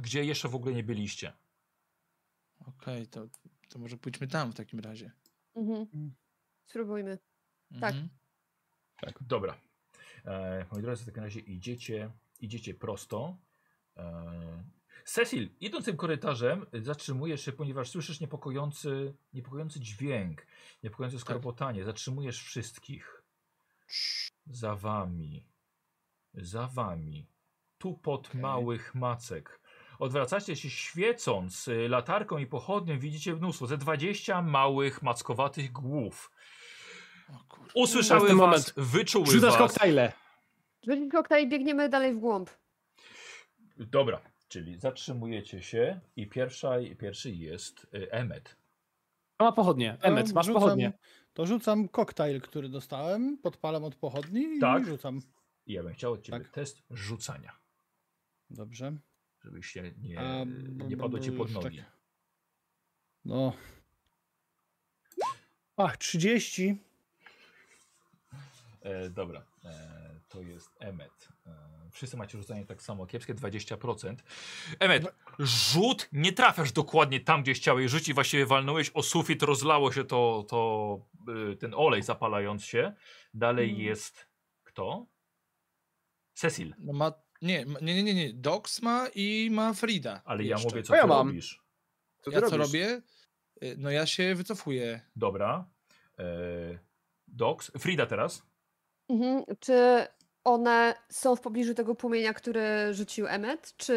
gdzie jeszcze w ogóle nie byliście. Okej, to, to może pójdźmy tam w takim razie. Mm. Mhm. Spróbujmy. Tak. Mhm. Tak. Dobra. E, moi drodzy, w takim razie idziecie, idziecie prosto. E, Cecil, idąc tym korytarzem, y, zatrzymujesz się, ponieważ słyszysz niepokojący, niepokojący dźwięk, niepokojące skropotanie. Zatrzymujesz wszystkich. Za wami. Za wami. Tu pod Okej. małych macek. Odwracacie się świecąc y, latarką i pochodnią, widzicie mnóstwo, ze 20 małych, mackowatych głów. O kurwa. Usłyszały was, Teraz ten wyczuły was. Rzucasz koktajle. Rzucimy koktajl i biegniemy dalej w głąb. Dobra, czyli zatrzymujecie się i pierwsza, pierwszy jest y, Emmet. A ma pochodnie. Emmet, To masz rzucam- pochodnie. To rzucam koktajl, który dostałem, podpalam od pochodni Tak. i rzucam. I ja bym chciał od ciebie Tak. test rzucania, Dobrze. żebyś się nie, A, nie b- padło b- ci pod już nogi. tak. No. Ach, 30. E, dobra, e, to jest Emmet. E, wszyscy macie rzucanie tak samo kiepskie, 20%. Emmet, rzut, nie trafiasz dokładnie tam, gdzie chciałeś rzucić, właściwie walnąłeś o sufit, rozlało się to, to y, ten olej zapalając się. Dalej Mhm. jest kto? Cecil. No ma, nie, ma- nie, nie, nie, nie. Dox ma i ma Frida. Ale jeszcze. ja mówię, co A ja ty mam. robisz. Co ty ja co robisz? robię? Y, No ja się wycofuję. Dobra. Eee, Docs. Frida teraz. Mhm. Czy one są w pobliżu tego płomienia, który rzucił Emmet? Czy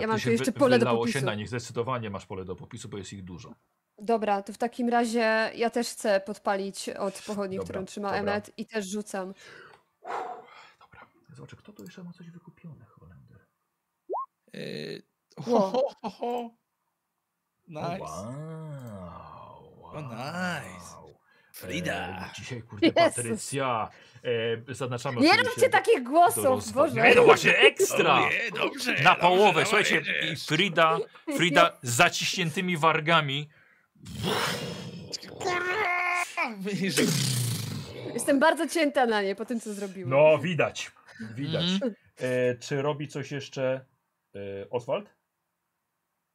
ja Tak, mam to tu się jeszcze wy- pole do wylało popisu? się na nich. Zdecydowanie masz pole do popisu, bo jest ich dużo. Dobra, to w takim razie ja też chcę podpalić od pochodni, Dobra, którą trzyma dobra. Emmet i też rzucam. Dobra. Zobaczę, kto tu jeszcze ma coś wykupione, Holender. Y, Ło. Ho, ho, ho, ho. O, Nice. Oh, Wow, wow. O, nice. Eee, dzisiaj, kurde, Jezus. Patrycja. Eee, zaznaczamy Nie oczywiście róbcie takich do głosów, rozwo- Boże! Nie, no właśnie, ekstra. O nie, dobrze, Na dobrze, połowę, dobrze, słuchajcie, i Frida, Frida z zaciśniętymi wargami Jestem bardzo cięta na nie po tym, co zrobiłem. No, widać. Widać. Mhm. E, czy robi coś jeszcze e, Oswald?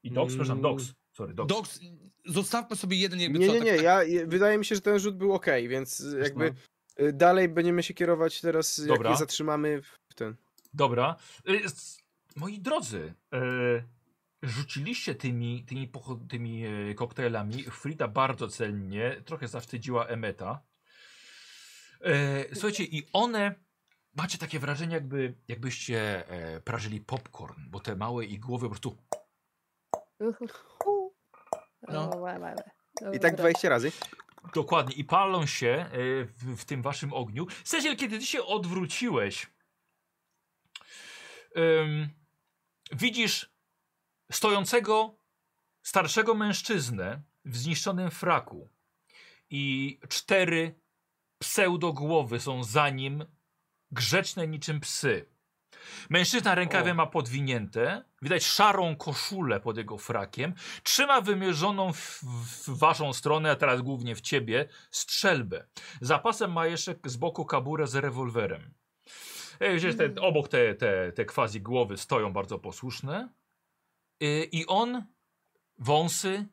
I Dox? Mm. Przepraszam, Dox. Sorry, Dox. Doks, zostawmy sobie jeden jakby Nie, co. nie, tak- no. nie. Ja, je- wydaje mi się, że ten rzut był ok, więc y, jakby y, dalej będziemy się kierować teraz, jak Dobra. je zatrzymamy w w ten. Dobra. E, s- moi drodzy, e, rzuciliście tymi, tymi, pocho- tymi e, koktajlami. Frida bardzo celnie, trochę zawstydziła Emeta. E, słuchajcie, i one. Macie takie wrażenie, jakby, jakbyście e, prażyli popcorn, bo te małe ich głowy po prostu No. No. O, łe, łe, łe. I Dobra. tak 20 razy. Dokładnie, i palą się e, w, w tym waszym ogniu. Cecil, kiedy ty się odwróciłeś, em, widzisz stojącego starszego mężczyznę w zniszczonym fraku i cztery pseudogłowy są za nim, grzeczne niczym psy. Mężczyzna rękawie ma podwinięte, widać szarą koszulę pod jego frakiem, trzyma wymierzoną w, w waszą stronę, a teraz głównie w ciebie, strzelbę. Zapasem ma jeszcze z boku kaburę z rewolwerem. E, Widzisz, te, obok te, te, te quasi głowy stoją bardzo posłuszne. Y, I on, wąsy,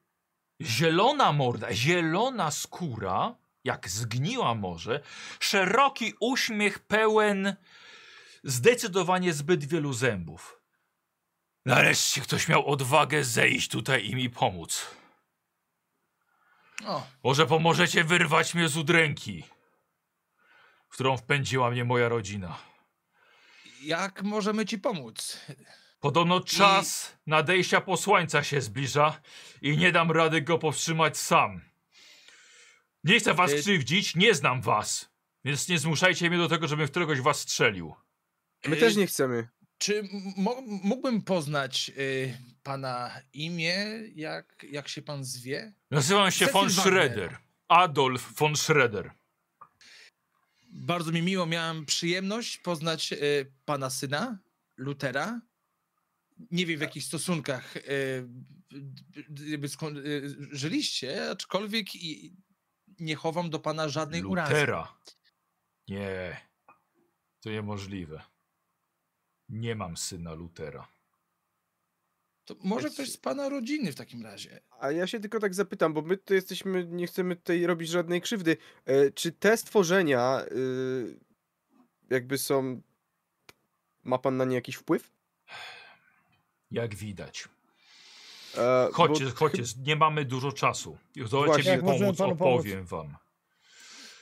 zielona morda, zielona skóra, jak zgniła może, szeroki uśmiech pełen zdecydowanie zbyt wielu zębów. Nareszcie ktoś miał odwagę zejść tutaj i mi pomóc. O, Może pomożecie wyrwać mnie z udręki, w którą wpędziła mnie moja rodzina. jak możemy ci pomóc? Podobno czas nadejścia posłańca się zbliża i nie dam rady go powstrzymać sam. Nie chcę was Ty- krzywdzić, nie znam was, więc nie zmuszajcie mnie do tego, żebym w któregoś was strzelił. My Y, też nie chcemy. Czy m- mo- mógłbym poznać y, pana imię, jak, jak się pan zwie? Nazywam się von Cecil Wagner. Schroeder. Adolf von Schroeder. Bardzo mi miło, miałem przyjemność poznać y, pana syna, Lutera. Nie wiem w jakich stosunkach y, d- d- jakby skąd, y, żyliście, aczkolwiek i, nie chowam do pana żadnej urazy. Lutera. Nie. To niemożliwe. Nie mam syna Lutera. To może Jest- ktoś z pana rodziny w takim razie. A ja się tylko tak zapytam, bo my tutaj jesteśmy, nie chcemy tutaj robić żadnej krzywdy. E, czy te stworzenia y, jakby są. Ma pan na nie jakiś wpływ? Jak widać. E, bo Chodźcie, chy- chodźcie, nie mamy dużo czasu. Właśnie. Zdołacie mi Jak możemy pomóc, panu pomóc? opowiem wam.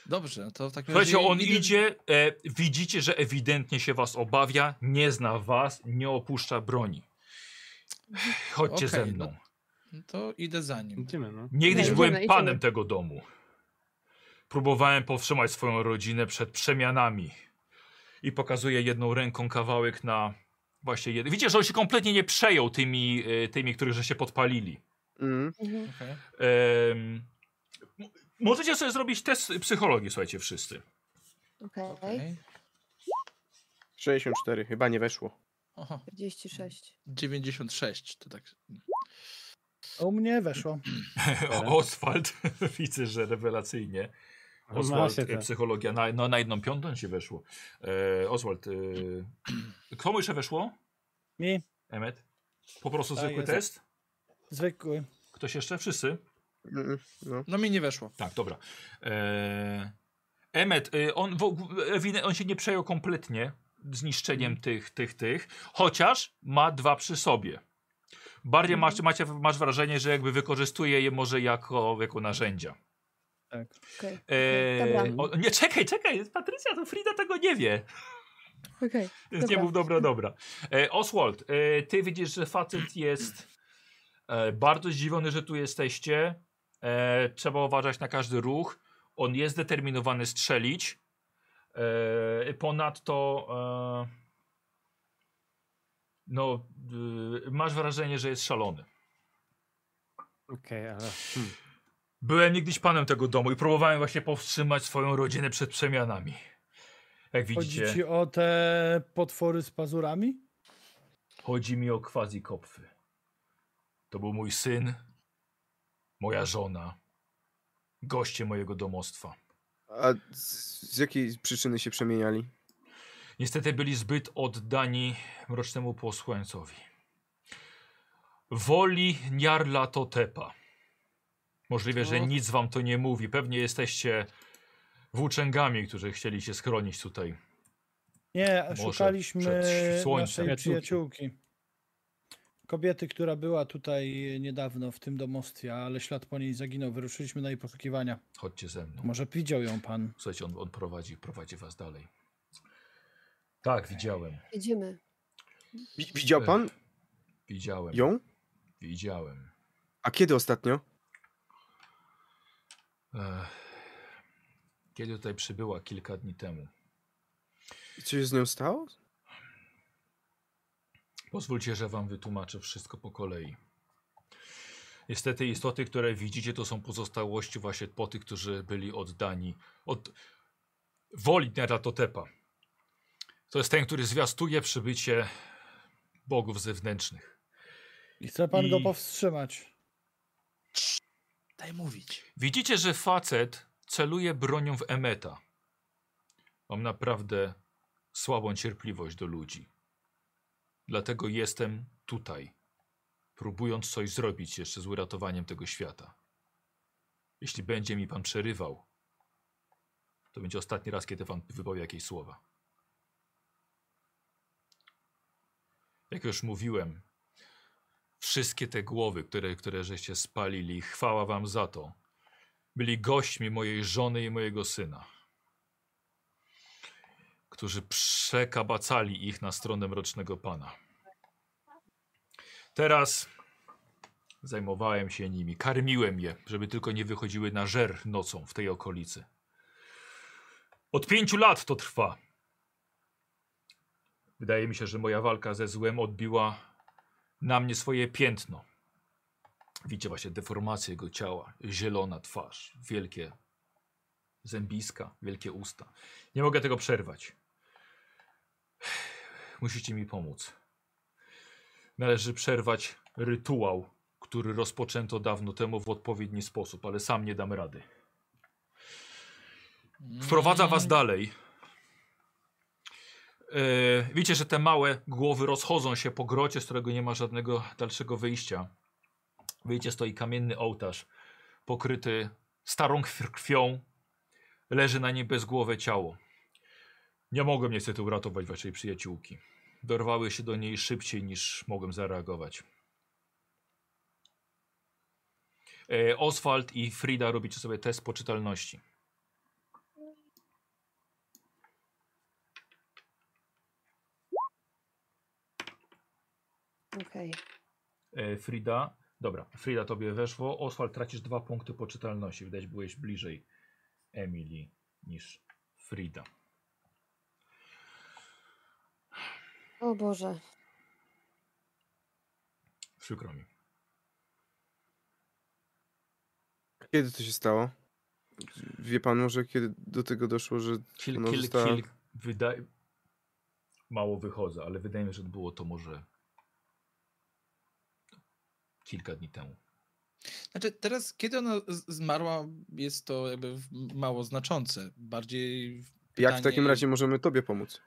Dobrze, no to w takim razie... Słuchajcie, on idę- idzie, e, widzicie, że ewidentnie się was obawia, nie zna was, nie opuszcza broni. Chodźcie Okej, ze no- mną. no To idę za nim. Idziemy, no. Niegdyś Idziemy, byłem idziemy. panem tego domu. Próbowałem powstrzymać swoją rodzinę przed przemianami. I pokazuję jedną ręką kawałek na właśnie jeden. Widzicie, że on się kompletnie nie przejął tymi, e, tymi których że się podpalili. Mm, Mhm. Okej. Em, m- możecie sobie zrobić test psychologii, słuchajcie, wszyscy. Okej, okej. 64, chyba nie weszło. Oho, 46. 96, to tak... U mnie weszło. O, Oswald, widzę, że rewelacyjnie. Ma Oswald, się e, to. psychologia, na, no, na jedną piątą ci weszło. E, Oswald, e, komu jeszcze weszło? Mi Emet? Po prostu Tak, zwykły jest. test? zwykły. Ktoś jeszcze? Wszyscy? Mm, no. No mi nie weszło. Tak, dobra. E... Emmet, y, on, w, ogó- ewine- on się nie przejął kompletnie zniszczeniem tych, tych, tych, chociaż ma dwa przy sobie. Bardziej Mhm. masz, macie, masz wrażenie, że jakby wykorzystuje je może jako, jako narzędzia. Tak. Okej. E, Dobra. o, nie, czekaj, czekaj, Patrycja, to Frida tego nie wie. Okej. Więc nie Dobra. mów dobra, dobra. E, Oswald, e, ty widzisz, że facet jest e, bardzo zdziwiony, że tu jesteście. E, trzeba uważać na każdy ruch. On jest zdeterminowany strzelić. E, ponadto e, no, y, masz wrażenie, że jest szalony. Okej, ale... Hmm. Byłem niegdyś panem tego domu i próbowałem właśnie powstrzymać swoją rodzinę przed przemianami. Jak Chodzi widzicie, ci o te potwory z pazurami? Chodzi mi o quasi kopfy. To był mój syn, moja żona goście mojego domostwa. A z, z jakiej przyczyny się przemieniali? Niestety byli zbyt oddani mrocznemu posłańcowi. Woli Niarla Totepa. Możliwe, że O. nic wam to nie mówi. Pewnie jesteście włóczęgami, którzy chcieli się schronić tutaj. Nie, Może szukaliśmy przed słońcem. naszej Przyjaciółki. przyjaciółki. Kobiety, która była tutaj niedawno w tym domostwie, ale ślad po niej zaginął. Wyruszyliśmy na jej poszukiwania. Chodźcie ze mną. Może widział ją pan. Słuchajcie, on, on prowadzi, prowadzi was dalej. Tak, widziałem. Jedziemy. Wi- e. Widział pan Widziałem. ją? Widziałem. A kiedy ostatnio? Ech. Kiedy tutaj przybyła? Kilka dni temu. I Co się z nią stało? Pozwólcie, że wam wytłumaczę wszystko po kolei. Niestety istoty, które widzicie, to są pozostałości właśnie po tych, którzy byli oddani od woli Neratotepa. To jest ten, który zwiastuje przybycie bogów zewnętrznych. I chce pan go I- powstrzymać. Daj mówić. Widzicie, że facet celuje bronią w Emeta. Mam naprawdę słabą cierpliwość do ludzi. Dlatego jestem tutaj, próbując coś zrobić jeszcze z uratowaniem tego świata. Jeśli będzie mi pan przerywał, to będzie ostatni raz, kiedy pan wypowie jakieś słowa. Jak już mówiłem, wszystkie te głowy, które, które żeście spalili, chwała wam za to. Byli gośćmi mojej żony i mojego syna, którzy przekabacali ich na stronę mrocznego pana. Teraz zajmowałem się nimi, karmiłem je, żeby tylko nie wychodziły na żer nocą w tej okolicy. Od pięciu lat to trwa. Wydaje mi się, że moja walka ze złem odbiła na mnie swoje piętno. Widzicie właśnie deformację jego ciała, zielona twarz, wielkie zębiska, wielkie usta. Nie mogę tego przerwać. Musicie mi pomóc. Należy przerwać rytuał, który rozpoczęto dawno temu w odpowiedni sposób, ale sam nie dam rady. Mm. Wprowadza was dalej. Yy, wiecie, że te małe głowy rozchodzą się po grocie, z którego nie ma żadnego dalszego wyjścia. Wyjdzie stoi kamienny ołtarz, pokryty starą krw- krwią. Leży na nim bezgłowe ciało. Nie mogłem niestety uratować waszej przyjaciółki. Dorwały się do niej szybciej niż mogłem zareagować. Yy, Oswald i Frida robicie sobie test poczytalności. Okej. E, Frida, dobra, Frida tobie weszło. Oswald, tracisz dwa punkty poczytalności. Widać, byłeś bliżej Emily niż Frida. O Boże. Przykro mi. Kiedy to się stało? Wie pan może, kiedy do tego doszło, że Kil, Ona kil, została- kil, wydaje... Mało wychodzę, ale wydaje mi się, że było to może kilka dni temu. Znaczy teraz, kiedy ona z- zmarła, jest to jakby w- mało znaczące. Bardziej. w- jak w pytanie- takim razie możemy tobie pomóc?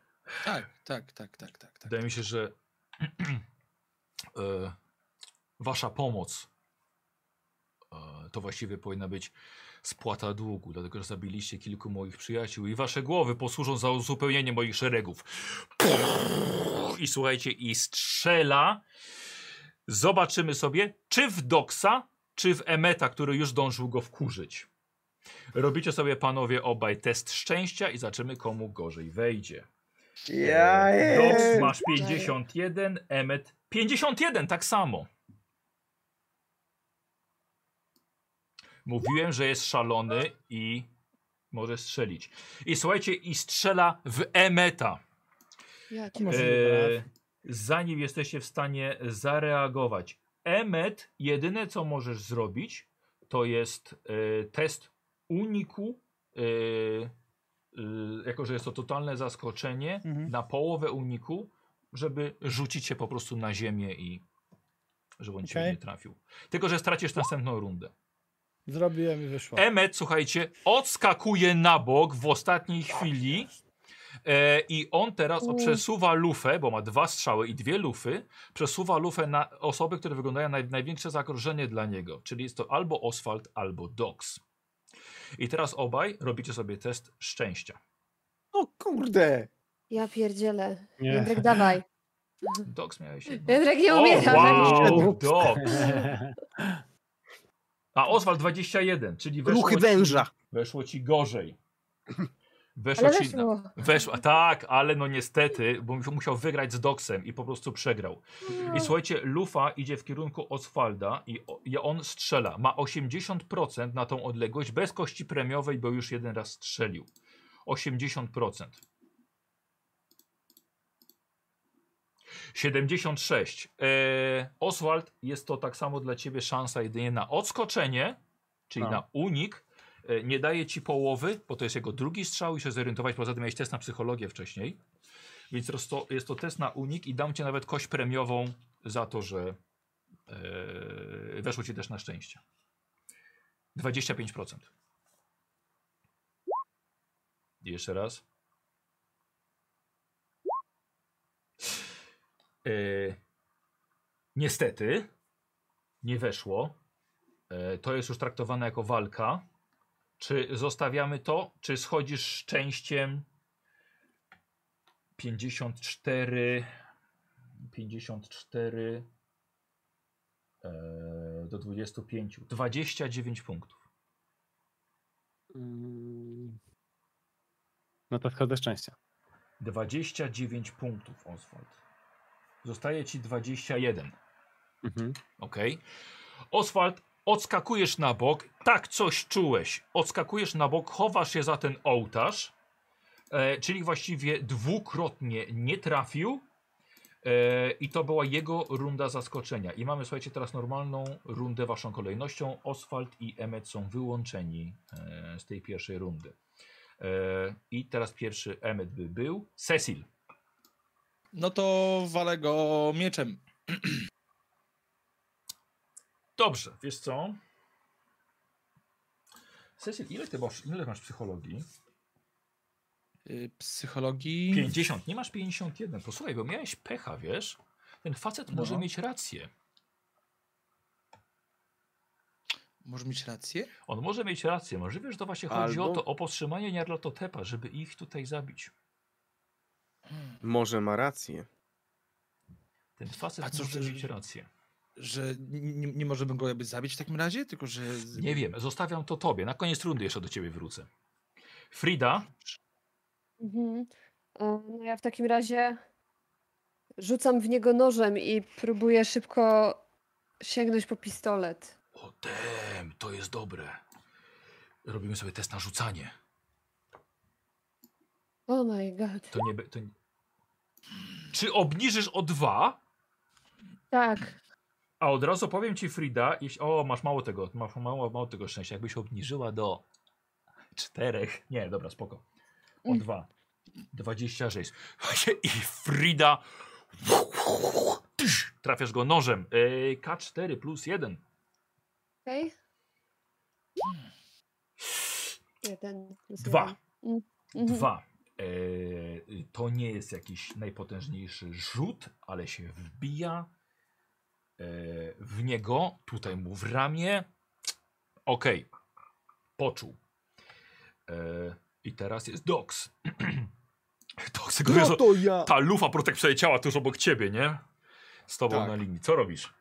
Tak, tak, tak, tak, tak. tak. Wydaje mi się, że e, wasza pomoc e, to właściwie powinna być spłata długu, dlatego że zabiliście kilku moich przyjaciół i wasze głowy posłużą za uzupełnienie moich szeregów. I słuchajcie, i strzela. Zobaczymy sobie, czy w Doksa, czy w Emeta, który już dążył go wkurzyć. Robicie sobie panowie obaj test szczęścia i zobaczymy komu gorzej wejdzie. E, Dox masz 51, Emmet 51, tak samo. Mówiłem, że jest szalony i może strzelić. I słuchajcie, i strzela w Emeta. Jak? To może nie E, brać. zanim jesteście w stanie zareagować. E Emmet, jedyne co możesz zrobić, to jest e, test uniku. E, e, jako, że jest to totalne zaskoczenie, Mhm. na połowę uniku, żeby rzucić się po prostu na ziemię i żeby on cię Okej. nie trafił. Tylko, że stracisz następną rundę. Zrobiłem i wyszło. Emmet, słuchajcie, odskakuje na bok w ostatniej chwili. E, I on teraz U. przesuwa lufę, bo ma dwa strzały i dwie lufy. Przesuwa lufę na osoby, które wyglądają na największe zagrożenie dla niego. Czyli jest to albo Oswald, albo Dox. I teraz obaj robicie sobie test szczęścia. O kurde! Ja pierdzielę. Nie. Jędrek, dawaj. Dox miałeś jedno. Jędrek, nie O, umiera. wow, Dox. A Oswald 21, czyli weszło Ruchy ci, węża. weszło ci gorzej. Weszło Ale ci weszło. Weszła, tak, ale no niestety, bo musiał- musiał wygrać z Doksem i po prostu przegrał. No. I słuchajcie, Lufa idzie w kierunku Oswalda i, o- i on strzela. Ma 80% na tą odległość bez kości premiowej, bo już jeden raz strzelił. 80%. 76. Eee, Oswald, jest to tak samo dla ciebie szansa jedynie na odskoczenie, czyli No. na unik. E, Nie daje ci połowy, bo to jest jego drugi strzał i się zorientować. Poza tym miałeś test na psychologię wcześniej. Więc jest to, jest to test na unik i dam ci nawet kość premiową za to, że e, weszło ci też na szczęście. 25%. Jeszcze raz. E, niestety nie weszło. E, to jest już traktowane jako walka. Czy zostawiamy to? Czy schodzisz szczęściem? 54. 54. E, do 25. 29 punktów. Mm. No to wchodzę szczęścia. 29 punktów, Oswald. Zostaje ci 21. Mhm. Ok. Oswald, odskakujesz na bok. Tak coś czułeś. Odskakujesz na bok, chowasz się za ten ołtarz. E, czyli właściwie dwukrotnie nie trafił. E, I to była jego runda zaskoczenia. I mamy, słuchajcie, teraz normalną rundę waszą kolejnością. Oswald i Emmet są wyłączeni e, z tej pierwszej rundy. E, I teraz pierwszy Emmet by był. Cecil. No to walę go mieczem. Dobrze, wiesz co? Cecil, ile ty masz, ile masz psychologii? Y, Psychologii. 50, nie masz 51. Posłuchaj, bo miałeś pecha, wiesz? Ten facet może No. mieć rację. Może mieć rację? On może mieć rację. Możliwe, że to właśnie chodzi o Albo- to, o powstrzymanie Niarlototepa, żeby ich tutaj zabić. Może ma rację. No Ten facet A co, może że- mieć rację. Że nie, nie możemy go jakby zabić w takim razie? Tylko, że. z- Nie wiem, zostawiam to tobie. Na koniec rundy jeszcze do ciebie wrócę. Frida, Mhm. E, No ja w takim razie rzucam w niego nożem i próbuję szybko sięgnąć po pistolet. o dem, to jest dobre. Robimy sobie test na rzucanie. Oh my god. To nie, be- to nie... Czy obniżysz o dwa? Tak. A od razu powiem ci, Frida, jeśli, o, masz mało tego, masz mało, mało tego szczęścia. Jakbyś obniżyła do czterech. Nie, dobra, spoko. O Mm. dwa. 26. I Frida. Tyś, Trafiasz go nożem. Yy, K4 plus 1. Okej. Jeden. plus Dwa. jeden. Mm, mhm. Dwa. Yy, to nie jest jakiś najpotężniejszy rzut, ale się wbija yy, w niego, tutaj mu w ramię. Okej. Poczuł. Yy, I teraz jest Dox. Dox go No to ja! Ta lufa protek ciała tuż obok ciebie, nie? Z tobą Tak. na linii. Co robisz?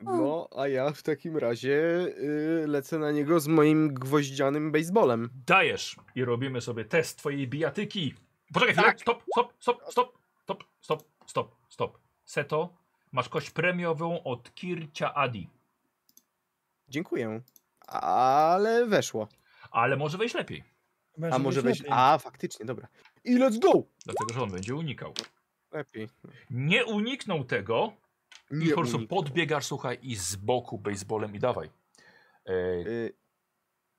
No, a ja w takim razie y, lecę na niego z moim gwoździanym baseballem. Dajesz i robimy sobie test twojej bijatyki. Poczekaj chwilę. Tak. Stop, stop, stop, stop, stop, stop, stop, stop. Seto, masz kość premiową od Kircia Adi. Dziękuję. Ale weszło. Ale może wejść lepiej, A Mężem może jest wejść. lepiej. A, faktycznie, dobra. I let's go! dlatego że on będzie unikał. Lepiej. Nie uniknął tego i Nie po prostu uniknął. podbiegasz, słuchaj, i z boku baseballem i dawaj. E, Ej, Y,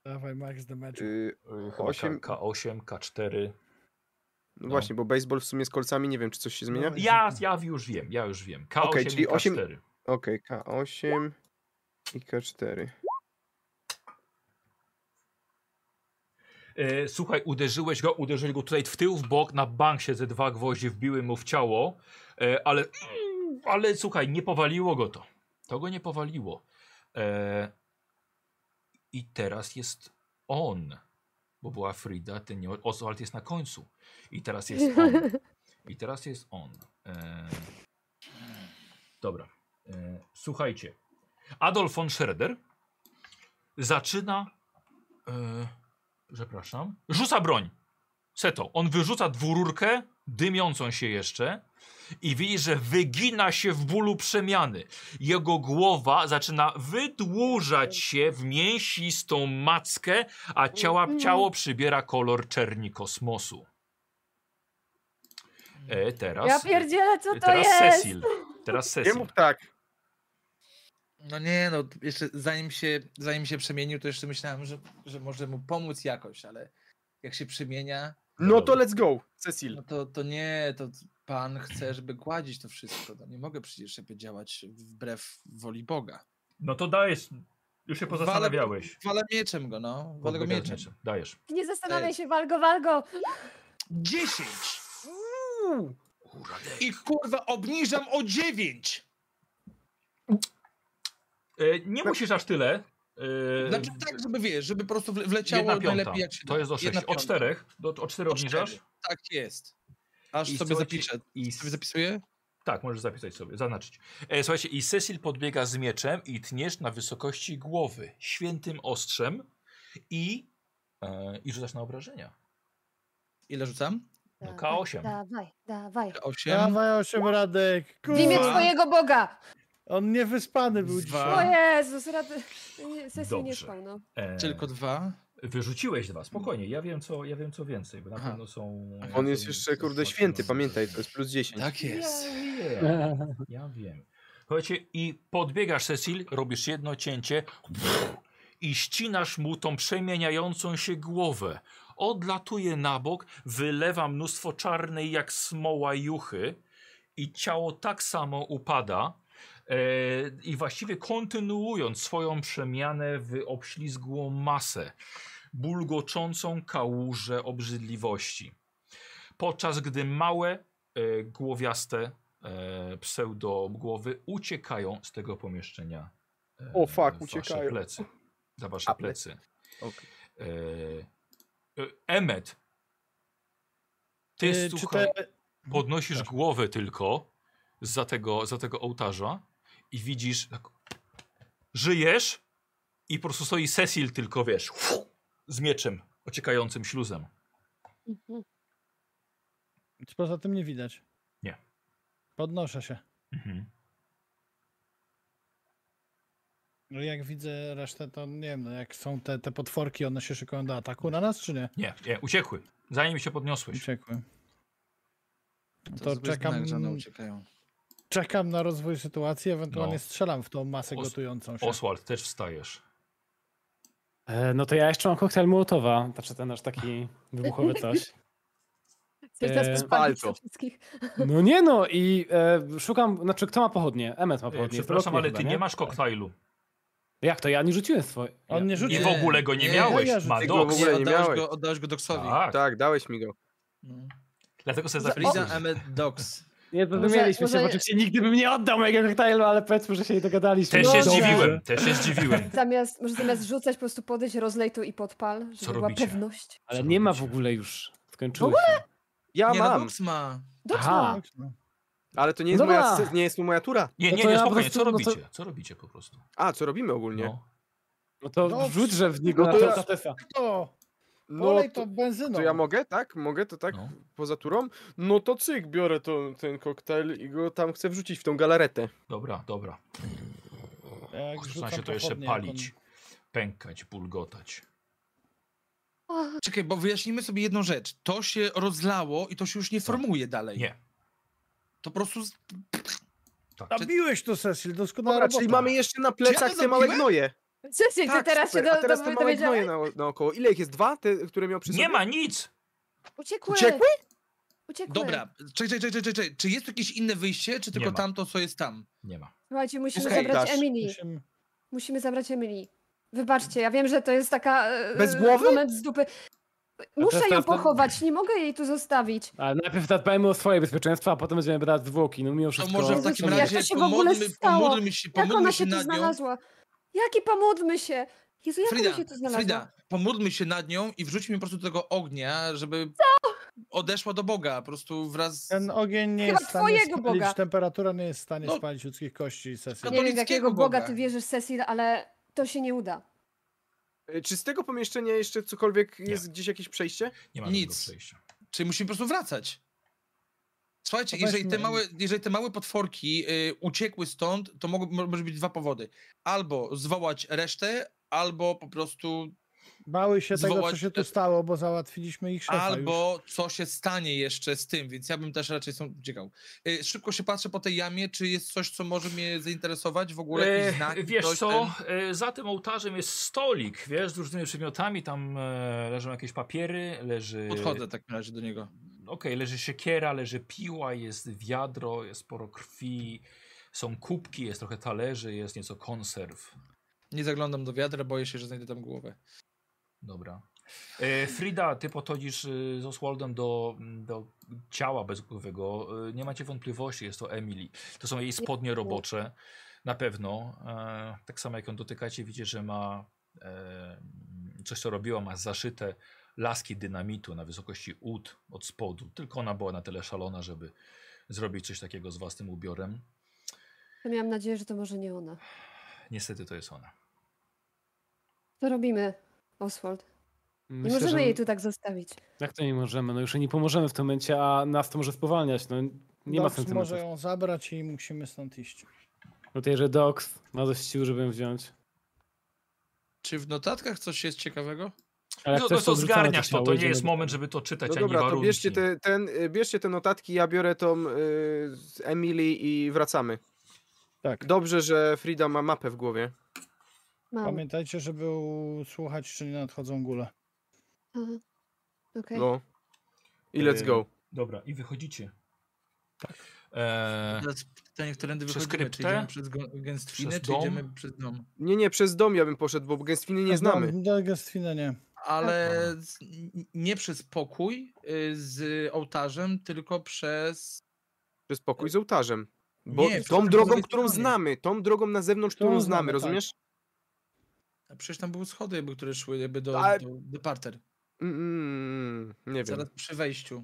Dawaj, Max the match. y, y, chyba osiem- K- K8, K4. no No. właśnie, bo baseball w sumie z kolcami, nie wiem, czy coś się zmienia. No i- Ja, ja już wiem, ja już wiem. K8 Okej, i czyli K4. osiem- Okej, K8 i K4. E, słuchaj, uderzyłeś go, uderzyłeś go tutaj w tył, w bok, na bank się ze dwa gwoździe wbiły mu w ciało, e, ale, ale słuchaj, nie powaliło go to. To go nie powaliło. E, I teraz jest on, bo była Frida, ten nie, Oswald jest na końcu. I teraz jest on. I teraz jest on. E, dobra. E, słuchajcie. Adolf von Schroeder zaczyna. E, przepraszam. Rzuca broń. Seto. On wyrzuca dwururkę, dymiącą się jeszcze. I widzi, że wygina się w bólu przemiany. Jego głowa zaczyna wydłużać się w mięsistą mackę, a ciała, ciało przybiera kolor czerni kosmosu. E, Ja teraz. pierdzielę, co to teraz jest? Cecil. Teraz Nie Cecil. mów tak. No nie, no jeszcze zanim się, zanim się przemienił, to jeszcze myślałem, że, że może mu pomóc jakoś, ale jak się przemienia, No to let's go, Cecil. no to, to nie, to pan chce, żeby gładzić to wszystko. No nie mogę przecież sobie działać wbrew woli Boga. No to dajesz. Już się pozastanawiałeś. Walę mieczem go, no. Walę go mieczem. Odbiegasz meczem. Dajesz. Nie zastanawiaj się, walgo, walgo. 10! Uuu. I kurwa obniżam o 9! E, nie musisz aż tyle. E, Znaczy tak, żeby wiesz, żeby po prostu wle- wleciało jedna piąta. najlepiej jak się da. To jest do Jedna 6. O piąta. 4. Do, o 4 O obniżasz? cztery. Tak jest. Aż I sobie słuchajcie, zapiszę. I Sobie zapisuję? Tak, możesz zapisać sobie, zaznaczyć. E, słuchajcie, i Cecil podbiega z mieczem i tniesz na wysokości głowy świętym ostrzem i, e, i rzucasz na obrażenia. Ile rzucam? No, Dawaj, K8. Dawaj, dawaj. 8. Dawaj osiem Radek. W imię Kurwa. twojego Boga! On niewyspany był Dwa. O dzisiaj. Jezus, rady. nie, Sesji nie Dobrze. spał, no. E, Tylko dwa. Wyrzuciłeś dwa, spokojnie. Ja wiem co, ja wiem co więcej, bo na Aha. pewno są. On jest są- jeszcze, są kurde, są- święty, pamiętaj, to jest plus 10. Tak jest. Ja wiem. Eee. Ja wiem. Słuchajcie, i podbiegasz, Cecil, robisz jedno cięcie i ścinasz mu tą przemieniającą się głowę. Odlatuje na bok, wylewa mnóstwo czarnej jak smoła juchy i ciało tak samo upada. E, I właściwie kontynuując swoją przemianę w obślizgłą masę, bulgoczącą kałużę obrzydliwości. Podczas gdy małe, e, głowiaste e, pseudogłowy uciekają z tego pomieszczenia. E, O, fuck, w Wasze uciekają. plecy, za wasze A, plecy. Okej. E, e, Emmet, ty Y, Czy słuchaj, te, podnosisz głowę tylko za tego, za tego ołtarza i widzisz, tak, żyjesz i po prostu stoi Cecil tylko, wiesz, z mieczem ociekającym śluzem. Mhm. czy poza tym nie widać? Nie. Podnoszę się. No jak widzę resztę, to nie wiem, no jak są te, te potworki, one się szykują do ataku na nas, czy nie? Nie, nie, uciekły, zanim się podniosłeś. Uciekły. To, To zły czekam- znak, że one uciekają. Czekam na rozwój sytuacji, ewentualnie No. strzelam w tą masę Os- gotującą się. Oswald, też wstajesz. E, No to ja jeszcze mam koktajl Mołotowa, znaczy ten nasz taki wybuchowy coś. Chcesz E, nas Eee, pospalić Balto. to wszystkich. No nie no i e, szukam, znaczy kto ma pochodnie? Emet ma E, pochodnie. Przepraszam, Zbrodnie ale chyba, ty nie masz koktajlu Jak to? Ja nie rzuciłem swoje. On nie rzucił. i w ogóle go nie, Nie, miałeś. ja rzucę. Ma Tego w doks. ogóle nie Nie, oddałeś miałeś. go, oddałeś go Doksowi. Tak, Tak, dałeś mi go. No. dlatego sobie Frida zapisałem. Emmet Dox. Nie zrozumieliśmy może- się, bo oczywiście nigdy bym nie oddał mojego koktajlu, ale powiedzmy, że się nie dogadaliśmy. Też No się dobrze. zdziwiłem, też się zdziwiłem. Zamiast, może zamiast rzucać, po prostu podejść, rozlej tu i podpal, żeby była robicie? pewność. Ale nie ma w Zrobicie. ogóle już. Skończyło się. Ja nie, no mam, Dox ma. Dobrze. Aha. Tak. no. ale to nie jest, No moja, dobra. sce- nie jest to moja tura. Nie, No nie, to nie, ja po spokojnie, co prostu- no to- robicie? Co robicie po prostu? A, co robimy ogólnie? No. No to Dobrze. wrzuć, że w niego No no to to ja- To, No, polej to, to, benzyną. to ja mogę, tak? Mogę to tak No. poza turą? No to cyk, biorę to, ten koktajl i go tam chcę wrzucić w tą galaretę. Dobra, dobra. Jak Zaczyna się rzucam to jeszcze pochodnie, jak on- palić, pękać, bulgotać. Czekaj, bo wyjaśnimy sobie jedną rzecz. To się rozlało i to się już nie formuje dalej. Nie. To po prostu. z- Zabiłeś to, No Cecil, doskonała Dobra, robota. czyli mamy jeszcze na plecach te małe zabiłem? gnoje. Cecil, ty teraz Tak, super. się do, A teraz te do, małe dowiedziałeś? gnoje na, naokoło. Ile ich jest? Dwa, te, które miał przy sobie? Nie ma nic! Uciekły. Uciekły? Uciekły. Dobra, czekaj, czekaj, czekaj, czekaj. Czy jest tu jakieś inne wyjście, czy tylko ma. tamto, co jest tam? Nie ma. Słuchajcie, musimy Słuchaj, zabrać dasz. Emily. Musimy- Musimy zabrać Emily. Wybaczcie, ja wiem, że to jest taka... e, Bez głowy? Moment z dupy. Muszę teraz ją to- pochować, nie mogę jej tu zostawić. Ale najpierw zadbajmy o swoje bezpieczeństwo, a potem będziemy brać zwłoki. No mimo To wszystko. może w Jezus, takim jak razie to się w ogóle pomódlmy, stało? pomódlmy się, Jak pomódlmy ona się się tu nad nią. znalazła? Jaki pomódlmy się? Jezu, No, jak Frida, ona się tu znalazła? Frida, pomódlmy się nad nią i wrzućmy po prostu do tego ognia, żeby odeszła do Boga, po prostu wraz z... Ten ogień nie Chyba jest w stanie twojego spalić, Boga. temperatura nie jest w stanie No. spalić ludzkich kości i sesji. No Nie wiem, w katolickiego jakiego Boga Boga. ty wierzysz, Cecil, ale to się nie uda. E, Czy z tego pomieszczenia jeszcze cokolwiek jest gdzieś jakieś przejście? Nie ma Nic. nic. przejścia. Czyli musimy po prostu wracać. Słuchajcie, No jeżeli te, weźmy- małe, jeżeli te małe potworki y, uciekły stąd, to mogą, mo- może być dwa powody. Albo zwołać resztę, albo po prostu, Bały się tego, co Zwołać- się tu stało, bo załatwiliśmy ich szefa już. albo co się stanie jeszcze z tym, więc ja bym też raczej są uciekał. Y, szybko się patrzę po tej jamie, czy jest coś, co może mnie zainteresować w ogóle? jakiś znak, E, wiesz coś, co, ten- e, za tym ołtarzem jest stolik, wiesz, z różnymi przedmiotami, tam e, leżą jakieś papiery, leży... Podchodzę w takim razie do niego. Okej, leży siekiera, leży piła, jest wiadro, jest sporo krwi, są kubki, jest trochę talerzy, jest nieco konserw. Nie zaglądam do wiadra, boję się, że znajdę tam głowę. Dobra. E, Frida, ty podchodzisz e, z Oswaldem do, mm, do ciała bezgłowego. E, nie macie wątpliwości, jest to Emily. To są jej spodnie robocze, na pewno. E, tak samo jak ją dotykacie, widzicie, że ma e, coś, co robiła, ma zaszyte laski dynamitu na wysokości ud od spodu. Tylko ona była na tyle szalona, żeby zrobić coś takiego z własnym ubiorem. To miałam nadzieję, że to może nie ona. Niestety to jest ona. To robimy, Oswald. Nie Myślę, możemy że- jej tu tak zostawić. Jak to nie możemy? No już jej nie pomożemy w tym momencie, a nas to może spowalniać. No nie ma Dox sensu. może ją zabrać i musimy stąd iść. Tutaj, że Dox ma dość sił, żeby ją wziąć. Czy w notatkach coś jest ciekawego? Ale jak no, coś to, to są wrzucane, zgarniasz to, to ciało nie idzie jest na- moment, żeby to czytać, No ani dobra, to warunki. bierzcie te, ten, y, bierzcie te notatki, ja biorę tą y, z Emily i wracamy. Tak. Dobrze, że Frida ma mapę w głowie. Mam. Pamiętajcie, żeby słuchać, czy nie nadchodzą góle. Aha. Okej. No. I let's Y, go. Dobra, i wychodzicie. E, Teraz pytanie, którędy Przez wychodzimy. Czy kryptę? idziemy przez go- gęstwinę, Przez czy idziemy dom? przez dom? Nie, nie, przez dom ja bym poszedł, bo gęstwiny nie Znam- znamy. Do Gestwina No, nie. Ale z- n- nie przez pokój y, z ołtarzem, tylko przez. Przez pokój z ołtarzem. Bo Nie, przez tą po drogą, drugiej którą stronie. znamy, tą drogą na zewnątrz, którą, Którą znamy, znamy, tak. rozumiesz? A Przecież tam były schody, jakby, które szły jakby do, Ale- do, do parter. Mm, mm, nie wiem. Zaraz przy wejściu.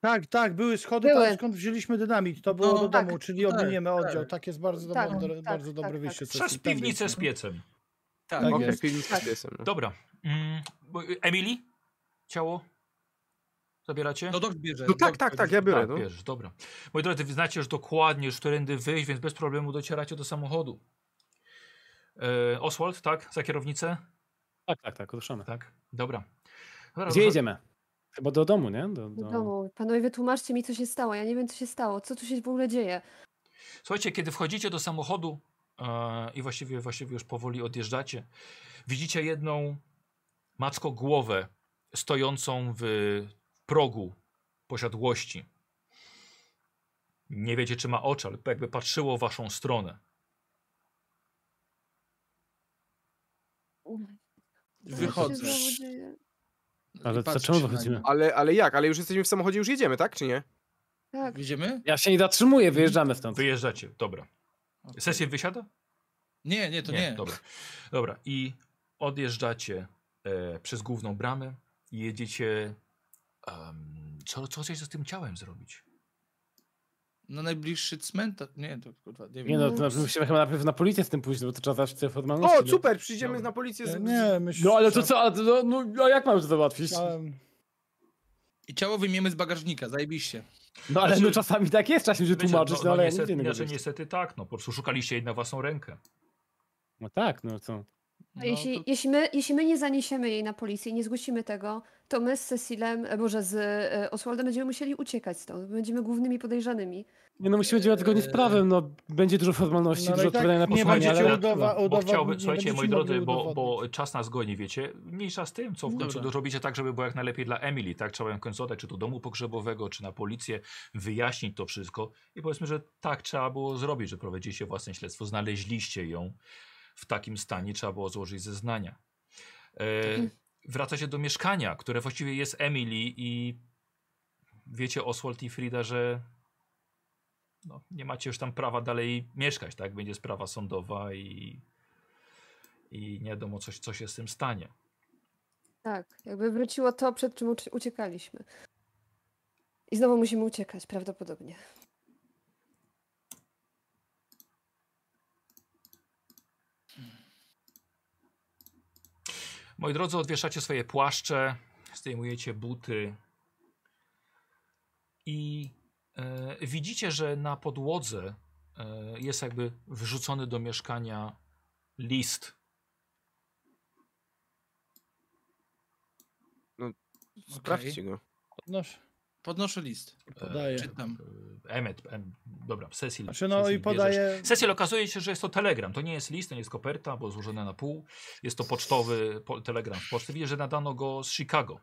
Tak, tak, były schody Były. tam, skąd wzięliśmy dynamit. To było No, do tak, domu, czyli tak, ominiemy tak. oddział. Tak jest bardzo, Tak, dobre, tak, bardzo dobre tak, wyjście. sesji. przez Tam piwnicę byliśmy. z piecem. Tak. Tak Okej, jest. piwnica Tak. z piesem, no. Dobra. Mm, bo- Emily? Ciało? Zabieracie? No dok bierze. No tak, dok tak, tak, bierze. ja biorę. tak, No. bierzesz, dobra. Moi drodzy, wy znacie już dokładnie, już którędy wyjść, więc bez problemu docieracie do samochodu. E, Oswald, tak? Za kierownicę? Tak, tak, tak, ruszamy. Tak. Dobra. dobra Gdzie dobra. jedziemy? Chyba do domu, nie? Do, Do No. do... domu. Panowie, wytłumaczcie mi, co się stało. Ja nie wiem, co się stało. Co tu się w ogóle dzieje? Słuchajcie, kiedy wchodzicie do samochodu e, i właściwie, właściwie już powoli odjeżdżacie, widzicie jedną mackogłowę stojącą w progu posiadłości. Nie wiecie, czy ma oczy, ale jakby patrzyło w waszą stronę. Co Wychodzę. się znowu dzieje? Ale I patrzę to czemu się na wychodzimy? Ale, ale jak? Ale już jesteśmy w samochodzie, już jedziemy, tak? Czy nie? nią. Tak. Widzimy? Ja się nie zatrzymuję, wyjeżdżamy stąd. Wyjeżdżacie, dobra. Sesję wysiada? Nie, nie, to nie. Dobra. dobra. I odjeżdżacie e, przez główną bramę i jedziecie. em, co, co chcecie z tym ciałem zrobić? Na najbliższy cmentarz. Nie, to kurwa, nie wiem. Nie no, to znaczy musimy chyba najpierw na policję z tym pójść, no bo to trzeba zacząć te formalności. O, no. super, przyjdziemy Dobra. na policję. Z... Nie, myślę, No ale to co, a, no, no, a jak mam to załatwić? I ciało wyjmiemy z bagażnika, zajebiście. No ale Znaczy- no czasami tak jest, trzeba się będzie Wiecie, tłumaczyć, no ale ja nic niestety, innego znaczy, nie niestety tak, no po prostu szukaliście jej na własną rękę. No tak, no co. A No, jeśli, to- jeśli, my, jeśli my nie zaniesiemy jej na policję i nie zgłosimy tego, to my z Cecilem, e, Boże, z e, Oswaldem będziemy musieli uciekać stąd. Będziemy głównymi podejrzanymi. Nie no musimy działać zgodnie z prawem, no będzie dużo formalności, No, ale dużo i tak odpowiadania na nie posłanie, będziecie ale... udawa- no. Bo udowodnić- chciałbym, nie słuchajcie, będziecie moi drodzy, mogli bo, bo udowodnić. czas nas goni, wiecie, mniejsza z tym, co w końcu Dobra. zrobicie tak, żeby było jak najlepiej dla Emily, tak, trzeba ją w końcu oddać, czy do domu pogrzebowego, czy na policję, wyjaśnić to wszystko i powiedzmy, że tak trzeba było zrobić, że prowadziliście własne śledztwo, Tak. znaleźliście ją w takim stanie, trzeba było złożyć zeznania. E, Wracacie do mieszkania, które właściwie jest Emily i wiecie Oswald i Frida, że no, nie macie już tam prawa dalej mieszkać, tak? Będzie sprawa sądowa i, i nie wiadomo, co, co się z tym stanie. Tak, jakby wróciło to, przed czym ucie- uciekaliśmy. I znowu musimy uciekać, prawdopodobnie. Moi drodzy, odwieszacie swoje płaszcze, zdejmujecie buty i e, widzicie, że na podłodze e, jest jakby wrzucony do mieszkania list. Sprawdźcie go. Podnoszę. Podnoszę list. No, Podaję. Czytam. E, Emmet, em, dobra, Cecil. Znaczy, no Cecil, i podaję. Cecil, okazuje się, że jest to telegram. To nie jest list, to nie jest koperta, bo złożone na pół. Jest to pocztowy po, telegram w poczty. Widzisz, że nadano go z Chicago.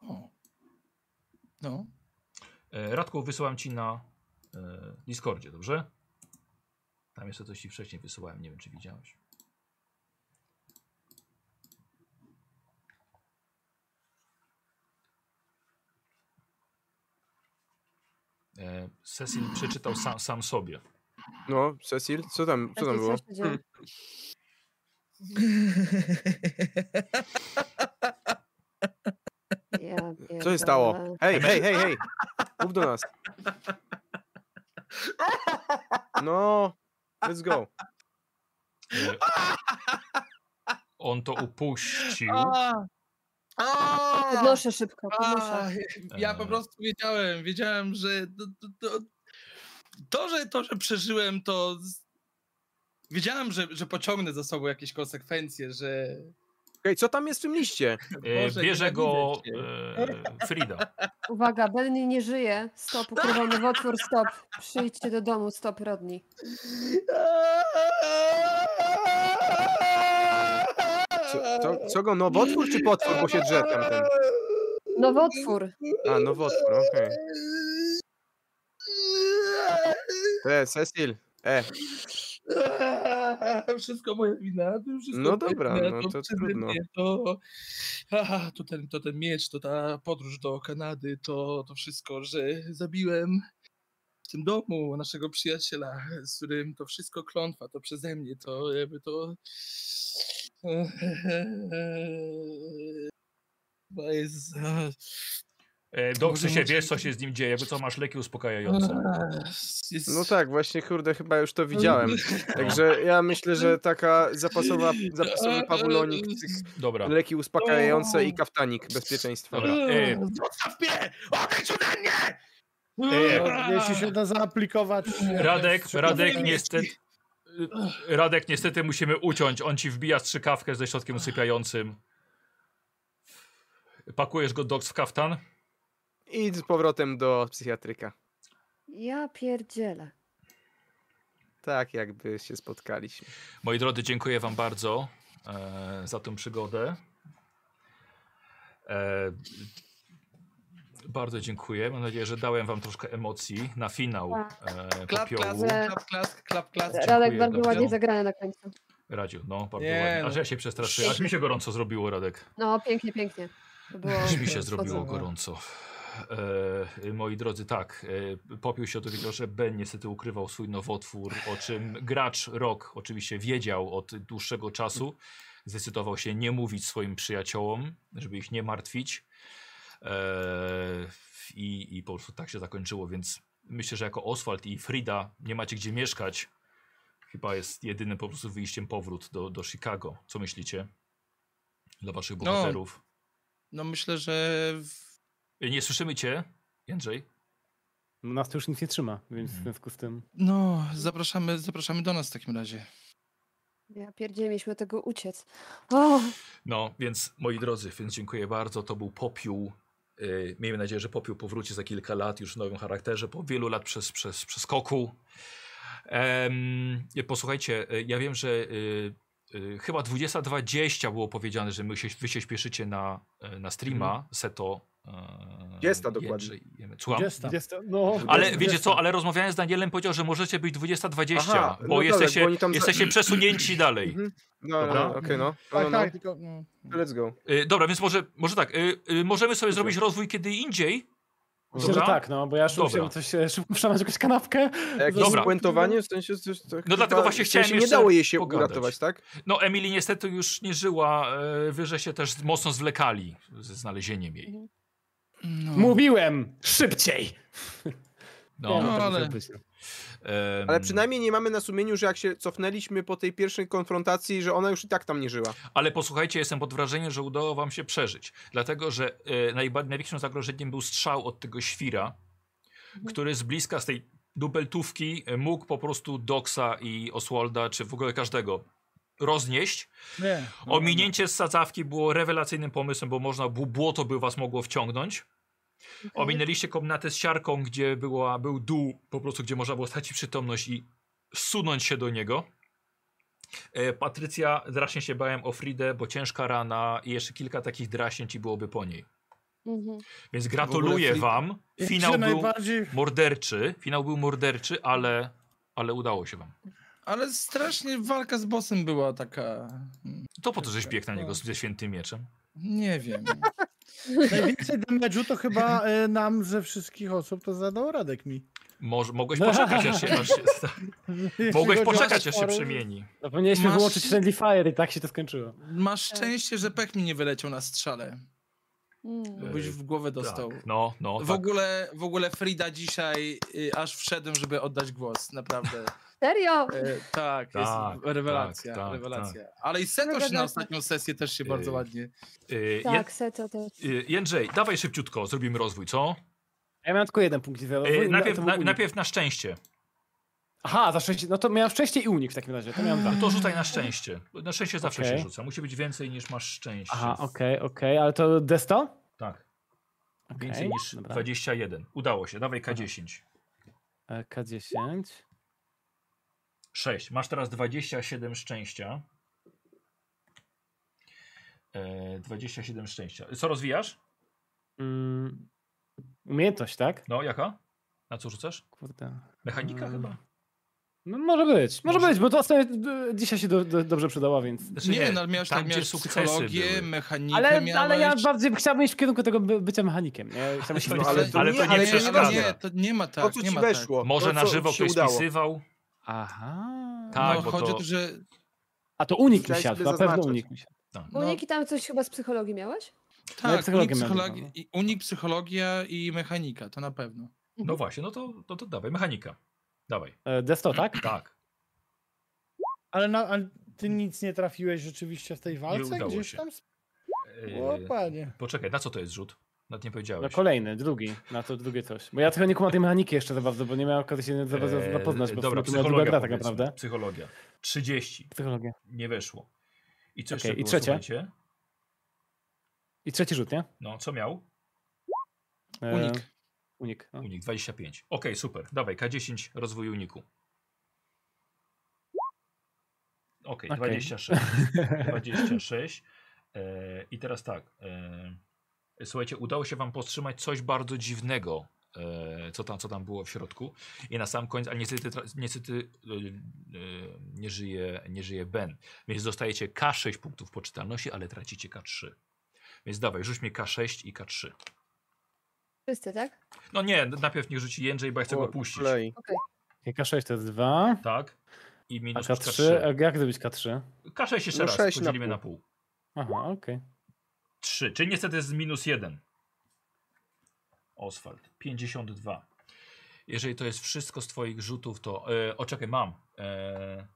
O. No. E, Radku, wysyłam ci na e, Discordzie, dobrze? Tam jeszcze coś ci wcześniej wysyłałem, nie wiem czy widziałeś. E, Cecil przeczytał sam, sam sobie. No, Cecil, co tam, co Raczej tam było? coś się dzieje. Ja Co się stało? pierdolę. Hej, hej, hej, hej! Mów do nas. No, let's go. E, on to upuścił. A, a, Podnoszę szybko, a, podnoszę. E. ja po prostu wiedziałem, wiedziałem, że to, to, to, to, że, to że przeżyłem, to z- wiedziałem, że, że pociągnę za sobą jakieś konsekwencje, że Okej, co tam jest w tym liście? E, Boże, bierze go nienawidzę cię. e, Frida. Uwaga, Benny nie żyje. Stop, ukrywamy w otwór, stop. Przyjdźcie do domu, stop, rodni. Co, co, co go, nowotwór czy potwór, bo się drze tamten? Nowotwór. A, nowotwór, okej. E, Cecil, e, Wszystko moja wina. to Wszystko No moja dobra, wina, no to przeze trudno. mnie, To, aha, to, ten, to ten miecz, to ta podróż do Kanady, to, to wszystko, że zabiłem w tym domu naszego przyjaciela, z którym to wszystko klątwa, to przeze mnie, to jakby to... Chyba jest... E, dobrze Może się musi- wiesz, co się z nim dzieje, bo co masz leki uspokajające. jest no tak, właśnie, kurde, chyba już to widziałem. Także ja myślę, że taka zapasowa, zapasowy pabulonik, tych Dobra. leki uspokajające i kaftanik bezpieczeństwa. Dobra. E, Mm. Zostaw mnie! Odejdź ode mnie! Mm. No, Jeśli się da zaaplikować. Radek, Strzykawkę. Radek niestety. Radek, niestety musimy uciąć. On ci wbija strzykawkę ze środkiem usypiającym. Pakujesz go doks w kaftan. I z powrotem do psychiatryka. Ja pierdzielę. Tak, jakby się spotkaliśmy. Moi drodzy, dziękuję Wam bardzo e, za tę przygodę. E, bardzo dziękuję. Mam nadzieję, że dałem Wam troszkę emocji na finał e, Klap, popiołu. klask. klap, klask, klap, klask. Radek bardzo bardzo. ładnie zagrany na końcu. Radziu, no, bardzo Nie, ładnie. no. Aż ja się przestraszyłem. Aż mi się gorąco zrobiło, Radek. No, pięknie, pięknie. To było... Aż mi się mocno. zrobiło gorąco. E, moi drodzy, tak, e, popiół się dowiedział, że Ben niestety ukrywał swój nowotwór, o czym gracz Rock oczywiście wiedział od dłuższego czasu. Zdecydował się nie mówić swoim przyjaciołom, żeby ich nie martwić. E, i, I po prostu tak się zakończyło, więc myślę, że jako Oswald i Frida nie macie gdzie mieszkać. Chyba jest jedynym po prostu wyjściem powrót do, do Chicago. Co myślicie? Dla waszych No, bohaterów. No myślę, że... w- Y, Nie słyszymy cię, Jędrzej. no, Nas to już nic nie trzyma, więc w związku z tym. No, zapraszamy, zapraszamy do nas w takim razie. Ja pierdzielę, mieliśmy od tego uciec. O, No, więc moi drodzy, więc dziękuję bardzo. To był popiół. Yy, Miejmy nadzieję, że popiół powróci za kilka lat już w nowym charakterze, po wielu lat przez, przez, przez koku. Em, y, posłuchajcie, y, ja wiem, że y, y, chyba 20.20 było powiedziane, że my się, wy się śpieszycie na, y, na streama Seto Eee, 20 dokładnie. Jędrzej- Jemy- Słucham? 20. No, Ale wiecie co, ale rozmawiałem z Danielem, powiedział, że możecie być 20-20, Aha, bo no dobra, jesteście, bo oni tam za- jesteście przesunięci dalej. No, no, Dobra. no, okej, no. Tak, no, no, tak, tylko no, no. Let's go. Y, dobra, więc może, może tak, y, y, możemy sobie zrobić rozwój kiedy indziej. Myślę, że Dobra. tak, no, bo ja szybko Dobra. musiałem coś, e, szybko przełamać jakąś kanapkę. A jakieś Dobra. No spuentowanie? W sensie, coś, to chyba- dlatego właśnie w chciałem sensie jeszcze Nie dało jej się pogadać. uratować, tak? No Emily niestety już nie żyła, y, wy że się też mocno zwlekali ze znalezieniem jej. No. Mówiłem! Szybciej! No, Tak. No, ale- em, Ale przynajmniej nie mamy na sumieniu, że jak się cofnęliśmy po tej pierwszej konfrontacji, że ona już i tak tam nie żyła. ale posłuchajcie, jestem pod wrażeniem, że udało wam się przeżyć. Dlatego, że y, najba- największym zagrożeniem był strzał od tego świra, który z bliska z tej dubeltówki y, mógł po prostu Doxa i Oswalda, czy w ogóle każdego roznieść. nie. no, Ominięcie sadzawki było rewelacyjnym pomysłem, bo można bu- błoto by was mogło wciągnąć. Ominęliście komnatę z siarką, gdzie była, był dół, po prostu gdzie można było stracić przytomność i sunąć się do niego. E, Patrycja, draśnie się bałem o Fridę, bo ciężka rana i jeszcze kilka takich draśnięć i byłoby po niej. Mhm. Więc gratuluję Frida- wam. no. Finał Jakże był najbardziej morderczy, finał był morderczy, ale, ale udało się wam. Ale strasznie walka z bossem była taka. To po to, żeś piekł na niego ze świętym mieczem. Nie wiem. Najwięcej damage'u to chyba e, nam ze wszystkich osób to zadał Radek mi. Moż, mogłeś poczekać, aż się, aż się Jeśli Mogłeś chodzi o poczekać, aż się spory, przemieni. No, powinniśmy Masz- wyłączyć Friendly Fire i tak się to skończyło. Masz szczęście, że pech mi nie wyleciał na strzale. E, Mm. Byś w głowę dostał. Tak, no, no. W tak. ogóle, w ogóle Frida dzisiaj y, aż wszedłem, żeby oddać głos, naprawdę. Serio? E, tak, jest Tak, rewelacja, tak, tak, rewelacja. Ale i Setosz na Zgadzam ostatnią sesję też się Yy. bardzo ładnie. Y, Tak, Seto też. Ję- y, Jędrzej, dawaj szybciutko, zrobimy rozwój, co? Ja miałem tylko jeden punkt. Y, widzenia. najpierw, No, To na, był- najpierw na szczęście. Aha, za szczęście. No to miałem szczęście i unik w takim razie. To miałem dwa. Tak, To rzucaj na szczęście. Bo Na szczęście zawsze Okej. się rzuca. Musi być więcej niż masz szczęście. Aha, okej, okej, ale to D100? Tak. Okej, Więcej niż dobra. 21. Udało się. Dawaj K10. E, K10. 6. Masz teraz 27 szczęścia. E, 27 szczęścia. Co rozwijasz? Mm, umiejętność, tak? No, jaka? Na co rzucasz? Kurde. Mechanika Mm. chyba? No, może być, może, Może. być, bo to ostatnio d- dzisiaj się do, do, dobrze przydała, więc. Znaczy, Nie, no miałeś, tam, tak, gdzie miałeś sukcesy psychologię, były. mechanikę Ale, miałeś. ale ja bardziej chciałbym iść w kierunku tego by, bycia mechanikiem. Nie? Chciałbym się No, być- ale to ale nie- to nie ale nie, nie przeszkadza. nie, to nie ma tak, to, co nie ci ma weszło. Może to, na co żywo ci ktoś się udało. spisywał. Aha. Tak, no, bo chodzi to- o to, że A to unik mi Chciałeś siadł, sobie na pewno zaznaczać. unik mi siadł. Tak. No. Uniki tam coś chyba z psychologii miałeś? tak, psychologię unik, miałem psychologi- chyba, i- unik psychologia i mechanika, to na pewno. No właśnie, no to, to, to dawaj, mechanika. Dawaj. E, Desto, tak? Tak. Ale, na, ale ty nic nie trafiłeś rzeczywiście w tej walce? udało Gdzieś się. tam? Yy, O panie. poczekaj, na co to jest rzut? Nad nie No powiedziałeś. kolejny, drugi, na to drugie coś. Bo ja trochę nie kumam tej mechaniki jeszcze za bardzo, bo nie miałem okazji się za bardzo Eee, zapoznać, bo dobra, to była druga psychologia, gra tak powiedzmy. naprawdę. Psychologia. 30. Psychologia. Nie weszło. I co Okej, jeszcze i było, trzecie? słuchajcie? I trzeci rzut, nie? No, co miał? E, Unik. Unik. No. Unik 25. Okej, super. Dawaj, K10, rozwój uniku. Okej, Okej. 26. 26. E, I teraz tak. E, słuchajcie, udało się wam powstrzymać coś bardzo dziwnego, e, co, tam, co tam było w środku. I na sam koniec, ale niestety, tra- niestety e, e, nie, żyje, nie żyje Ben. Więc dostajecie K6 punktów poczytalności, ale tracicie K3. Więc dawaj, rzuć mi K6 i K3. Wszyscy, tak? No nie, najpierw niech rzuci Jędrzej, bo ja chcę go O, puścić. Klei. K6 to jest 2, Tak. I a minus K3, K3. a E, jak zrobić K3? K6 jeszcze No raz, sześć na podzielimy pół. na pół. Aha, okej. 3, czyli niestety jest minus 1. Oswald, 52. Jeżeli to jest wszystko z twoich rzutów, to... E, o, czekaj, mam. E,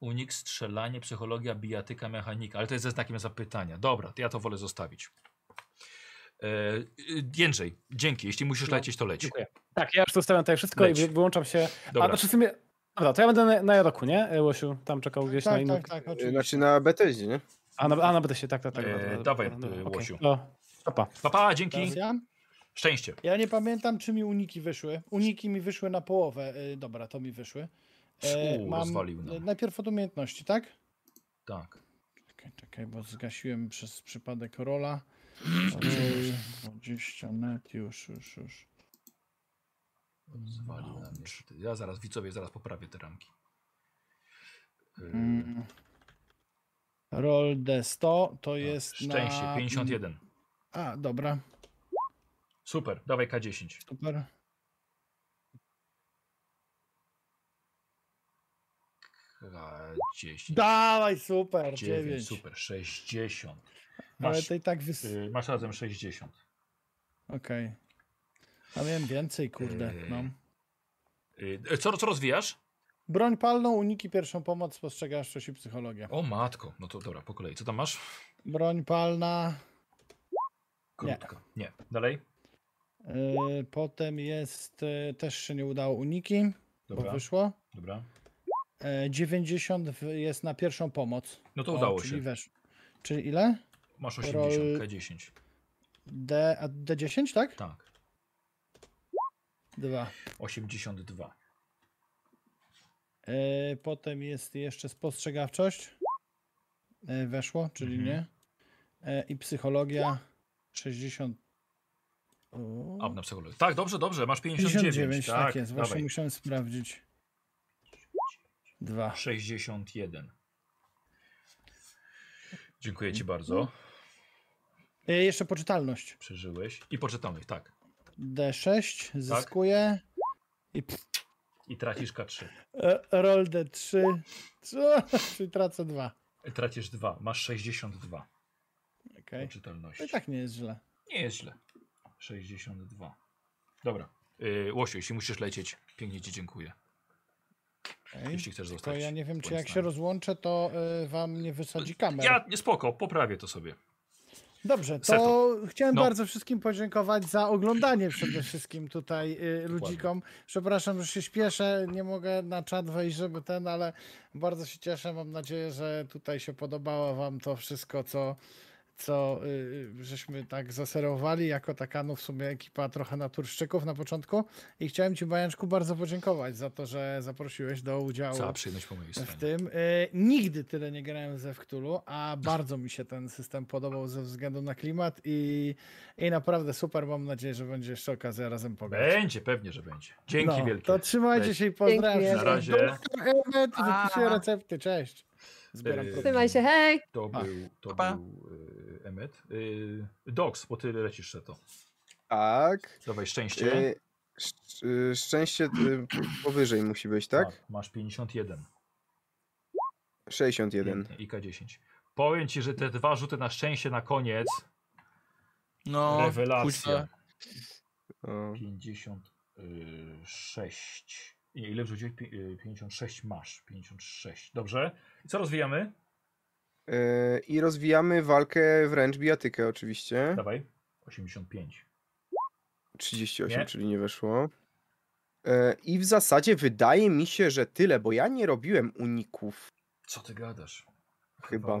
unik, strzelanie, psychologia, bijatyka, mechanika. Ale to jest ze znakiem zapytania. Dobra, to ja to wolę zostawić. E, y, Jędrzej, dzięki. Jeśli musisz No, lecieć, to leć. dziękuję. Tak, ja już zostawiam tutaj wszystko Leć. i wy- wyłączam się. A Dobra. znaczy w sumie... Dobra, to ja będę na, na Jaroku, nie? E, Łosiu, tam czekał gdzieś na Tak, inną... tak, tak, oczywiście. Znaczy na Betezie, nie? A na, a na BTS-ie, tak, tak, tak. E, dobra, dobra, dawaj, dobra, e, dobra, okej. Łosiu. O, stopa. Pa, pa, dzięki. Teraz ja? Szczęście. ja nie pamiętam, czy mi uniki wyszły. Uniki mi wyszły na połowę. E, Dobra, to mi wyszły. E, Uuu, rozwalił nam. e, Najpierw od umiejętności, tak? Tak. Czekaj, czekaj, bo zgasiłem przez przypadek rola. 20 net, już, już, już. Zwalił na mnie. tutaj. Ja zaraz, widzowie, zaraz poprawię te ramki. Yy, Mm. Roll D100 to jest No, tak, Szczęście, na... 51. A, dobra, Super, dawaj K10. super. K10. Dawaj, super, 9, 9. super, 60. Ale Masz, to i tak wys... yy, masz razem 60. Okej. A miałem więcej, kurde, no. Yy. Yy, co, co rozwijasz? Broń palną, uniki, pierwszą pomoc, spostrzegawczość i psychologię. O matko, no to dobra, po kolei. Co tam masz? Broń palna, Krótko. Nie. Dalej? yy, potem jest, yy, też się nie udało uniki, bo Dobra, wyszło. dobra. Yy, 90 w- jest na pierwszą pomoc. No to O, udało czyli się. Wesz... Czyli ile? Masz Rol- 80, K10. D, a D10, tak? Tak, Dwa. 82. E, potem jest jeszcze spostrzegawczość. E, weszło, czyli Mhm. nie. E, I psychologia 60. O, A, na psychologię. Tak, dobrze, dobrze, masz 59. 59, tak, tak jest. Właśnie dawaj. musiałem sprawdzić. Dwa. 61. Dziękuję Mm. ci bardzo. E, jeszcze poczytalność. Przeżyłeś. I poczytamy, tak. D6 zyskuje. I tracisz K3. E, roll D3. Co? Czyli tracę dwa. Tracisz 2. Masz 62 Okay. poczytalności. No i tak nie jest źle. Nie jest źle. 62. Dobra. Yy, Łosiu, jeśli musisz lecieć, pięknie ci dziękuję. Okay. Jeśli chcesz Tylko zostać. ja nie wiem, czy bądź jak z się nami. rozłączę, to y, wam nie wysadzi kamer. Ja, nie, spoko, poprawię to sobie. Dobrze, to Setu. chciałem No. bardzo wszystkim podziękować za oglądanie przede wszystkim tutaj y, ludzikom. Przepraszam, że się śpieszę, nie mogę na czat wejść, żeby ten, ale bardzo się cieszę. Mam nadzieję, że tutaj się podobało wam to wszystko, co, co y, żeśmy tak zaserowali jako taka, no w sumie ekipa trochę naturszczyków na początku. I chciałem ci, Bajanczku, bardzo podziękować za to, że zaprosiłeś do udziału Cała przyjemność po mojej w stronie. tym. E, nigdy tyle nie grałem ze Wktulu, a bardzo mi się ten system podobał ze względu na klimat i, i naprawdę super. Mam nadzieję, że będzie jeszcze okazja razem pogadać. Będzie, pewnie, że będzie. Dzięki no, wielkie. To trzymajcie Cześć. się i pozdrawiam. e, Dzięki. Na razie Emet, wypisuję recepty. Cześć. Zbieram E, produkty. Trzymaj się, hej! to Pa. był, to Pa. był yy, Emmet. Yy, Dox, bo ty lecisz Seto. Tak. Dawaj szczęście. Y, szcz- y, szczęście y, powyżej musi być, tak? Tak, masz 51. 61. Pięknie, I K10. Powiem ci, że te dwa rzuty na szczęście na koniec. No, rewelacja. O, 56. y, Nie, ile wrzuciłeś? Pi- y, 56 masz. 56. Dobrze. I co rozwijamy? y, I rozwijamy walkę wręcz bijatykę oczywiście. Tak. Dawaj. 85. 38, Nie. czyli nie weszło. E, I w zasadzie wydaje mi się, że tyle, bo ja nie robiłem uników. Co ty gadasz? Chyba,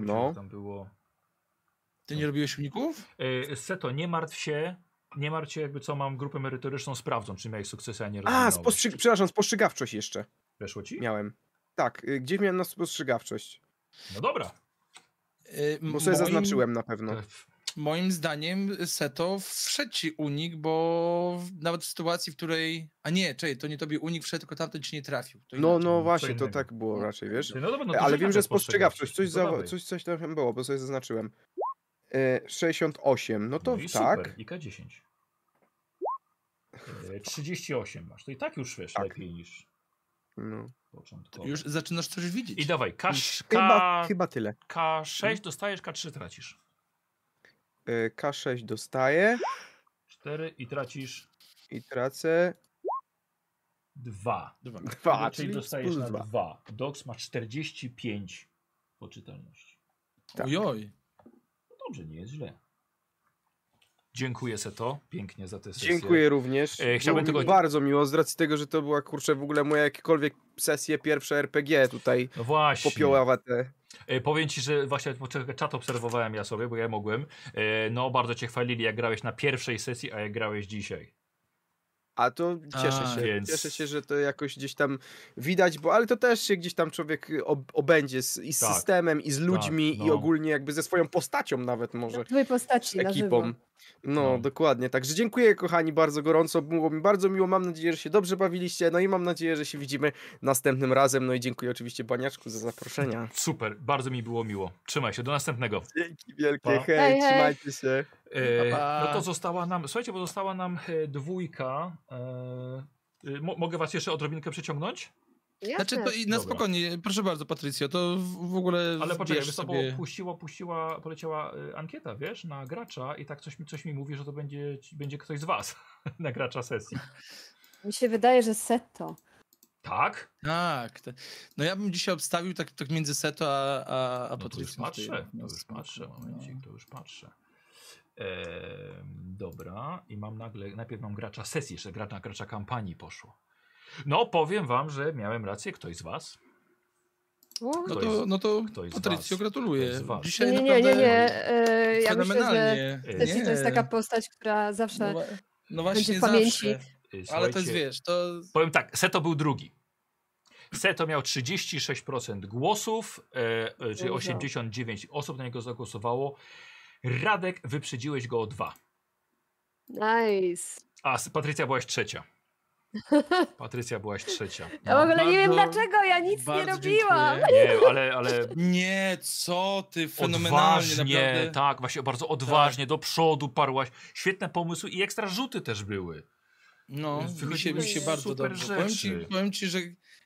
mi się, no. że Tam było. Ty nie robiłeś uników? Y, Seto, nie martw się. Nie martw się, jakby co mam grupę merytoryczną, sprawdzą, czy miałeś sukcesy, a nie A, rozwinąłeś. spostrzeg... przepraszam, spostrzegawczość jeszcze Weszło ci? miałem. Tak, y, gdzie miałem na spostrzegawczość? No dobra. Yy, Bo sobie zaznaczyłem na pewno. E, Moim zdaniem Seto wszedł ci unik, bo w- nawet w sytuacji, w której... A nie, czekaj, to nie tobie unik wszedł, tylko tamten ci nie trafił. To No, inaczej. no co właśnie, to innego. tak było raczej, wiesz? ty- No dobra, no to Ale czekam wiem, na że spostrzegawczość, coś, no to za... dawaj. coś, coś tam było, bo sobie zaznaczyłem. E, 68, no to no i tak. Super. I K10. E, 38 masz. To i tak już wiesz Tak. lepiej niż No. początkowo. Już zaczynasz coś widzieć. I dawaj, K, Chyba, K, chyba Hmm? tyle. K6 dostajesz, K3 tracisz. E, K6 dostaję 4 i tracisz i tracę 2. Dwa. 2, Tak. czyli, Tak, czyli dostajesz plus na 2. 2. Dox ma 45 poczytalności. Tak. Ojoj. No dobrze, nie jest źle. Dziękuję Seto, pięknie za tę sesję. Dziękuję również. E, chciałbym Było mi tylko- bardzo miło z racji tego, że to była kurczę w ogóle moja jakiekolwiek sesje pierwsze RPG tutaj No właśnie. popioława te. E, Powiem ci, że właśnie poczekaj, czat obserwowałem ja sobie, bo ja mogłem. E, No bardzo cię chwalili, jak grałeś na pierwszej sesji, a jak grałeś dzisiaj. A to cieszę A, się. więc- Cieszę się, że to jakoś gdzieś tam widać, bo ale to też się gdzieś tam człowiek y, ob obędzie z, i z Tak. systemem, i z ludźmi, no. i ogólnie jakby ze swoją postacią nawet może. Tak, Na twojej postaci, Z na żywo. ekipą. No, No. dokładnie. Także dziękuję, kochani, bardzo gorąco. Było mi bardzo miło. Mam nadzieję, że się dobrze bawiliście. No i mam nadzieję, że się widzimy następnym razem. No i dziękuję oczywiście Baniaczku za zaproszenia. Super, bardzo mi było miło. Trzymaj się, do następnego. Dzięki Pa. wielkie. Hej, Hej, hej. trzymajcie się. E, Pa, pa. no to została nam, słuchajcie, bo została nam e, dwójka. E, y, mo- mogę was jeszcze odrobinkę przeciągnąć? Znaczy, to Jasne. i na Dobra. spokojnie, proszę bardzo, Patrycjo, to w, w ogóle. Ale poczekaj, wbierz wiesz, co, bo sobie- puściła, puściła, poleciała y, ankieta, wiesz, na gracza i tak coś, mi- coś mi mówi, że to będzie, ci- będzie ktoś z was na gracza sesji. Mi się wydaje, że Seto. Tak? Tak. te- No ja bym dzisiaj obstawił tak, tak między Seto a, a, a No to już Patrycją. patrzę, to już wniosku, patrzę, no. momencik, to już patrzę. Em, dobra, i mam nagle, najpierw mam gracza sesji, jeszcze gracza, gracza kampanii poszło. No, powiem wam, że miałem rację, ktoś z was. O, No Kto to, jest- no to kto jest z Patrycjo, was? Kto gratuluję. jest z was? Dzisiaj nie, nie, nie, naprawdę nie. nie. e, Ja myślę, że fenomenalnie. E, Sesji to jest taka Nie. postać, która No, zawsze wa- no będzie właśnie w zawsze. pamięci. Y, Ale to jest, słuchajcie, wiesz, to Powiem tak, Seto był drugi. Seto miał 36% głosów, e, e, czyli Dużo. 89 osób na niego zagłosowało. Radek, wyprzedziłeś go o dwa. Nice. A, s- Patrycja byłaś trzecia. Patrycja byłaś trzecia. No. Ja w ogóle nie wiem No, bardzo- dlaczego, ja nic nie bardzo robiłam. dziękuję. Nie, ale, ale Nie, co ty, fenomenalnie, odważnie, naprawdę. tak, właśnie bardzo odważnie do przodu parłaś. Świetne pomysły i ekstra rzuty też były. Tak, No, mi się, mi się Wychodziły bardzo super dobrze. Powiem ci, rzeczy. powiem ci, że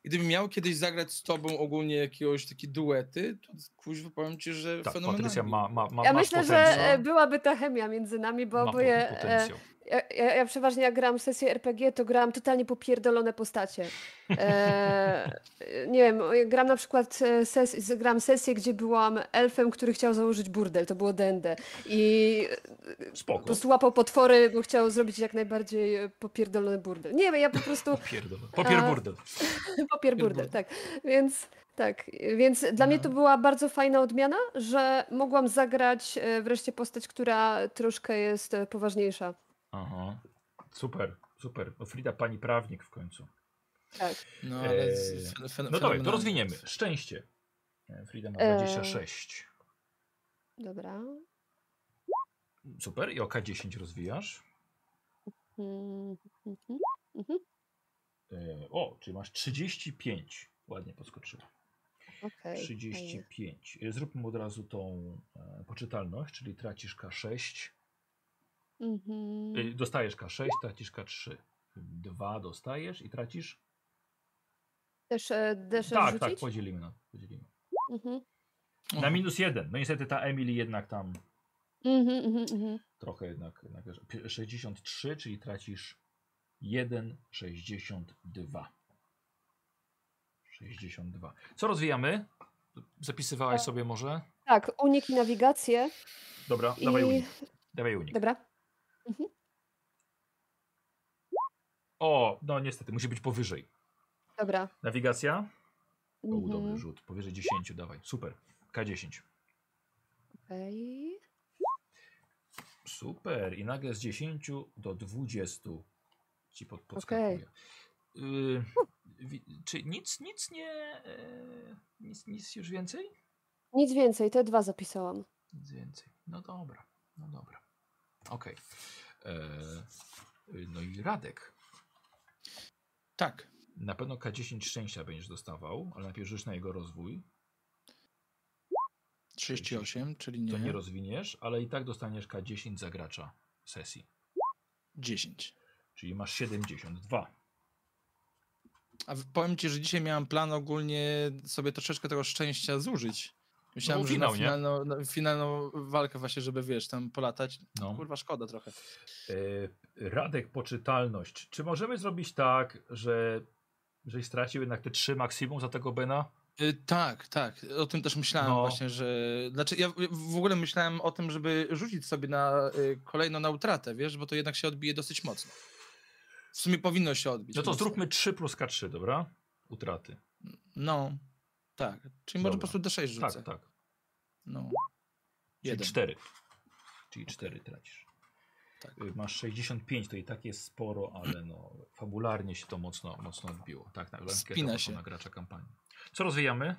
gdybym miał kiedyś zagrać z tobą ogólnie jakiegoś takie duety, to kuźwa powiem ci, że Tak, fenomenalnie. Patrycja ma, ma, ma Ja masz myślę, że potencjał. e, byłaby ta chemia między nami, bo Ma oboje. e, potencjał. Ja, ja, ja przeważnie jak grałam sesję RPG, to grałam totalnie popierdolone postacie. E, nie wiem, o, jak gram na przykład e, ses, z- grałam sesję, gdzie byłam elfem, który chciał założyć burdel, to było dende. I po Spoko. prostu łapał potwory, bo chciał zrobić jak najbardziej e, popierdolony burdel. Nie wiem, ja po prostu Pierdolę. Papier A- burdel. Papier burdel, burdel. tak. Więc tak, więc dla mnie to była bardzo fajna odmiana, że mogłam zagrać e, wreszcie postać, która troszkę jest e, poważniejsza. Aha. Super, super. No Frida, pani prawnik w końcu. Tak. No, ale z- Eee, z- fen- fen- No dobra, fenomenalnie. to rozwiniemy. Szczęście. E, Frida ma Eee. 26. Dobra. Super. I oka 10 rozwijasz. Mm, mhm. E, O, czyli masz 35. Ładnie podskoczyła. Okej. fajnie. 35. E, Zróbmy od razu tą e, poczytalność, czyli tracisz K6. Mhm. E, Dostajesz K6, tracisz K3. 2 dostajesz i tracisz. Też e, deszę Tak, tak, rzucić? podzielimy. No, podzielimy. Mhm. Na minus 1. No niestety ta Emily jednak tam Mhm, mhm, mhm. trochę jednak, jednak pi- 63, czyli tracisz 1,62. 62. Co rozwijamy? Zapisywałaś sobie może? Tak, unik i nawigację. Dobra, I- dawaj unik. Dawaj unik. Dobra. O, no niestety, musi być powyżej. Dobra. Nawigacja? O, dobry Mhm. rzut. Powyżej 10, dawaj. Super. K10. Okej. Super. I nagle z 10 do 20 ci pod, podskakuje. Y, wi- czy nic, nic nie... E, nic, nic już więcej? Nic więcej, te dwa zapisałam. Nic więcej. No dobra, no dobra. Okej. Eee, No i Radek. Tak. Na pewno K10 szczęścia będziesz dostawał, ale najpierw rzuć na jego rozwój. 38, czyli To nie, nie rozwiniesz, ale i tak dostaniesz K10 za gracza sesji. 10. Czyli masz 72. A w- powiem ci, że dzisiaj miałem plan ogólnie sobie troszeczkę tego szczęścia zużyć. Myślałem, No, że finał, na nie? finalną, na finalną walkę właśnie, żeby wiesz, tam polatać. No. Kurwa, szkoda trochę. Eee, Radek, poczytalność. Czy możemy zrobić tak, że żeś stracił jednak te 3 maksimum za tego Bena? Y, Tak, tak. O tym też myślałem No. właśnie, że. Znaczy, ja w- w ogóle myślałem o tym, żeby rzucić sobie na y, kolejną na utratę, wiesz, bo to jednak się odbije dosyć mocno. W sumie powinno się odbić. No to mocno. zróbmy 3 plus K3, dobra? Utraty. No, tak. Czyli może po Dobra. prostu D6 rzucę. Tak, tak. No. Czyli Jeden. 4. Czyli 4 tracisz. Tak. Y, Masz 65, to i tak jest sporo, ale no, fabularnie się to mocno, mocno odbiło. Tak, na ankietę Spina poszła się. na gracza kampanii. Co rozwijamy?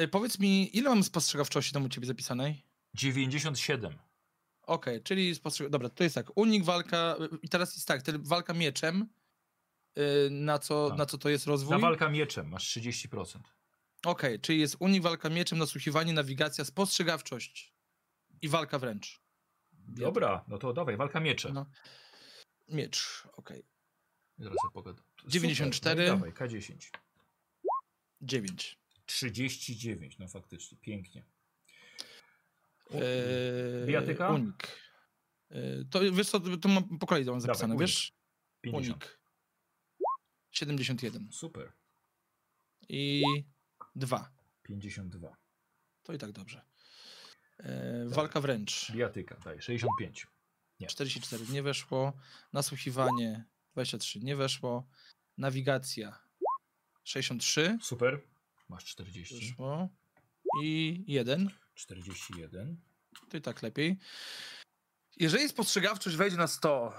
Y, Powiedz mi, ile mam spostrzegawczości tam u ciebie zapisanej? 97. Okej, czyli spostrzeg... Dobra, to jest tak. Unik, walka. I teraz jest tak, ten walka mieczem. y, Na co, Tak. na co to jest rozwój? Na Okej, walka mieczem masz 30%. czyli jest unik, walka mieczem, nasłuchiwanie, nawigacja, spostrzegawczość i walka wręcz. Dobra, no to dawaj, walka miecze. No. Miecz, okej. Zaraz sobie pogadam. Super, 94. No i dawaj, K10. dziewięć. 39, no faktycznie, pięknie. Eee, Bijatyka? Unik. Eee, to wiesz co, to mam po kolei to mam Dawaj, zapisane, unik. wiesz? 50. Unik. 71. Super, I 2. 52. To i tak dobrze. Eee, Tak. walka wręcz. Biatyka, daj, 65. 44 nie weszło. Nasłuchiwanie 23 nie weszło. Nawigacja 63 Super, masz 40. weszło. I 1. 41. To i tak lepiej. Jeżeli spostrzegawczość wejdzie na 100,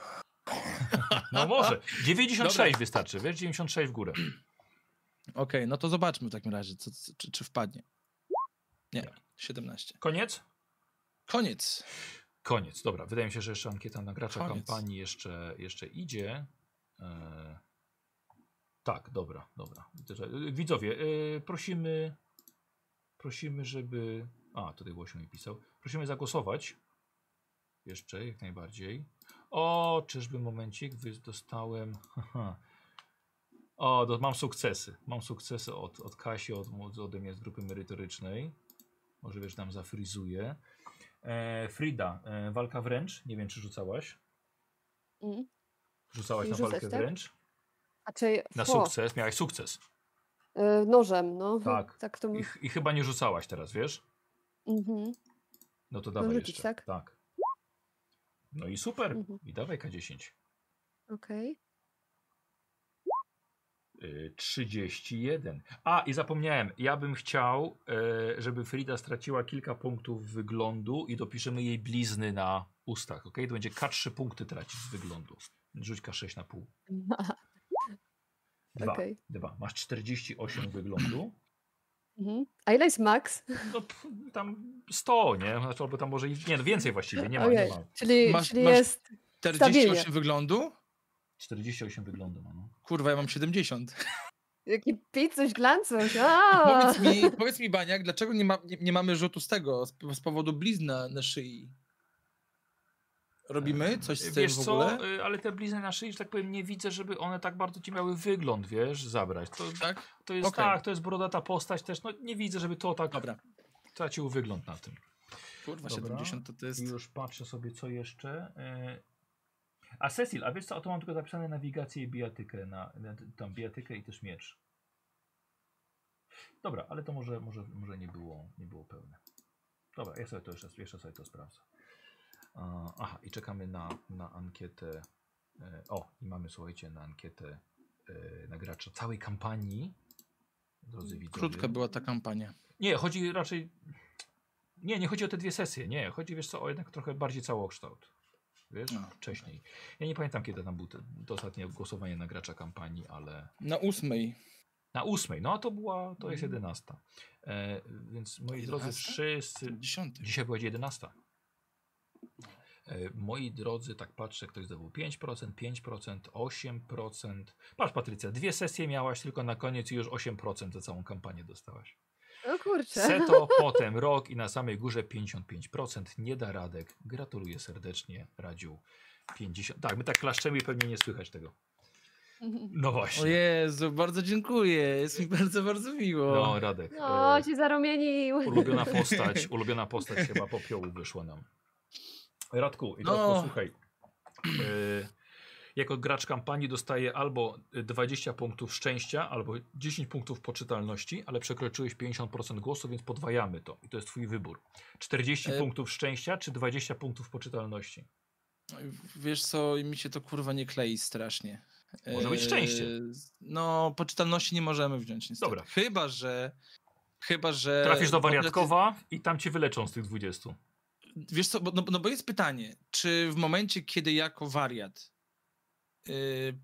No może, 96 Dobra. wystarczy, wiesz, 96 w górę. Okej, no to zobaczmy w takim razie, co, co, czy, czy wpadnie. Nie, 17. Koniec? Koniec. Koniec, dobra. Wydaje mi się, że jeszcze ankieta na gracza Koniec. kampanii jeszcze, jeszcze idzie. E... Tak, dobra, dobra. Widzę, że- y, Widzowie, y, prosimy, prosimy, żeby... A, tutaj Łosiu mi pisał. Prosimy zagłosować. Jeszcze, jak najbardziej. O, czyżby momencik, wy- dostałem... haha. O, do, mam sukcesy. Mam sukcesy od, od Kasi, od, od- ode mnie z grupy merytorycznej. Może wiesz, tam zafryzuję. E, Frida, e, walka wręcz. Nie wiem, czy rzucałaś. Mm. Rzucałaś Czyli na rzucać, walkę tak? wręcz. A czy Na fo, sukces, miałeś sukces. e, nożem, no. Tak. Tak to I, mówię. ch- I chyba nie rzucałaś teraz, wiesz? Mhm. No to dawaj rzucić, jeszcze. tak? tak. No i super. Mhm. I dawaj K10. Okej. Y, 31. A, i zapomniałem. Ja bym chciał, e, żeby Frida straciła kilka punktów wyglądu i dopiszemy jej blizny na ustach, ok? To będzie K3 punkty tracić z wyglądu. Rzuć K6 na pół. Dwa. Okej. Dwa. Masz 48 wyglądu. Mhm. A ile jest max? No, pff, tam 100, nie? Znaczy, albo tam może i nie, no więcej właściwie, nie ma, nie Okej. ma. Czyli, Masz- czyli masz- jest. 48 Stabilnie. wyglądu? 48 wyglądu ma, no. Kurwa, ja mam 70. Jaki picuś, glancuś. A! Powiedz mi, powiedz mi Baniak, dlaczego nie, ma, nie, nie mamy rzutu z tego, z, z powodu blizn na, na szyi? Robimy coś z tym Ehm, Wiesz w ogóle? co, y, ale te blizny na szyi, że tak powiem, nie widzę, żeby one tak bardzo ci miały wygląd, wiesz, zabrać. To, Tak? to jest Okej. tak, to jest brodata postać też, no nie widzę, żeby to tak Dobra. tracił wygląd na tym. Kurwa, Dobra. 70 to, to jest... I Już patrzę sobie, co jeszcze. y. A Cecil, a wiesz co, a to mam tylko zapisane nawigację i bijatykę, na, na, tam bijatykę i też miecz. Dobra, ale to może, może, może nie, było, nie było pełne. Dobra, ja sobie to jeszcze, jeszcze sobie to sprawdzę. E, aha, i czekamy na, na ankietę. e, o, i mamy, słuchajcie, na ankietę e, na gracza całej kampanii. Drodzy widzowie. Mm, Krótka była ta kampania. Nie, chodzi raczej. Nie, nie chodzi o te dwie sesje. Nie, chodzi wiesz co, o jednak trochę bardziej całokształt. Wiesz, No. wcześniej. Ja nie pamiętam, kiedy tam był ten, to ostatnie głosowanie na gracza kampanii, ale Na ósmej. na ósmej. No a to była, to jest jedenasta. E, więc moi drodzy, 11? wszyscy. 10. Dzisiaj była jedenasta. E, moi drodzy, tak patrzę, ktoś zdobył 5%, 5%, 8%. Patrz, Patrycja, dwie sesje miałaś tylko na koniec i już 8% za całą kampanię dostałaś. O kurczę. Seto, potem rok i na samej górze 55%. Nie da Radek. Gratuluję serdecznie, Radziu. 50. Tak, my tak klaszczemy i pewnie nie słychać tego. No O właśnie. Jezu, bardzo dziękuję. Jest mi bardzo, bardzo miło. No, Radek. No, e, ci zarumienił. Ulubiona postać, ulubiona postać chyba popiołu wyszła nam. Radku, i No. Radku, słuchaj. e, jako gracz kampanii dostaje albo 20 punktów szczęścia, albo 10 punktów poczytalności, ale przekroczyłeś 50% głosu, więc podwajamy to. I to jest twój wybór. 40 E. punktów szczęścia, czy 20 punktów poczytalności? Wiesz co, mi się to kurwa nie klei strasznie. Może być Eee, szczęście. No, poczytalności nie możemy wziąć niestety. Dobra. Chyba, że... Chyba, że... Trafisz do e, w ogóle ty- wariatkowa i tam cię wyleczą z tych 20. Wiesz co, bo, no, no bo jest pytanie, czy w momencie, kiedy jako wariat yy,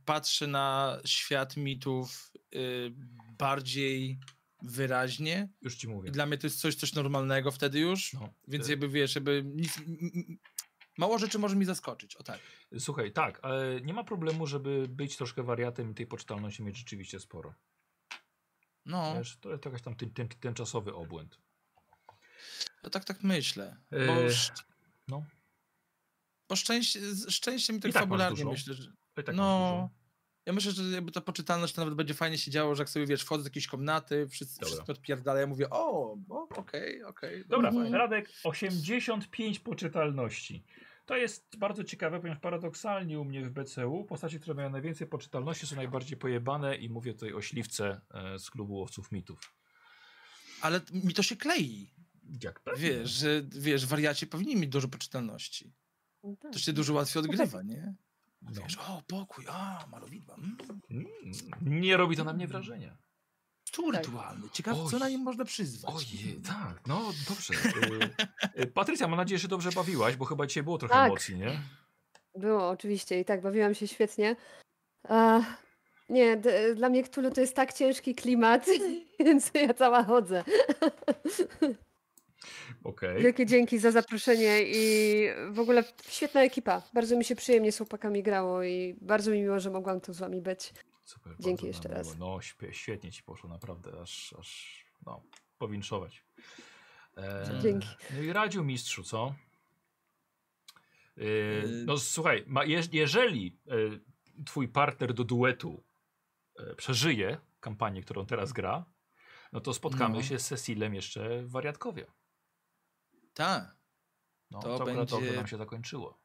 patrzę na świat mitów yy, bardziej wyraźnie, Już ci i mówię. dla mnie to jest coś, coś normalnego wtedy już, No, Więc e, jakby wiesz, jakby nic. m- m- Mało rzeczy może mi zaskoczyć, o tak. Słuchaj, tak, e, nie ma problemu, żeby być troszkę wariatem i tej poczytalności mieć rzeczywiście sporo. No, Wiesz, to jest jakaś tam tym, tym, tymczasowy obłęd. to tak, tak myślę. Bo, E, sz- no. bo szczęście, z- szczęście mi tak, I tak masz fabularnie dużo. myślę, że... I tak masz dużo. no, ja myślę, że jakby ta poczytalność to nawet będzie fajnie się działo, że jak sobie, wiesz, wchodzę do jakiejś komnaty, wszyscy, Dobra. wszyscy odpierdalają, ja mówię, o, bo okej, okej. Dobra, Mhm. Radek, 85 poczytalności. To jest bardzo ciekawe, ponieważ paradoksalnie u mnie w BCU postacie, które mają najwięcej poczytalności są najbardziej pojebane i mówię tutaj o śliwce e, z klubu łowców mitów. Ale t- mi to się klei. Jak pewnie. Wiesz, że wiesz, wariaci powinni mieć dużo poczytalności. To się dużo łatwiej odgrywa, nie? No. Wiesz, o, pokój, a, malowidła, mm, Mm, Nie robi to na mnie wrażenia. tu rytualny. Ciekawe, co Oj. na nim można przyzwać. Ojej, tak, no dobrze. E, e, Patrycja, mam nadzieję, że dobrze bawiłaś, bo chyba dzisiaj było trochę Tak. emocji, nie? Było, oczywiście, i tak, bawiłam się świetnie. A, nie, d- dla mnie Cthulhu to jest tak ciężki klimat, więc ja cała chodzę. Okej. Wielkie dzięki za zaproszenie i w ogóle świetna ekipa. Bardzo mi się przyjemnie z chłopakami grało i bardzo mi miło, że mogłam tu z wami być. Super, Dzięki bardzo nam jeszcze miło. raz. No, śpie- świetnie ci poszło, naprawdę, aż, aż no, powinszować. E, Dzięki. No i radził mistrzu, co? E, Yy. no słuchaj, ma, jeż- jeżeli e, twój partner do duetu e, przeżyje kampanię, którą teraz gra, no to spotkamy No. się z Cecilem jeszcze w Wariatkowie. Tak, No, To to akurat dobrze będzie- nam się zakończyło.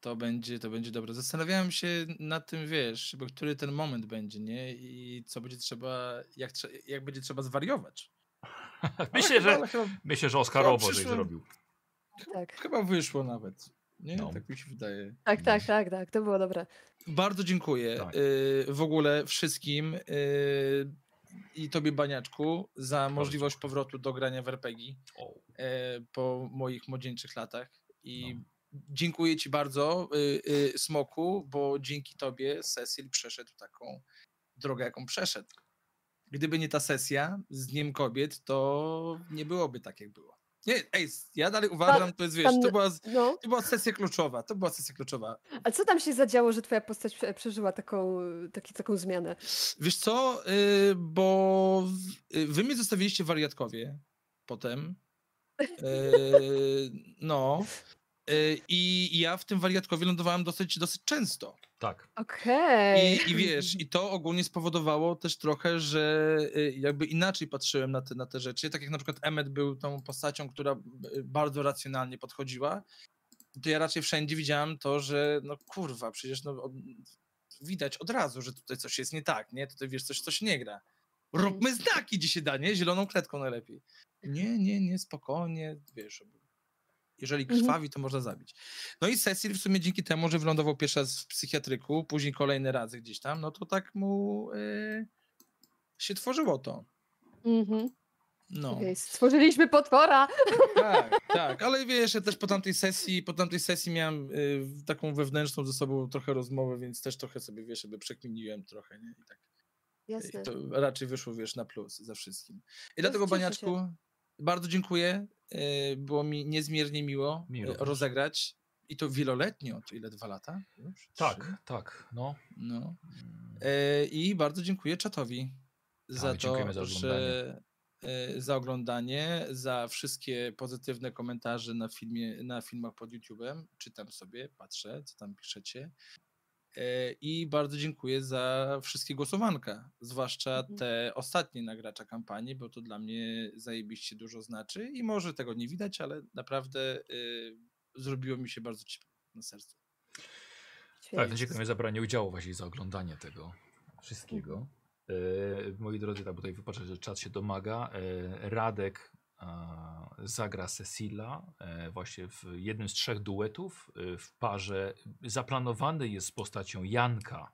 to będzie, to będzie dobre. Zastanawiałem się nad tym, wiesz, bo który ten moment będzie, nie? I co będzie trzeba, jak, trze- jak będzie trzeba zwariować. Myślę, chyba, że, ale chyba, myślę, że Oskarowo żeś przyszłym- zrobił. Tak, chyba wyszło nawet. Nie, No. tak mi się wydaje. tak, tak, tak, tak, to było dobre. Bardzo dziękuję Tak. y, w ogóle wszystkim y, i tobie, Baniaczku, za możliwość powrotu do grania w RPG O, y, po moich młodzieńczych latach. I No. dziękuję ci bardzo, y, y, Smoku, bo dzięki tobie Cecil przeszedł taką drogę, jaką przeszedł. Gdyby nie ta sesja z Dniem Kobiet, to nie byłoby tak, jak było. Nie, ej, ja dalej uważam, to jest, wiesz, pan- to była, No, to była sesja kluczowa, to była sesja kluczowa. a co tam się zadziało, że twoja postać prze- przeżyła taką, taki, taką zmianę? Wiesz co, y, bo w- y, wy mnie zostawiliście w wariatkowie potem. Y, No. Y, I ja w tym wariatkowie lądowałem dosyć, dosyć często. tak. Okej. I, I wiesz, i to ogólnie spowodowało też trochę, że y, jakby inaczej patrzyłem na te, na te rzeczy. Tak jak na przykład Emmet był tą postacią, która y, bardzo racjonalnie podchodziła, to ja raczej wszędzie widziałem to, że no kurwa, przecież no, od- widać od razu, że tutaj coś jest nie tak, nie? Tutaj wiesz, coś, coś nie gra. Róbmy znaki dzisiaj da, nie? Zieloną kredką najlepiej. Nie, nie, nie, spokojnie, wiesz. Jeżeli Mhm. krwawi, to można zabić. No i Cecil w sumie dzięki temu, że wylądował pierwszy raz w psychiatryku, później kolejne razy gdzieś tam, no to tak mu y, się tworzyło to. Mhm. No, Okej, Stworzyliśmy potwora. tak, tak, ale wiesz, ja też po tamtej sesji, po tamtej sesji miałem y, taką wewnętrzną ze sobą trochę rozmowę, więc też trochę sobie, wiesz, jakby przekminiłem trochę, nie? I tak. Jasne. I to raczej wyszło, wiesz, na plus za wszystkim. I dlatego, No, cieszę się. Baniaczku, bardzo dziękuję. E, Było mi niezmiernie miło Mi e, również. rozegrać. I to wieloletnio, to ile, dwa lata? Już? Trzy? Tak, tak, no. No. E, I bardzo dziękuję czatowi za Mm. Tak, dziękujemy to, za że e, za oglądanie, za wszystkie pozytywne komentarze na, filmie, na filmach pod YouTube'em. Czytam sobie, patrzę, co tam piszecie. E, I bardzo dziękuję za wszystkie głosowanka, zwłaszcza Mhm. te ostatnie nagracza kampanii, bo to dla mnie zajebiście dużo znaczy i może tego nie widać, ale naprawdę y, zrobiło mi się bardzo ciepło na sercu. Tak, tak, Świetnie. dziękujemy za branie udziału właśnie i za oglądanie tego wszystkiego. E, moi drodzy, tak, bo tutaj wypatrzę, że czat się domaga. E, Radek a, zagra Cecila e, właśnie w jednym z trzech duetów e, w parze. Zaplanowany jest z postacią Janka,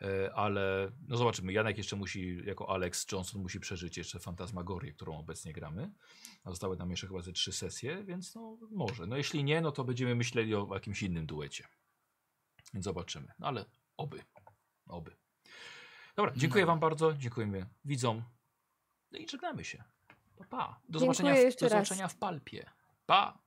e, ale no zobaczymy, Janek jeszcze musi, jako Alex Johnson musi przeżyć jeszcze Fantasmagorię, którą obecnie gramy. A zostały nam jeszcze chyba ze trzy sesje, więc no może. No jeśli nie, no to będziemy myśleli o jakimś innym duecie. Więc zobaczymy. No ale oby. Oby. Dobra, dziękuję No. Wam bardzo. Dziękujemy widzom. No i żegnamy się. Pa, pa. Do Dziękuję zobaczenia, w, jeszcze do raz. zobaczenia w palpie. Pa.